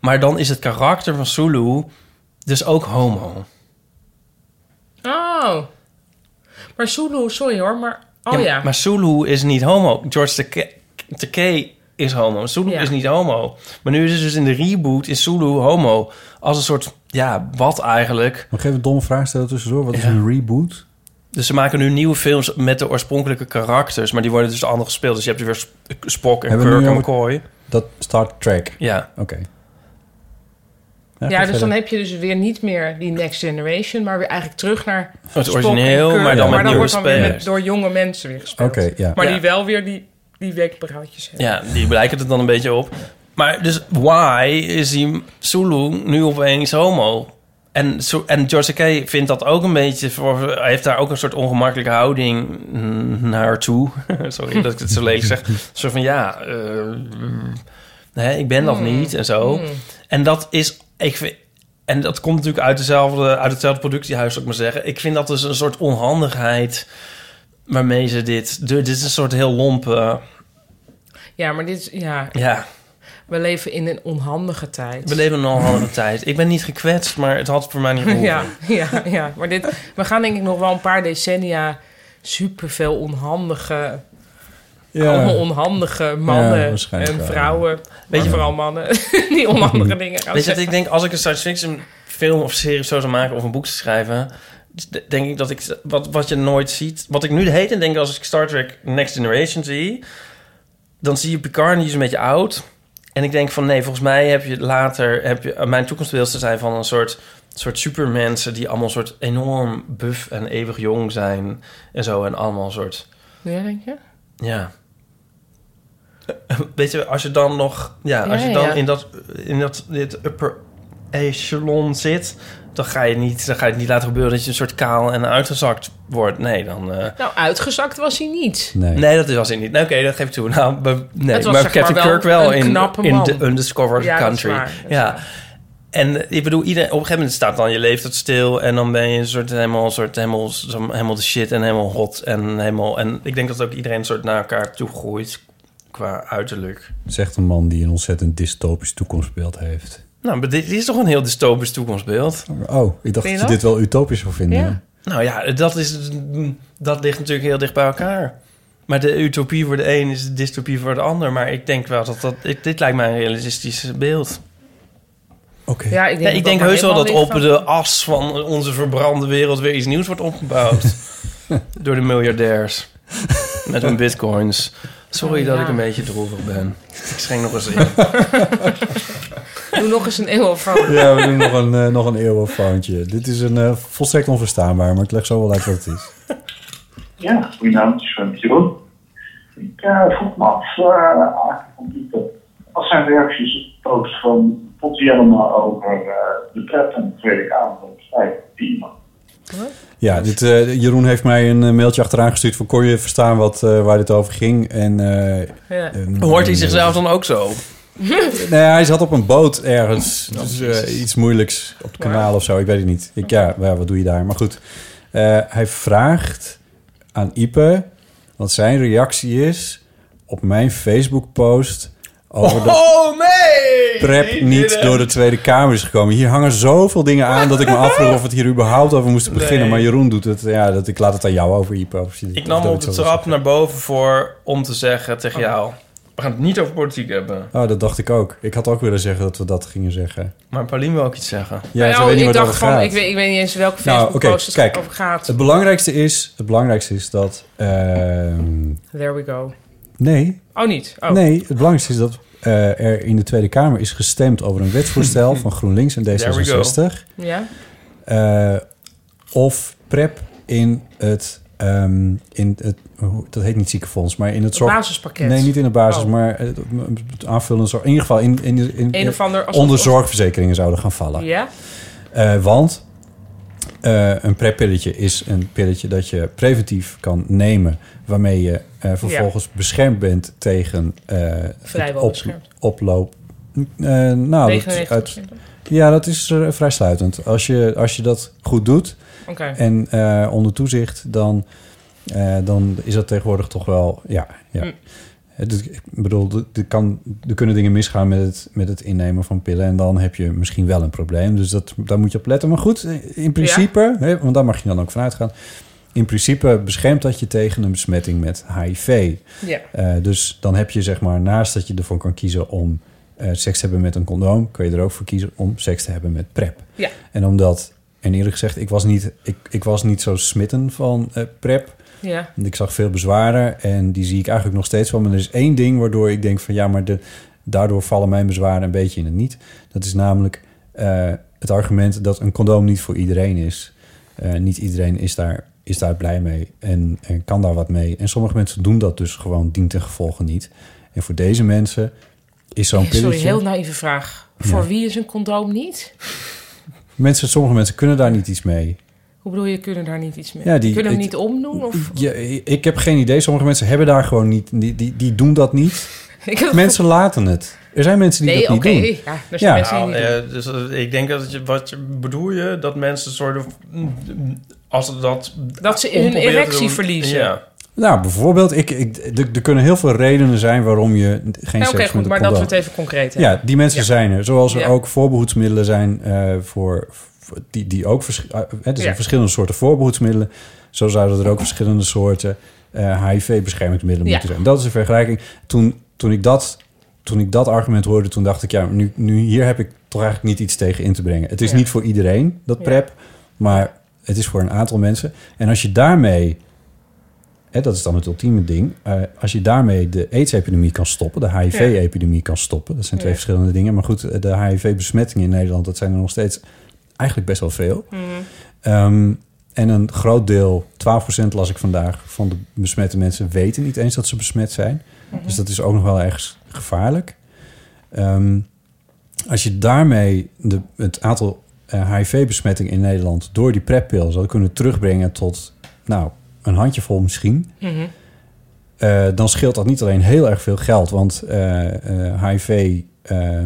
Speaker 2: Maar dan is het karakter van Zulu dus ook homo.
Speaker 1: Oh. Maar Zulu, sorry hoor, maar Oh
Speaker 2: Ja,
Speaker 1: ja.
Speaker 2: Maar Sulu is niet homo. George Takei is homo. Sulu
Speaker 1: Ja.
Speaker 2: is niet homo. Maar nu is het dus in de reboot is Sulu homo. Als een soort, ja, wat eigenlijk.
Speaker 3: Nog even een domme vraag stellen tussendoor. Wat is
Speaker 2: Ja.
Speaker 3: een reboot?
Speaker 2: Dus ze maken nu nieuwe films met de oorspronkelijke karakters. Maar die worden dus anders gespeeld. Dus je hebt weer Sp- Spock en
Speaker 3: Hebben we
Speaker 2: Kirk
Speaker 3: nu
Speaker 2: en
Speaker 3: ook-
Speaker 2: McCoy.
Speaker 3: Dat Star Trek.
Speaker 2: Ja.
Speaker 3: Oké.
Speaker 1: Ja, dus dan
Speaker 3: verder.
Speaker 1: heb je dus weer niet meer die Next Generation, maar weer eigenlijk terug naar
Speaker 2: Het
Speaker 1: Spock en
Speaker 2: origineel,
Speaker 1: Kirk.
Speaker 2: maar dan met nieuwe
Speaker 1: wordt dan weer
Speaker 2: spelers.
Speaker 1: met- door jonge mensen weer gespeeld.
Speaker 3: Oké, ja.
Speaker 1: Maar
Speaker 2: Ja.
Speaker 1: die wel weer die, die wenkbrauwtjes hebben.
Speaker 2: Ja, die blijken het dan een beetje op. Maar dus why is die Sulu nu opeens homo? En, Su- en George Takei vindt dat ook een beetje... Voor, hij heeft daar ook een soort ongemakkelijke houding mm, naar toe. Sorry dat ik het zo lelijk zeg. Zo van, ja, eh, mm, hè, ik ben dat niet en zo. En dat is... Ik vind, en dat komt natuurlijk uit, dezelfde, uit hetzelfde productiehuis, zou ik maar zeggen. Ik vind dat dus een soort onhandigheid waarmee ze dit... Dit is een soort heel lompe...
Speaker 1: Ja, maar dit is, ja,
Speaker 2: Ja,
Speaker 1: we leven in een onhandige tijd.
Speaker 2: We leven een onhandige tijd. Ik ben niet gekwetst, maar het had voor mij niet gehoeven.
Speaker 1: ja, ja, ja, maar dit, we gaan denk ik nog wel een paar decennia superveel onhandige, allemaal onhandige
Speaker 3: Ja,
Speaker 1: mannen
Speaker 3: waarschijnlijk
Speaker 1: en
Speaker 3: wel,
Speaker 1: vrouwen,
Speaker 2: Weet
Speaker 1: weet
Speaker 2: je-
Speaker 1: je vooral mannen, die onhandige dingen gaan
Speaker 2: Weet je wat
Speaker 1: zeggen.
Speaker 2: ik denk? Als ik een science fiction film of serie of zo zou maken... of een boek zou schrijven... d- denk ik dat ik... Wat, wat je nooit ziet... Wat ik nu de hele tijd denk als ik Star Trek Next Generation zie... dan zie je Picard en die is een beetje oud. En ik denk van nee, volgens mij heb je later... Heb je, mijn toekomstbeelden zijn van een soort... soort supermensen die allemaal soort enorm buff en eeuwig jong zijn... en zo en allemaal een soort...
Speaker 1: Ja, denk je?
Speaker 2: Ja. Weet je, als je dan nog... Ja, als
Speaker 1: Ja,
Speaker 2: je dan
Speaker 1: ja.
Speaker 2: in dat... In dat dit upper echelon zit... Dan ga, je niet, dan ga je het niet laten gebeuren dat je een soort kaal en uitgezakt wordt. Nee, dan... eh,
Speaker 1: Nou, uitgezakt was hij niet.
Speaker 3: Nee.
Speaker 2: nee, dat was het niet. Nou, Oké, dat geeft toe. Nou, be- nee,
Speaker 1: Het was
Speaker 2: maar
Speaker 1: zeg maar
Speaker 2: Captain
Speaker 1: wel
Speaker 2: Kirk wel
Speaker 1: een
Speaker 2: in,
Speaker 1: knappe
Speaker 2: in
Speaker 1: man.
Speaker 2: The Undiscovered
Speaker 1: Ja, dat is
Speaker 2: Country.
Speaker 1: waar, dat is
Speaker 2: ja. En eh, ik bedoel, iedereen, op een gegeven moment staat dan je leeftijd stil... en dan ben je een soort helemaal, een soort helemaal, zo- helemaal de shit en helemaal hot. En, helemaal, en ik denk dat ook iedereen een soort naar elkaar toe groeit qua uiterlijk.
Speaker 3: Zegt een man die een ontzettend dystopisch toekomstbeeld heeft.
Speaker 2: Nou, maar dit, dit is toch een heel dystopisch toekomstbeeld?
Speaker 3: Oh, ik dacht
Speaker 1: je
Speaker 3: dat je
Speaker 1: dat?
Speaker 3: dit wel utopisch zou vinden.
Speaker 1: Ja.
Speaker 2: Nou ja, dat, is, dat ligt natuurlijk heel dicht bij elkaar. Maar de utopie voor de een is de dystopie voor de ander. Maar ik denk wel dat dat... ik- dit lijkt mij een realistisch beeld.
Speaker 3: Oké.
Speaker 1: Ja, ik denk,
Speaker 2: Ja, ik denk
Speaker 1: dat
Speaker 2: heus wel dat
Speaker 1: helemaal
Speaker 2: op
Speaker 1: ligt
Speaker 2: de as van onze verbrande wereld weer iets nieuws wordt opgebouwd. Door de miljardairs. Met hun bitcoins. Sorry
Speaker 1: Oh,
Speaker 2: dat
Speaker 1: ja.
Speaker 2: ik een beetje droevig ben. Ik schenk nog eens in.
Speaker 1: van- Doe nog eens een eeuwofoon.
Speaker 3: Ja, we doen nog een, eh, nog een eeuwenfoutje. Dit is een eh, volstrekt onverstaanbaar, maar ik leg zo wel uit wat het is.
Speaker 5: Ja, goedenavond, ik ben Jeroen. Ik eh, vroeg me af, uh, wat zijn reacties op de post van Potti Jellema over eh, de pret en de Tweede Kamer? Die
Speaker 3: Ja, dit, eh, Jeroen heeft mij een eh, mailtje achteraan gestuurd van... kon je verstaan wat, eh, waar dit over ging? En, eh,
Speaker 1: Ja.
Speaker 3: en-
Speaker 2: Hoort hij zichzelf dan ook zo?
Speaker 3: Nee, hij zat op een boot ergens. Dus eh, iets moeilijks op het kanaal of zo. Ik weet het niet. Ik, ja, ja, wat doe je daar? Maar goed, eh, hij vraagt aan Ipe wat zijn reactie is op mijn Facebook-post over dat
Speaker 2: Oh nee!
Speaker 3: prep niet door de Tweede Kamer is gekomen. Hier hangen zoveel dingen aan dat ik me afvroeg of we het hier überhaupt over moesten beginnen. Maar Jeroen doet het. Ja, dat, ik laat het aan jou over, Ipe. Of je-
Speaker 2: Ik nam
Speaker 3: dat
Speaker 2: op
Speaker 3: ik
Speaker 2: de
Speaker 3: zo-
Speaker 2: trap naar boven voor om te zeggen
Speaker 1: Oh.
Speaker 2: tegen jou... We gaan het niet over politiek hebben.
Speaker 3: Oh, dat dacht ik ook. Ik had ook willen zeggen dat we dat gingen zeggen.
Speaker 2: Maar Paulien wil ook iets zeggen.
Speaker 3: Ja, ze
Speaker 1: Nou,
Speaker 3: weet niet
Speaker 1: ik
Speaker 3: waar het
Speaker 1: dacht
Speaker 3: over
Speaker 1: van,
Speaker 3: gaat.
Speaker 1: ik weet, ik weet niet eens welke
Speaker 3: Nou,
Speaker 1: Facebook
Speaker 3: oké,
Speaker 1: post het
Speaker 3: kijk.
Speaker 1: over gaat.
Speaker 3: Het belangrijkste is, het belangrijkste is dat. ehm,
Speaker 1: There we go.
Speaker 3: nee,
Speaker 1: Oh, niet? Oh.
Speaker 3: nee, het belangrijkste is dat eh, er in de Tweede Kamer is gestemd over een wetsvoorstel van GroenLinks en D66.
Speaker 1: Ja?
Speaker 3: eh, of PrEP in het, ehm, in het hoe- dat heet niet ziekenfonds, maar in het
Speaker 1: Het
Speaker 3: zorg.
Speaker 1: basispakket.
Speaker 3: Nee, niet in de basis,
Speaker 1: Oh.
Speaker 3: maar het het aanvullende zorg. In ieder geval in, in, in,
Speaker 1: Een of ander... alsof-
Speaker 3: onder zorgverzekeringen zouden gaan vallen.
Speaker 1: Ja?
Speaker 3: Eh, want eh, een preppilletje is een pilletje dat je preventief kan nemen... waarmee je eh, vervolgens beschermd bent tegen... eh, het
Speaker 1: Vrijwel
Speaker 3: op-
Speaker 1: beschermd.
Speaker 3: oploop. Eh, nou, dat, is
Speaker 1: 99%.
Speaker 3: uit, ja, dat is eh, vrij sluitend. Als je, als je dat goed doet
Speaker 1: Oké.
Speaker 3: en eh, onder toezicht... Dan, eh, dan is dat tegenwoordig toch wel... Ja, ja.
Speaker 1: Mm.
Speaker 3: Het is- ik bedoel, er- er, kan, er kunnen dingen misgaan met het, met het innemen van pillen. En dan heb je misschien eh, wel een probleem. Dus dat, daar moet je op letten. Maar goed, in principe, hè, want daar mag je dan ook van uitgaan. in principe beschermt dat je tegen een besmetting met HIV.
Speaker 1: Ja.
Speaker 3: Eh, dus dan heb je zeg maar naast dat je ervoor kan kiezen om eh, seks te hebben met een condoom, kun je er ook voor kiezen om seks te hebben met PrEP.
Speaker 1: Ja.
Speaker 3: En omdat, en eerlijk gezegd, ik was niet, ik, ik was niet zo smitten van eh, PrEP.
Speaker 1: Ja.
Speaker 3: Want Ik zag veel bezwaren en die zie ik eigenlijk nog steeds wel. Maar er is één ding waardoor ik denk van ja, maar de, daardoor vallen mijn bezwaren een beetje in het niet. Dat is namelijk eh, het argument dat een condoom niet voor iedereen is. Eh, niet iedereen is daar, is daar blij mee en, en kan daar wat mee. En sommige mensen doen dat dus gewoon dient ten gevolge niet. En voor deze mensen is zo'n pilletje...
Speaker 1: Sorry, heel naïeve vraag.
Speaker 3: Ja.
Speaker 1: Voor wie is een condoom niet?
Speaker 3: mensen, sommige mensen kunnen daar niet iets mee.
Speaker 1: Hoe bedoel je, kunnen daar niet iets mee?
Speaker 3: Ja, die-
Speaker 1: kunnen hem
Speaker 3: ik-
Speaker 1: niet omdoen? Of...
Speaker 3: Ja, ik heb geen idee. Sommige mensen hebben daar gewoon niet... Die, die, die doen dat niet.
Speaker 1: Ik heb-
Speaker 3: Mensen laten het. Er zijn mensen die
Speaker 1: Nee,
Speaker 3: dat niet
Speaker 1: oké.
Speaker 3: doen.
Speaker 1: Ja, er zijn mensen die-
Speaker 2: Nou, eh, dus eh, ik denk dat je, wat je, bedoel je dat mensen soort van, als ze dat
Speaker 1: Dat ze hun
Speaker 2: om proberen te
Speaker 1: erectie
Speaker 2: doen-
Speaker 1: verliezen.
Speaker 2: Ja.
Speaker 3: Nou, bijvoorbeeld, ik, ik, er er kunnen heel veel redenen zijn waarom je geen
Speaker 1: Ja,
Speaker 3: seks
Speaker 1: Nou, oké,
Speaker 3: met
Speaker 1: goed,
Speaker 3: een
Speaker 1: maar dat
Speaker 3: condoom.
Speaker 1: we het even concreet hebben.
Speaker 3: Ja, die mensen
Speaker 1: Ja.
Speaker 3: zijn er. Zoals er
Speaker 1: Ja.
Speaker 3: ook voorbehoedsmiddelen zijn eh, voor, voor- die, die ook vers, eh, er zijn
Speaker 1: Ja.
Speaker 3: verschillende soorten voorbehoedsmiddelen. Zo zouden er ook verschillende soorten eh, HIV-beschermingsmiddelen
Speaker 1: Ja.
Speaker 3: moeten zijn. Dat is een vergelijking. Toen, toen, ik dat, toen ik dat argument hoorde, toen dacht ik, ja, nu, nu hier heb ik toch eigenlijk niet iets tegen in te brengen. Het is
Speaker 1: Ja.
Speaker 3: niet voor iedereen, dat
Speaker 1: Ja.
Speaker 3: PrEP, maar het is voor een aantal mensen. En als je daarmee hè, dat is dan het ultieme ding. Eh, als je daarmee de AIDS-epidemie kan stoppen, de HIV-epidemie kan stoppen. Dat zijn twee
Speaker 1: Ja.
Speaker 3: verschillende dingen. Maar goed, eh, de HIV-besmettingen in Nederland, dat zijn er nog steeds eigenlijk best wel veel. Ehm, en een groot deel, 12% las ik vandaag, van de besmette mensen weten niet eens dat ze besmet zijn. Dus dat is ook nog wel ergens gevaarlijk. Ehm, als je daarmee de, het aantal eh, HIV-besmettingen in Nederland door die preppil zou kunnen terugbrengen tot, nou, een handjevol misschien.
Speaker 1: Mhm.
Speaker 3: Eh, dan scheelt dat niet alleen heel erg veel geld. Want eh, eh, HIV, eh,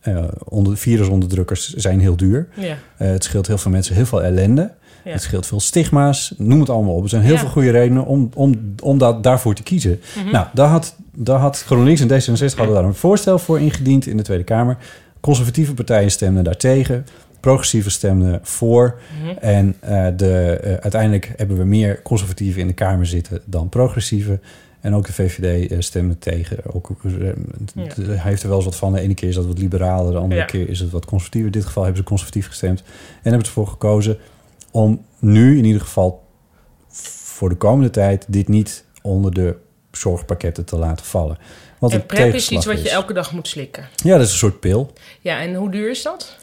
Speaker 3: eh, onder, virusonderdrukkers zijn heel duur.
Speaker 1: Ja.
Speaker 3: Eh, het scheelt heel veel mensen heel veel ellende.
Speaker 1: Ja.
Speaker 3: Het scheelt veel stigma's. Noem het allemaal op. Er zijn heel
Speaker 1: Ja. Mhm.
Speaker 3: veel goede redenen om, om, om dat, daarvoor te kiezen. Nou, daar had, daar had GroenLinks en D66 hadden daar een voorstel voor ingediend in de Tweede Kamer. Conservatieve partijen stemden daartegen. Progressieve stemden voor.
Speaker 1: Mhm.
Speaker 3: En eh, de, eh, uiteindelijk hebben we meer conservatieven in de Kamer zitten dan progressieve. En ook de VVD eh, stemde tegen. Ook, eh, d-
Speaker 1: Ja.
Speaker 3: Hij heeft er wel eens wat van. De ene keer is dat wat liberaler, de andere
Speaker 1: Ja.
Speaker 3: keer is het wat conservatiever. In dit geval hebben ze conservatief gestemd. En hebben ze ervoor gekozen om nu in ieder geval voor de komende tijd dit niet onder de zorgpakketten te laten vallen. Wat
Speaker 1: En
Speaker 3: een
Speaker 1: PrEP is
Speaker 3: tegenslag
Speaker 1: iets wat je elke dag moet slikken.
Speaker 3: Ja, dat is een soort pil.
Speaker 1: Ja, en hoe duur is dat?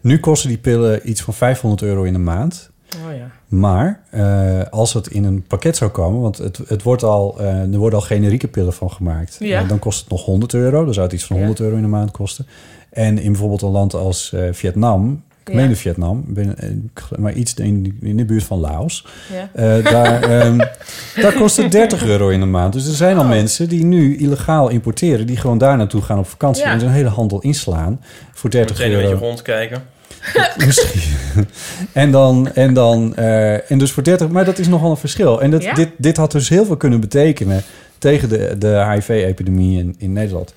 Speaker 3: Nu kosten die pillen iets van 500 euro in de maand.
Speaker 1: Oh ja.
Speaker 3: Maar eh, als het in een pakket zou komen, want het, het wordt al, eh, er worden al generieke pillen van gemaakt,
Speaker 1: Ja.
Speaker 3: Eh, dan kost het nog 100 euro. Dan zou het iets van
Speaker 1: Ja.
Speaker 3: 100 euro in de maand kosten. En in bijvoorbeeld een land als eh, Vietnam, ik
Speaker 1: Ja.
Speaker 3: meende Vietnam, ik ben, eh, ik- maar iets in, in de buurt van Laos,
Speaker 1: Ja.
Speaker 3: eh, daar, ehm, daar kost het 30 euro in de maand. Dus er zijn
Speaker 1: Oh.
Speaker 3: al mensen die nu illegaal importeren, die gewoon daar naartoe gaan op vakantie
Speaker 1: Ja.
Speaker 3: en zijn hele handel inslaan
Speaker 2: Meteen
Speaker 3: voor 30
Speaker 2: een beetje
Speaker 3: euro.
Speaker 2: rondkijken.
Speaker 3: Misschien. en dan, en dan, eh, en dus voor 30, maar dat is nogal een verschil. En dat,
Speaker 1: Ja?
Speaker 3: dit, dit had dus heel veel kunnen betekenen tegen de, de HIV-epidemie in, in Nederland.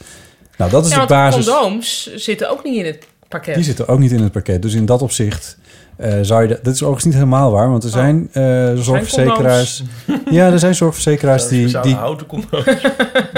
Speaker 3: Nou, dat is
Speaker 1: Ja,
Speaker 3: de
Speaker 1: want
Speaker 3: basis.
Speaker 1: condooms zitten ook niet in het pakket.
Speaker 3: Die zitten ook niet in het pakket. Dus in dat opzicht eh, zou je dat. Dat is overigens niet helemaal waar, want er
Speaker 1: Oh.
Speaker 3: zijn eh, zorgverzekeraars. ja, er zijn zorgverzekeraars die,
Speaker 2: Eh, Speciale
Speaker 3: die,
Speaker 2: houten condoom.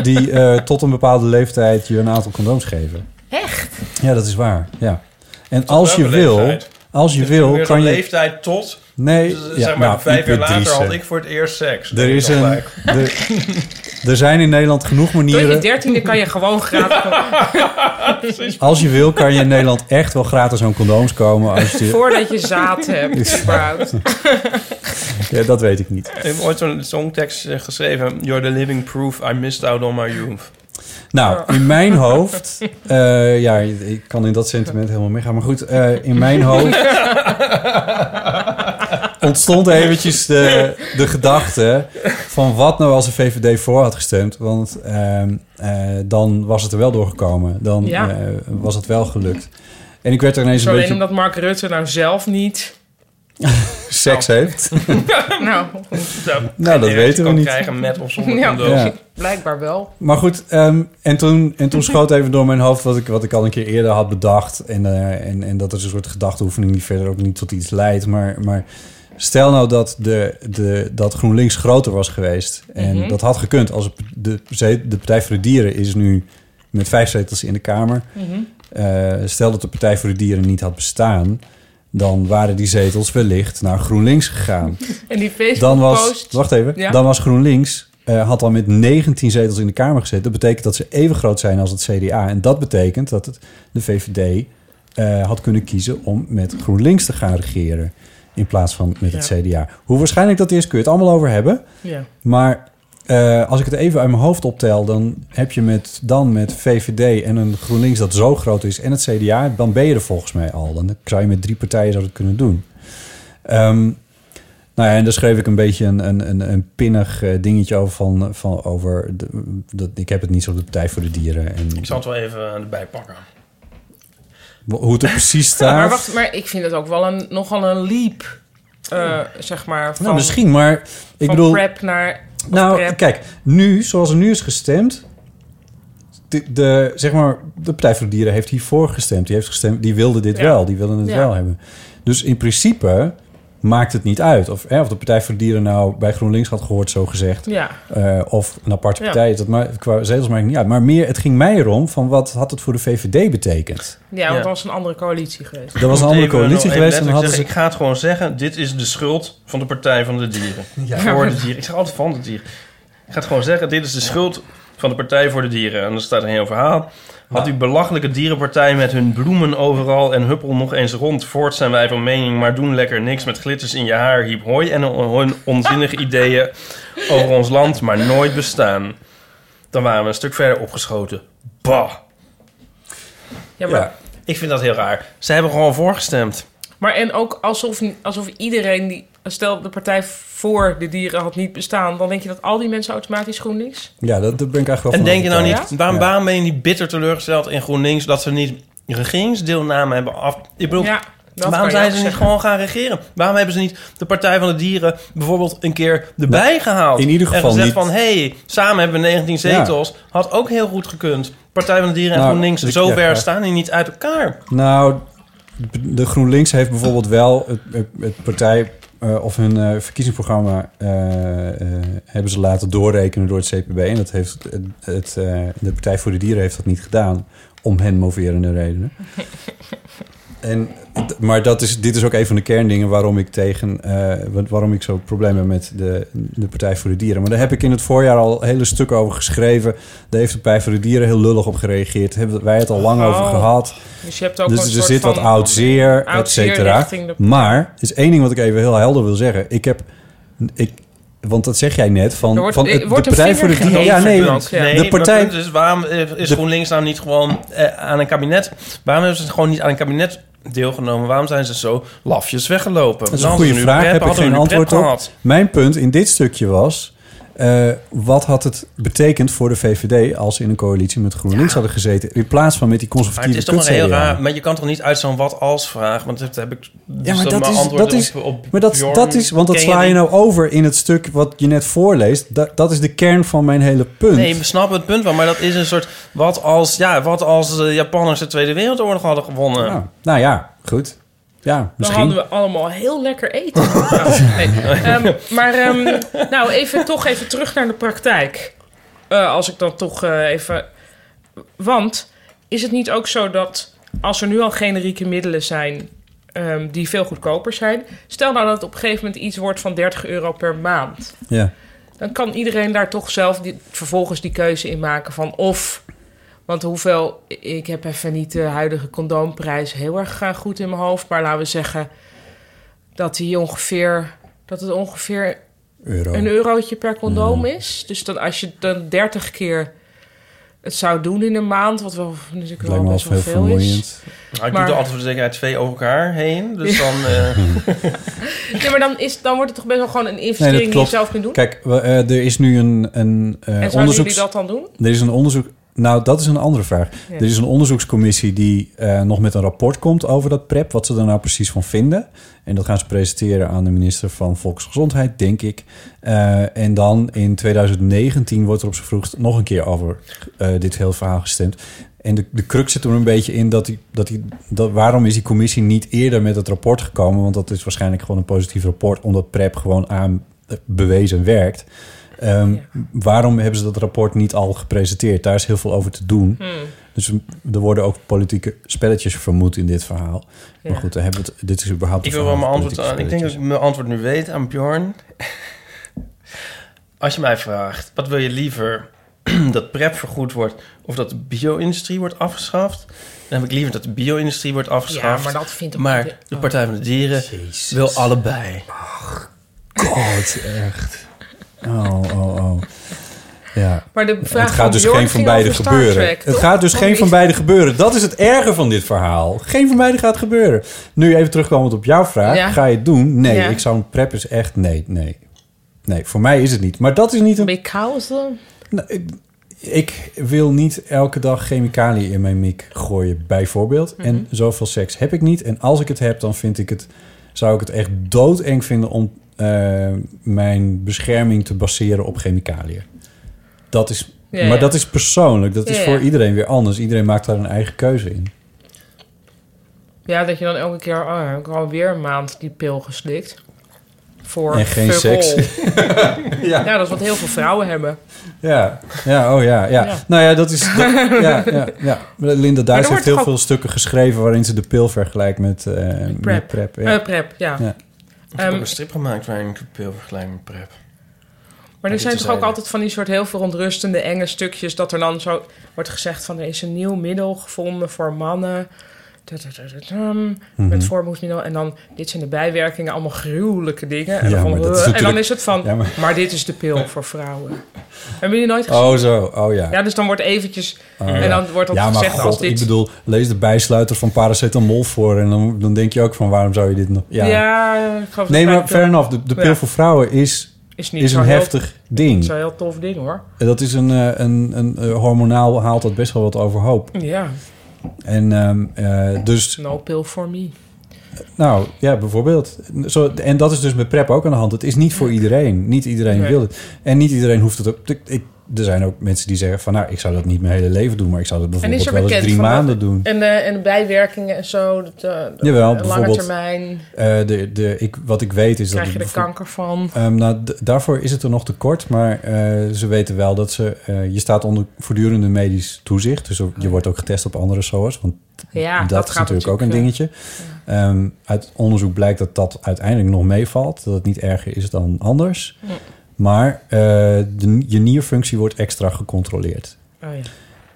Speaker 3: die eh, tot een bepaalde leeftijd je een aantal condooms geven.
Speaker 1: Echt?
Speaker 3: Ja, dat is waar. Ja. En als je
Speaker 2: welke
Speaker 3: wil,
Speaker 2: leeftijd?
Speaker 3: als je
Speaker 2: Dus
Speaker 3: wil,
Speaker 2: weer
Speaker 3: kan
Speaker 2: zo'n
Speaker 3: je.
Speaker 2: leeftijd tot,
Speaker 3: Nee,
Speaker 2: dus,
Speaker 3: ja,
Speaker 2: zeg maar,
Speaker 3: nou,
Speaker 2: vijf jaar
Speaker 3: Ipe
Speaker 2: later
Speaker 3: Driessen.
Speaker 2: had ik voor het eerst seks.
Speaker 3: Er, is een,
Speaker 2: Gelijk.
Speaker 3: er, er zijn in Nederland genoeg
Speaker 1: Door je
Speaker 3: manieren.
Speaker 1: dertiende kan je gewoon gratis...
Speaker 3: Als je wil, kan je in Nederland echt wel gratis aan condooms komen. Als je,
Speaker 1: voordat je zaad hebt. überhaupt.
Speaker 3: ja, dat weet ik niet.
Speaker 2: Ik heb ooit zo'n songtekst eh, geschreven. You're the living proof I missed out on my youth.
Speaker 1: Oh.
Speaker 3: Nou, in mijn hoofd. eh, ja, ik kan in dat sentiment helemaal meegaan. Maar goed, eh, in mijn hoofd. ontstond eventjes de, de gedachte. van wat nou als de VVD voor had gestemd. Want ehm, eh, dan was het er wel doorgekomen. Dan
Speaker 1: Ja.
Speaker 3: eh, was het wel gelukt. En ik werd er ineens
Speaker 1: Zo
Speaker 3: een
Speaker 1: alleen
Speaker 3: beetje
Speaker 1: omdat Mark Rutte nou zelf niet...
Speaker 3: seks heeft.
Speaker 1: Nou,
Speaker 2: Nou,
Speaker 3: dat weten we
Speaker 2: kan
Speaker 3: niet.
Speaker 2: krijgen met of zonder
Speaker 1: ja,
Speaker 2: condoom.
Speaker 3: Ja.
Speaker 1: blijkbaar wel.
Speaker 3: Maar goed, ehm, en, toen, en
Speaker 1: Mhm.
Speaker 3: toen schoot even door mijn hoofd wat ik, wat ik al een keer eerder had bedacht. En, eh, en, en dat is een soort gedachteoefening die verder ook niet tot iets leidt. Maar, maar Stel nou dat, de, de, dat GroenLinks groter was geweest. En
Speaker 1: Mhm.
Speaker 3: dat had gekund. Als het- de, de Partij voor de Dieren is nu met vijf zetels in de Kamer.
Speaker 1: Mhm.
Speaker 3: Eh, stel dat de Partij voor de Dieren niet had bestaan. Dan waren die zetels wellicht naar GroenLinks gegaan.
Speaker 1: En die Facebook
Speaker 3: Dan was,
Speaker 1: post.
Speaker 3: wacht even,
Speaker 1: Ja.
Speaker 3: dan was GroenLinks, eh, had al met 19 zetels in de Kamer gezet. Dat betekent dat ze even groot zijn als het CDA. En dat betekent dat het, de VVD eh, had kunnen kiezen om met GroenLinks te gaan regeren. In plaats van met het
Speaker 1: Ja.
Speaker 3: CDA. Hoe waarschijnlijk dat is, kun je het allemaal over hebben.
Speaker 1: Ja.
Speaker 3: Maar eh, als ik het even uit mijn hoofd optel, dan heb je met, dan met VVD en een GroenLinks dat zo groot is en het CDA, dan ben je er volgens mij al. Dan zou je met drie partijen zou dat kunnen doen. Ehm, nou ja, en daar schreef ik een beetje een, een, een, een pinnig eh, dingetje over. Van, van over de, dat, ik heb het niet zo de Partij voor de Dieren. En
Speaker 2: Ik zal het wel even eh, erbij pakken.
Speaker 3: hoe het er precies staat. Nou,
Speaker 1: Maar wacht, maar ik vind het ook wel een, nogal een leap. eh, zeg maar. Van,
Speaker 3: nou, misschien, maar ik
Speaker 1: van
Speaker 3: bedoel.
Speaker 1: prep naar. of
Speaker 3: Nou,
Speaker 1: prep.
Speaker 3: kijk, nu, zoals er nu is gestemd... De, de, zeg maar, de Partij voor de Dieren heeft hiervoor gestemd. Die, heeft gestemd, die wilde dit
Speaker 1: Ja.
Speaker 3: wel, die wilden het
Speaker 1: Ja.
Speaker 3: wel hebben. Dus in principe maakt het niet uit. Of, hè, of de Partij voor de Dieren nou bij GroenLinks had gehoord, zo gezegd.
Speaker 1: Ja.
Speaker 3: Eh, of een aparte
Speaker 1: Ja.
Speaker 3: partij. Dat maar, qua zetels maakt het niet uit. Maar meer, het ging mij erom van wat had het voor de VVD betekend.
Speaker 1: Ja, want
Speaker 2: Ja.
Speaker 1: het was een andere coalitie geweest.
Speaker 3: Er was een
Speaker 2: Moet
Speaker 3: andere
Speaker 2: even- nog
Speaker 3: coalitie
Speaker 2: even
Speaker 3: geweest. En
Speaker 2: letterlijk
Speaker 3: dan hadden
Speaker 2: zeggen, Ik
Speaker 3: ze...
Speaker 2: ga het gewoon zeggen. Dit is de schuld van de Partij van de Dieren. Voor de dieren. Ik zeg altijd van de dieren. Ik ga het gewoon zeggen. Dit is de schuld van de Partij voor de Dieren. En dan staat een heel verhaal. Had die belachelijke dierenpartij met hun bloemen overal en huppel nog eens rond. Voort zijn wij van mening, maar doen lekker niks met glitters in je haar, hiep hooi. En hun onzinnige ideeën over ons land, maar nooit bestaan. Dan waren we een stuk verder opgeschoten. Bah!
Speaker 1: Ja, maar,
Speaker 3: Ja.
Speaker 2: Ik vind dat heel raar. Ze hebben gewoon voorgestemd.
Speaker 1: maar en ook alsof, alsof iedereen die. Stel, de partij voor de dieren had niet bestaan. Dan denk je dat al die mensen automatisch GroenLinks?
Speaker 3: Ja, dat, daar ben ik eigenlijk wel
Speaker 2: En
Speaker 3: van
Speaker 2: denk je nou
Speaker 3: overtuigd.
Speaker 2: niet, waarom,
Speaker 3: Ja.
Speaker 2: waarom ben je niet bitter teleurgesteld in GroenLinks dat ze niet regeringsdeelname hebben af. Ik bedoel,
Speaker 1: Ja, dat kan
Speaker 2: waarom
Speaker 1: je
Speaker 2: zijn
Speaker 1: ook
Speaker 2: ze niet
Speaker 1: zeggen.
Speaker 2: gewoon gaan regeren? Waarom hebben ze niet de Partij van de Dieren bijvoorbeeld een keer erbij gehaald?
Speaker 3: in ieder geval
Speaker 2: En gezegd
Speaker 3: niet-
Speaker 2: van, hé, hey, samen hebben we 19 zetels. Had ook heel goed gekund. Partij van de Dieren en
Speaker 3: Nou,
Speaker 2: GroenLinks,
Speaker 3: ik-
Speaker 2: zo
Speaker 3: ja,
Speaker 2: ver
Speaker 3: graag.
Speaker 2: staan die niet uit elkaar.
Speaker 3: Nou, de GroenLinks heeft bijvoorbeeld wel het, het, het partij eh, of hun eh, verkiezingsprogramma eh, eh, hebben ze laten doorrekenen door het CPB. En dat heeft het, het, eh, de Partij voor de Dieren heeft dat niet gedaan om hen moverende redenen. En, d- maar dat is, dit is ook een van de kerndingen waarom ik tegen, eh, wa- waarom ik zo problemen heb met de, de Partij voor de Dieren. Maar daar heb ik in het voorjaar al hele stukken over geschreven. Daar heeft de Partij voor de Dieren heel lullig op gereageerd. Hebben wij het al lang
Speaker 1: Oh.
Speaker 3: over gehad.
Speaker 1: Dus je hebt ook een
Speaker 3: Dus er
Speaker 1: soort
Speaker 3: zit wat
Speaker 1: van- eh,
Speaker 3: oud zeer,
Speaker 1: oud
Speaker 3: et
Speaker 1: zeer
Speaker 3: cetera.
Speaker 1: richting de-
Speaker 3: Maar er is één ding wat ik even heel helder wil zeggen. Ik heb... Ik, want dat zeg jij net, van,
Speaker 1: Er wordt-
Speaker 3: van
Speaker 1: er
Speaker 3: het- de
Speaker 1: wordt een
Speaker 3: Partij voor de
Speaker 1: vinger
Speaker 3: Dieren... Ja,
Speaker 1: geheven,
Speaker 3: nee,
Speaker 1: want- ja.
Speaker 2: Nee,
Speaker 3: de
Speaker 2: maar
Speaker 3: partij...
Speaker 2: het punt is, waarom eh, is
Speaker 3: De-
Speaker 2: GroenLinks nou niet gewoon eh, aan een kabinet? Waarom hebben ze gewoon niet aan een kabinet deelgenomen? Waarom zijn ze zo lafjes weggelopen?
Speaker 3: Dat is een goede vraag, heb ik geen antwoord op. Mijn punt in dit stukje was... eh, wat had het betekend voor de VVD als ze in een coalitie met GroenLinks hadden gezeten... in plaats van met die
Speaker 2: Maar het
Speaker 3: conservatieve
Speaker 2: is toch een
Speaker 3: kut-CDA?
Speaker 2: heel raar... Maar je kan toch niet uit zo'n wat-als-vraag? Want dat heb ik... dus
Speaker 3: Ja, maar dat
Speaker 2: mijn
Speaker 3: is,
Speaker 2: antwoord
Speaker 3: dat is,
Speaker 2: op- op
Speaker 3: maar dat,
Speaker 2: Bjorn
Speaker 3: dat is, want dat
Speaker 2: ken
Speaker 3: sla je
Speaker 2: niet.
Speaker 3: nou over in het stuk wat je net voorleest. Dat, dat is de kern van mijn hele punt.
Speaker 2: Nee, we snappen het punt wel. Maar dat is een soort... Wat als, ja, wat als de Japanners de Tweede Wereldoorlog hadden gewonnen?
Speaker 3: Nou, nou ja, goed. Ja,
Speaker 1: Dan
Speaker 3: misschien.
Speaker 1: hadden we allemaal heel lekker eten. Nou, nee. Ehm, maar ehm, nou, even, toch even terug naar de praktijk. Eh, als ik dan toch eh, even... Want is het niet ook zo dat als er nu al generieke middelen zijn... ehm, die veel goedkoper zijn... stel nou dat het op een gegeven moment iets wordt van 30 euro per maand...
Speaker 3: Ja.
Speaker 1: dan kan iedereen daar toch zelf die, vervolgens die keuze in maken van of. Want hoeveel, ik heb even niet de huidige condoomprijs heel erg eh, goed in mijn hoofd. Maar laten we zeggen dat, die ongeveer, dat het ongeveer
Speaker 3: Euro.
Speaker 1: een eurotje per condoom is. Dus dan als je dan 30 keer het zou doen in een maand, wat wel natuurlijk
Speaker 3: Het lijkt
Speaker 1: wel
Speaker 3: me
Speaker 1: best
Speaker 3: als
Speaker 1: wel
Speaker 3: heel
Speaker 1: veel is.
Speaker 3: vermoeiend.
Speaker 2: Nou,
Speaker 1: Maar-
Speaker 2: ik doe er altijd voor de zekerheid twee over elkaar heen. Dus dan... eh,
Speaker 1: Nee, maar dan, is, dan wordt het toch best wel gewoon een investering Dus die je
Speaker 3: klopt.
Speaker 1: zelf kunt doen.
Speaker 3: Kijk, we- eh, er is nu een, een eh,
Speaker 1: en zouden
Speaker 3: onderzoek.
Speaker 1: jullie dat dan doen?
Speaker 3: Er is een onderzoek Nou, dat is een andere vraag.
Speaker 1: Ja.
Speaker 3: Er is een onderzoekscommissie die eh, nog met een rapport komt over dat PrEP, wat ze er nou precies van vinden. En dat gaan ze presenteren aan de minister van Volksgezondheid, denk ik. Eh, en dan in 2019 wordt er op z'n vroegst nog een keer over eh, dit hele verhaal gestemd. En de, de crux zit er een beetje in dat, die, dat, die, dat waarom is die commissie niet eerder met het rapport gekomen? Want dat is waarschijnlijk gewoon een positief rapport, omdat PrEP gewoon aan eh, bewezen werkt. Ehm, Waarom hebben ze dat rapport niet al gepresenteerd? Daar is heel veel over te doen.
Speaker 1: Hmm.
Speaker 3: Dus er worden ook politieke spelletjes vermoed in dit verhaal.
Speaker 1: Ja.
Speaker 3: Maar goed, daar hebben we het, dit is überhaupt...
Speaker 2: Ik
Speaker 3: een
Speaker 2: wil wel mijn
Speaker 3: verhaal van
Speaker 2: antwoord aan. Ik denk dat ik
Speaker 3: politieke
Speaker 2: mijn antwoord nu weet aan Bjorn. Als je mij vraagt, wat wil je liever? dat PrEP vergoed wordt of dat de bio-industrie wordt afgeschaft? Dan heb ik liever dat de bio-industrie wordt afgeschaft.
Speaker 1: Ja, maar dat vindt ook-
Speaker 2: Maar de Partij van de Dieren wil allebei.
Speaker 3: spelletjes. God, echt. Oh, oh, oh. Ja.
Speaker 1: Maar de vraag
Speaker 3: het
Speaker 1: van
Speaker 3: gaat dus
Speaker 1: Bjorn
Speaker 3: geen van
Speaker 1: ging
Speaker 3: beide
Speaker 1: over Star
Speaker 3: gebeuren.
Speaker 1: Trek,
Speaker 3: het
Speaker 1: toch?
Speaker 3: gaat dus
Speaker 1: Oh,
Speaker 3: geen
Speaker 1: nee.
Speaker 3: van beide gebeuren. Dat is het erger van dit verhaal. Geen van beide gaat gebeuren. Nu even terugkomend op jouw vraag.
Speaker 1: Ja.
Speaker 3: Ga je het doen? Nee,
Speaker 1: Ja.
Speaker 3: ik zou een prep is echt... Nee, nee. Nee, voor mij is het niet. Maar dat is niet een
Speaker 1: Ben je chaos dan?
Speaker 3: Nou, ik- ik wil niet elke dag chemicaliën in mijn mik gooien, bijvoorbeeld.
Speaker 1: Mhm.
Speaker 3: En zoveel seks heb ik niet. En als ik het heb, dan vind ik het, zou ik het echt doodeng vinden om eh, mijn bescherming te baseren op chemicaliën. Dat is,
Speaker 1: Ja,
Speaker 3: maar
Speaker 1: ja.
Speaker 3: dat is persoonlijk. Dat
Speaker 1: Ja,
Speaker 3: is
Speaker 1: ja.
Speaker 3: voor iedereen weer anders. Iedereen maakt daar een eigen keuze in.
Speaker 1: Ja, dat je dan elke keer... Oh, heb ik alweer een maand die pil geslikt. Voor
Speaker 3: En geen
Speaker 1: fuck
Speaker 3: seks.
Speaker 1: all.
Speaker 3: Ja.
Speaker 1: ja. dat is wat heel veel vrouwen hebben.
Speaker 3: Ja, ja, oh ja, ja.
Speaker 1: Ja.
Speaker 3: Nou ja, dat is. Dat, ja, ja, ja. Linda Duits
Speaker 1: wordt
Speaker 3: heeft heel
Speaker 1: toch ook-
Speaker 3: veel stukken geschreven waarin ze de pil vergelijkt met, eh,
Speaker 1: Prep.
Speaker 3: met prep.
Speaker 1: Eh, prep, ja.
Speaker 3: Ja.
Speaker 2: Ik heb
Speaker 1: Ehm,
Speaker 2: ook een strip gemaakt waarin ik de pil vergelijk met PrEP.
Speaker 1: Maar er
Speaker 2: Dit
Speaker 1: zijn
Speaker 2: is
Speaker 1: toch ook
Speaker 2: eigenlijk-
Speaker 1: altijd van die soort heel verontrustende enge stukjes... dat er dan zo wordt gezegd van... er is een nieuw middel gevonden voor mannen... Dadadadadam,
Speaker 3: Mhm.
Speaker 1: Met voormoedsmiddel. En dan, dit zijn de bijwerkingen, allemaal gruwelijke dingen. En,
Speaker 3: Ja,
Speaker 1: dan, van,
Speaker 3: maar dat is
Speaker 1: "Ugh." en dan
Speaker 3: natuurlijk-
Speaker 1: is het van,
Speaker 3: Ja, maar-
Speaker 1: maar... dit is de pil voor vrouwen. Hebben jullie nooit gezien?
Speaker 3: Oh, zo. Oh ja.
Speaker 1: Ja, dus dan wordt eventjes... en dan wordt dat
Speaker 3: Oh, ja, maar
Speaker 1: gezegd
Speaker 3: God,
Speaker 1: als dit...
Speaker 3: ik bedoel, lees de bijsluiter van paracetamol voor... en dan, dan denk je ook van, waarom zou je dit nog... Ja,
Speaker 1: ja. ik geloof
Speaker 3: nee,
Speaker 1: dat
Speaker 3: maar
Speaker 1: bij-
Speaker 3: fair enough. De, de pil
Speaker 1: Ja.
Speaker 3: voor vrouwen is,
Speaker 1: Is, niet
Speaker 3: is
Speaker 1: zo
Speaker 3: een
Speaker 1: heel-
Speaker 3: heftig
Speaker 1: niet
Speaker 3: ding.
Speaker 1: Zo'n heel tof ding, hoor.
Speaker 3: Dat is een, eh, een, een, eh, hormonaal haalt dat best wel wat overhoop.
Speaker 1: Ja,
Speaker 3: En ehm, eh, dus,
Speaker 1: no pill for me.
Speaker 3: nou ja, bijvoorbeeld. Zo, en dat is dus met PrEP ook aan de hand. Het is niet voor iedereen. Niet iedereen
Speaker 1: Nee.
Speaker 3: wil het. En niet iedereen hoeft het ook... Ik, ik- er zijn ook mensen die zeggen van... nou, ik zou dat niet mijn hele leven doen... maar ik zou dat
Speaker 1: En
Speaker 3: bijvoorbeeld
Speaker 1: is er
Speaker 3: wel eens
Speaker 1: bekend
Speaker 3: drie
Speaker 1: van
Speaker 3: maanden doen.
Speaker 1: En, eh, en de bijwerkingen en zo. Dat, eh,
Speaker 3: Jawel,
Speaker 1: Lange
Speaker 3: bijvoorbeeld-
Speaker 1: termijn
Speaker 3: Eh, de, de, ik, wat ik weet is
Speaker 1: krijg
Speaker 3: dat...
Speaker 1: je er
Speaker 3: bijvoor-
Speaker 1: kanker van. Oh,
Speaker 3: Ehm, nou, d- daarvoor is het er nog tekort, maar eh, ze weten wel dat ze... eh, je staat onder voortdurende medisch toezicht. Dus er- je wordt ook getest op andere SOA's, want
Speaker 1: Oh. Ja,
Speaker 3: dat,
Speaker 1: dat,
Speaker 3: is
Speaker 1: gaat
Speaker 3: natuurlijk ook een
Speaker 1: eh,
Speaker 3: dingetje. Ehm, uit onderzoek blijkt dat dat uiteindelijk nog meevalt. Dat het niet erger is dan anders. Maar eh, de, je nierfunctie wordt extra gecontroleerd.
Speaker 1: Oh, ja.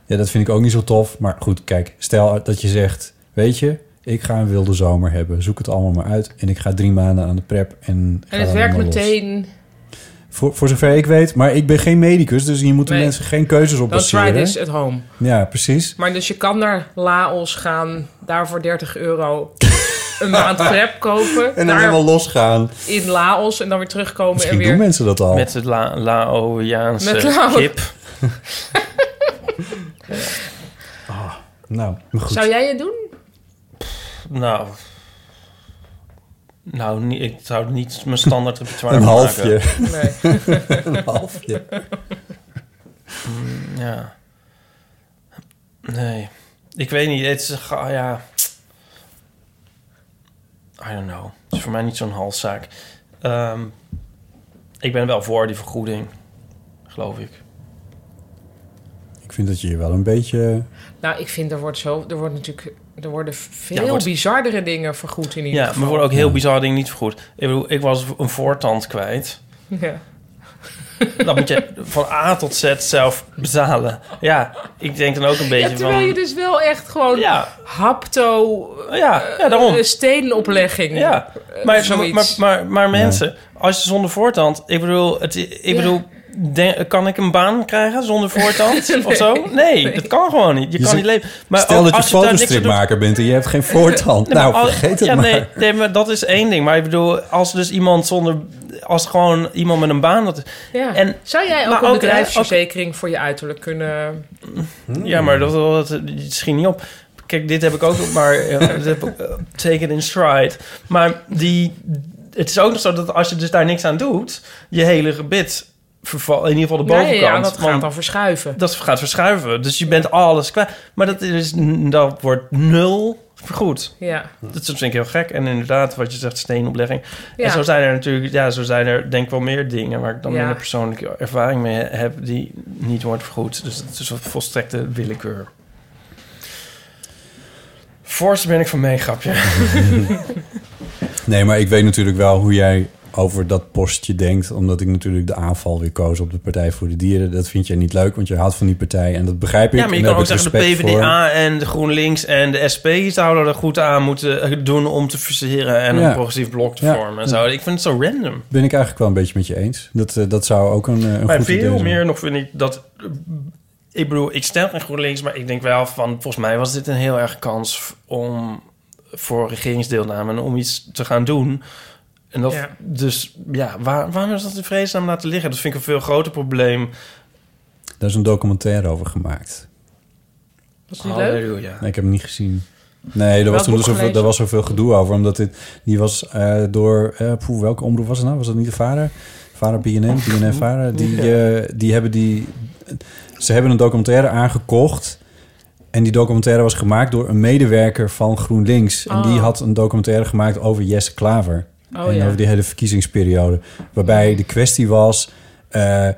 Speaker 3: Ja, dat vind ik ook niet zo tof. Maar goed, kijk, stel dat je zegt... weet je, ik ga een wilde zomer hebben. Zoek het allemaal maar uit. En ik ga drie maanden aan de prep. En, ga
Speaker 1: En het
Speaker 3: dan
Speaker 1: werkt
Speaker 3: helemaal los.
Speaker 1: meteen.
Speaker 3: Voor, voor zover ik weet. Maar ik ben geen medicus, dus hier moeten
Speaker 1: Nee.
Speaker 3: mensen geen keuzes op
Speaker 1: Dan try
Speaker 3: baseren.
Speaker 1: this at home.
Speaker 3: Ja, precies.
Speaker 1: Maar dus je kan naar Laos gaan, daar voor 30 euro een maand prep kopen.
Speaker 3: En dan
Speaker 1: daar
Speaker 3: helemaal losgaan.
Speaker 1: in Laos en dan weer terugkomen
Speaker 3: Misschien
Speaker 1: en weer...
Speaker 3: doen mensen dat al.
Speaker 2: Met het La- Laoiaanse
Speaker 1: Met Lao-
Speaker 2: kip.
Speaker 3: Nou, maar goed.
Speaker 1: Zou jij het doen?
Speaker 2: Nou... Nou, ni- ik zou het niet mijn standaard repertoire
Speaker 3: Een
Speaker 2: maken.
Speaker 3: halfje.
Speaker 1: Nee.
Speaker 3: Een halfje.
Speaker 2: Ja. Nee. Ik weet niet. Het is... ga- Ja. I don't know. Het is voor mij niet zo'n halszaak. Ehm, ik ben wel voor die vergoeding. Geloof ik.
Speaker 3: Ik vind dat je hier wel een beetje...
Speaker 1: Nou, ik vind er wordt zo... Er wordt natuurlijk... Er worden veel
Speaker 2: Ja, wordt-
Speaker 1: bizardere dingen vergoed in ieder
Speaker 2: Ja, maar
Speaker 1: geval.
Speaker 2: worden ook heel bizarre dingen niet vergoed. Ik bedoel, ik was een voortand kwijt.
Speaker 1: Ja.
Speaker 2: Dat moet je van A tot Z zelf betalen. Ja, ik denk dan ook een beetje
Speaker 1: Ja, terwijl
Speaker 2: van...
Speaker 1: je dus wel echt gewoon
Speaker 2: Ja,
Speaker 1: hapto...
Speaker 2: ja, ja, daarom.
Speaker 1: eh, Steenoplegging.
Speaker 2: Ja, Eh, maar,
Speaker 1: zoiets.
Speaker 2: maar, maar, maar mensen, als je zonder voortand... Ik bedoel, het, ik
Speaker 1: Ja.
Speaker 2: bedoel denk- kan ik een baan krijgen zonder voortand of zo? Nee, dat kan gewoon niet. Je, kan
Speaker 3: zegt-
Speaker 2: niet leven. Maar
Speaker 3: Stel
Speaker 2: ook
Speaker 3: dat je
Speaker 2: als daar niks aan doet-
Speaker 3: fotostripmaker bent en je hebt geen voortand.
Speaker 2: Nee, maar
Speaker 3: nou,
Speaker 2: al-
Speaker 3: vergeet het
Speaker 2: ja,
Speaker 3: maar.
Speaker 2: Nee, nee, maar dat is één ding. Maar ik bedoel, als dus iemand zonder als gewoon iemand met een baan. Dat,
Speaker 1: Ja.
Speaker 2: En-
Speaker 1: Zou jij ook
Speaker 2: maar
Speaker 1: een
Speaker 2: ook, eh, hè,
Speaker 1: bedrijfsverzekering voor je uiterlijk kunnen...
Speaker 2: Ja, maar dat, dat, dat schiet niet op. Kijk, dit heb ik ook, maar eh, dat heb ik, eh, take it in stride. Maar die, het is ook nog zo dat als je dus daar niks aan doet, je hele gebit vervalt. In ieder geval de
Speaker 1: Nee,
Speaker 2: bovenkant.
Speaker 1: Nou, ja, dat
Speaker 2: want
Speaker 1: gaat dan verschuiven.
Speaker 2: dat gaat verschuiven. Dus je bent alles kwijt. Maar dat, is, dat wordt nul vergoed.
Speaker 1: Ja.
Speaker 2: Dat is op zich heel gek. En inderdaad, wat je zegt, steenoplegging.
Speaker 1: Ja.
Speaker 2: En zo zijn er natuurlijk, ja, zo zijn er denk ik wel meer dingen waar ik dan
Speaker 1: Ja.
Speaker 2: minder persoonlijke ervaring mee heb die niet wordt vergoed. Dus dat is een volstrekte willekeur. Voorst ben ik van mee, grapje.
Speaker 3: Nee, maar ik weet natuurlijk wel hoe jij over dat postje denkt. Omdat ik natuurlijk de aanval weer koos op de Partij voor de Dieren. Dat vind jij niet leuk, want je houdt van die partij. En dat begrijp ik.
Speaker 2: Ja, maar je
Speaker 3: en
Speaker 2: kan
Speaker 3: daar
Speaker 2: ook
Speaker 3: heb ik
Speaker 2: zeggen de
Speaker 3: respect voor.
Speaker 2: PvdA en de GroenLinks en de SP zouden er goed aan moeten doen om te verseren en
Speaker 3: Ja.
Speaker 2: een progressief blok te
Speaker 3: Ja.
Speaker 2: vormen. En zo. Ik vind het zo random.
Speaker 3: Ben ik eigenlijk wel een beetje met je eens. Dat, eh, dat zou ook een, eh, een
Speaker 2: Maar
Speaker 3: goed idee
Speaker 2: veel
Speaker 3: zijn.
Speaker 2: meer nog vind ik dat... Ik bedoel, ik stem geen GroenLinks, maar ik denk wel van... Volgens mij was dit een heel erg kans om voor regeringsdeelname en om iets te gaan doen. En dat,
Speaker 1: Ja.
Speaker 2: Dus ja, waar, waarom is dat in vredesnaam laten liggen? Dat vind ik een veel groter probleem.
Speaker 3: Daar is een documentaire over gemaakt.
Speaker 1: Was niet leuk?
Speaker 3: Nee, ik heb hem niet gezien. Nee, er was toen dus
Speaker 1: boek
Speaker 3: zoveel,
Speaker 1: gelezen?
Speaker 3: er was zoveel gedoe over. Omdat dit, die was eh, door... eh, poeh, welke omroep was het nou? Was dat niet de vader? Vader BNN,
Speaker 1: Hm?
Speaker 3: BNN vader. Die, eh, die hebben die... Ze hebben een documentaire aangekocht. En die documentaire was gemaakt door een medewerker van GroenLinks. En die
Speaker 1: Oh.
Speaker 3: had een documentaire gemaakt over Jesse Klaver.
Speaker 1: Oh,
Speaker 3: en
Speaker 1: ja.
Speaker 3: over die hele verkiezingsperiode. Waarbij de kwestie was... eh,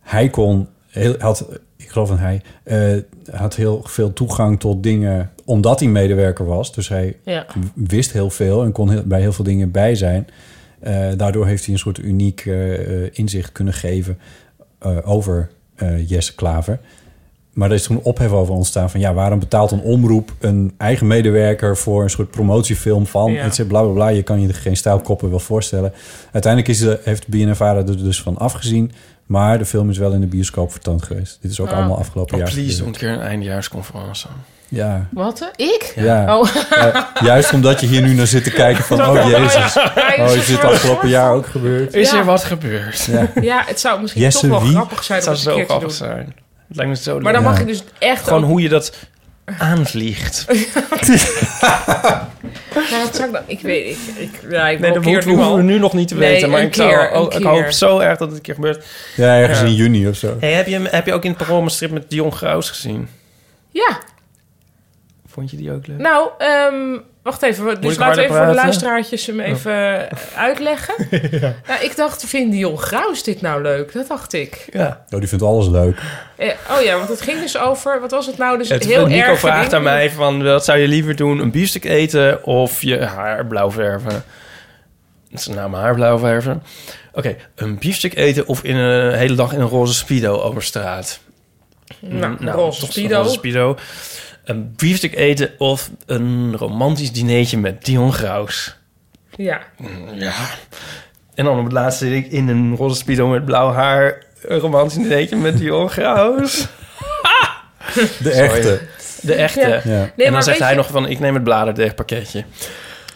Speaker 3: hij kon... Heel, had, ik geloof dat hij... eh, had heel veel toegang tot dingen... omdat hij medewerker was. Dus hij
Speaker 1: Ja.
Speaker 3: wist heel veel en kon heel- bij heel veel dingen bij zijn. Eh, daardoor heeft hij een soort uniek eh, eh, inzicht kunnen geven eh, over eh, Jesse Klaver. Maar er is toen ophef over ontstaan van... ja, waarom betaalt een omroep een eigen medewerker... voor een soort promotiefilm van...
Speaker 1: Ja.
Speaker 3: et cetera, bla, bla, bla. Je kan je er geen stijlkoppen wel voorstellen. Uiteindelijk is de, heeft BNNVARA er dus van afgezien... maar de film is wel in de bioscoop vertoond geweest. Dit is ook
Speaker 1: Ah.
Speaker 3: allemaal afgelopen
Speaker 2: Oh,
Speaker 3: jaar.
Speaker 2: please, doe een
Speaker 3: gebeurd.
Speaker 2: keer een eindejaarsconferentie.
Speaker 3: Ja,
Speaker 1: Wat? hè? Ik?
Speaker 3: ja.
Speaker 1: Oh.
Speaker 3: Ja, juist omdat je hier nu naar zit te kijken van... oh jezus,
Speaker 1: Ja, je
Speaker 3: Oh,
Speaker 1: zit
Speaker 3: is dit
Speaker 1: voor-
Speaker 3: afgelopen jaar ook gebeurd?
Speaker 2: Is
Speaker 1: Ja.
Speaker 2: er wat gebeurd?
Speaker 1: Ja, het zou misschien
Speaker 3: Jesse
Speaker 1: toch wel
Speaker 3: wie?
Speaker 1: grappig zijn
Speaker 2: Het
Speaker 1: om
Speaker 2: zou
Speaker 1: het een
Speaker 2: zo
Speaker 1: keer te doen.
Speaker 2: grappig zijn. Het lijkt me zo leuk.
Speaker 1: Maar dan
Speaker 3: Ja.
Speaker 1: mag je dus echt
Speaker 2: Gewoon
Speaker 1: ook-
Speaker 2: hoe je dat aanvliegt.
Speaker 1: Maar Nou, dat zou ik dan... Ik weet ik, ik, ja, ik
Speaker 2: Nee, dat
Speaker 1: blokkeer
Speaker 2: hoeven
Speaker 1: nu
Speaker 2: hoeven
Speaker 1: al.
Speaker 2: we nu nog niet te
Speaker 1: Nee,
Speaker 2: weten. Maar
Speaker 1: een
Speaker 2: ik, zou-
Speaker 1: keer, een
Speaker 2: oh, ik hoop
Speaker 1: keer.
Speaker 2: zo erg dat het een keer gebeurt.
Speaker 3: Ja, ergens
Speaker 2: Ja.
Speaker 3: in juni of zo.
Speaker 2: Hey, heb, je, heb je ook in het programma strip met Dion Graus gezien?
Speaker 1: Ja,
Speaker 2: Vond je die ook leuk?
Speaker 1: nou, ehm, wacht even. we- Dus laten
Speaker 2: ik
Speaker 1: we
Speaker 2: harder
Speaker 1: even voor de
Speaker 2: praten? Oh.
Speaker 1: luisteraartjes hem even eh, uitleggen. nou, ik dacht, vindt Dion Graus dit nou leuk? Dat dacht ik.
Speaker 2: Ja.
Speaker 3: Oh, die vindt alles leuk.
Speaker 1: Eh, oh ja, want het ging dus over... Wat was het nou? Dus
Speaker 2: Het,
Speaker 1: heel
Speaker 2: Nico
Speaker 1: erg
Speaker 2: vraagt
Speaker 1: dingen.
Speaker 2: aan mij van, wat zou je liever doen? Een biefstuk eten of je haar blauw verven? Dat is nou mijn haar blauw verven. Oké, een biefstuk eten of in een hele dag in een roze speedo over straat?
Speaker 1: Nou,
Speaker 2: Nou,
Speaker 1: roze
Speaker 2: toch
Speaker 1: speedo.
Speaker 2: een roze speedo. Een biefstuk eten of een romantisch dinertje met Dion Graus?
Speaker 1: Ja,
Speaker 2: Ja. En dan op het laatste zit ik in een roze speedo met blauw haar. Een romantisch dinertje met Dion Graus.
Speaker 3: De echte.
Speaker 2: De echte.
Speaker 1: Ja.
Speaker 3: Ja.
Speaker 1: Nee,
Speaker 2: en
Speaker 1: maar
Speaker 2: dan zegt
Speaker 1: weet
Speaker 2: hij
Speaker 1: je-
Speaker 2: nog van, ik neem het bladerdeegpakketje.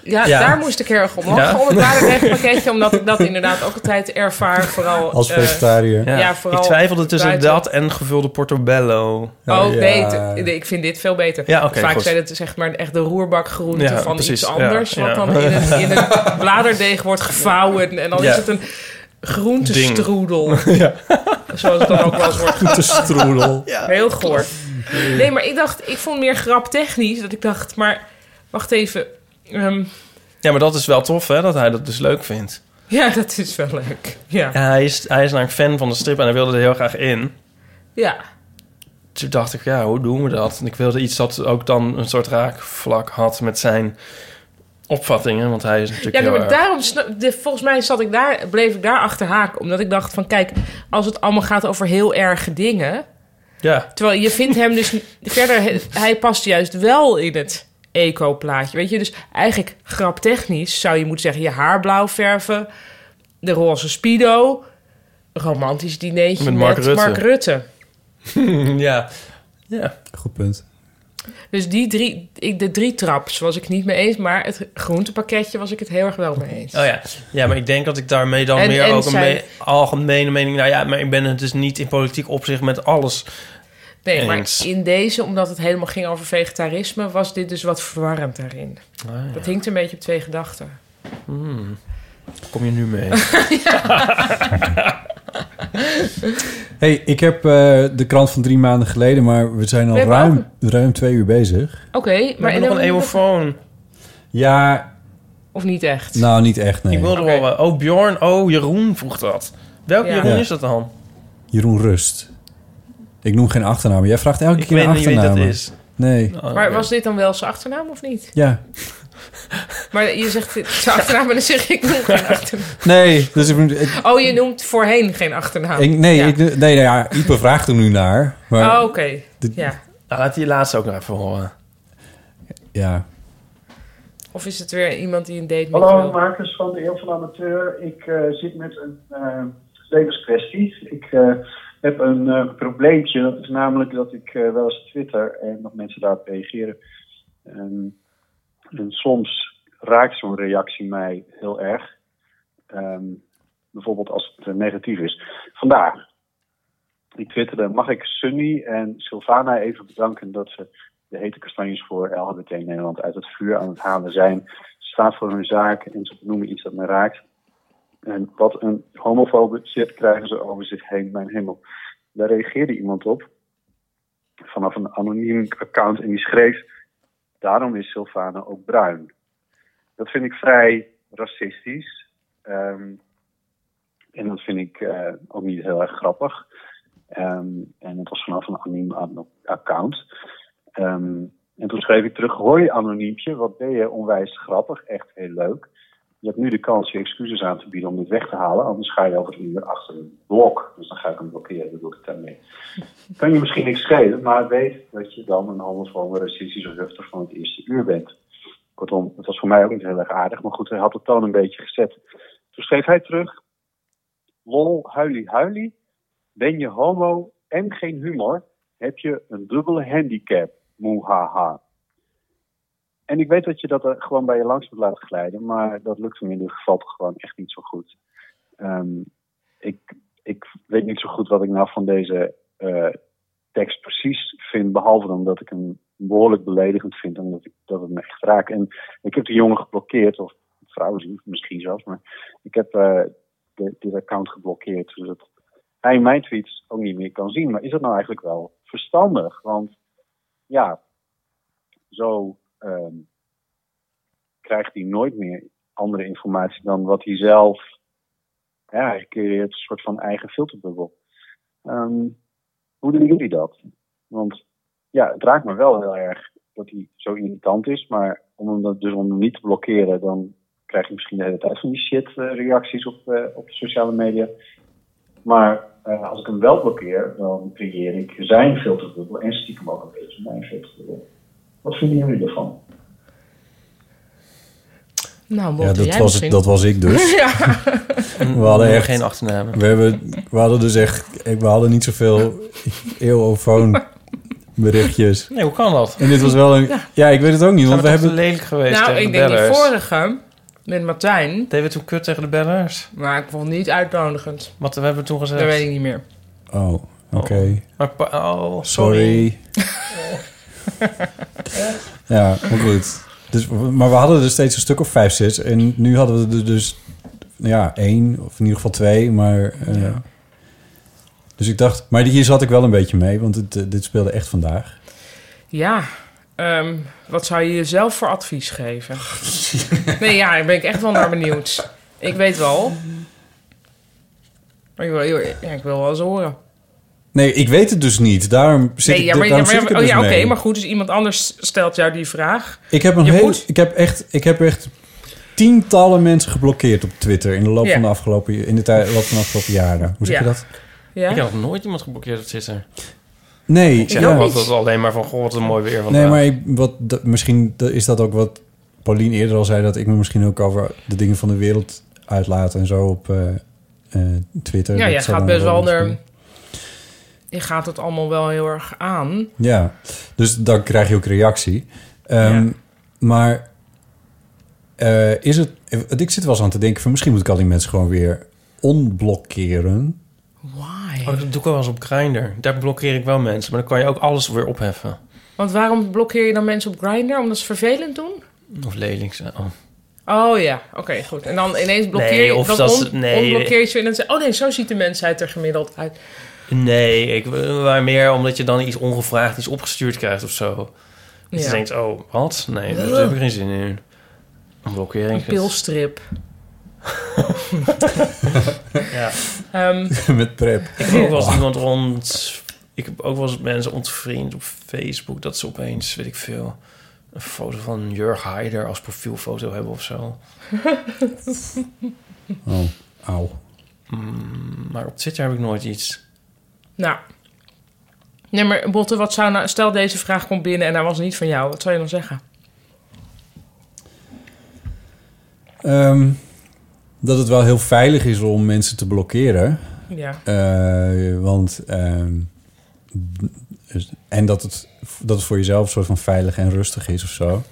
Speaker 1: ja,
Speaker 2: Ja.
Speaker 1: daar moest ik heel erg om lachen.
Speaker 2: Ja.
Speaker 1: Om het warenwegpakketje, omdat ik dat inderdaad ook altijd ervaar. Vooral
Speaker 3: Als
Speaker 1: eh,
Speaker 3: vegetariër.
Speaker 1: Ja, vooral
Speaker 2: ik twijfelde tussen
Speaker 1: buiten.
Speaker 2: dat en gevulde portobello.
Speaker 1: Oh
Speaker 3: Ja.
Speaker 1: nee, t- nee, ik vind dit veel beter.
Speaker 2: Nou, Ja, oké,
Speaker 1: Vaak
Speaker 2: goed.
Speaker 1: zijn het zeg maar echt de roerbakgroenten
Speaker 2: Ja,
Speaker 1: van
Speaker 2: precies,
Speaker 1: iets
Speaker 2: ja,
Speaker 1: anders.
Speaker 2: ja.
Speaker 1: wat dan in een, in een bladerdeeg wordt gevouwen. En dan
Speaker 2: Ja.
Speaker 1: is het een groentestroedel. Zoals het dan ook wel eens wordt.
Speaker 3: De stroedel.
Speaker 1: Heel goor. Nee, maar ik dacht, ik vond meer graptechnisch. Dat ik dacht, maar wacht even. ehm,
Speaker 2: Ja, maar dat is wel tof, hè? Dat hij dat dus leuk vindt.
Speaker 1: ja, dat is wel leuk. Ja.
Speaker 2: Ja, hij, is, hij is namelijk fan van de strip en hij wilde er heel graag in.
Speaker 1: ja.
Speaker 2: Toen dacht ik, ja, hoe doen we dat? En ik wilde iets dat ook dan een soort raakvlak had met zijn opvattingen. Want hij is natuurlijk
Speaker 1: Ja,
Speaker 2: heel
Speaker 1: nee, maar
Speaker 2: erg-
Speaker 1: daarom, sna- de, volgens mij zat ik daar, bleef ik daar achter haak. Omdat ik dacht van, kijk, als het allemaal gaat over heel erge dingen...
Speaker 2: Ja.
Speaker 1: Terwijl je vindt hem dus verder, he- hij past juist wel in het eco-plaatje. Weet je, dus eigenlijk graptechnisch zou je moeten zeggen: je haar blauw verven, de roze Speedo, romantisch dinertje
Speaker 2: Met
Speaker 1: met
Speaker 2: Mark
Speaker 1: Mark,
Speaker 2: Rutte.
Speaker 1: Rutte.
Speaker 2: Ja. Ja.
Speaker 3: Goed punt.
Speaker 1: Dus die drie, ik, de drie traps was ik niet mee eens, maar het groentepakketje was ik het heel erg wel mee eens.
Speaker 2: Oh ja. ja, maar ik denk dat ik daarmee dan
Speaker 1: En-
Speaker 2: meer
Speaker 1: en
Speaker 2: ook een
Speaker 1: zijn-
Speaker 2: me- algemene mening... Nou ja, maar ik ben het dus niet in politiek opzicht met alles.
Speaker 1: nee, maar
Speaker 2: eens.
Speaker 1: in deze, omdat het helemaal ging over vegetarisme, was dit dus wat verwarrend daarin. Dat hinkt een beetje op twee gedachten.
Speaker 2: Kom je nu mee?
Speaker 3: hey, ik heb eh, de krant van drie maanden geleden, maar we zijn al
Speaker 1: We hebben
Speaker 3: ruim, ruim twee uur bezig.
Speaker 1: Oké,
Speaker 2: We
Speaker 1: maar...
Speaker 2: hebben nog een eeuwofoon.
Speaker 3: Ja,
Speaker 1: Of niet echt?
Speaker 3: nou niet echt, nee.
Speaker 2: Ik wilde
Speaker 1: Oké.
Speaker 2: wel... wel- Oh, Bjorn. Oh, Jeroen vroeg dat. Welke
Speaker 1: Ja.
Speaker 2: Jeroen
Speaker 3: Ja.
Speaker 2: is dat dan?
Speaker 3: Jeroen Rust. Ik noem geen achternaam. Jij vraagt elke
Speaker 2: Ik
Speaker 3: keer
Speaker 2: weet
Speaker 3: een
Speaker 2: niet wie
Speaker 3: achternaam.
Speaker 2: dat is.
Speaker 3: Nee,
Speaker 2: Oh,
Speaker 1: Maar
Speaker 2: oké.
Speaker 1: was dit dan wel zijn achternaam of niet?
Speaker 3: ja.
Speaker 1: Maar je zegt dit- zijn achternaam en dan zeg ik noem geen achternaam.
Speaker 3: Nee, dus ik, ik-
Speaker 1: Oh, je noemt voorheen geen achternaam.
Speaker 3: ik- nee,
Speaker 1: Ja.
Speaker 3: ik, nee, nou ja, Ipe vraagt er nu naar. Maar,
Speaker 1: Oh, oké.
Speaker 3: Dit-
Speaker 1: Ja.
Speaker 2: Nou, laat die laatste ook nog even horen.
Speaker 3: Ja,
Speaker 1: Of is het weer iemand die een date met
Speaker 5: Hallo,
Speaker 1: wil?
Speaker 5: makers van de Heel van Amateur. Ik eh, zit met een eh, levenskwestie. Ik eh, heb een eh, probleempje, dat is namelijk dat ik eh, wel eens twitter en dat mensen daarop reageren. En, en soms raakt zo'n reactie mij heel erg. Ehm, bijvoorbeeld als het eh, negatief is. Vandaag, ik twitterde, mag ik Sunny en Sylvana even bedanken dat ze de hete kastanjes voor LHBT Nederland uit het vuur aan het halen zijn. Ze staat voor hun zaak en ze noemen iets dat me raakt. En wat een homofobe shit krijgen ze over zich heen, mijn hemel. Daar reageerde iemand op vanaf een anoniem account en die schreef: Daarom is Sylvana ook bruin. Dat vind ik vrij racistisch. Ehm, en dat vind ik eh, ook niet heel erg grappig. Ehm, en het was vanaf een anoniem an- account. Ehm, en toen schreef ik terug: Hoi anoniempje, wat ben je onwijs grappig, echt heel leuk. Je hebt nu de kans je excuses aan te bieden om dit weg te halen, anders ga je over een uur achter een blok. Dus dan ga ik hem blokkeren, bedoel ik daarmee. Kan je misschien niks schelen, maar weet dat je dan een handelsvorm racistische hufter van het eerste uur bent. Kortom, het was voor mij ook niet heel erg aardig, maar goed, hij had de toon een beetje gezet. Toen schreef hij terug: Lol, huilie, huilie. Ben je homo en geen humor, heb je een dubbele handicap. Moehaha. En ik weet dat je dat er gewoon bij je langs moet laten glijden, maar dat lukt hem in dit geval toch gewoon echt niet zo goed. Ehm, ik, ik weet niet zo goed wat ik nou van deze eh, tekst precies vind, behalve dan dat ik hem behoorlijk beledigend vind en dat, ik, dat het me echt raakt. En ik heb de jongen geblokkeerd, of vrouwen misschien zelfs, maar ik heb eh, de- dit account geblokkeerd, zodat hij mijn tweets ook niet meer kan zien. Maar is dat nou eigenlijk wel verstandig? Want ja, zo ehm, krijgt hij nooit meer andere informatie dan wat hij zelf. Ja, hij creëert een soort van eigen filterbubbel. Ehm, hoe doen jullie dat? Want ja, het raakt me wel heel erg dat hij zo irritant is, maar om hem dat, dus om hem niet te blokkeren, dan krijg je misschien de hele tijd van die shit eh, reacties op, eh, op de sociale media. Maar eh, als ik hem wel blokkeer, dan creëer ik zijn filterbubbel en stiekem ook een beetje mijn filterbubbel. Wat vinden jullie ervan?
Speaker 1: Nou,
Speaker 3: ja
Speaker 1: mocht
Speaker 3: dat,
Speaker 1: jij
Speaker 3: was,
Speaker 1: misschien.
Speaker 3: dat was ik dus.
Speaker 1: Ja.
Speaker 3: We hadden echt...
Speaker 2: geen achternaam.
Speaker 3: We, hebben, we hadden dus echt... We hadden niet zoveel eeuwofoon berichtjes.
Speaker 2: Nee, hoe kan dat?
Speaker 3: En dit was wel een... Ja, ik weet het ook niet,
Speaker 2: Zijn
Speaker 3: want
Speaker 2: we, toch
Speaker 3: we hebben...
Speaker 2: te lelijk geweest
Speaker 1: Nou,
Speaker 2: tegen
Speaker 1: ik
Speaker 2: de
Speaker 1: denk die
Speaker 2: bellers?
Speaker 1: vorige met Martijn,
Speaker 2: Deden we toen kut tegen de bellers?
Speaker 1: maar ik vond het niet uitnodigend.
Speaker 2: Wat we hebben toen gezegd?
Speaker 1: Dat weet ik niet meer.
Speaker 3: Oh, oké.
Speaker 2: Maar pa- oh, sorry.
Speaker 3: Sorry. ja, maar goed. Dus, maar we hadden er steeds een stuk of vijf, zes. En nu hadden we er dus ja, één, of in ieder geval twee. Maar, eh, Dus ik dacht, maar hier zat ik wel een beetje mee, want het, eh, dit speelde echt vandaag.
Speaker 1: Ja, ehm, wat zou je jezelf voor advies geven? nee, ja, daar ben ik echt wel naar benieuwd. Ik weet wel. Maar ik wil, e- ja, ik wil wel eens horen.
Speaker 3: Nee, ik weet het dus niet. Daarom zit
Speaker 1: nee,
Speaker 3: ik,
Speaker 1: ja, maar,
Speaker 3: daarom
Speaker 1: ja,
Speaker 3: zit ik
Speaker 1: maar-
Speaker 3: er
Speaker 1: oh,
Speaker 3: dus
Speaker 1: ja, oké,
Speaker 3: mee.
Speaker 1: maar goed, dus iemand anders stelt jou die vraag.
Speaker 3: Ik heb, een
Speaker 1: Je
Speaker 3: heel,
Speaker 1: moet-
Speaker 3: ik, heb echt, ik heb echt tientallen mensen geblokkeerd op Twitter... in de loop
Speaker 1: Ja.
Speaker 3: van de afgelopen, in de tijd- loop van de afgelopen jaren. Hoe zeg
Speaker 1: Ja.
Speaker 3: je dat?
Speaker 1: Ja?
Speaker 2: Ik heb nog nooit iemand geblokkeerd op Twitter.
Speaker 3: Nee,
Speaker 2: Ik zeg
Speaker 3: ja.
Speaker 2: ook altijd alleen maar van, goh, wat een mooi weer vandaag.
Speaker 3: Nee, maar ik- wat, dat- misschien dat- is dat ook wat Paulien eerder al zei... dat ik me misschien ook over de dingen van de wereld uitlaat en zo op eh, eh, Twitter.
Speaker 1: ja,
Speaker 3: Dat
Speaker 1: jij
Speaker 3: zal
Speaker 1: gaat
Speaker 3: dan
Speaker 1: best wel
Speaker 3: misschien-
Speaker 1: naar gaat het allemaal wel heel erg aan.
Speaker 3: Ja, dus dan krijg je ook reactie.
Speaker 1: Ja.
Speaker 3: Ehm, Maar eh, is het... Ik zit wel eens aan te denken van... misschien moet ik al die mensen gewoon weer onblokkeren.
Speaker 1: Why?
Speaker 2: Oh, dat doe ik wel eens op Grindr. Daar blokkeer ik wel mensen, maar dan kan je ook alles weer opheffen.
Speaker 1: Want waarom blokkeer je dan mensen op Grindr? Omdat ze vervelend doen?
Speaker 2: Of lelijk zijn. Oh.
Speaker 1: Oh ja, oké, goed. En dan ineens blokkeer
Speaker 2: Nee,
Speaker 1: je...
Speaker 2: of
Speaker 1: dan
Speaker 2: dat ze- nee.
Speaker 1: onblokkeer je ze en dan zeg je, Oh nee, zo ziet de mensheid er gemiddeld uit.
Speaker 2: Nee, ik, maar meer omdat je dan iets ongevraagd, iets opgestuurd krijgt of zo. Dat
Speaker 1: Ja.
Speaker 2: je denkt, oh, wat? Nee, daar heb ik geen zin in. Een blokkering.
Speaker 1: Een pilstrip.
Speaker 2: Ja.
Speaker 1: Ehm,
Speaker 3: Met prep.
Speaker 2: Ik heb ook wel eens iemand rond... Ik heb ook wel eens mensen ontvriend op Facebook... dat ze opeens, weet ik veel... een foto van Jurg Heider als profielfoto hebben of zo.
Speaker 3: Oh, auw.
Speaker 2: Mm, Maar op Twitter heb ik nooit iets.
Speaker 1: nou. Nee, maar Botte, wat zou nou... Stel deze vraag komt binnen en hij was niet van jou. Wat zou je dan zeggen?
Speaker 3: Ehm, dat het wel heel veilig is om mensen te blokkeren.
Speaker 1: Ja.
Speaker 3: Eh, want... ehm, dus- en dat het, dat het voor jezelf een soort van veilig en rustig is of zo.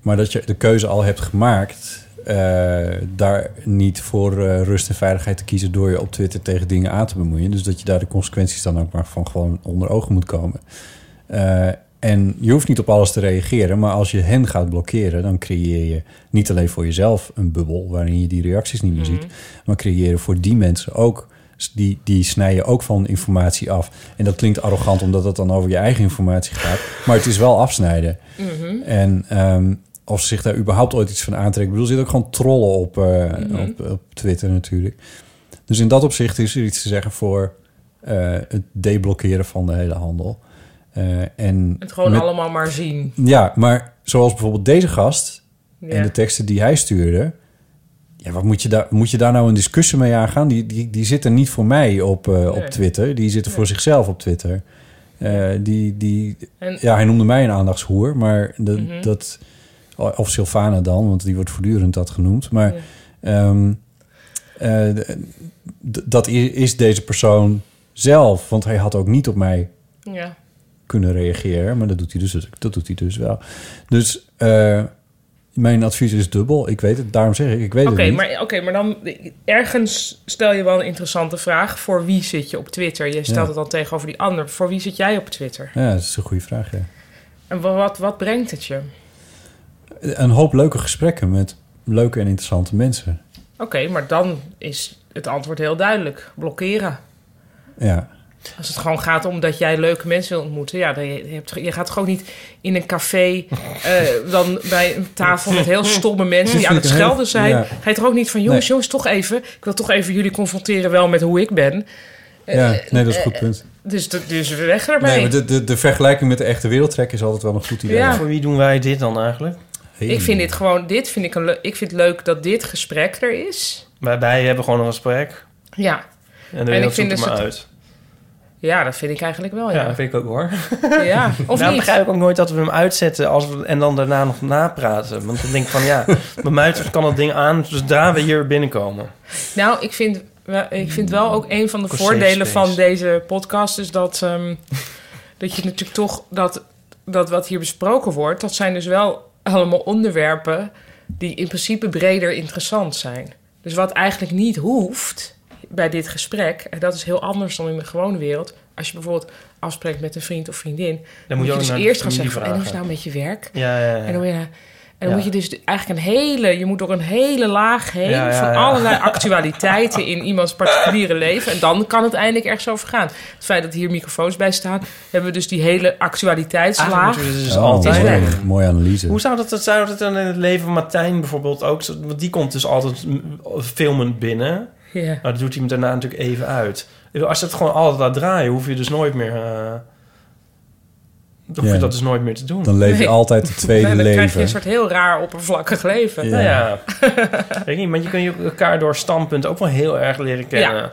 Speaker 3: Maar dat je de keuze al hebt gemaakt... eh, daar niet voor eh, rust en veiligheid te kiezen... door je op Twitter tegen dingen aan te bemoeien. Dus dat je daar de consequenties dan ook maar van gewoon onder ogen moet komen. Eh, en je hoeft niet op alles te reageren... maar als je hen gaat blokkeren... dan creëer je niet alleen voor jezelf een bubbel... waarin je die reacties niet
Speaker 1: Mhm.
Speaker 3: meer ziet... maar creëer je voor die mensen ook... Die, die snijden ook van informatie af. En dat klinkt arrogant omdat het dan over je eigen informatie gaat. Maar het is wel afsnijden.
Speaker 1: Mhm.
Speaker 3: En ehm, of ze zich daar überhaupt ooit iets van aantrekken. Ik bedoel, er zitten ook gewoon trollen op, eh,
Speaker 1: Mhm.
Speaker 3: op, op Twitter natuurlijk. Dus in dat opzicht is er iets te zeggen voor eh, het deblokkeren van de hele handel. Eh, en
Speaker 1: Het gewoon
Speaker 3: met-
Speaker 1: allemaal maar zien.
Speaker 3: Ja, maar zoals bijvoorbeeld deze gast en de
Speaker 1: Ja.
Speaker 3: teksten die hij stuurde. Ja, wat moet je daar, moet je daar nou een discussie mee aangaan? Die, die, die zitten niet voor mij op, eh, op
Speaker 1: Nee.
Speaker 3: Twitter. Die zitten voor zichzelf op Twitter. Eh, die, die,
Speaker 1: En- Mhm.
Speaker 3: ja, hij noemde mij een aandachtshoer, maar dat, dat of Sylvana dan, want die wordt voortdurend dat genoemd. Maar ehm, eh, d- d- dat i- is deze persoon zelf, want hij had ook niet op mij
Speaker 1: Ja.
Speaker 3: kunnen reageren. Maar dat doet hij dus, dat doet hij dus wel. Dus eh, mijn advies is dubbel. Ik weet het, daarom zeg ik, ik weet
Speaker 1: Oké,
Speaker 3: het niet.
Speaker 1: maar, oké, maar dan ergens stel je wel een interessante vraag. Voor wie zit je op Twitter? Je stelt
Speaker 3: Ja.
Speaker 1: het dan tegenover die ander. Voor wie zit jij op Twitter?
Speaker 3: Ja, dat is een goede vraag. ja.
Speaker 1: En wa- wat, wat brengt het je? Oké,
Speaker 3: Een hoop leuke gesprekken met leuke en interessante mensen.
Speaker 1: maar dan is het antwoord heel duidelijk. Blokkeren.
Speaker 3: Ja,
Speaker 1: Als het gewoon gaat om dat jij leuke mensen wil ontmoeten. Ja, dan je, je hebt, je gaat gewoon niet in een café, eh, dan bij een tafel met heel stomme mensen die aan
Speaker 3: vind
Speaker 1: het
Speaker 3: ik heel-
Speaker 1: schelden zijn.
Speaker 3: ja.
Speaker 1: Ga je toch ook niet van, jongens,
Speaker 3: Nee.
Speaker 1: jongens, toch even. Ik wil toch even jullie confronteren wel met hoe ik ben. Eh,
Speaker 3: ja nee, dat is een goed punt.
Speaker 1: Dus, dat- dus weg ermee.
Speaker 3: Nee, maar de, de, de vergelijking met de echte wereldtrek is altijd wel een goed idee.
Speaker 1: Ja.
Speaker 2: Voor wie doen wij dit dan eigenlijk?
Speaker 3: Hey.
Speaker 1: Ik vind dit gewoon, dit vind ik een leuk, ik vind het leuk dat dit gesprek er is.
Speaker 2: Wij, wij hebben gewoon een gesprek.
Speaker 1: Ja,
Speaker 2: En de wereld
Speaker 1: ik vind
Speaker 2: zoekt er
Speaker 1: dus
Speaker 2: maar
Speaker 1: het-
Speaker 2: uit.
Speaker 1: ja dat vind ik eigenlijk wel,
Speaker 2: Ja,
Speaker 1: ja.
Speaker 2: dat vind ik ook hoor.
Speaker 1: Ja, Nou, of
Speaker 2: Daarom
Speaker 1: niet?
Speaker 2: begrijp ik ook nooit dat we hem uitzetten als we, en dan daarna nog napraten. Want dan denk ik van ja, bij mij kan dat ding aan zodra we hier binnenkomen.
Speaker 1: Nou, ik vind, wel- ik vind wel ook een van de
Speaker 2: Voor
Speaker 1: voordelen
Speaker 2: safe
Speaker 1: van
Speaker 2: space.
Speaker 1: deze podcast is dat, ehm, dat je natuurlijk toch dat, dat wat hier besproken wordt, dat zijn dus wel allemaal onderwerpen die in principe breder interessant zijn. Dus wat eigenlijk niet hoeft bij dit gesprek, en dat is heel anders dan in de gewone wereld. Als je bijvoorbeeld afspreekt met een vriend of vriendin, dan moet je,
Speaker 2: ook
Speaker 1: dus
Speaker 2: naar de
Speaker 1: eerst gaan
Speaker 2: familie
Speaker 1: zeggen: van, en hoe is het
Speaker 2: vragen.
Speaker 1: nou met je werk?
Speaker 2: Ja, ja, ja.
Speaker 1: En dan, moet je- en dan
Speaker 2: Ja.
Speaker 1: moet je dus de- eigenlijk een hele, je moet door een hele laag heen
Speaker 2: Ja, ja,
Speaker 1: van
Speaker 2: ja.
Speaker 1: allerlei actualiteiten in iemands particuliere leven. En dan kan het eindelijk ergens over gaan. Het feit dat hier microfoons bij staan, hebben we dus die hele
Speaker 2: Eigenlijk
Speaker 1: actualiteitslaag.
Speaker 2: moeten we dus
Speaker 3: Oh,
Speaker 2: altijd
Speaker 3: mooie-
Speaker 1: weg.
Speaker 3: Mooie analyse.
Speaker 2: Hoe zou dat, dat- zou dat dan in het leven van Martijn bijvoorbeeld ook? zo- Want die komt dus altijd mm, filmend binnen.
Speaker 1: Ja.
Speaker 2: Maar dat doet hij hem daarna natuurlijk even uit. Ik bedoel, Als je het gewoon altijd laat draaien, hoef je dus nooit meer... eh, dan hoef
Speaker 3: Ja.
Speaker 2: je dat dus nooit meer te doen.
Speaker 3: Dan leef je
Speaker 1: Nee.
Speaker 3: altijd het tweede
Speaker 1: Ja, dan krijg je
Speaker 3: leven.
Speaker 1: een soort heel raar oppervlakkig leven.
Speaker 3: Ja.
Speaker 2: Nou ja, weet ik niet. Maar je kunt je elkaar door standpunten ook wel heel erg leren kennen. Of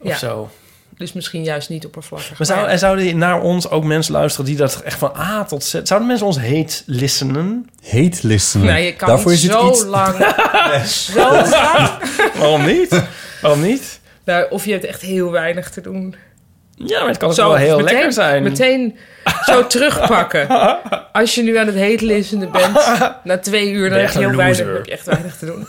Speaker 1: Ja. Nou
Speaker 2: zo.
Speaker 1: Dus misschien juist niet oppervlakkig.
Speaker 2: Maar zou, en zouden naar ons ook mensen luisteren die dat echt van A tot Z... Zouden mensen ons heet listenen?
Speaker 3: Hate listenen.
Speaker 1: nou, je kan
Speaker 3: Daarvoor
Speaker 1: niet
Speaker 3: is het
Speaker 1: zo
Speaker 3: iets...
Speaker 1: lang. Zo lang.
Speaker 2: Waarom niet? Waarom niet?
Speaker 1: Nou, of je hebt echt heel weinig te doen.
Speaker 2: Ja, maar het kan ook
Speaker 1: Zo
Speaker 2: wel heel
Speaker 1: meteen,
Speaker 2: lekker zijn.
Speaker 1: Meteen zo terugpakken. Als je nu aan het heetlissende bent, na twee uur, dan
Speaker 2: Ben
Speaker 1: heb
Speaker 2: je echt
Speaker 1: je
Speaker 2: een
Speaker 1: heel weinig,
Speaker 2: loser.
Speaker 1: heb je echt weinig te doen.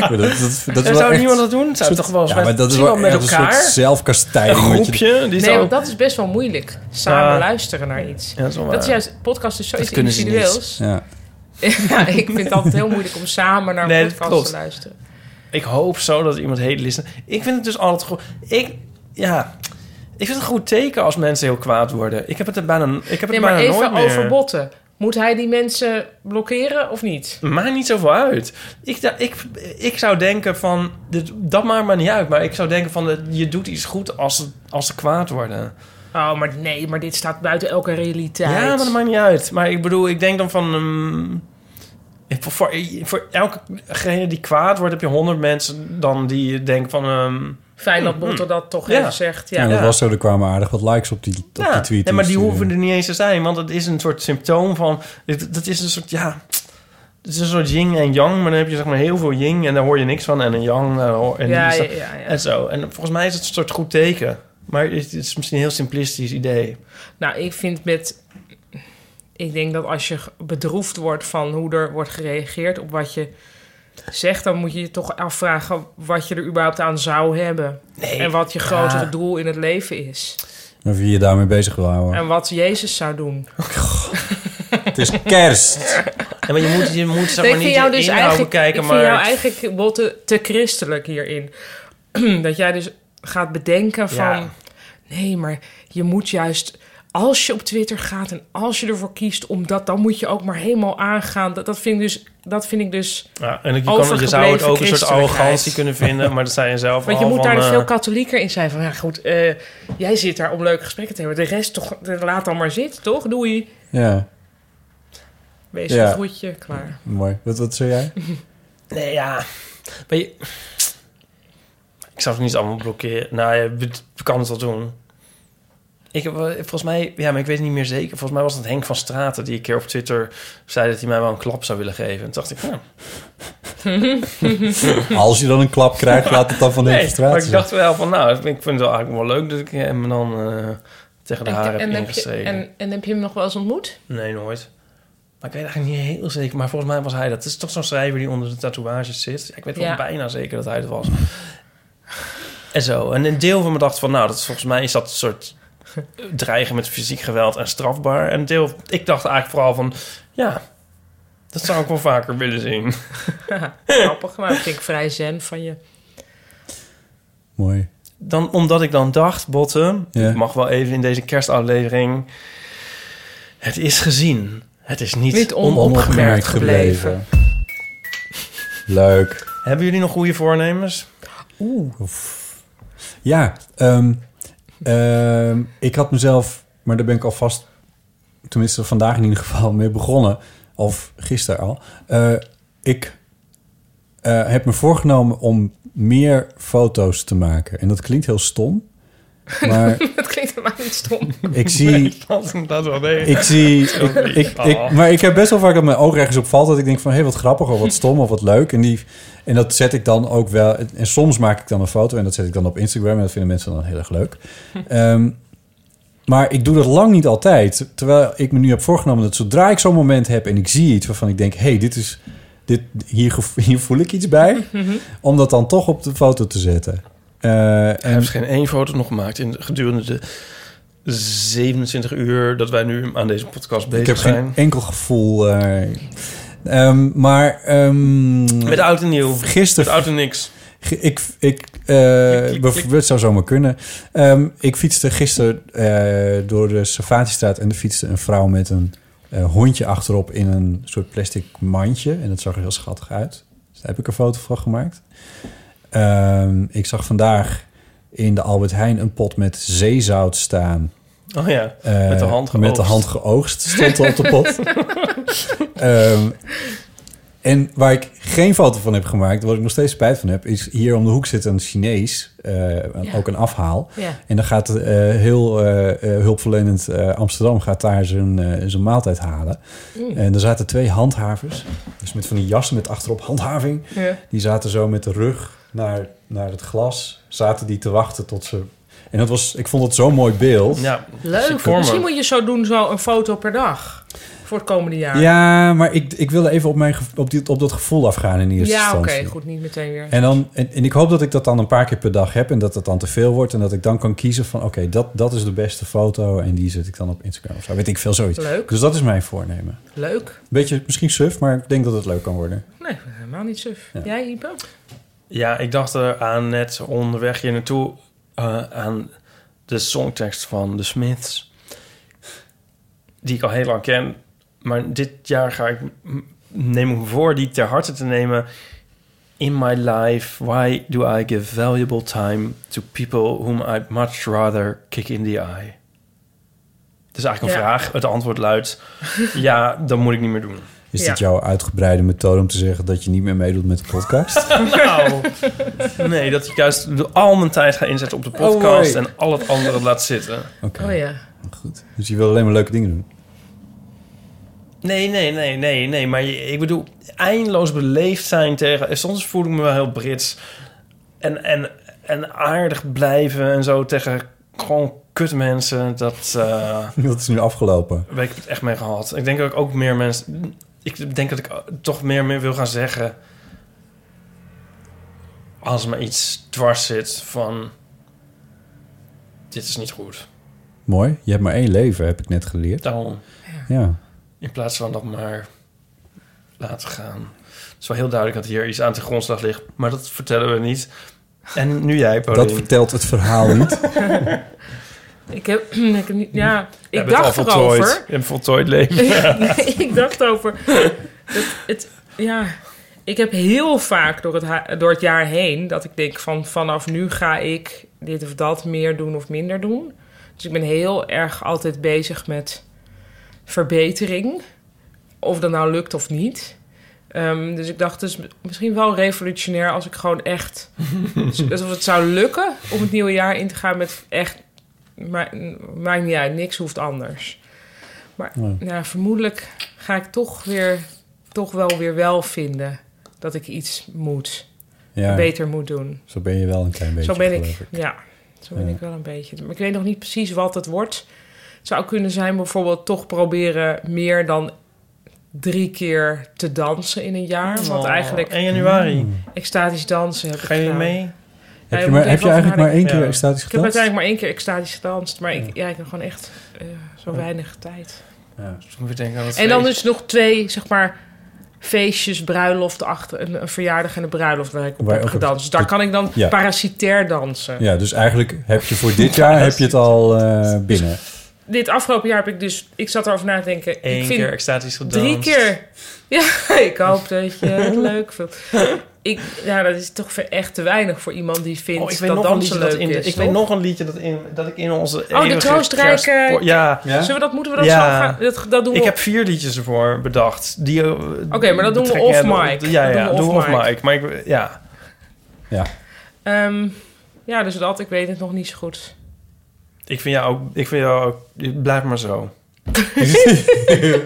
Speaker 3: Maar dat, dat, dat is
Speaker 2: En
Speaker 3: wel
Speaker 2: zou
Speaker 3: echt
Speaker 2: niemand dat doen? Zou het toch wel eens
Speaker 3: ja, maar
Speaker 2: met,
Speaker 3: dat is
Speaker 2: misschien
Speaker 3: wel
Speaker 2: wel met
Speaker 3: echt een
Speaker 2: elkaar?
Speaker 3: soort zelfkastijding.
Speaker 2: Een
Speaker 3: wat je-
Speaker 2: groepje? Die
Speaker 1: Nee,
Speaker 2: zou-
Speaker 1: want dat is best wel moeilijk. Samen
Speaker 2: Ja.
Speaker 1: luisteren naar iets.
Speaker 2: Ja, dat is wel
Speaker 1: Dat is
Speaker 2: waar.
Speaker 1: juist, podcast is zoiets
Speaker 2: Dat kunnen ze niet.
Speaker 1: individueels.
Speaker 3: Ja.
Speaker 1: Ja, ik vind het altijd heel moeilijk om samen naar een
Speaker 2: Nee, dat
Speaker 1: podcast
Speaker 2: klopt.
Speaker 1: te luisteren.
Speaker 2: Ik hoop zo dat iemand heel listen. Ik vind het dus altijd goed. Ik, ja, ik vind het een goed teken als mensen heel kwaad worden. Ik heb het er bijna, ik heb
Speaker 1: Nee,
Speaker 2: het
Speaker 1: maar
Speaker 2: bijna nooit
Speaker 1: even
Speaker 2: meer.
Speaker 1: over botten. Moet hij die mensen blokkeren of niet?
Speaker 2: Maakt niet zoveel uit. Ik, da- ik, ik zou denken van... Dit, dat maakt maar niet uit. Maar ik zou denken van... eh, Je doet iets goed als, ze- als ze kwaad worden.
Speaker 1: Oh, maar nee, maar dit staat buiten elke realiteit.
Speaker 2: Ja, maar dat maakt niet uit. Maar ik bedoel, ik denk dan van... ehm, ik- voor, voor, voor elkegene die kwaad wordt... heb je honderd mensen dan die denken van... ehm,
Speaker 1: Fijn dat Botter dat toch
Speaker 2: Ja.
Speaker 1: even zegt. Ja.
Speaker 3: En dat
Speaker 2: Ja.
Speaker 3: was zo, er kwamen aardig wat likes op die, op die
Speaker 2: ja,
Speaker 3: tweet.
Speaker 2: nee, maar die
Speaker 3: Dus, eh,
Speaker 2: hoeven er niet eens te zijn. Want het is een soort symptoom van... dit- Dat is een soort... Ja, het is een soort yin en yang. Maar dan heb je zeg maar heel veel yin... en daar hoor je niks van. En een yang... eh, hoor- En
Speaker 1: Ja,
Speaker 2: die-
Speaker 1: ja, ja, ja.
Speaker 2: En zo. En volgens mij is het een soort goed teken. Maar het is misschien een heel simplistisch idee.
Speaker 1: Nou, ik vind met... Ik denk dat als je bedroefd wordt van hoe er wordt gereageerd op wat je zegt... dan moet je je toch afvragen wat je er überhaupt aan zou hebben. En wat je grotere
Speaker 2: Ja.
Speaker 1: doel in het leven is.
Speaker 3: Of je je daarmee bezig wil houden.
Speaker 1: En wat Jezus zou doen.
Speaker 3: Het is kerst.
Speaker 2: En maar je moet, je moet zeg
Speaker 1: Nee,
Speaker 2: maar
Speaker 1: ik
Speaker 2: niet
Speaker 1: vind jou
Speaker 2: jou
Speaker 1: dus
Speaker 2: inhoud
Speaker 1: eigenlijk,
Speaker 2: bekijken,
Speaker 1: ik
Speaker 2: maar...
Speaker 1: vind jou eigenlijk Botte, te christelijk hierin. dat jij dus gaat bedenken van...
Speaker 2: Ja.
Speaker 1: Nee, maar je moet juist... Als je op Twitter gaat en als je ervoor kiest om dat... dan moet je ook maar helemaal aangaan. Dat, dat, vind, ik dus, dat vind ik dus...
Speaker 2: Ja, en je, kan, je zou het ook een soort
Speaker 1: Overgebleven
Speaker 2: arrogantie
Speaker 1: christelijkheid.
Speaker 2: kunnen vinden, maar dat zei je zelf
Speaker 1: Want je
Speaker 2: al
Speaker 1: moet
Speaker 2: van,
Speaker 1: daar dus
Speaker 2: eh,
Speaker 1: veel katholieker in zijn. Van ja, goed, eh, jij zit daar om leuke gesprekken te hebben. De rest toch, laat dan maar zitten, toch? Doei.
Speaker 3: Ja,
Speaker 1: Wees
Speaker 3: Ja.
Speaker 1: een groetje, klaar.
Speaker 3: mooi. Wat, wat zei jij?
Speaker 2: Nee, ja. Maar je- Ik zou het niet allemaal blokkeren. Nou, je bet- kan het wel doen. Ik heb, eh, volgens mij, ja, maar ik weet het niet meer zeker. Volgens mij was het Henk van Straten die een keer op Twitter zei dat hij mij wel een klap zou willen geven. En toen dacht ik, nou,
Speaker 3: Als je dan een klap krijgt, laat het dan van de
Speaker 2: nee. Maar
Speaker 3: frustratie.
Speaker 2: ik dacht wel van, nou, ik vind het wel eigenlijk wel leuk dat ik hem dan eh, tegen de haren heb
Speaker 1: heb je,
Speaker 2: ingestreken.
Speaker 1: en, en heb je hem nog wel eens ontmoet?
Speaker 2: Nee, nooit. Maar ik weet eigenlijk niet heel zeker. Maar volgens mij was hij dat. Het is toch zo'n schrijver die onder de tatoeages zit. Ja, ik weet wel
Speaker 1: Ja.
Speaker 2: bijna zeker dat hij het was. En zo. En een deel van me dacht van... Nou, dat is, volgens mij is dat een soort dreigen met fysiek geweld en strafbaar. En een deel... Ik dacht eigenlijk vooral van... Ja, dat zou ik wel vaker willen zien.
Speaker 1: Grappig, maar dat vind ik vrij zen van je.
Speaker 3: Mooi.
Speaker 2: Dan, omdat ik dan dacht, Botten...
Speaker 3: Ja.
Speaker 2: Ik mag wel even in deze kerstaflevering... Het is gezien. Het is niet,
Speaker 1: Niet on-
Speaker 2: onopgemerkt gebleven.
Speaker 3: Leuk.
Speaker 2: Hebben jullie nog goede voornemens?
Speaker 3: Ja, ehm, ehm, ik had mezelf, maar daar ben ik alvast, tenminste vandaag in ieder geval, mee begonnen. Of gisteren al. Eh, ik eh, heb me voorgenomen om meer foto's te maken. En dat klinkt heel stom. Maar
Speaker 1: Dat klinkt helemaal niet stom.
Speaker 3: ik zie
Speaker 2: Dat inderdaad wel nee.
Speaker 3: Ik zie...
Speaker 2: lief.
Speaker 3: Ik, ik,
Speaker 2: Oh.
Speaker 3: maar ik heb best wel vaak dat mijn oog ergens op valt... dat ik denk van, hé, wat grappig of wat stom of wat leuk. En, die, en dat zet ik dan ook wel... En soms maak ik dan een foto en dat zet ik dan op Instagram... en dat vinden mensen dan heel erg leuk. Ehm, maar ik doe dat lang niet altijd. Terwijl ik me nu heb voorgenomen dat zodra ik zo'n moment heb... en ik zie iets waarvan ik denk, hé, hey, dit is... Dit, hier, gevo- hier voel ik iets bij. Om dat dan toch op de foto te zetten. Eh,
Speaker 2: Hij
Speaker 3: en
Speaker 2: heeft dus geen één foto nog gemaakt in de- gedurende de 27 uur dat wij nu aan deze podcast bezig
Speaker 3: ik heb
Speaker 2: zijn.
Speaker 3: geen enkel gevoel. eh, ehm, maar ehm,
Speaker 2: Met oud en nieuw. Met
Speaker 3: gisteren.
Speaker 2: oud en niks.
Speaker 3: Ge- Ik, ik, eh,
Speaker 2: klik,
Speaker 3: bev-
Speaker 2: klik.
Speaker 3: Het zou zomaar kunnen. Ehm, ik fietste gisteren eh, door de Savatistraat en er fietste een vrouw met een eh, hondje achterop in een soort plastic mandje. En dat zag er heel schattig uit. Dus daar heb ik een foto van gemaakt. Ehm, ik zag vandaag in de Albert Heijn een pot met zeezout staan.
Speaker 2: Oh ja,
Speaker 3: Eh,
Speaker 2: met de hand geoogst.
Speaker 3: Met de hand geoogst stond er op de pot. Ehm, en waar ik geen foto van heb gemaakt, waar ik nog steeds spijt van heb, is hier om de hoek zit een Chinees, eh, ook een afhaal.
Speaker 1: Ja.
Speaker 3: En dan gaat eh, heel eh, eh, hulpverlenend eh, Amsterdam gaat daar zijn, eh, zijn maaltijd halen. En er zaten twee handhavers, dus met van die jassen met achterop handhaving.
Speaker 1: Ja.
Speaker 3: Die zaten zo met de rug naar, naar het glas, zaten die te wachten tot ze... En dat was, ik vond het zo'n mooi beeld.
Speaker 2: Ja,
Speaker 1: Leuk.
Speaker 2: voor me.
Speaker 1: Misschien moet je zo doen, zo een foto per dag. Voor het komende jaar.
Speaker 3: Ja, maar ik, ik wilde even op, mijn, gev- op, die, op dat gevoel afgaan in eerste
Speaker 1: Ja, oké,
Speaker 3: instantie.
Speaker 1: goed. Niet meteen weer.
Speaker 3: En, dan, en, en ik hoop dat ik dat dan een paar keer per dag heb en dat dat dan te veel wordt. En dat ik dan kan kiezen van oké, dat, dat is de beste foto en die zet ik dan op Instagram of zo. Weet ik veel zoiets.
Speaker 1: Leuk.
Speaker 3: Dus dat is mijn voornemen.
Speaker 1: Leuk.
Speaker 3: Beetje misschien suf, maar ik denk dat het leuk kan worden.
Speaker 1: Nee, helemaal niet suf. Jij, Ipe?
Speaker 2: Ja, ik dacht er aan net onderweg hier naartoe eh, aan de songtekst van The Smiths. Die ik al heel lang ken. Maar dit jaar ga ik, m- neem ik me voor die ter harte te nemen. In my life, why do I give valuable time to people whom I'd much rather kick in the eye? Het is eigenlijk een
Speaker 1: Ja.
Speaker 2: vraag. Het antwoord luidt: ja, dat moet ik niet meer doen.
Speaker 3: Is
Speaker 1: Ja.
Speaker 3: dit jouw uitgebreide methode om te zeggen dat je niet meer meedoet met de podcast?
Speaker 2: Nou, nee, dat ik juist de- al mijn tijd ga inzetten op de podcast
Speaker 3: Oh, mooi.
Speaker 2: en al het andere laat zitten.
Speaker 3: Oké,
Speaker 1: Oh ja.
Speaker 3: goed. Dus je wil alleen maar leuke dingen doen.
Speaker 2: Nee, nee, nee, nee, nee. Maar je- ik bedoel, eindeloos beleefd zijn tegen... en Soms voel ik me wel heel Brits. En, en, en aardig blijven en zo tegen gewoon kutmensen. Dat eh
Speaker 3: Dat is nu afgelopen.
Speaker 2: heb ik het echt mee gehad. Ik denk dat ik ook meer mensen... Ik denk dat ik toch meer, meer wil gaan zeggen... Als me iets dwars zit van... Dit is niet goed.
Speaker 3: Mooi. Je hebt maar één leven, heb ik net geleerd.
Speaker 2: Daarom.
Speaker 3: Ja.
Speaker 2: In plaats van dat maar laten gaan. Het is wel heel duidelijk dat hier iets aan de grondslag ligt. Maar dat vertellen we niet. En nu jij, Paulien.
Speaker 3: Dat vertelt het verhaal niet.
Speaker 1: Ik heb, ik heb niet, ja,
Speaker 2: Jij
Speaker 1: ik
Speaker 2: bent
Speaker 1: dacht
Speaker 2: al voltooid.
Speaker 1: erover.
Speaker 2: Je hebt voltooid leven.
Speaker 1: ik dacht over. Het, het, ja, ik heb heel vaak door het, ha- door het jaar heen dat ik denk van vanaf nu ga ik dit of dat meer doen of minder doen. Dus ik ben heel erg altijd bezig met verbetering. Of dat nou lukt of niet. Ehm, dus ik dacht, dus misschien wel revolutionair als ik gewoon echt. alsof het zou lukken om het nieuwe jaar in te gaan met echt. ma- Maakt niet uit, niks hoeft anders. Maar
Speaker 3: Nee.
Speaker 1: nou, vermoedelijk ga ik toch, weer, toch wel weer wel vinden dat ik iets moet,
Speaker 3: Ja,
Speaker 1: beter moet doen.
Speaker 3: zo ben je wel een klein beetje.
Speaker 1: Zo ben ik,
Speaker 3: geloof
Speaker 1: ja. Zo ben
Speaker 3: Ja.
Speaker 1: ik wel een beetje. Maar ik weet nog niet precies wat het wordt. Het zou kunnen zijn bijvoorbeeld toch proberen meer dan drie keer te dansen in een jaar.
Speaker 2: Oh.
Speaker 1: Want eigenlijk
Speaker 2: 1 januari.
Speaker 1: extatisch dansen heb ik
Speaker 2: Ga je
Speaker 1: gedaan.
Speaker 2: mee?
Speaker 1: Ja,
Speaker 3: Heb
Speaker 1: je
Speaker 3: je,
Speaker 1: moet
Speaker 3: maar,
Speaker 1: even
Speaker 3: heb je
Speaker 1: over
Speaker 3: eigenlijk maar één
Speaker 2: nadenken.
Speaker 3: keer
Speaker 2: Ja.
Speaker 3: extatisch
Speaker 1: Ik heb
Speaker 3: gedanst?
Speaker 1: uiteindelijk maar één keer extatisch gedanst. Maar ik, ja, ik heb gewoon echt eh, zo weinig tijd.
Speaker 2: Dus moet je denken aan het
Speaker 1: En dan
Speaker 2: feest.
Speaker 1: dus nog twee, zeg maar, feestjes, bruiloften achter een, een verjaardag en een bruiloft waar ik op
Speaker 3: Waar
Speaker 1: heb
Speaker 3: ook een-
Speaker 1: gedanst. Dus daar kan ik dan
Speaker 3: Ja.
Speaker 1: parasitair dansen.
Speaker 3: Ja, dus eigenlijk heb je voor dit jaar heb je het al eh, binnen.
Speaker 1: Dit afgelopen jaar heb ik dus, ik zat erover na te denken. ik
Speaker 2: Eén
Speaker 1: vind
Speaker 2: keer extatisch gedanst.
Speaker 1: drie keer. Ja, ik hoop dat je het leuk vindt. Ik, ja, dat is toch echt te weinig voor iemand die vindt
Speaker 2: Oh, ik weet
Speaker 1: dat
Speaker 2: nog een liedje
Speaker 1: dansen leuk
Speaker 2: dat in...
Speaker 1: is.
Speaker 2: ik
Speaker 1: toch? Oh,
Speaker 2: weet nog een liedje dat, in, dat ik in onze
Speaker 1: de troostrijke-
Speaker 2: Ja.
Speaker 1: Zullen we dat, moeten we dat
Speaker 2: Ja.
Speaker 1: zo gaan? Dat, dat doen we
Speaker 2: Ik
Speaker 1: op-
Speaker 2: heb vier liedjes ervoor bedacht. die, eh,
Speaker 1: maar dat doen we
Speaker 2: betrekken-
Speaker 1: off mic.
Speaker 2: Ja,
Speaker 1: Dat
Speaker 2: ja, doen we off mic. Maar ik, ja.
Speaker 3: Ja.
Speaker 1: Ehm, ja, dus dat, ik weet het nog niet zo goed.
Speaker 2: Ik vind jou ook... Ik vind jou ook blijf maar zo.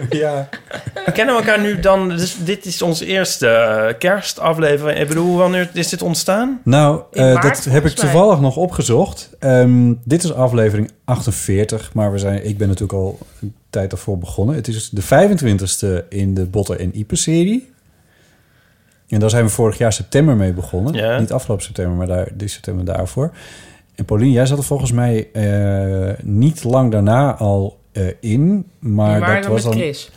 Speaker 3: ja.
Speaker 2: We kennen elkaar nu dan... Dus dit is onze eerste eh, kerstaflevering. Ik bedoel, wanneer is dit ontstaan?
Speaker 3: Nou,
Speaker 1: In
Speaker 3: eh,
Speaker 1: maart,
Speaker 3: dat heb ik
Speaker 1: volgens mij.
Speaker 3: toevallig nog opgezocht. Ehm, dit is aflevering 48, maar we zijn, ik ben natuurlijk al een tijd daarvoor begonnen. Het is de 25ste in de Botten en Ieper-serie. En daar zijn we vorig jaar september mee begonnen.
Speaker 2: Ja.
Speaker 3: Niet afgelopen september, maar daar, dit september daarvoor. En Paulien, jij zat er volgens mij eh, niet lang daarna al eh, in. Maar,
Speaker 1: Maar,
Speaker 3: dat
Speaker 1: dan
Speaker 3: was
Speaker 1: met
Speaker 3: dan
Speaker 1: Chris.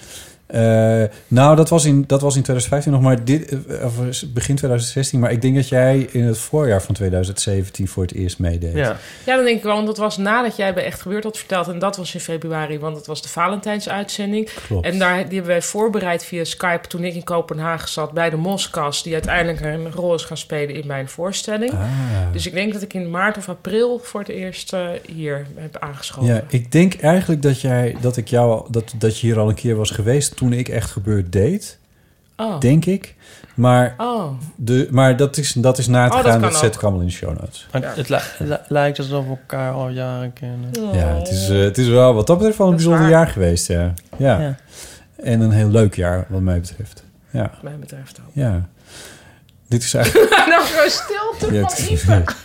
Speaker 3: Eh, nou, dat was, in, dat was in 2015 nog, maar dit, eh, of begin 2016. Maar ik denk dat jij in het voorjaar van 2017 voor het eerst meedeed.
Speaker 2: Ja.
Speaker 1: Ja, dan denk ik wel, want dat was nadat jij bij Echt Gebeurd had verteld. En dat was in februari, want dat was de Valentijnsuitzending.
Speaker 3: Klopt.
Speaker 1: En daar, die hebben wij voorbereid via Skype toen ik in Kopenhagen zat... bij de Moskas, die uiteindelijk een rol is gaan spelen in mijn voorstelling.
Speaker 3: Ah.
Speaker 1: Dus ik denk dat ik in maart of april voor het eerst eh, hier heb aangeschoven.
Speaker 3: ja, ik denk eigenlijk dat, jij, dat, ik jou, al- dat, dat je hier al een keer was geweest toen ik echt gebeurd deed.
Speaker 1: Oh,
Speaker 3: Denk ik. Maar,
Speaker 1: oh.
Speaker 3: de, maar dat, is, dat is na te
Speaker 1: Oh, dat
Speaker 3: gaan.
Speaker 1: kan
Speaker 3: Dat zet
Speaker 1: ook.
Speaker 3: ik allemaal in de show notes.
Speaker 2: Maar Het li- li- lijkt alsof we elkaar al jaren kennen.
Speaker 3: Ja, het is, eh, het is wel wat dat betreft wel een
Speaker 1: Oh. Dat is
Speaker 3: bijzonder
Speaker 1: waar.
Speaker 3: jaar geweest. Ja. Ja.
Speaker 2: Ja.
Speaker 3: En een heel leuk jaar wat mij betreft. Ja.
Speaker 1: Wat mij betreft ook.
Speaker 3: Ja. Dit is eigenlijk...
Speaker 1: nou, gewoon stilte
Speaker 3: Ja,
Speaker 1: van
Speaker 3: het-
Speaker 1: Ieper.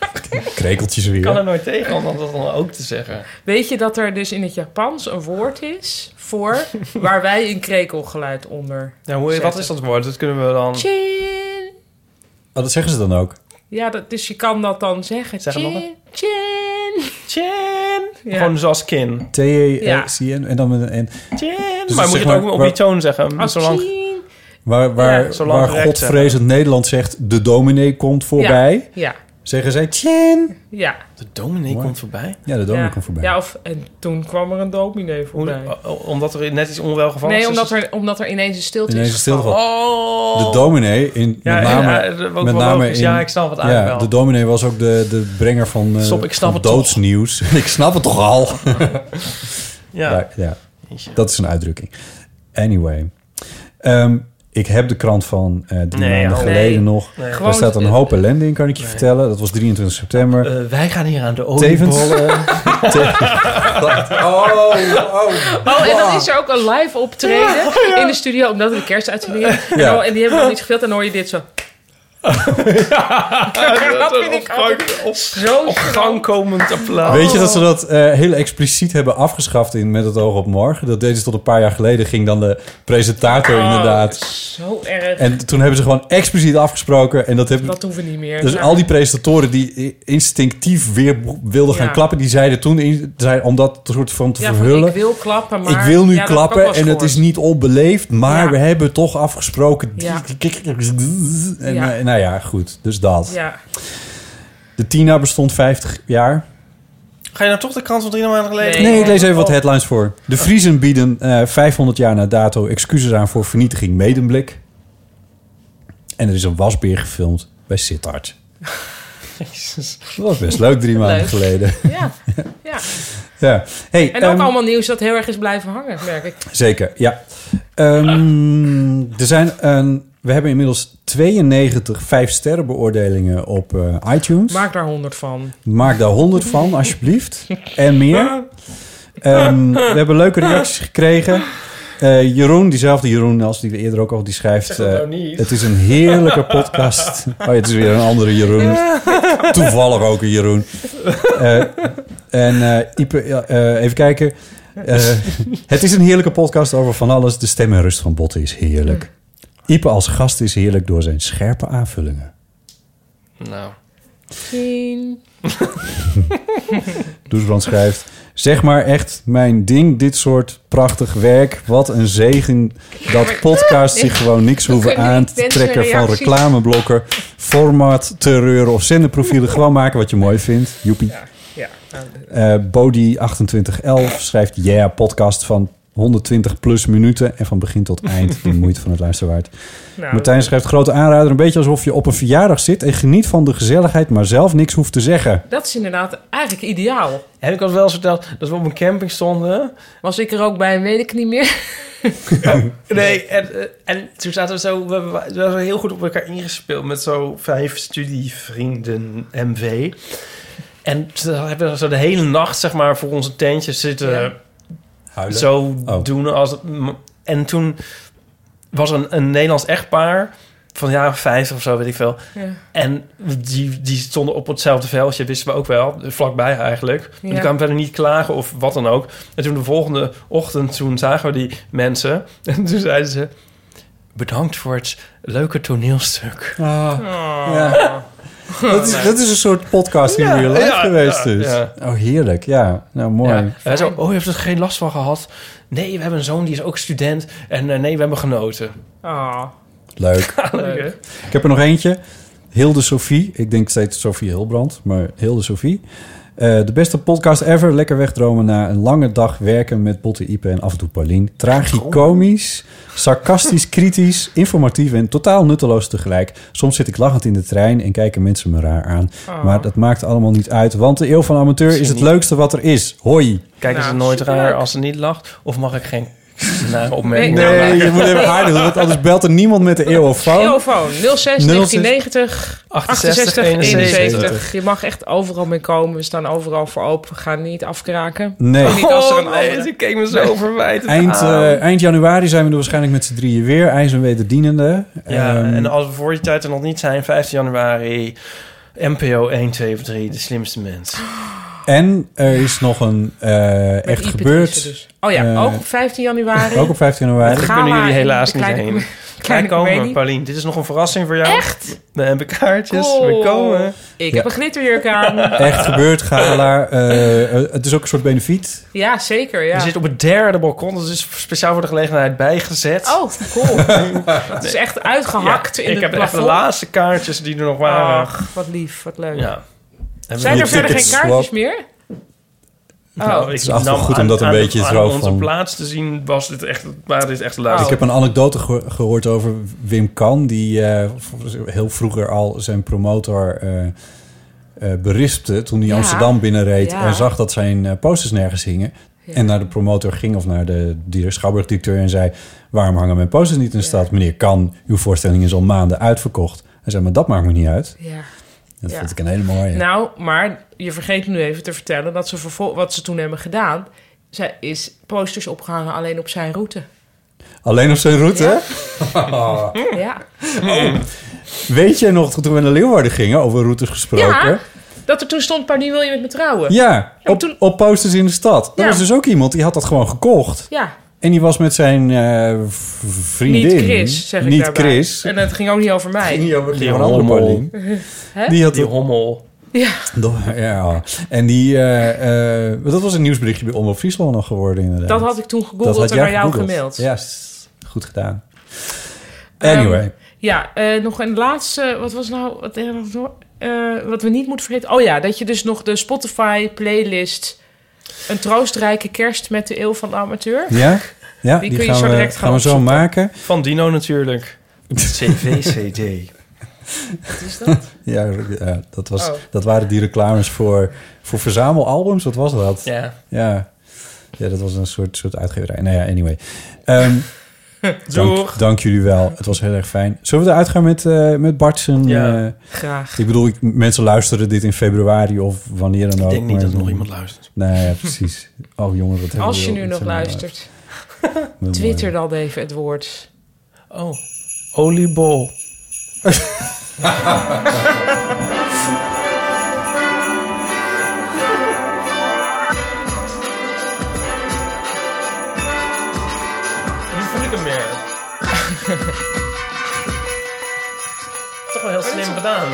Speaker 3: krekeltjes
Speaker 2: Ik kan
Speaker 3: weer.
Speaker 2: er nooit tegen om dat dan ook te zeggen.
Speaker 1: Weet je dat er dus in het Japans een woord is voor waar wij een krekelgeluid onder
Speaker 2: Ja, hoe, wat
Speaker 1: zetten?
Speaker 2: is dat woord? Dat kunnen we dan...
Speaker 1: Chin.
Speaker 3: Oh, dat zeggen ze dan ook.
Speaker 1: Ja, dat, dus je kan dat dan zeggen.
Speaker 2: Zeg het nog
Speaker 1: chin, chin.
Speaker 2: Chin.
Speaker 1: Ja.
Speaker 2: Gewoon zoals kin.
Speaker 3: E T-E-C-N en dan met een N.
Speaker 2: Chin.
Speaker 3: Dus
Speaker 2: maar
Speaker 3: zeg
Speaker 2: moet je het
Speaker 3: maar-
Speaker 2: ook op
Speaker 3: waar-
Speaker 2: die toon zeggen?
Speaker 1: Als
Speaker 2: zolang...
Speaker 1: chin.
Speaker 3: Waar, waar,
Speaker 2: Ja, zolang
Speaker 3: waar
Speaker 2: recht
Speaker 3: godvrezend Nederland zegt... de dominee komt voorbij...
Speaker 1: Ja,
Speaker 3: zeggen zij... Tjen!
Speaker 1: ja.
Speaker 2: De dominee komt voorbij.
Speaker 3: Ja, de dominee
Speaker 1: ja.
Speaker 3: komt voorbij.
Speaker 1: Ja, of, en toen kwam er een dominee
Speaker 2: Hoe, oh,
Speaker 1: voorbij.
Speaker 2: o- o- omdat er net iets onwelgevallig
Speaker 1: Nee,
Speaker 2: is.
Speaker 1: omdat
Speaker 2: dus-
Speaker 1: er, omdat er ineens een stilte
Speaker 3: Ineens
Speaker 1: is
Speaker 3: een stilte
Speaker 1: gevallen.
Speaker 2: Oh.
Speaker 3: De dominee, in,
Speaker 2: Ja,
Speaker 3: met
Speaker 2: ja,
Speaker 3: name...
Speaker 2: ja, ook wel
Speaker 3: met name
Speaker 2: logisch. Ja, ik snap het
Speaker 3: ja,
Speaker 2: eigenlijk wel.
Speaker 3: De dominee was ook de, de brenger van, eh,
Speaker 2: Stop, ik snap
Speaker 3: van
Speaker 2: het toch.
Speaker 3: doodsnieuws. ik snap het toch al?
Speaker 2: Ja.
Speaker 3: Ja, ja. dat is een uitdrukking. Anyway. Ehm, ik heb de krant van eh drie
Speaker 2: Nee,
Speaker 3: maanden
Speaker 2: oh.
Speaker 3: geleden
Speaker 1: Nee.
Speaker 3: nog.
Speaker 2: Nee.
Speaker 1: Gewoon-
Speaker 3: Daar staat een hoop ellende in, kan ik je vertellen. Dat was 23 september.
Speaker 2: Eh, wij gaan hier aan de oliebollen.
Speaker 3: Tevens... Te- oh, oh.
Speaker 1: Oh, en dan is er ook een live optreden in de studio, omdat het een kerstuitzending is. En,
Speaker 3: Ja.
Speaker 1: dan- en die hebben nog niet gespeeld, en dan hoor je dit zo. dat vind ik altijd zo
Speaker 2: Op gang komend applaus.
Speaker 3: Weet je dat ze dat eh, heel expliciet hebben afgeschaft in Met het oog op morgen? Dat deden ze tot een paar jaar geleden, ging dan de presentator
Speaker 1: Oh,
Speaker 3: inderdaad.
Speaker 1: Zo erg.
Speaker 3: En toen hebben ze gewoon expliciet afgesproken. En dat hebben,
Speaker 1: dat hoeven we niet meer.
Speaker 3: dus
Speaker 1: Ja.
Speaker 3: al die presentatoren die i- instinctief weer b- wilden gaan
Speaker 1: Ja.
Speaker 3: klappen, die zeiden toen, in, zei, om dat soort van te
Speaker 1: ja, van,
Speaker 3: verhullen...
Speaker 1: Ik wil klappen, maar...
Speaker 3: ik wil nu
Speaker 1: Ja, dat heb ik ook
Speaker 3: klappen
Speaker 1: wel eens
Speaker 3: en het is
Speaker 1: gehoord.
Speaker 3: niet onbeleefd, maar
Speaker 1: Ja.
Speaker 3: we hebben toch afgesproken.
Speaker 1: Ja.
Speaker 3: En,
Speaker 1: Ja.
Speaker 3: eh, nou ja, goed. Dus dat.
Speaker 1: Ja,
Speaker 3: De Tina bestond 50 jaar.
Speaker 2: Ga je nou toch de krant van drie maanden geleden?
Speaker 1: Nee.
Speaker 3: Nee, ik lees even wat headlines voor. De Vriezen bieden eh, 500 jaar na dato excuses aan voor vernietiging Medemblik. En er is een wasbeer gefilmd bij Sittard. Dat was best leuk drie maanden
Speaker 1: Leuk.
Speaker 3: geleden.
Speaker 1: ja, ja.
Speaker 3: Ja. Hey,
Speaker 1: En ook
Speaker 3: ehm,
Speaker 1: allemaal nieuws dat heel erg is blijven hangen, merk ik.
Speaker 3: Zeker, ja. Ehm, er zijn een, we hebben inmiddels 92 vijfsterren beoordelingen op eh, iTunes.
Speaker 1: Maak daar honderd van.
Speaker 3: Maak daar 100 van, alsjeblieft. En meer. Ehm, we hebben leuke reacties gekregen. Eh, Jeroen, diezelfde Jeroen als die we eerder ook al, die schrijft...
Speaker 2: Zeg dat nou
Speaker 3: eh,
Speaker 2: niet.
Speaker 3: het is een heerlijke podcast. Oh ja, het is weer een andere Jeroen. Toevallig ook een Jeroen. Eh, en eh, Ipe, ja, eh, even kijken. Eh, het is een heerlijke podcast over van alles. De stem en rust van Botten is heerlijk. Ipe als gast is heerlijk door zijn scherpe aanvullingen.
Speaker 2: Nou.
Speaker 1: Misschien.
Speaker 3: Doesbrand schrijft... Zeg maar echt mijn ding, dit soort prachtig werk. Wat een zegen dat podcasts zich gewoon niks hoeven
Speaker 1: kunnen
Speaker 3: aan
Speaker 1: niet
Speaker 3: te
Speaker 1: mensen
Speaker 3: trekken van
Speaker 1: reacties.
Speaker 3: reclameblokken, format, terreur of zenderprofielen. Gewoon maken wat je mooi vindt. Joepie.
Speaker 1: Ja, nou,
Speaker 3: Eh, Bodie2811 schrijft... Yeah, podcast van 120 plus minuten en van begin tot eind de moeite van het luisteren waard.
Speaker 1: nou,
Speaker 3: Martijn schrijft grote aanrader, een beetje alsof je op een verjaardag zit en geniet van de gezelligheid, maar zelf niks hoeft te zeggen.
Speaker 1: Dat is inderdaad eigenlijk ideaal.
Speaker 2: Heb ik al wel eens verteld dat we op een camping stonden?
Speaker 1: Was ik er ook bij en weet ik niet meer.
Speaker 2: Nee, en, eh, en toen zaten we zo... We, we, we waren heel goed op elkaar ingespeeld met zo vijf studievrienden MV. En ze hebben we zo de hele nacht, zeg maar, voor onze tentje zitten...
Speaker 1: Ja.
Speaker 3: Huilen.
Speaker 2: zo
Speaker 3: Oh.
Speaker 2: doen als... m- En toen was er een, een Nederlands echtpaar van jaren 50 of zo, weet ik veel.
Speaker 1: Ja.
Speaker 2: En die, die stonden op hetzelfde veldje, wisten we ook wel, vlakbij eigenlijk. En
Speaker 1: Ja.
Speaker 2: die kwamen verder niet klagen of wat dan ook. En toen de volgende ochtend, toen zagen we die mensen. En toen zeiden ze, bedankt voor het leuke toneelstuk.
Speaker 3: Ja. Dat, is, dat is een soort podcast in real life
Speaker 2: Ah. ja,
Speaker 3: geweest
Speaker 2: ja,
Speaker 3: dus.
Speaker 2: ja.
Speaker 3: Oh, heerlijk. Ja, nou mooi.
Speaker 2: Ja. En zo, oh, je hebt er geen last van gehad? Nee, we hebben een zoon, die is ook student. En eh, nee, we hebben genoten.
Speaker 1: Ah,
Speaker 3: Leuk.
Speaker 1: leuk.
Speaker 2: Leuk,
Speaker 3: Ik heb er nog eentje. Hilde Sophie. Ik denk steeds Sophie Hilbrand, maar Hilde Sophie. Eh, de beste podcast ever. Lekker wegdromen na een lange dag werken met Botte, Ipe en af en toe Paulien. Tragicomisch, sarcastisch, kritisch, informatief en totaal nutteloos tegelijk. Soms zit ik lachend in de trein en kijken mensen me raar aan.
Speaker 2: Oh.
Speaker 3: Maar dat maakt allemaal niet uit, want de eeuw van amateur is het leukste wat er is. Hoi.
Speaker 2: Kijken
Speaker 1: Nou,
Speaker 2: ze nooit
Speaker 1: superleuk.
Speaker 2: raar als ze niet lacht? Of mag ik geen Nare opmerking.
Speaker 1: Nee.
Speaker 2: Nou,
Speaker 3: Nee, je moet even haar doen, want anders belt er niemand met de eeuwofoon.
Speaker 1: Telefoon 06 1990 68 71. Je mag echt overal mee komen. We staan overal voor open. We gaan niet afkraken.
Speaker 3: Nee.
Speaker 1: Niet als er een
Speaker 2: Oh, nee,
Speaker 1: andere...
Speaker 2: ze keek me zo verwijtend
Speaker 3: Eind,
Speaker 2: aan.
Speaker 3: eh, eind januari zijn we er waarschijnlijk met z'n drieën weer. IJs en wederdienende.
Speaker 2: Ja,
Speaker 3: Ehm,
Speaker 2: en als we voor die tijd er nog niet zijn, 15 januari, NPO 173, de slimste mens.
Speaker 3: en er is nog een eh, echt
Speaker 1: Ipe
Speaker 3: gebeurd.
Speaker 1: Driessen dus. Oh ja,
Speaker 3: Eh,
Speaker 1: ook op 15 januari.
Speaker 3: Ook op 15 januari.
Speaker 2: Daar
Speaker 1: Ga
Speaker 2: kunnen
Speaker 1: maar
Speaker 2: jullie
Speaker 1: in
Speaker 2: helaas
Speaker 1: de
Speaker 2: niet
Speaker 1: kleine-
Speaker 2: heen. Wij
Speaker 1: kleine
Speaker 2: komen,
Speaker 1: comedie.
Speaker 2: Paulien. Dit is nog een verrassing voor jou. Echt? We hebben kaartjes, we
Speaker 1: Cool.
Speaker 2: komen.
Speaker 1: Ik
Speaker 3: Ja.
Speaker 1: heb een glitterjurk aan.
Speaker 3: Echt gebeurd, gala. Eh, eh, het is ook een soort benefiet.
Speaker 1: Ja, zeker.
Speaker 2: We
Speaker 1: Ja.
Speaker 2: zitten op het derde balkon, dat is speciaal voor de gelegenheid bijgezet.
Speaker 1: Oh, cool. Het is echt uitgehakt
Speaker 2: Ja,
Speaker 1: in
Speaker 2: ik
Speaker 1: het
Speaker 2: heb echt de
Speaker 1: plafond.
Speaker 2: laatste kaartjes die er nog waren.
Speaker 1: Ach, wat lief, wat leuk.
Speaker 2: Ja. Hebben
Speaker 1: Zijn
Speaker 2: we-
Speaker 1: er verder geen
Speaker 3: tickets
Speaker 1: kaartjes
Speaker 3: swap.
Speaker 1: meer?
Speaker 2: Nou,
Speaker 1: Oh,
Speaker 2: ik
Speaker 3: is echt wel
Speaker 2: nam
Speaker 3: goed om dat een
Speaker 2: de-
Speaker 3: beetje
Speaker 2: aan
Speaker 3: erover
Speaker 2: onze
Speaker 3: van-
Speaker 2: plaats te zien was dit echt, waren dit echt de
Speaker 1: Oh.
Speaker 2: laatste.
Speaker 3: Ik heb een anekdote geho- gehoord over Wim Kan, die eh, v- heel vroeger al zijn promotor eh, eh, berispte toen hij
Speaker 1: Ja.
Speaker 3: Amsterdam binnenreed
Speaker 1: Ja.
Speaker 3: en zag dat zijn eh, posters nergens hingen. En naar de promotor ging of naar de dire- schouwburgdirecteur en zei... waarom hangen mijn posters niet in de stad? Meneer Kan, uw voorstelling is al maanden uitverkocht. Hij zei, maar dat maakt me niet uit.
Speaker 1: Ja.
Speaker 3: Dat
Speaker 1: Ja.
Speaker 3: vond ik een hele mooie.
Speaker 1: Nou, maar je vergeet nu even te vertellen dat ze vervol- wat ze toen hebben gedaan. Zij is posters opgehangen alleen op zijn route.
Speaker 3: Alleen op zijn route. Oh.
Speaker 1: Ja.
Speaker 3: Hm.
Speaker 1: Ja.
Speaker 3: Weet je nog, toen we naar Leeuwarden gingen, over routes gesproken...
Speaker 1: ja. Dat er toen stond, Paulien wil je met me trouwen?
Speaker 3: Ja,
Speaker 1: maar
Speaker 3: op,
Speaker 1: toen-
Speaker 3: op posters in de stad. Er
Speaker 1: Ja.
Speaker 3: was dus ook iemand die had dat gewoon gekocht.
Speaker 1: Ja.
Speaker 3: En die was met zijn eh, v- vriendin.
Speaker 1: Niet Chris, zeg ik
Speaker 3: Niet
Speaker 1: daarbij.
Speaker 3: Chris.
Speaker 1: En het ging ook niet over mij.
Speaker 3: Die over
Speaker 2: Die
Speaker 3: die andere
Speaker 2: hommel.
Speaker 3: Paulien.
Speaker 1: Hè?
Speaker 3: Die had
Speaker 2: Die hommel.
Speaker 3: ja. En die, eh, eh, dat was een nieuwsberichtje bij Omroep Friesland nog geworden inderdaad.
Speaker 1: Dat had ik toen
Speaker 3: Dat
Speaker 1: gegoogeld
Speaker 3: had
Speaker 1: en
Speaker 3: jij
Speaker 1: naar jou
Speaker 3: gegoogeld.
Speaker 1: gemaild.
Speaker 3: Ja, s- goed gedaan. Anyway,
Speaker 1: Ehm, ja, eh, nog een laatste. Wat was nou. Wat, eh, wat- eh, wat we niet moeten vergeten. Oh ja, dat je dus nog de Spotify-playlist. Een troostrijke kerst met de eeuw van de amateur.
Speaker 3: ja, ja die,
Speaker 1: kun je
Speaker 3: gaan,
Speaker 1: zo
Speaker 3: we,
Speaker 1: direct
Speaker 3: gaan we
Speaker 1: gaan
Speaker 3: zo
Speaker 1: opzoeken.
Speaker 3: maken.
Speaker 2: Van Dino natuurlijk. CVCD.
Speaker 3: Ja, ja, dat, was,
Speaker 1: Oh.
Speaker 3: dat waren die reclames voor, voor verzamelalbums. Wat was dat?
Speaker 2: Ja.
Speaker 3: Ja. ja, dat was een soort, soort uitgeverij. Nou ja, anyway. Ehm, dank,
Speaker 2: Doeg.
Speaker 3: dank jullie wel. Het was heel erg fijn. Zullen we eruit gaan met, eh met Bart zijn...
Speaker 2: Ja.
Speaker 3: eh,
Speaker 1: Graag.
Speaker 3: ik bedoel, ik, mensen luisteren dit in februari of wanneer dan ook.
Speaker 2: Ik denk niet
Speaker 3: maar-
Speaker 2: dat er nog iemand luistert.
Speaker 3: Nee, ja, precies. Oh jongen, wat hebben
Speaker 1: Als
Speaker 3: we-
Speaker 1: je nu
Speaker 3: wat
Speaker 1: nog
Speaker 3: hebben we-
Speaker 1: luistert,
Speaker 3: wat hebben we-
Speaker 1: twitter dan even het woord.
Speaker 2: Oh, oliebol. Nu voel ik hem weer. Toch wel heel slim gedaan.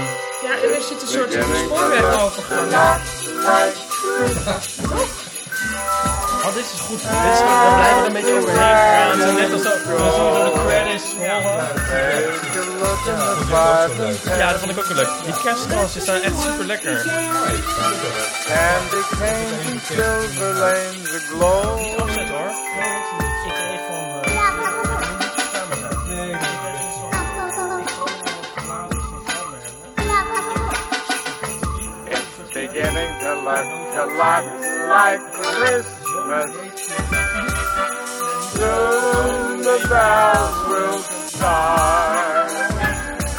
Speaker 1: Ja, er zit een soort spoorwegovergang.
Speaker 2: Oh, dit is goed. Dit is goed. We blijven er een beetje overheen gaan. Zo Net als dat als we door de credits rollen. Ja, dat vond ik ook wel leuk. Die kerstkransjes zijn echt super lekker.
Speaker 4: And it came from silver lanes aglow.
Speaker 2: Opzet hoor. Ik kreeg van... eh,
Speaker 4: It's beginning to look a lot like Christmas. Soon the bells will start,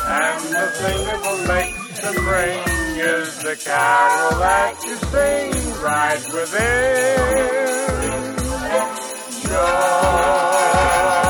Speaker 4: and the thing that will make the ring is the carol that you sing right within. Joy.